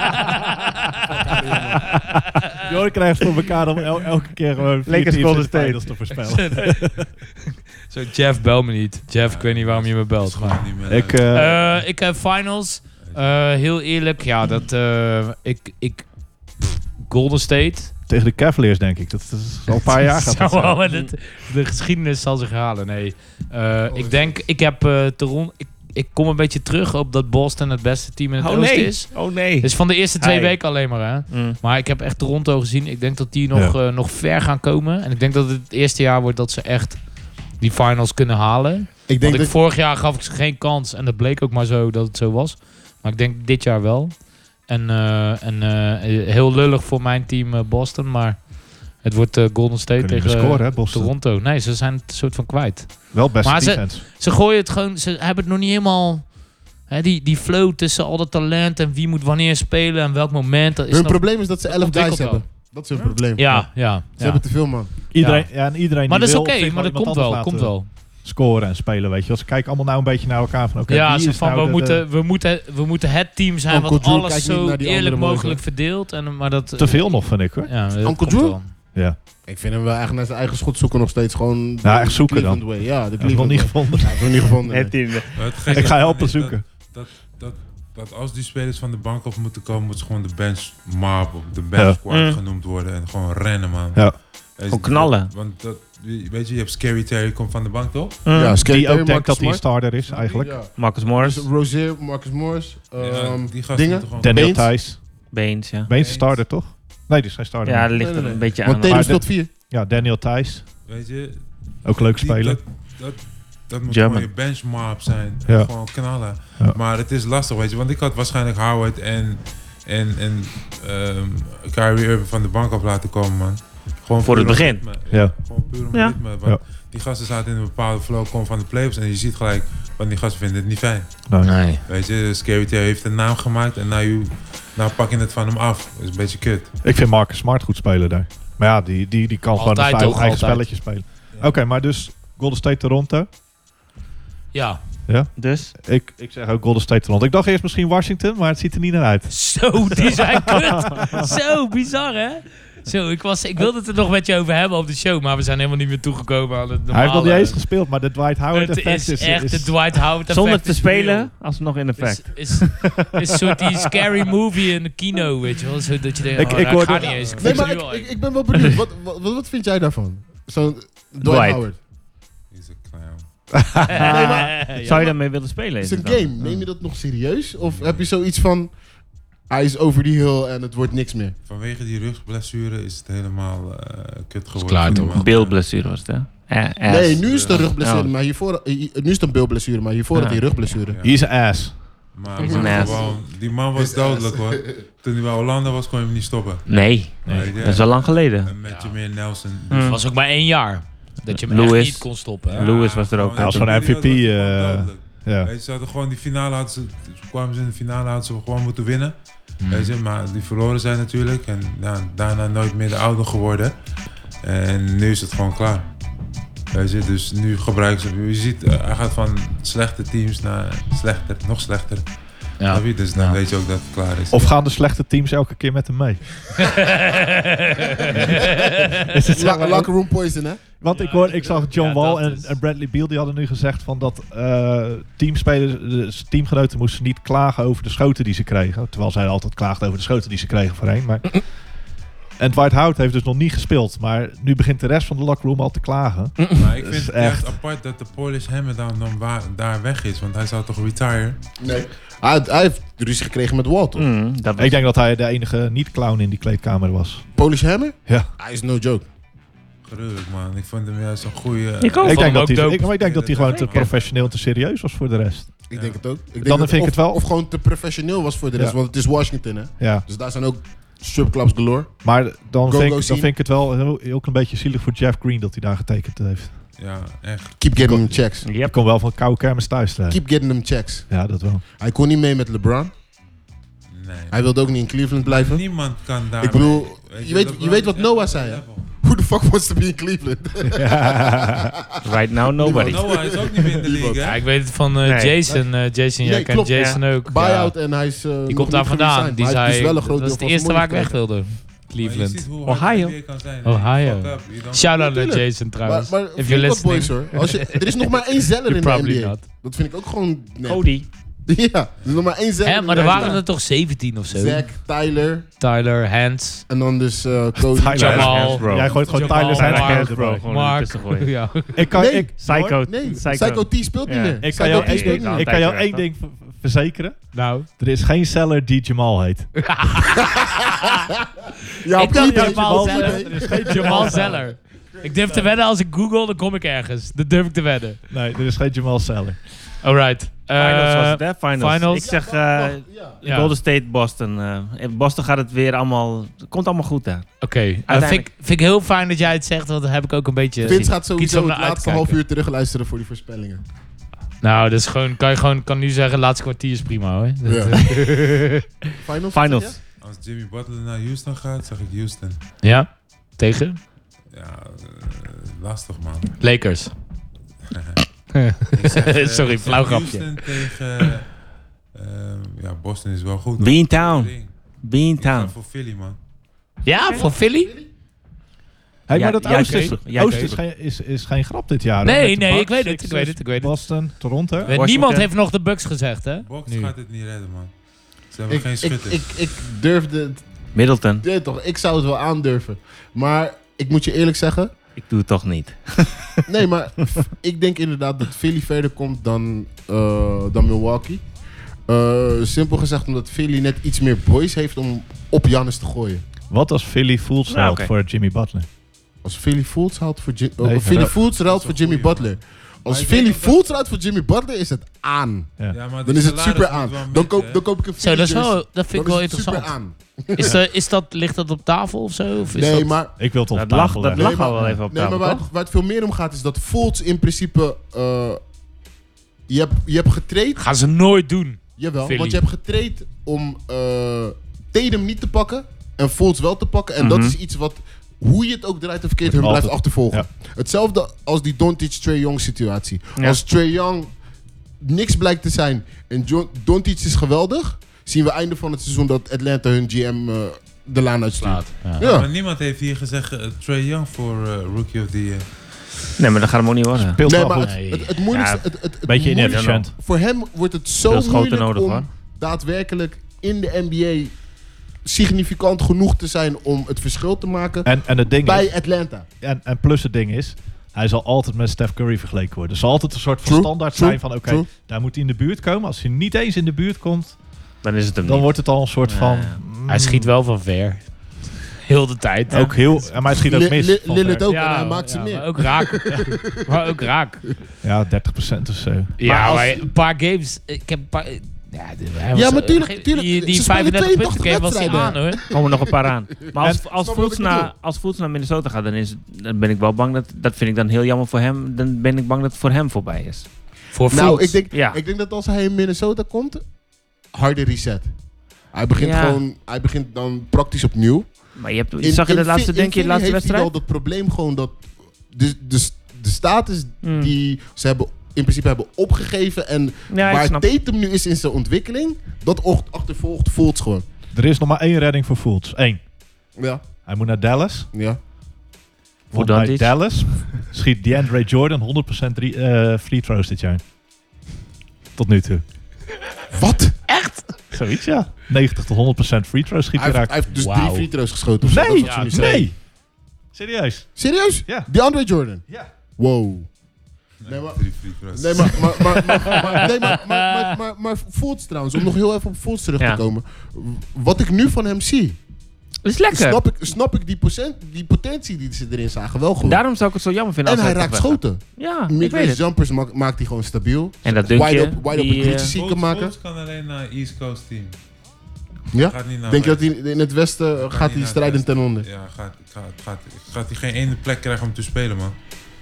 Jorn krijgt voor elkaar om el- elke keer gewoon vier Lakers teams in Golden de State. finals te voorspellen. Zo, Jeff, bel me niet. Jeff, ik weet niet waarom je me Dat is belt. gewoon Maar. niet meer Ik, leuk. eh, Eh, ik heb finals. Eh, heel eerlijk, ja, dat... eh, ik, ik, pff, Golden State. tegen de Cavaliers denk ik. Dat is al een paar jaar gaat dat Zo, zijn. maar dat- de geschiedenis zal zich halen. Nee, Eh, Oh, ik denk, ik heb eh Toron- Ik, ik kom een beetje terug op dat Boston het beste team in het Oh oosten nee. is. Oh nee. Dus van de eerste twee Hey. weken alleen maar, hè. Mm. Maar ik heb echt Toronto gezien. Ik denk dat die nog, eh, nog ver gaan komen. En ik denk dat het het eerste jaar wordt dat ze echt die finals kunnen halen. Ik denk Want ik dat, vorig jaar gaf ik ze geen kans. En dat bleek ook maar zo dat het zo was. Maar ik denk dit jaar wel. En, eh, en eh, heel lullig voor mijn team eh, Boston. Maar het wordt eh, Golden State Kunnen niet tegen meer scoren, hè, eh, Boston. Toronto. Nee, ze zijn het soort van kwijt. Wel best Maar ze- defense. Ze gooien het gewoon, ze hebben het nog niet helemaal... Hè, die, die flow tussen al dat talent en wie moet wanneer spelen en welk moment. Dat is hun nog- probleem is dat ze 11 guys ontwikkelt wel. hebben. Dat is hun probleem. ja, ja. Ze ja. hebben te veel, man. Iedereen, ja. en iedereen Maar die dat is wil oké, op zich maar dat iemand komt anders wel, laten- komt wel. scoren en spelen, weet je wel. Ze kijken allemaal nou een beetje naar elkaar van, oké, ja, wie ze is van, nou we, de- de- moeten, we, moeten, we moeten het team zijn Uncle wat Drew alles kijkt niet zo naar die andere eerlijk morgen. mogelijk verdeelt. En, maar dat, Te veel nog, vind ik, hoor. Ja, dat Uncle komt Drew? wel. Ja. Ik vind hem wel echt naar zijn eigen schot zoeken nog steeds gewoon... de Nou, echt zoeken dan. Cleveland Way. Ja, de Dat is nog Cleveland niet way. gevonden. Ja, dat is nog niet gevonden. nee. Het in. Maar het gekke Ik ga ervan helpen is dat- zoeken. Dat, dat, dat als die spelers van de bank af moeten komen, moeten ze gewoon de bench mob, of de Ja. bench squad Mm. genoemd worden en gewoon rennen, man. Ja. Weet je, Gewoon knallen. Want dat, weet je, je hebt Scary Terry, komt van de bank toch? Ja, Scary Die Terry, ook denkt Marcus dat hij een Smart. starter is, eigenlijk. Ja. Mm. Marcus Morris, Dus Rozier, Marcus Morris, ehm, die gasten dingen. moeten gewoon- Daniel Baines. Thijs. Beens, ja. Beens is starter, toch? Nee, die is geen starter. Ja, nou, Ja, dat ligt Nee, nee, er een nee. beetje aan. Want Tatum Maar is tot vier. Daniel Thijs. Weet je, Ook leuk die- spelen. Dat, dat, dat moet German. gewoon je bench mob zijn. Ja. Gewoon knallen. Ja. Maar het is lastig, weet je, want ik had waarschijnlijk Howard en, en, en ehm, Kyrie Irving van de bank af laten komen, man. Gewoon Voor het puur om begin. ritme. Ja. Gewoon puur om Ja. ritme. Want Ja. die gasten zaten in een bepaalde flow, komen van de playoffs en je ziet gelijk, want die gasten vinden het niet fijn. Oh, Nee. Weet je, Scary Terry heeft een naam gemaakt en nou, you- nou pak je het van hem af. Dat is een beetje kut. Ik vind Marcus Smart goed spelen daar. Maar ja, die, die, die kan Altijd gewoon een eigen toch, eigen altijd. spelletje spelen. Ja. Oké, maar dus Golden State Toronto. Ja, Dus, Ik, ik zeg ook Golden State Toronto. Ik dacht eerst misschien Washington, maar het ziet er niet naar uit. zo, die zijn kut. Zo, bizar hè? Zo, ik, was, ik wilde het er nog met je over hebben op de show, maar we zijn helemaal niet meer toegekomen aan het normale. Hij heeft nog niet eens gespeeld, maar de Dwight Howard Het effect is is... echt is- de Dwight Howard zonder effect te is real. spelen, alsnog in is, effect. is, is een soort die scary movie in de kino, weet je wel. Zo dat je denkt, Ik- oh, ik nou, ik hoorde- ga niet eens. Nee, Ik vind maar het ik, nu al- ik, ik ben wel benieuwd. Wat, wat, wat vind jij daarvan? Zo'n Dwight, Dwight. Howard. He's a clown. Nee, Ja, Zou je maar- daarmee willen spelen? Is een inderdaad? game. Neem je dat nog serieus? Of heb je zoiets van... Hij is over die hill en het wordt niks meer. Vanwege die rugblessure is het helemaal eh, kut geworden. klaar, voor die toch? man. Beeldblessure was het, hè? Eh, ass. Nee, nu is het een rugblessure, Ja. maar hiervoor... hi- Nu is het een bilblessure, maar hiervoor Ja. had hij rugblessure. Ja. Hij is een ass. Maar, Is maar een ass. gewoon, die man was dodelijk hoor. Toen hij bij Hollanda was, kon je hem niet stoppen. Nee, Weet je? dat is al lang geleden. En met je meer Nelson. Hm. Het was ook maar één jaar. Dat je hem Louis. echt niet kon stoppen. hè. Lewis was er ook. gewoon Hij was in die gewoon periode MVP, was het gewoon eh, dodelijk. Ja. Weet je, ze hadden gewoon die finale, hadden ze, toen kwamen ze in de finale, hadden ze gewoon moeten winnen. Hm. Weet je, maar die verloren zijn natuurlijk. En ja, daarna nooit meer de ouder geworden. En nu is het gewoon klaar. Weet je, dus nu gebruiken ze. Je ziet, eh, hij gaat van slechte teams naar slechter, nog slechter. Ja. Snap je? Dus dan Ja. weet je ook dat het klaar is. Of gaan de slechte teams elke keer met hem mee? Is het La- locker room poison, hè? Want ik, hoor, ik zag John Ja, Wall dat en, is- en Bradley Beal, die hadden nu gezegd van dat eh, teamspelers, dus teamgenoten moesten niet klagen over de schoten die ze kregen. Terwijl zij altijd klaagden over de schoten die ze kregen voorheen. Maar... en Dwight Howard heeft dus nog niet gespeeld. Maar nu begint de rest van de locker room al te klagen. Maar ik Dat vind is het echt echt. apart dat de Polish Hammer dan, dan wa- daar weg is. Want hij zou toch retire? Nee. Hij, hij heeft ruzie gekregen met Walter. Mm, dat was- Ik denk dat hij de enige niet-clown in die kleedkamer was. Polish Hammer? Ja. Hij is no joke. Gruwelijk man. Ik vond hem juist een goede... Ik ook. ik, denk hem dat ook hij, dope. ik, maar ik denk dat hij gewoon te Zeker. professioneel en te serieus was voor de rest. Ik denk het ook. Ik denk Dan dat- vind ik of- het wel. Of gewoon te professioneel was voor de rest, Ja. want het is Washington, hè? Ja. Dus daar zijn ook stripclubs galore. Maar Go, dan, vind, go ik, dan scene. vind ik het wel heel, heel een beetje zielig voor Jeff Green dat hij daar getekend heeft. eh, Ja, echt. Keep getting them checks. Ik Yep. kon wel van koude kermis thuis terecht. Keep getting them checks. Ja, dat wel. Hij kon niet mee met LeBron. Nee. Hij wilde ook niet in Cleveland blijven. Niemand kan daar... Ik bedoel, Weet je weet, dat je weet wat is echt Noah op zei, hè? level. Who the fuck wants to be in Cleveland? Right now, nobody. Noah is ook niet meer in de league, Ja, hè? ik weet het van eh, Nee. Jason. eh, Jason, jij Nee, kent klopt. Jason ook. Buyout Ja. en hij is. eh, nog Die niet komt daar vandaan. geresigned, Die maar hij is zei, wel een groot dat is de deel van eerste zijn waar money ik weg wilde. Cleveland. Ohio. Ohio. Shout out naar Natuurlijk. Jason trouwens. kwijt. Maar, maar If vind you're ik wat boys listening, hoor. Als je, er is nog maar één zeller you're in de probably NBA. not. Dat vind ik ook gewoon. nep. Cody. Ja, er is nog maar één zeller. Hè, in maar de er NBA. waren er toch 17 of zo? Zack, Tyler Tyler, Hans, en dan dus eh Cody. Tyler. Jamal, Bro. Jij gooit gewoon Jamal, Tyler Mark, zijn Mark, bro. Gewoon er Mark. tussen gooien. Ja. Ik kan, Nee. ik, Psycho. Nee, Psycho. Psycho T speelt niet Ja. meer. ik kan Psycho jou, T ik, speelt niet Ah, meer. ik kan jou Altijd één ding ver- verzekeren. Nou, Er is geen seller die Jamal heet. Ja, ik dacht eBay. Jamal Op Zeller. eBay. Er is geen Jamal Zeller. Ik durf te wedden als ik Google, dan kom ik ergens. Dat durf ik te wedden. Nee, er is geen Jamal seller. Alright. Eh, Finals was het, hè? Finals. finals. Ik zeg eh, Ja. ja. Golden State, Boston. eh. In Boston gaat het weer allemaal... Het komt allemaal goed, hè? Oké, eh, vind, Uiteindelijk. ik- vind ik heel fijn dat jij het zegt, want dan heb ik ook een beetje... Vince gaat iets sowieso om het naar laatste uit te half kijken. uur terugluisteren voor die voorspellingen. Nou, dat is gewoon, kan je gewoon kan nu zeggen, laatste kwartier is prima hoor. Dat, Ja. eh, Finals? zeg Finals. je? Als Jimmy Butler naar Houston gaat, zeg ik Houston. ja? Tegen? Ja, eh, lastig man. Lakers. Ik zeg, eh, Sorry, ik zeg flauw grapje. Houston tegen... eh, eh, ehm, ja, Boston is wel goed. hoor. Be in town. Ik Be in ga town. voor Philly, man. Ja, voor Philly? Hey, Ja, maar dat jij Oost, is, keek- jij Oost keek. is, geen, is, is geen grap dit jaar. hè? Nee, Met de nee, Bucks, ik weet het, ik Sixers, weet het, ik weet het. Boston, Toronto. We- Washington. Niemand heeft nog de Bucks gezegd, hè? Box Nu. gaat het niet redden, man. Ze hebben Ik, geen ik, schutter. ik, ik durfde het, Middleton. dit toch, ik zou het wel aandurven. Maar ik moet je eerlijk zeggen, Ik doe het toch niet. nee, maar ik denk inderdaad dat Philly verder komt dan, eh, dan Milwaukee. Eh, simpel gezegd omdat Philly net iets meer boys heeft om op Giannis te gooien. Wat als Philly full sell Nou, oké. voor Jimmy Butler? Als Philly Fools haalt voor, Jim, eh, Nee, Philly dat- Fools dat ruilt is voor een Jimmy goeie, Butler. Maar Als ik Philly denk ook dat- Fools ruilt voor Jimmy Butler is het aan. Ja, maar de Dan is het salaris super moet aan. wel Dan matchen, koop, hè. dan koop ik een Zo, Philly dat, is wel, jersey. dat Dan vind ik wel is het super interessant. aan. Is, eh, is dat, ligt dat op tafel of zo? Of is Nee, dat... maar Ik wil toch Dat lag, dat tafel lag Nee, maar- al wel even op Nee, maar tafel, waar, toch? waar het veel meer om gaat is dat Fultz in principe... eh, je, hebt, je hebt getraind, Gaan ze nooit doen. jawel, Philly. want je hebt getraind om eh Tatum niet te pakken en Fultz wel te pakken. En dat Mhm. is iets wat, hoe je het ook draait of verkeerd, hun Altijd. blijft achtervolgen. Hetzelfde als die Doncic-Trae Young situatie. Ja. Als Trae Young niks blijkt te zijn en Jo- Doncic is geweldig, zien we einde van het seizoen dat Atlanta hun GM eh, de laan uitstuurt. Ja. Ja. Maar niemand heeft hier gezegd eh, Trae Young voor eh, Rookie of the Year. Nee, maar dat gaat hem ook niet worden. Speelt Nee, wel maar goed. het, Nee. het, het moeilijkste... Ja, het, het, het Beetje moeilijkste- inefficiënt. Voor hem wordt het Veel zo schoten moeilijk nodig, om hoor. daadwerkelijk in de NBA significant genoeg te zijn om het verschil te maken En, en het ding is, bij Atlanta. en, en plus het ding is, hij zal altijd met Steph Curry vergeleken worden. Er zal altijd een soort van True, standaard true, zijn van, oké, true. daar moet hij in de buurt komen. Als hij niet eens in de buurt komt, Dan is het hem dan niet. wordt het al een soort van... Ja. mm, Hij schiet wel van ver. Heel de tijd. Ook heel, en maar hij schiet ook Li- mis. Li- van Lillard ver. ook, en hij maakt ze ja, meer. Maar ook raak. Ja, maar ook raak. Ja, 30% of zo. Ja, maar, als- een paar games. Ik heb een paar. Ja, dit- Ja, hij was, maar eh, tuurlijk, geen- tuurlijk. Die, die Ze spelen 35 punten game 82 was hij aan wedstrijden. hoor. komen er nog een paar aan. Maar En- als, als, Snap je wat Fultz ik naar, bedoel? als Fultz naar Minnesota gaat, dan, is, dan ben ik wel bang. Dat, dat vind ik dan heel jammer voor hem. Dan ben ik bang dat het voor hem voorbij is. Voor Nou, ik denk, Ja. ik denk dat als hij in Minnesota komt, harde reset. Hij begint, Ja. gewoon, hij begint dan praktisch opnieuw. Maar je, hebt, je In- zag je in de laatste, Philly- in denk je, de laatste Philly heeft wedstrijd? hij wel dat probleem gewoon dat de, de, de status Mm. die ze hebben, in principe hebben opgegeven en Ja, ik waar snap. Tatum nu is in zijn ontwikkeling, dat ocht- achtervolgt Fultz gewoon. Er is nog maar één redding voor Fultz. Eén. Ja, Hij moet naar Dallas. ja. Want Hoe dan bij dit? Dallas schiet DeAndre Jordan 100% drie, eh, free throws dit jaar. Tot nu toe. Wat? Zoiets, ja. 90 tot 100% free throws schiet Hij hij heeft, raak. hij heeft dus Wauw. drie free throws geschoten. of zo, Nee, dat is wat ze nu zeggen. nee. Serieus? Serieus? Ja. Die Andre Jordan? Ja. Wow. Nee, maar- Drie free throws. Nee, maar, maar, maar, maar, maar- nee, maar, maar, maar, maar, maar Fultz trouwens, om nog heel even op Fultz terug Ja. te komen. Wat ik nu van hem zie, is lekker. snap ik, snap ik die, procent, die potentie die ze erin zagen wel goed. Daarom zou ik het zo jammer vinden en als hij hij raakt toch weggaat. schoten. Ja, ik weet Midrange het. jumpers ma- maakt hij gewoon stabiel. En dat Wide dunkje. open, wide open die, eh, glitches ziek Fultz- kan maken. Fultz kan alleen naar East Coast team. Ja? Gaat niet naar Denk je dat West. hij in het westen eh, gaat niet hij naar strijdend het ten onder? Ja, gaat, gaat, gaat, gaat hij geen ene plek krijgen om te spelen, man.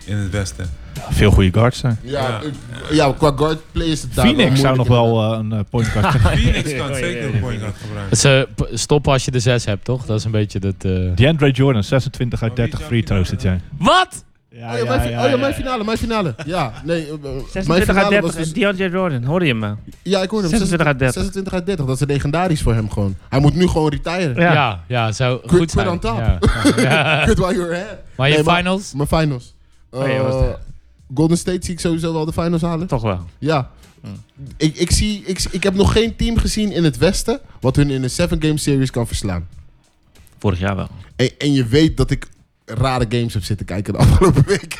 In het Westen. Veel goede guards zijn. Ja, Ja. eh, ja, qua guard play is het daar Phoenix zou nog moeilijk in. wel eh, een eh, point guard kunnen. Phoenix Oh, kan zeker een point guard gebruiken. stoppen als je de 6 hebt, toch? Dat is een beetje dat. eh, DeAndre Jordan 26 uit Maar wie 30 zou free die nou throws dit jaar. Wat? Oh ja, mijn, fi- oh ja, mijn finale, mijn finale. Ja, nee, eh, eh, mijn 26 uit finale was 30. dus... DeAndre Jordan, hoorde je me? Ja, ik hoorde hem. 26 uit 30. 26 uit 30, dat is legendarisch voor hem gewoon. Hij moet nu gewoon retiren. Ja, Ja. ja, zou Quit- goed zijn. quit on top. Ja, ja. Good while you're ahead. Maar je Nee, maar- finals? Mijn finals. Eh, Oh ja, was het- Golden State zie ik sowieso wel de finals halen. Toch wel. Ja. Hmm. Ik, ik, zie, ik, ik heb nog geen team gezien in het Westen wat hun in een 7-game series kan verslaan. Vorig jaar wel. En, en je weet dat ik rare games heb zitten kijken de afgelopen week.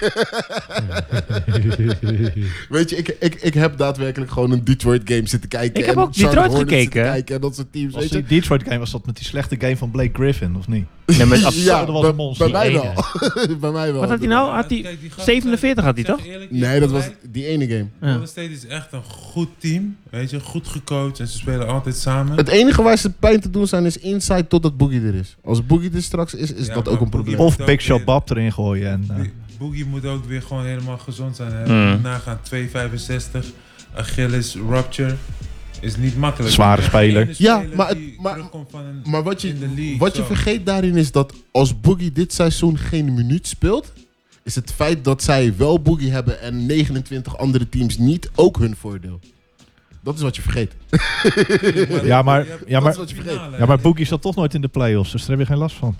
weet je, ik, ik, ik heb daadwerkelijk gewoon een Detroit game zitten kijken. Ik heb en ook Charlotte Detroit Hornets zitten gekeken. Kijken en dat soort teams. Was Weet je? die Detroit game was dat met die slechte game van Blake Griffin, of niet? Nee, maar als- ja, dat was bij- een monster. Bij mij Die wel. bij mij wel. Wat had hij nou? Had hij Kijk, die gasten- 47 had hij Ik zeg toch? eerlijk, die Nee, dat was gelijk- die ene game. Ja. Golden State is echt een goed team. Weet je, goed gecoacht en ze spelen altijd samen. Het enige waar ze pijn te doen zijn is inside totdat Boogie er is. Als Boogie er straks is, is Ja, dat maar ook een Boogie- probleem. Of dat Big Shot weer. Bob erin gooien. En, eh, Bo- Boogie moet ook weer gewoon helemaal gezond zijn. Hè? Mm. Nagaan 2,65. Achilles rupture. Is niet makkelijk. Zware speler. Ja, maar het- maar- maar Maar wat in de je, league, wat je zo. vergeet daarin is dat als Boogie dit seizoen geen minuut speelt, is het feit dat zij wel Boogie hebben en 29 andere teams niet ook hun voordeel. Dat is wat je vergeet. Ja, maar, ja, Dat maar, is wat je vergeet. ja, maar Boogie zat toch nooit in de play-offs, dus daar heb je geen last van.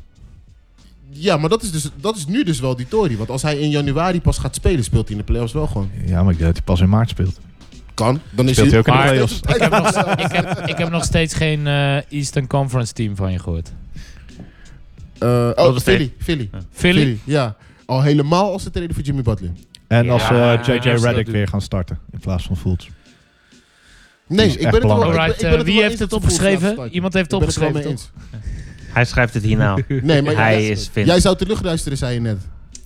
Ja, maar dat is, dus, dat is nu dus wel die Tory. Want als hij in januari pas gaat spelen, speelt hij in de playoffs wel gewoon. Ja, maar ik denk dat hij pas in maart speelt. Kan. Dan is Speelt hij ook in de Maar- play-offs? Ik heb, nog, ik, heb, ik heb nog steeds geen eh, Eastern Conference team van je gehoord. Eh, Dat oh, is Philly, Philly. Philly? Ja. Al helemaal als ze traden voor Jimmy Butler. En als eh, Ja, JJ als ze dat Redick doen. weer gaan starten in plaats van Fultz. Nee, is ik echt ben het wel, ik ben- Alright, ik ben eh, het wie wel heeft eens het dat Fultz laat opgeschreven? starten. Iemand heeft Ik het ben het wel opgeschreven, mee toch? eens. Hij schrijft het hier nou. Nee, maar Hij jij, is Vince. jij zou terugluisteren, zei je net.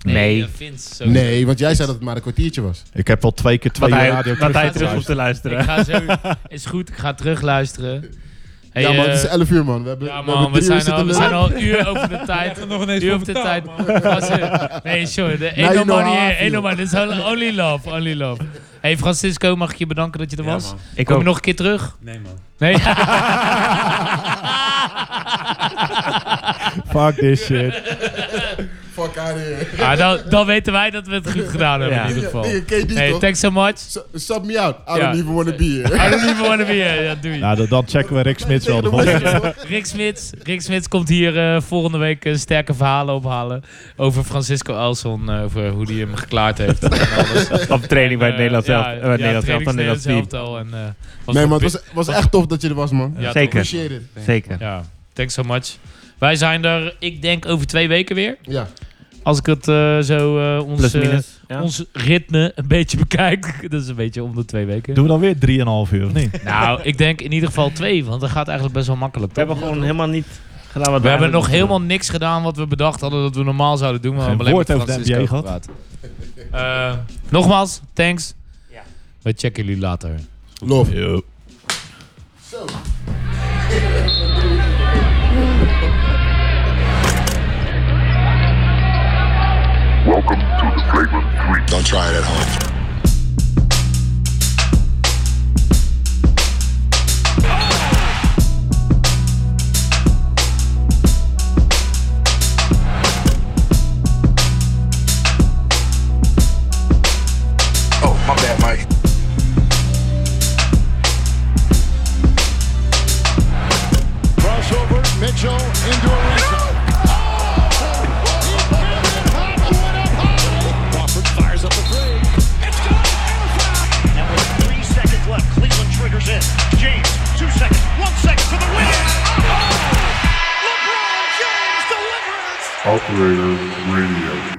Nee. eh, Vince, zo. Nee, want jij zei dat het maar een kwartiertje was. Ik heb al twee keer twee Wat uur hij, radio wat hij terug terug hoeft te Ik luisteren. ga zo, is goed, ik ga terugluisteren. Hey, ja, man, eh, het is 11 uur, man. We hebben, ja, we man, hebben we drie uur zijn, al, we zitten zijn al een uur over de tijd. nog ineens U voor op de tijd. betaald, man. Gasten, Nee, sorry. de Nou, Ain't no you know money how I here, ain't no feel. money. This is only love, only love. Hey Francisco, mag ik je bedanken dat je er Ja, was? man. Ik Kom ook. je nog een keer terug? Nee, man. Nee? Fuck this shit. Fuck out of here. Ja, Ah, dan, dan weten wij dat we het goed gedaan hebben Ja. in ieder geval. Nigga, KD, Hey, toch? thanks so much. Su- Sub me out. I Ja. don't even want to be here. I don't even want to be here. Ja, doei. Nou, dan, dan checken we Rick Smits wel de volgende keer. Rick Smits. Rick Smits komt hier eh, volgende week eh, sterke verhalen ophalen. Over Francisco Elson. eh, over hoe hij hem geklaard heeft. en alles. Op training bij het Eh, Nederlands ja, zelf. Bij het ja, Nederlands zelf. trainingsteam Nederlands team. elftal en, eh, was Nee, voor maar het Pit- was, was echt tof dat je er was, man. Ja, Zeker. Appreciate it. Zeker. Ja, thanks so much. Wij zijn er, ik denk, over twee weken weer. Ja. Als ik het eh, zo eh, ons, Plus eh, minus. Ja. ons ritme een beetje bekijk. Dat is een beetje om de twee weken. Doen we dan weer 3,5 uur of niet? Nou, ik denk in ieder geval twee, want dat gaat eigenlijk best wel makkelijk. We Toch? hebben gewoon helemaal niet gedaan wat We hebben nog helemaal niks gedaan wat we bedacht hadden dat we normaal zouden doen. We Geen hebben alleen woord met over de Francisco NBA gepraat. Eh, nogmaals, thanks. We checken jullie later. Love. Yo. Welcome to the Flavor 3. Don't try it at home. Oh, my bad, Mike. Crossover, Mitchell into a rebound. Crawford fires up the three. It's good and a foul. And with three seconds left, Cleveland triggers in. James, two seconds, one second for the win. Oh! LeBron James delivers. Operator Radio.